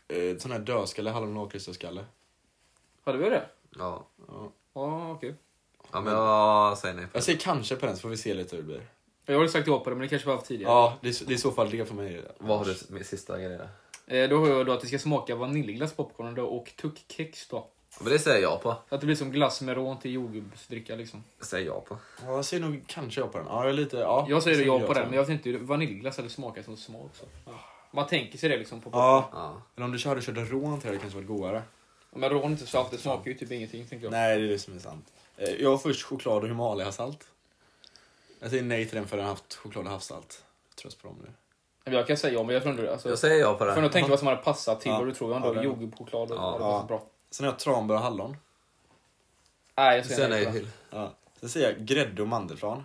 Speaker 1: då?
Speaker 2: Eh, sån här dödskalle, hallon och lakritsdödskalle.
Speaker 1: Hade vi det?
Speaker 3: Ja.
Speaker 1: Ja, okej.
Speaker 3: ja, men jag säger nej på
Speaker 2: Jag
Speaker 3: den.
Speaker 2: säger kanske på den så får vi se lite hur det blir.
Speaker 1: Jag har sagt ja på det, men det kanske var haft tidigare.
Speaker 2: Ja, det är, det är i så fall det för mig.
Speaker 3: Vad har du med sista grejen? där?
Speaker 1: Eh, då har jag då att det ska smaka vaniljglass, popcorn då, och tuckkex då.
Speaker 3: Ja, Men det säger jag på.
Speaker 1: Så att det blir som glass med rån till jordgubbsdricka liksom.
Speaker 3: Det säger jag på.
Speaker 2: Ja, jag säger nog kanske ja på den. Ja, jag är lite... Ja,
Speaker 1: Jag säger ja på
Speaker 2: till
Speaker 1: den, men jag vet inte hur vaniljglass hade smakat som smak också. Man tänker sig det liksom på popcorn.
Speaker 2: Ja,
Speaker 3: Ja.
Speaker 2: men om du kör, du körde rån till det hade det kanske varit godare.
Speaker 1: Men rån inte salt, det smakar ju typ ingenting tänker jag.
Speaker 2: Nej, det är det som är sant. Eh, Jag har först choklad och Himalaya-salt. Jag säger nej till den för den har haft choklad och havssalt. Jag Trös på dem nu.
Speaker 1: Men Jag kan säga ja, men jag tror ändå alltså,
Speaker 3: Jag säger ja på
Speaker 1: Får nog
Speaker 3: den.
Speaker 1: tänka vad som hade passat till
Speaker 2: Ja.
Speaker 1: vad du tror. Jag
Speaker 2: Ja, det
Speaker 1: har
Speaker 2: är-
Speaker 1: jordgubbschoklad och
Speaker 3: Ja.
Speaker 1: ja. det passar bra.
Speaker 2: Sen har jag tranbär och hallon.
Speaker 1: Nej, jag
Speaker 3: Jag säger
Speaker 1: säger
Speaker 3: nej
Speaker 1: nej.
Speaker 3: till.
Speaker 2: Ja. Sen säger jag grädde och mandelflarn.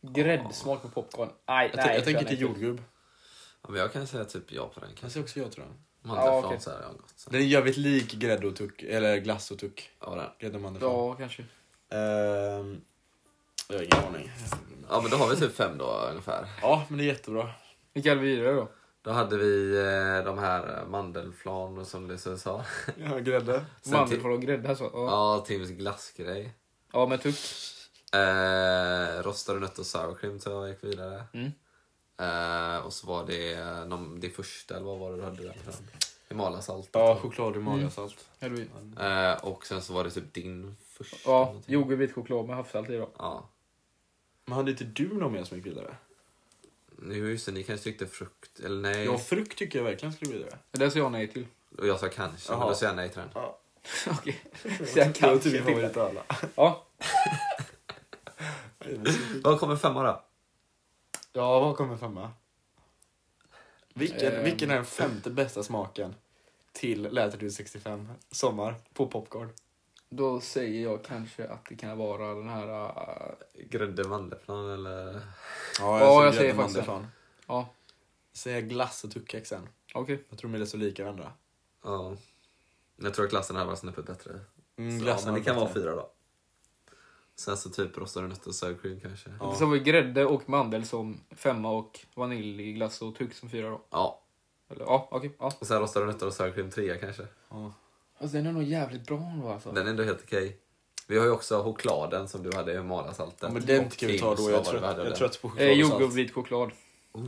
Speaker 1: Gräddsmak på popcorn. Nej,
Speaker 2: Jag,
Speaker 1: nej.
Speaker 2: tän- jag
Speaker 1: säger
Speaker 2: tänker inte
Speaker 1: nej.
Speaker 2: jordgubb.
Speaker 3: Ja, men jag kan säga typ ja på den
Speaker 2: Jag
Speaker 3: kanske.
Speaker 2: säger också ja till den.
Speaker 3: Mandelflan
Speaker 1: okej.
Speaker 3: så här har jag gått. Så.
Speaker 2: Den är jävligt lik grädde och tuck, eller glass och tuck.
Speaker 3: Ja, den.
Speaker 2: Grädde och mandelflarn.
Speaker 1: Ja, kanske.
Speaker 2: Ehm, jag har ingen aning.
Speaker 3: ja men då har vi typ fem då ungefär.
Speaker 2: Ja, men det är jättebra.
Speaker 1: Vilka hade vi vidare då?
Speaker 3: Då hade vi eh, de här mandelflan och som Lysen sa.
Speaker 2: Jag har grädde.
Speaker 3: Sen
Speaker 1: Mandelflarn och grädde alltså. Ja,
Speaker 3: Ja, Tims glassgrej.
Speaker 1: ja men tuck.
Speaker 3: Eh, rostade nötter och sour cream så jag gick vidare.
Speaker 1: Mm.
Speaker 3: Eh, och så var det någon, det första, eller vad var det du hade där? på den? Himalasalt.
Speaker 2: Ja, choklad och Himalaya-salt.
Speaker 1: Hade vi.
Speaker 3: Eh, och sen så var det typ din första.
Speaker 1: Ja,
Speaker 3: någonting.
Speaker 1: jordgubb, vit choklad med havssalt i då.
Speaker 3: Ja.
Speaker 2: Men hade inte du någon mer som gick vidare?
Speaker 3: Nu just det, ni kanske tyckte frukt, eller nej.
Speaker 2: Ja, frukt tycker jag verkligen skulle gå vidare.
Speaker 1: Det där säger jag nej till.
Speaker 3: Och jag sa kanske, men
Speaker 2: Jaha.
Speaker 3: då säger jag nej till den.
Speaker 1: [LAUGHS] Okej. Så jag
Speaker 2: Det var
Speaker 1: kanske
Speaker 2: typ min
Speaker 1: till.
Speaker 2: favorit av alla.
Speaker 1: Ja,
Speaker 3: Vad kommer femma då?
Speaker 2: Ja, vad kommer femma? Vilken,
Speaker 1: Ehm.
Speaker 2: vilken är den femte bästa smaken till Läterdud 65 sommar på popcorn?
Speaker 1: Då säger jag kanske att det kan vara den här... äh,
Speaker 3: Grädde mandelflan eller...
Speaker 1: Ja, jag
Speaker 2: Ja, säger
Speaker 1: säger
Speaker 2: grädde
Speaker 1: faktiskt
Speaker 2: mandelflan.
Speaker 1: Ja,
Speaker 2: Säger jag glass och tuggkex sen.
Speaker 1: okej.
Speaker 2: Jag tror de är så lika varandra.
Speaker 3: Ja. Jag tror att glassen här var snäppet bättre.
Speaker 2: Mm,
Speaker 3: Så, ja,
Speaker 2: glassen
Speaker 3: men det
Speaker 2: är
Speaker 3: kan vara
Speaker 2: bättre.
Speaker 3: fyra då. Sen så typ rostade nötter och sour cream kanske. Ja.
Speaker 2: Ja.
Speaker 1: Så har vi grädde och mandel som femma och vaniljglass och tugg som fyra då. Eller, ja, okej. ja.
Speaker 3: Och sen rostade nötter och sour cream trea kanske.
Speaker 1: Alltså, den är nog jävligt bra ändå alltså.
Speaker 3: Den är ändå helt okej. Vi har ju också chokladen som du hade i malasaltet.
Speaker 2: Ja, men den
Speaker 3: Och
Speaker 2: tycker jag vi tar
Speaker 3: Tim's,
Speaker 2: då.
Speaker 3: vad
Speaker 2: Jag
Speaker 3: var
Speaker 2: är trött,
Speaker 3: det vi hade
Speaker 2: jag är
Speaker 3: där?
Speaker 2: trött på choklad
Speaker 1: Eh,
Speaker 2: och
Speaker 1: jordgubb,
Speaker 2: salt.
Speaker 1: vit choklad.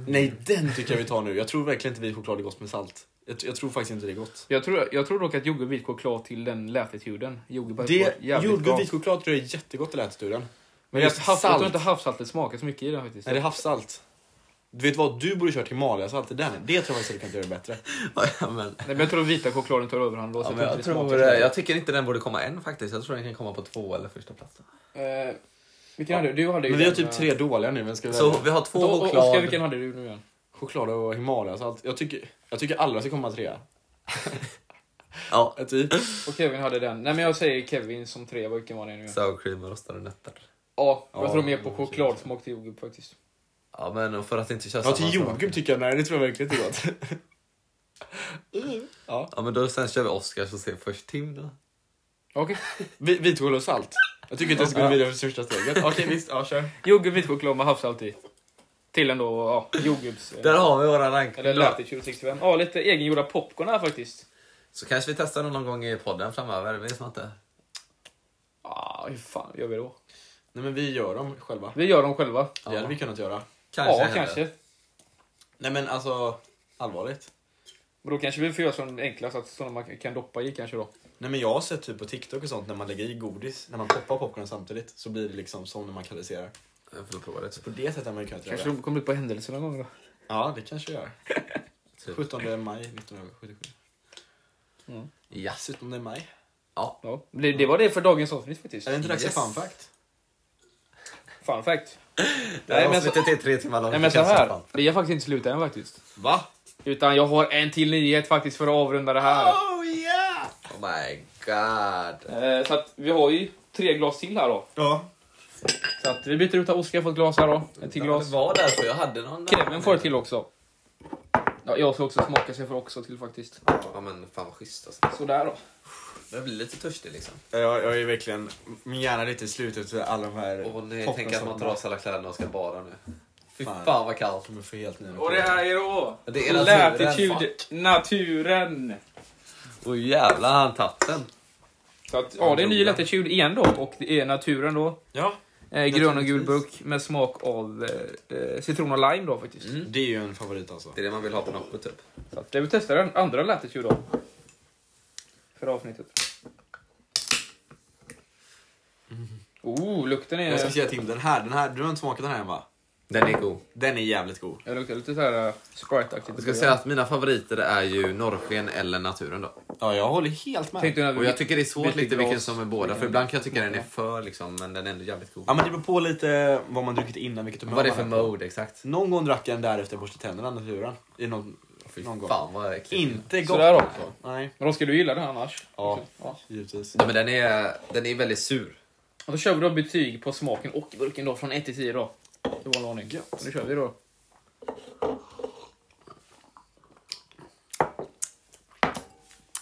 Speaker 2: Nej, den tycker jag vi tar nu. Jag tror verkligen inte vit choklad är gott med salt. Jag, jag tror faktiskt inte det är gott.
Speaker 1: Jag tror, jag tror dock att jordgubb, vit choklad till den lätetuden. Jordgubb hade
Speaker 2: Det,
Speaker 1: varit jävligt
Speaker 2: jordgubb,
Speaker 1: bra.
Speaker 2: vit choklad tror jag är jättegott i läterduden.
Speaker 1: Men
Speaker 2: Men
Speaker 1: jag
Speaker 2: just
Speaker 1: tror
Speaker 2: salt.
Speaker 1: inte havssaltet smakar så mycket i den faktiskt.
Speaker 2: Nej, det är havssalt. Du vet vad? Du borde köra till Maliasalt i den. Det tror jag faktiskt att du kan göra bättre.
Speaker 3: [LAUGHS] Ja, men,
Speaker 1: Nej, men jag tror vita chokladen tar överhand då. så
Speaker 3: ja, men
Speaker 1: jag
Speaker 3: jag,
Speaker 1: inte det
Speaker 3: tror,
Speaker 1: smakar så mycket.
Speaker 3: jag tycker inte den borde komma än faktiskt. Jag tror den kan komma på två eller första platsen.
Speaker 1: Eh, vilken hade du? Du hade ju
Speaker 2: Men vi har
Speaker 1: den,
Speaker 2: typ
Speaker 1: eh,
Speaker 2: tre dåliga nu. Men ska vi
Speaker 3: Så
Speaker 2: välja?
Speaker 3: vi har två
Speaker 1: och- och- Oskar, vilken
Speaker 3: choklad.
Speaker 1: hade du nu igen?
Speaker 2: Choklad och Himalayasalt. Jag tycker, jag tycker alla ska komma trea.
Speaker 3: Ja,
Speaker 2: Typ.
Speaker 1: Och Kevin hade den. Nej men jag säger Kevin som tre, vilken var det nu igen?
Speaker 3: sour cream och rostade nötter.
Speaker 1: Ja, jag
Speaker 2: Ja,
Speaker 1: tror mer på
Speaker 2: det var
Speaker 1: chokladsmak till jordgubb faktiskt.
Speaker 3: Ja, men för att inte köra
Speaker 2: Ja,
Speaker 3: samma
Speaker 2: till jordgubb
Speaker 3: smak.
Speaker 2: tycker jag. Nej, det tror jag verkligen inte är gott. [LAUGHS]
Speaker 3: Ja, men då sen kör vi Oscar så ser först Tim då.
Speaker 1: [LAUGHS] Okej.
Speaker 2: Vi- Vit choklad och salt. Jag tycker inte jag ska gå vidare för första steget. Okej, visst. Ja, kör.
Speaker 1: Jordgubb, vit choklad med havssalt i. Till ändå, ja, jordgubbs... eh,
Speaker 3: Där har vi våra rank.
Speaker 1: Eller Latitude 65. Ja, lite egengjorda popcorn här faktiskt.
Speaker 3: Så kanske vi testar den någon gång i podden framöver, det vet man inte.
Speaker 1: Ja, hur fan gör vi då?
Speaker 2: Nej, men vi gör dem själva.
Speaker 1: Vi gör dem själva.
Speaker 2: Det hade vi kunnat göra.
Speaker 3: Kanske
Speaker 1: ja,
Speaker 3: händer.
Speaker 1: kanske.
Speaker 2: Nej, men alltså allvarligt.
Speaker 1: Men då kanske vi får göra sån enklast, att såna man kan doppa i kanske då.
Speaker 2: Nej, men jag har sett typ på TikTok och sånt när man lägger i godis, när man poppar popcorn samtidigt, så blir det liksom som när man karamelliserar.
Speaker 3: Jag får prova det.
Speaker 2: På det sättet har man ju kunnat
Speaker 1: Kanske
Speaker 2: göra.
Speaker 1: de kommer ut på händelser någon gång då.
Speaker 2: Ja, det kanske jag gör.
Speaker 3: Typ.
Speaker 2: 17 maj 1977.
Speaker 3: Ja.
Speaker 2: 17 maj.
Speaker 1: Ja. Det, det var det för dagens avsnitt faktiskt.
Speaker 2: Är det inte dags för
Speaker 3: Yes.
Speaker 2: fun fact?
Speaker 1: Fun fact.
Speaker 3: Det här
Speaker 1: Nej, men så-
Speaker 3: avsnittet är tre timmar långt.
Speaker 1: Nej men så här, det är faktiskt inte slut än faktiskt.
Speaker 2: Va?
Speaker 1: Utan jag har en till nyhet faktiskt för att avrunda det här.
Speaker 3: Oh my god.
Speaker 1: Eh, Så att vi har ju tre glas till här då.
Speaker 2: Ja.
Speaker 1: Så att vi byter ut att Oskar får ett glas här då. Ett till
Speaker 3: Det
Speaker 1: glas.
Speaker 3: var därför jag hade någon där.
Speaker 1: Kevin får ett till också. Ja, jag ska också smaka så jag får också till faktiskt.
Speaker 3: Ja men fan vad schysst alltså.
Speaker 1: Sådär då.
Speaker 3: Jag blir lite törstig liksom.
Speaker 2: Jag, jag är verkligen, min hjärna är lite i slutet för alla de här
Speaker 3: Åh nej,
Speaker 2: popcorn
Speaker 3: tänk att
Speaker 2: som
Speaker 3: man tar av sig alla kläderna och ska bara nu. Fy
Speaker 2: Fan.
Speaker 3: fan, vad kallt.
Speaker 2: kommer få helt nya
Speaker 1: Och det här är då...
Speaker 3: Det är naturen,
Speaker 1: Latitude naturen.
Speaker 3: Åh jävlar, han tatt den.
Speaker 1: Så att, ja, det är ny Latitude igen då och det är naturen då.
Speaker 2: Ja.
Speaker 1: Eh, grön och gul burk med smak av eh, eh, citron och lime då faktiskt.
Speaker 2: Det är ju en favorit alltså.
Speaker 3: Det är det man vill ha på noppet typ.
Speaker 1: Så att, eh, vi testar den andra Latitude då. För avsnittet. Oh, lukten är...
Speaker 2: Jag ska säga till den här, den här, du har inte smakat den här än va?
Speaker 3: Den är god.
Speaker 2: Den är jävligt god.
Speaker 1: Jag luktar lite så här uh, Sprite-aktigt.
Speaker 3: Jag ska säga att mina favoriter är ju norrsken eller naturen då.
Speaker 2: Ja, jag håller helt med.
Speaker 1: Tänkte när vi-
Speaker 3: Och jag tycker det är svårt
Speaker 1: Lite
Speaker 3: lite
Speaker 1: glas.
Speaker 3: vilken som är båda. För ibland kan jag tycka den är för liksom, men den är ändå jävligt god.
Speaker 2: Ja, men det beror på lite vad man druckit innan, vilket humör
Speaker 3: Vad det är för
Speaker 2: man är på.
Speaker 3: mode exakt.
Speaker 2: Någon gång drack jag den där efter jag borstade tänderna, naturen. I någon, någon gång.
Speaker 3: Fan vad äckligt.
Speaker 2: Inte gott.
Speaker 1: Sådär också.
Speaker 2: Nej.
Speaker 1: Men då ska du gilla den annars.
Speaker 2: Ja,
Speaker 1: Ja.
Speaker 2: givetvis.
Speaker 3: Ja, men den är, den är väldigt sur.
Speaker 1: Och då kör vi då betyg på smaken och burken då från 1 till 10 då. Det var en aning. Så Nu kör vi då.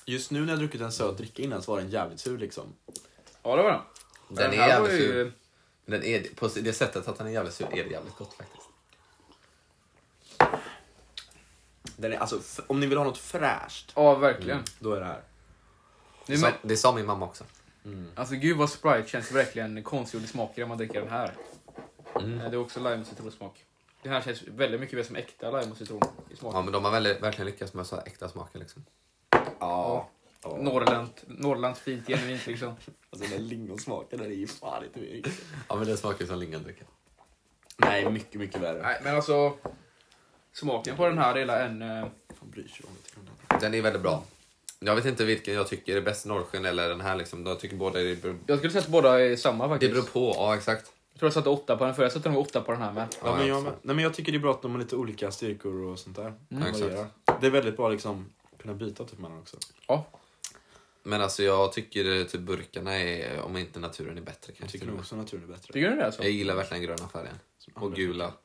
Speaker 2: Just nu när jag druckit en söt dricka innan så var den jävligt sur liksom.
Speaker 1: Ja, det var den.
Speaker 3: Den är
Speaker 1: här
Speaker 3: jävligt
Speaker 1: var ju-
Speaker 3: sur. Den är, på det sättet att den är jävligt sur är det jävligt gott faktiskt.
Speaker 2: Den är, alltså, f- om ni vill ha något fräscht,
Speaker 1: Ja, verkligen.
Speaker 3: Mm.
Speaker 2: då är det här.
Speaker 1: Det är
Speaker 3: Sa,
Speaker 1: med-
Speaker 3: det sa min mamma också.
Speaker 1: Alltså gud vad Sprite känns verkligen konstgjord i smaker när man dricker den här.
Speaker 3: Mm.
Speaker 1: Eh, Det är också lime och citronsmak. Det här känns väldigt mycket mer som äkta lime och citron i smak.
Speaker 3: Ja, men de har väldigt, verkligen lyckats med så här äkta smaker liksom.
Speaker 2: Ja.
Speaker 1: Norrland, Norrlands fint, genuint liksom.
Speaker 2: Alltså den där lingonsmaken, den är ju fan inte mycket.
Speaker 3: Ja, men den smakar ju som lingondricka.
Speaker 2: Nej, mycket, mycket värre.
Speaker 1: Nej, men alltså. Smaken på den här är hela en... eh,
Speaker 2: Fan bryr sig om det.
Speaker 3: Den är väldigt bra. Jag vet inte vilken jag tycker är bäst, norrsken eller den här liksom. Jag tycker båda är...
Speaker 1: Jag skulle säga att båda är samma
Speaker 3: Det
Speaker 1: faktiskt.
Speaker 3: beror på, ja exakt.
Speaker 1: Jag tror jag satte åtta på den förra, jag satte nog åtta på den här med.
Speaker 2: Ja, men jag, med. Nej, men jag tycker det är bra att de har lite olika styrkor och sånt
Speaker 1: Mm.
Speaker 2: där.
Speaker 3: Ja, exakt.
Speaker 2: Varierar. Det är väldigt bra liksom kunna byta typ mellan också.
Speaker 1: Ja.
Speaker 3: Men alltså jag tycker eh, typ burkarna är, om inte naturen är bättre
Speaker 2: Jag
Speaker 3: kanske.
Speaker 2: tycker
Speaker 3: till och
Speaker 2: nog
Speaker 3: med.
Speaker 2: också naturen är bättre.
Speaker 1: Tycker du det alltså?
Speaker 3: Jag gillar verkligen gröna färgen. Och gula. Mm.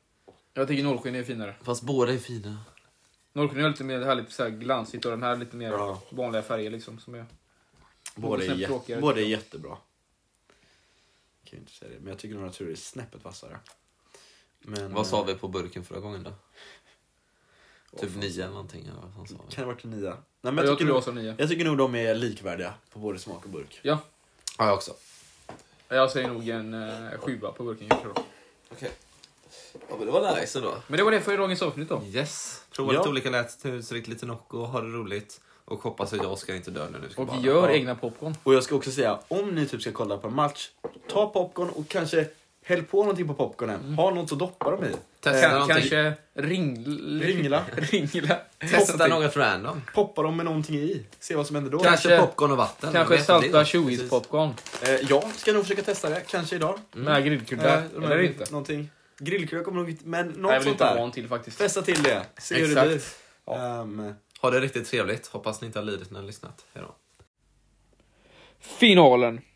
Speaker 1: Jag tycker nollsken är finare.
Speaker 3: Fast båda är fina.
Speaker 1: Nollsken är lite mer det här lite så här glansigt och den här lite mer
Speaker 2: Ja.
Speaker 1: vanliga färger liksom. Som är...
Speaker 2: Båda är, liksom.
Speaker 1: Snäpp
Speaker 2: jä-
Speaker 1: tråkigare,
Speaker 2: båda är jättebra. Jag kan ju inte säga det, men jag tycker nog naturen är snäppet vassare. Men,
Speaker 3: Vad sa
Speaker 2: eh,
Speaker 3: vi på burken förra gången då? Typ nio eller någonting eller vad fan sa vi?
Speaker 2: Kan det ha varit en nia? Nej, men
Speaker 1: Jag, jag tror
Speaker 2: jag, tycker
Speaker 1: det var
Speaker 2: nog,
Speaker 1: som nio.
Speaker 2: jag tycker nog de är likvärdiga på både smak och burk.
Speaker 1: Ja,
Speaker 3: Ja, jag också.
Speaker 1: jag säger nog en eh, sjua på burken kanske då.
Speaker 3: Okej. Ja, men det var nice ändå.
Speaker 1: Men det var det för dagens avsnitt då.
Speaker 3: Yes. Prova
Speaker 2: Ja.
Speaker 3: lite olika lätthus, drick lite Nocco, ha det roligt. Och hoppas att jag ska inte dö nu. nu ska
Speaker 1: Och
Speaker 3: bara-
Speaker 1: gör
Speaker 3: Ja.
Speaker 1: egna popcorn.
Speaker 2: Och jag ska också säga, om ni typ ska kolla på en match, ta popcorn och kanske häll på någonting på popcornen.
Speaker 1: Mm.
Speaker 2: Ha något att doppa dem i.
Speaker 3: Testa
Speaker 1: Kan,
Speaker 3: någonting.
Speaker 1: Eh, kanske ring,
Speaker 2: Ringla.
Speaker 1: ringla.
Speaker 3: Testa något random.
Speaker 2: Poppa dem med någonting i. Se vad som händer då.
Speaker 3: Kanske,
Speaker 1: Kanske-
Speaker 3: popcorn och vatten.
Speaker 1: Kanske
Speaker 3: Vet vad det är.
Speaker 1: salta chewies popcorn
Speaker 2: Eh, jag ska nog försöka testa det, kanske idag.
Speaker 1: med grillkuddar.
Speaker 2: Eh, de här-
Speaker 1: Eller inte.
Speaker 2: Någonting. Grillkrök kommer nog inte, men
Speaker 1: Nej, jag
Speaker 2: något
Speaker 1: vill
Speaker 2: sånt
Speaker 1: inte ha
Speaker 2: där.
Speaker 1: en till faktiskt.
Speaker 2: Fästa till det. Se hur det
Speaker 3: Exakt.
Speaker 2: blir. Ehm,
Speaker 3: Ha det riktigt trevligt. Hoppas ni inte har lidit när ni har lyssnat. Hejdå.
Speaker 1: Finalen.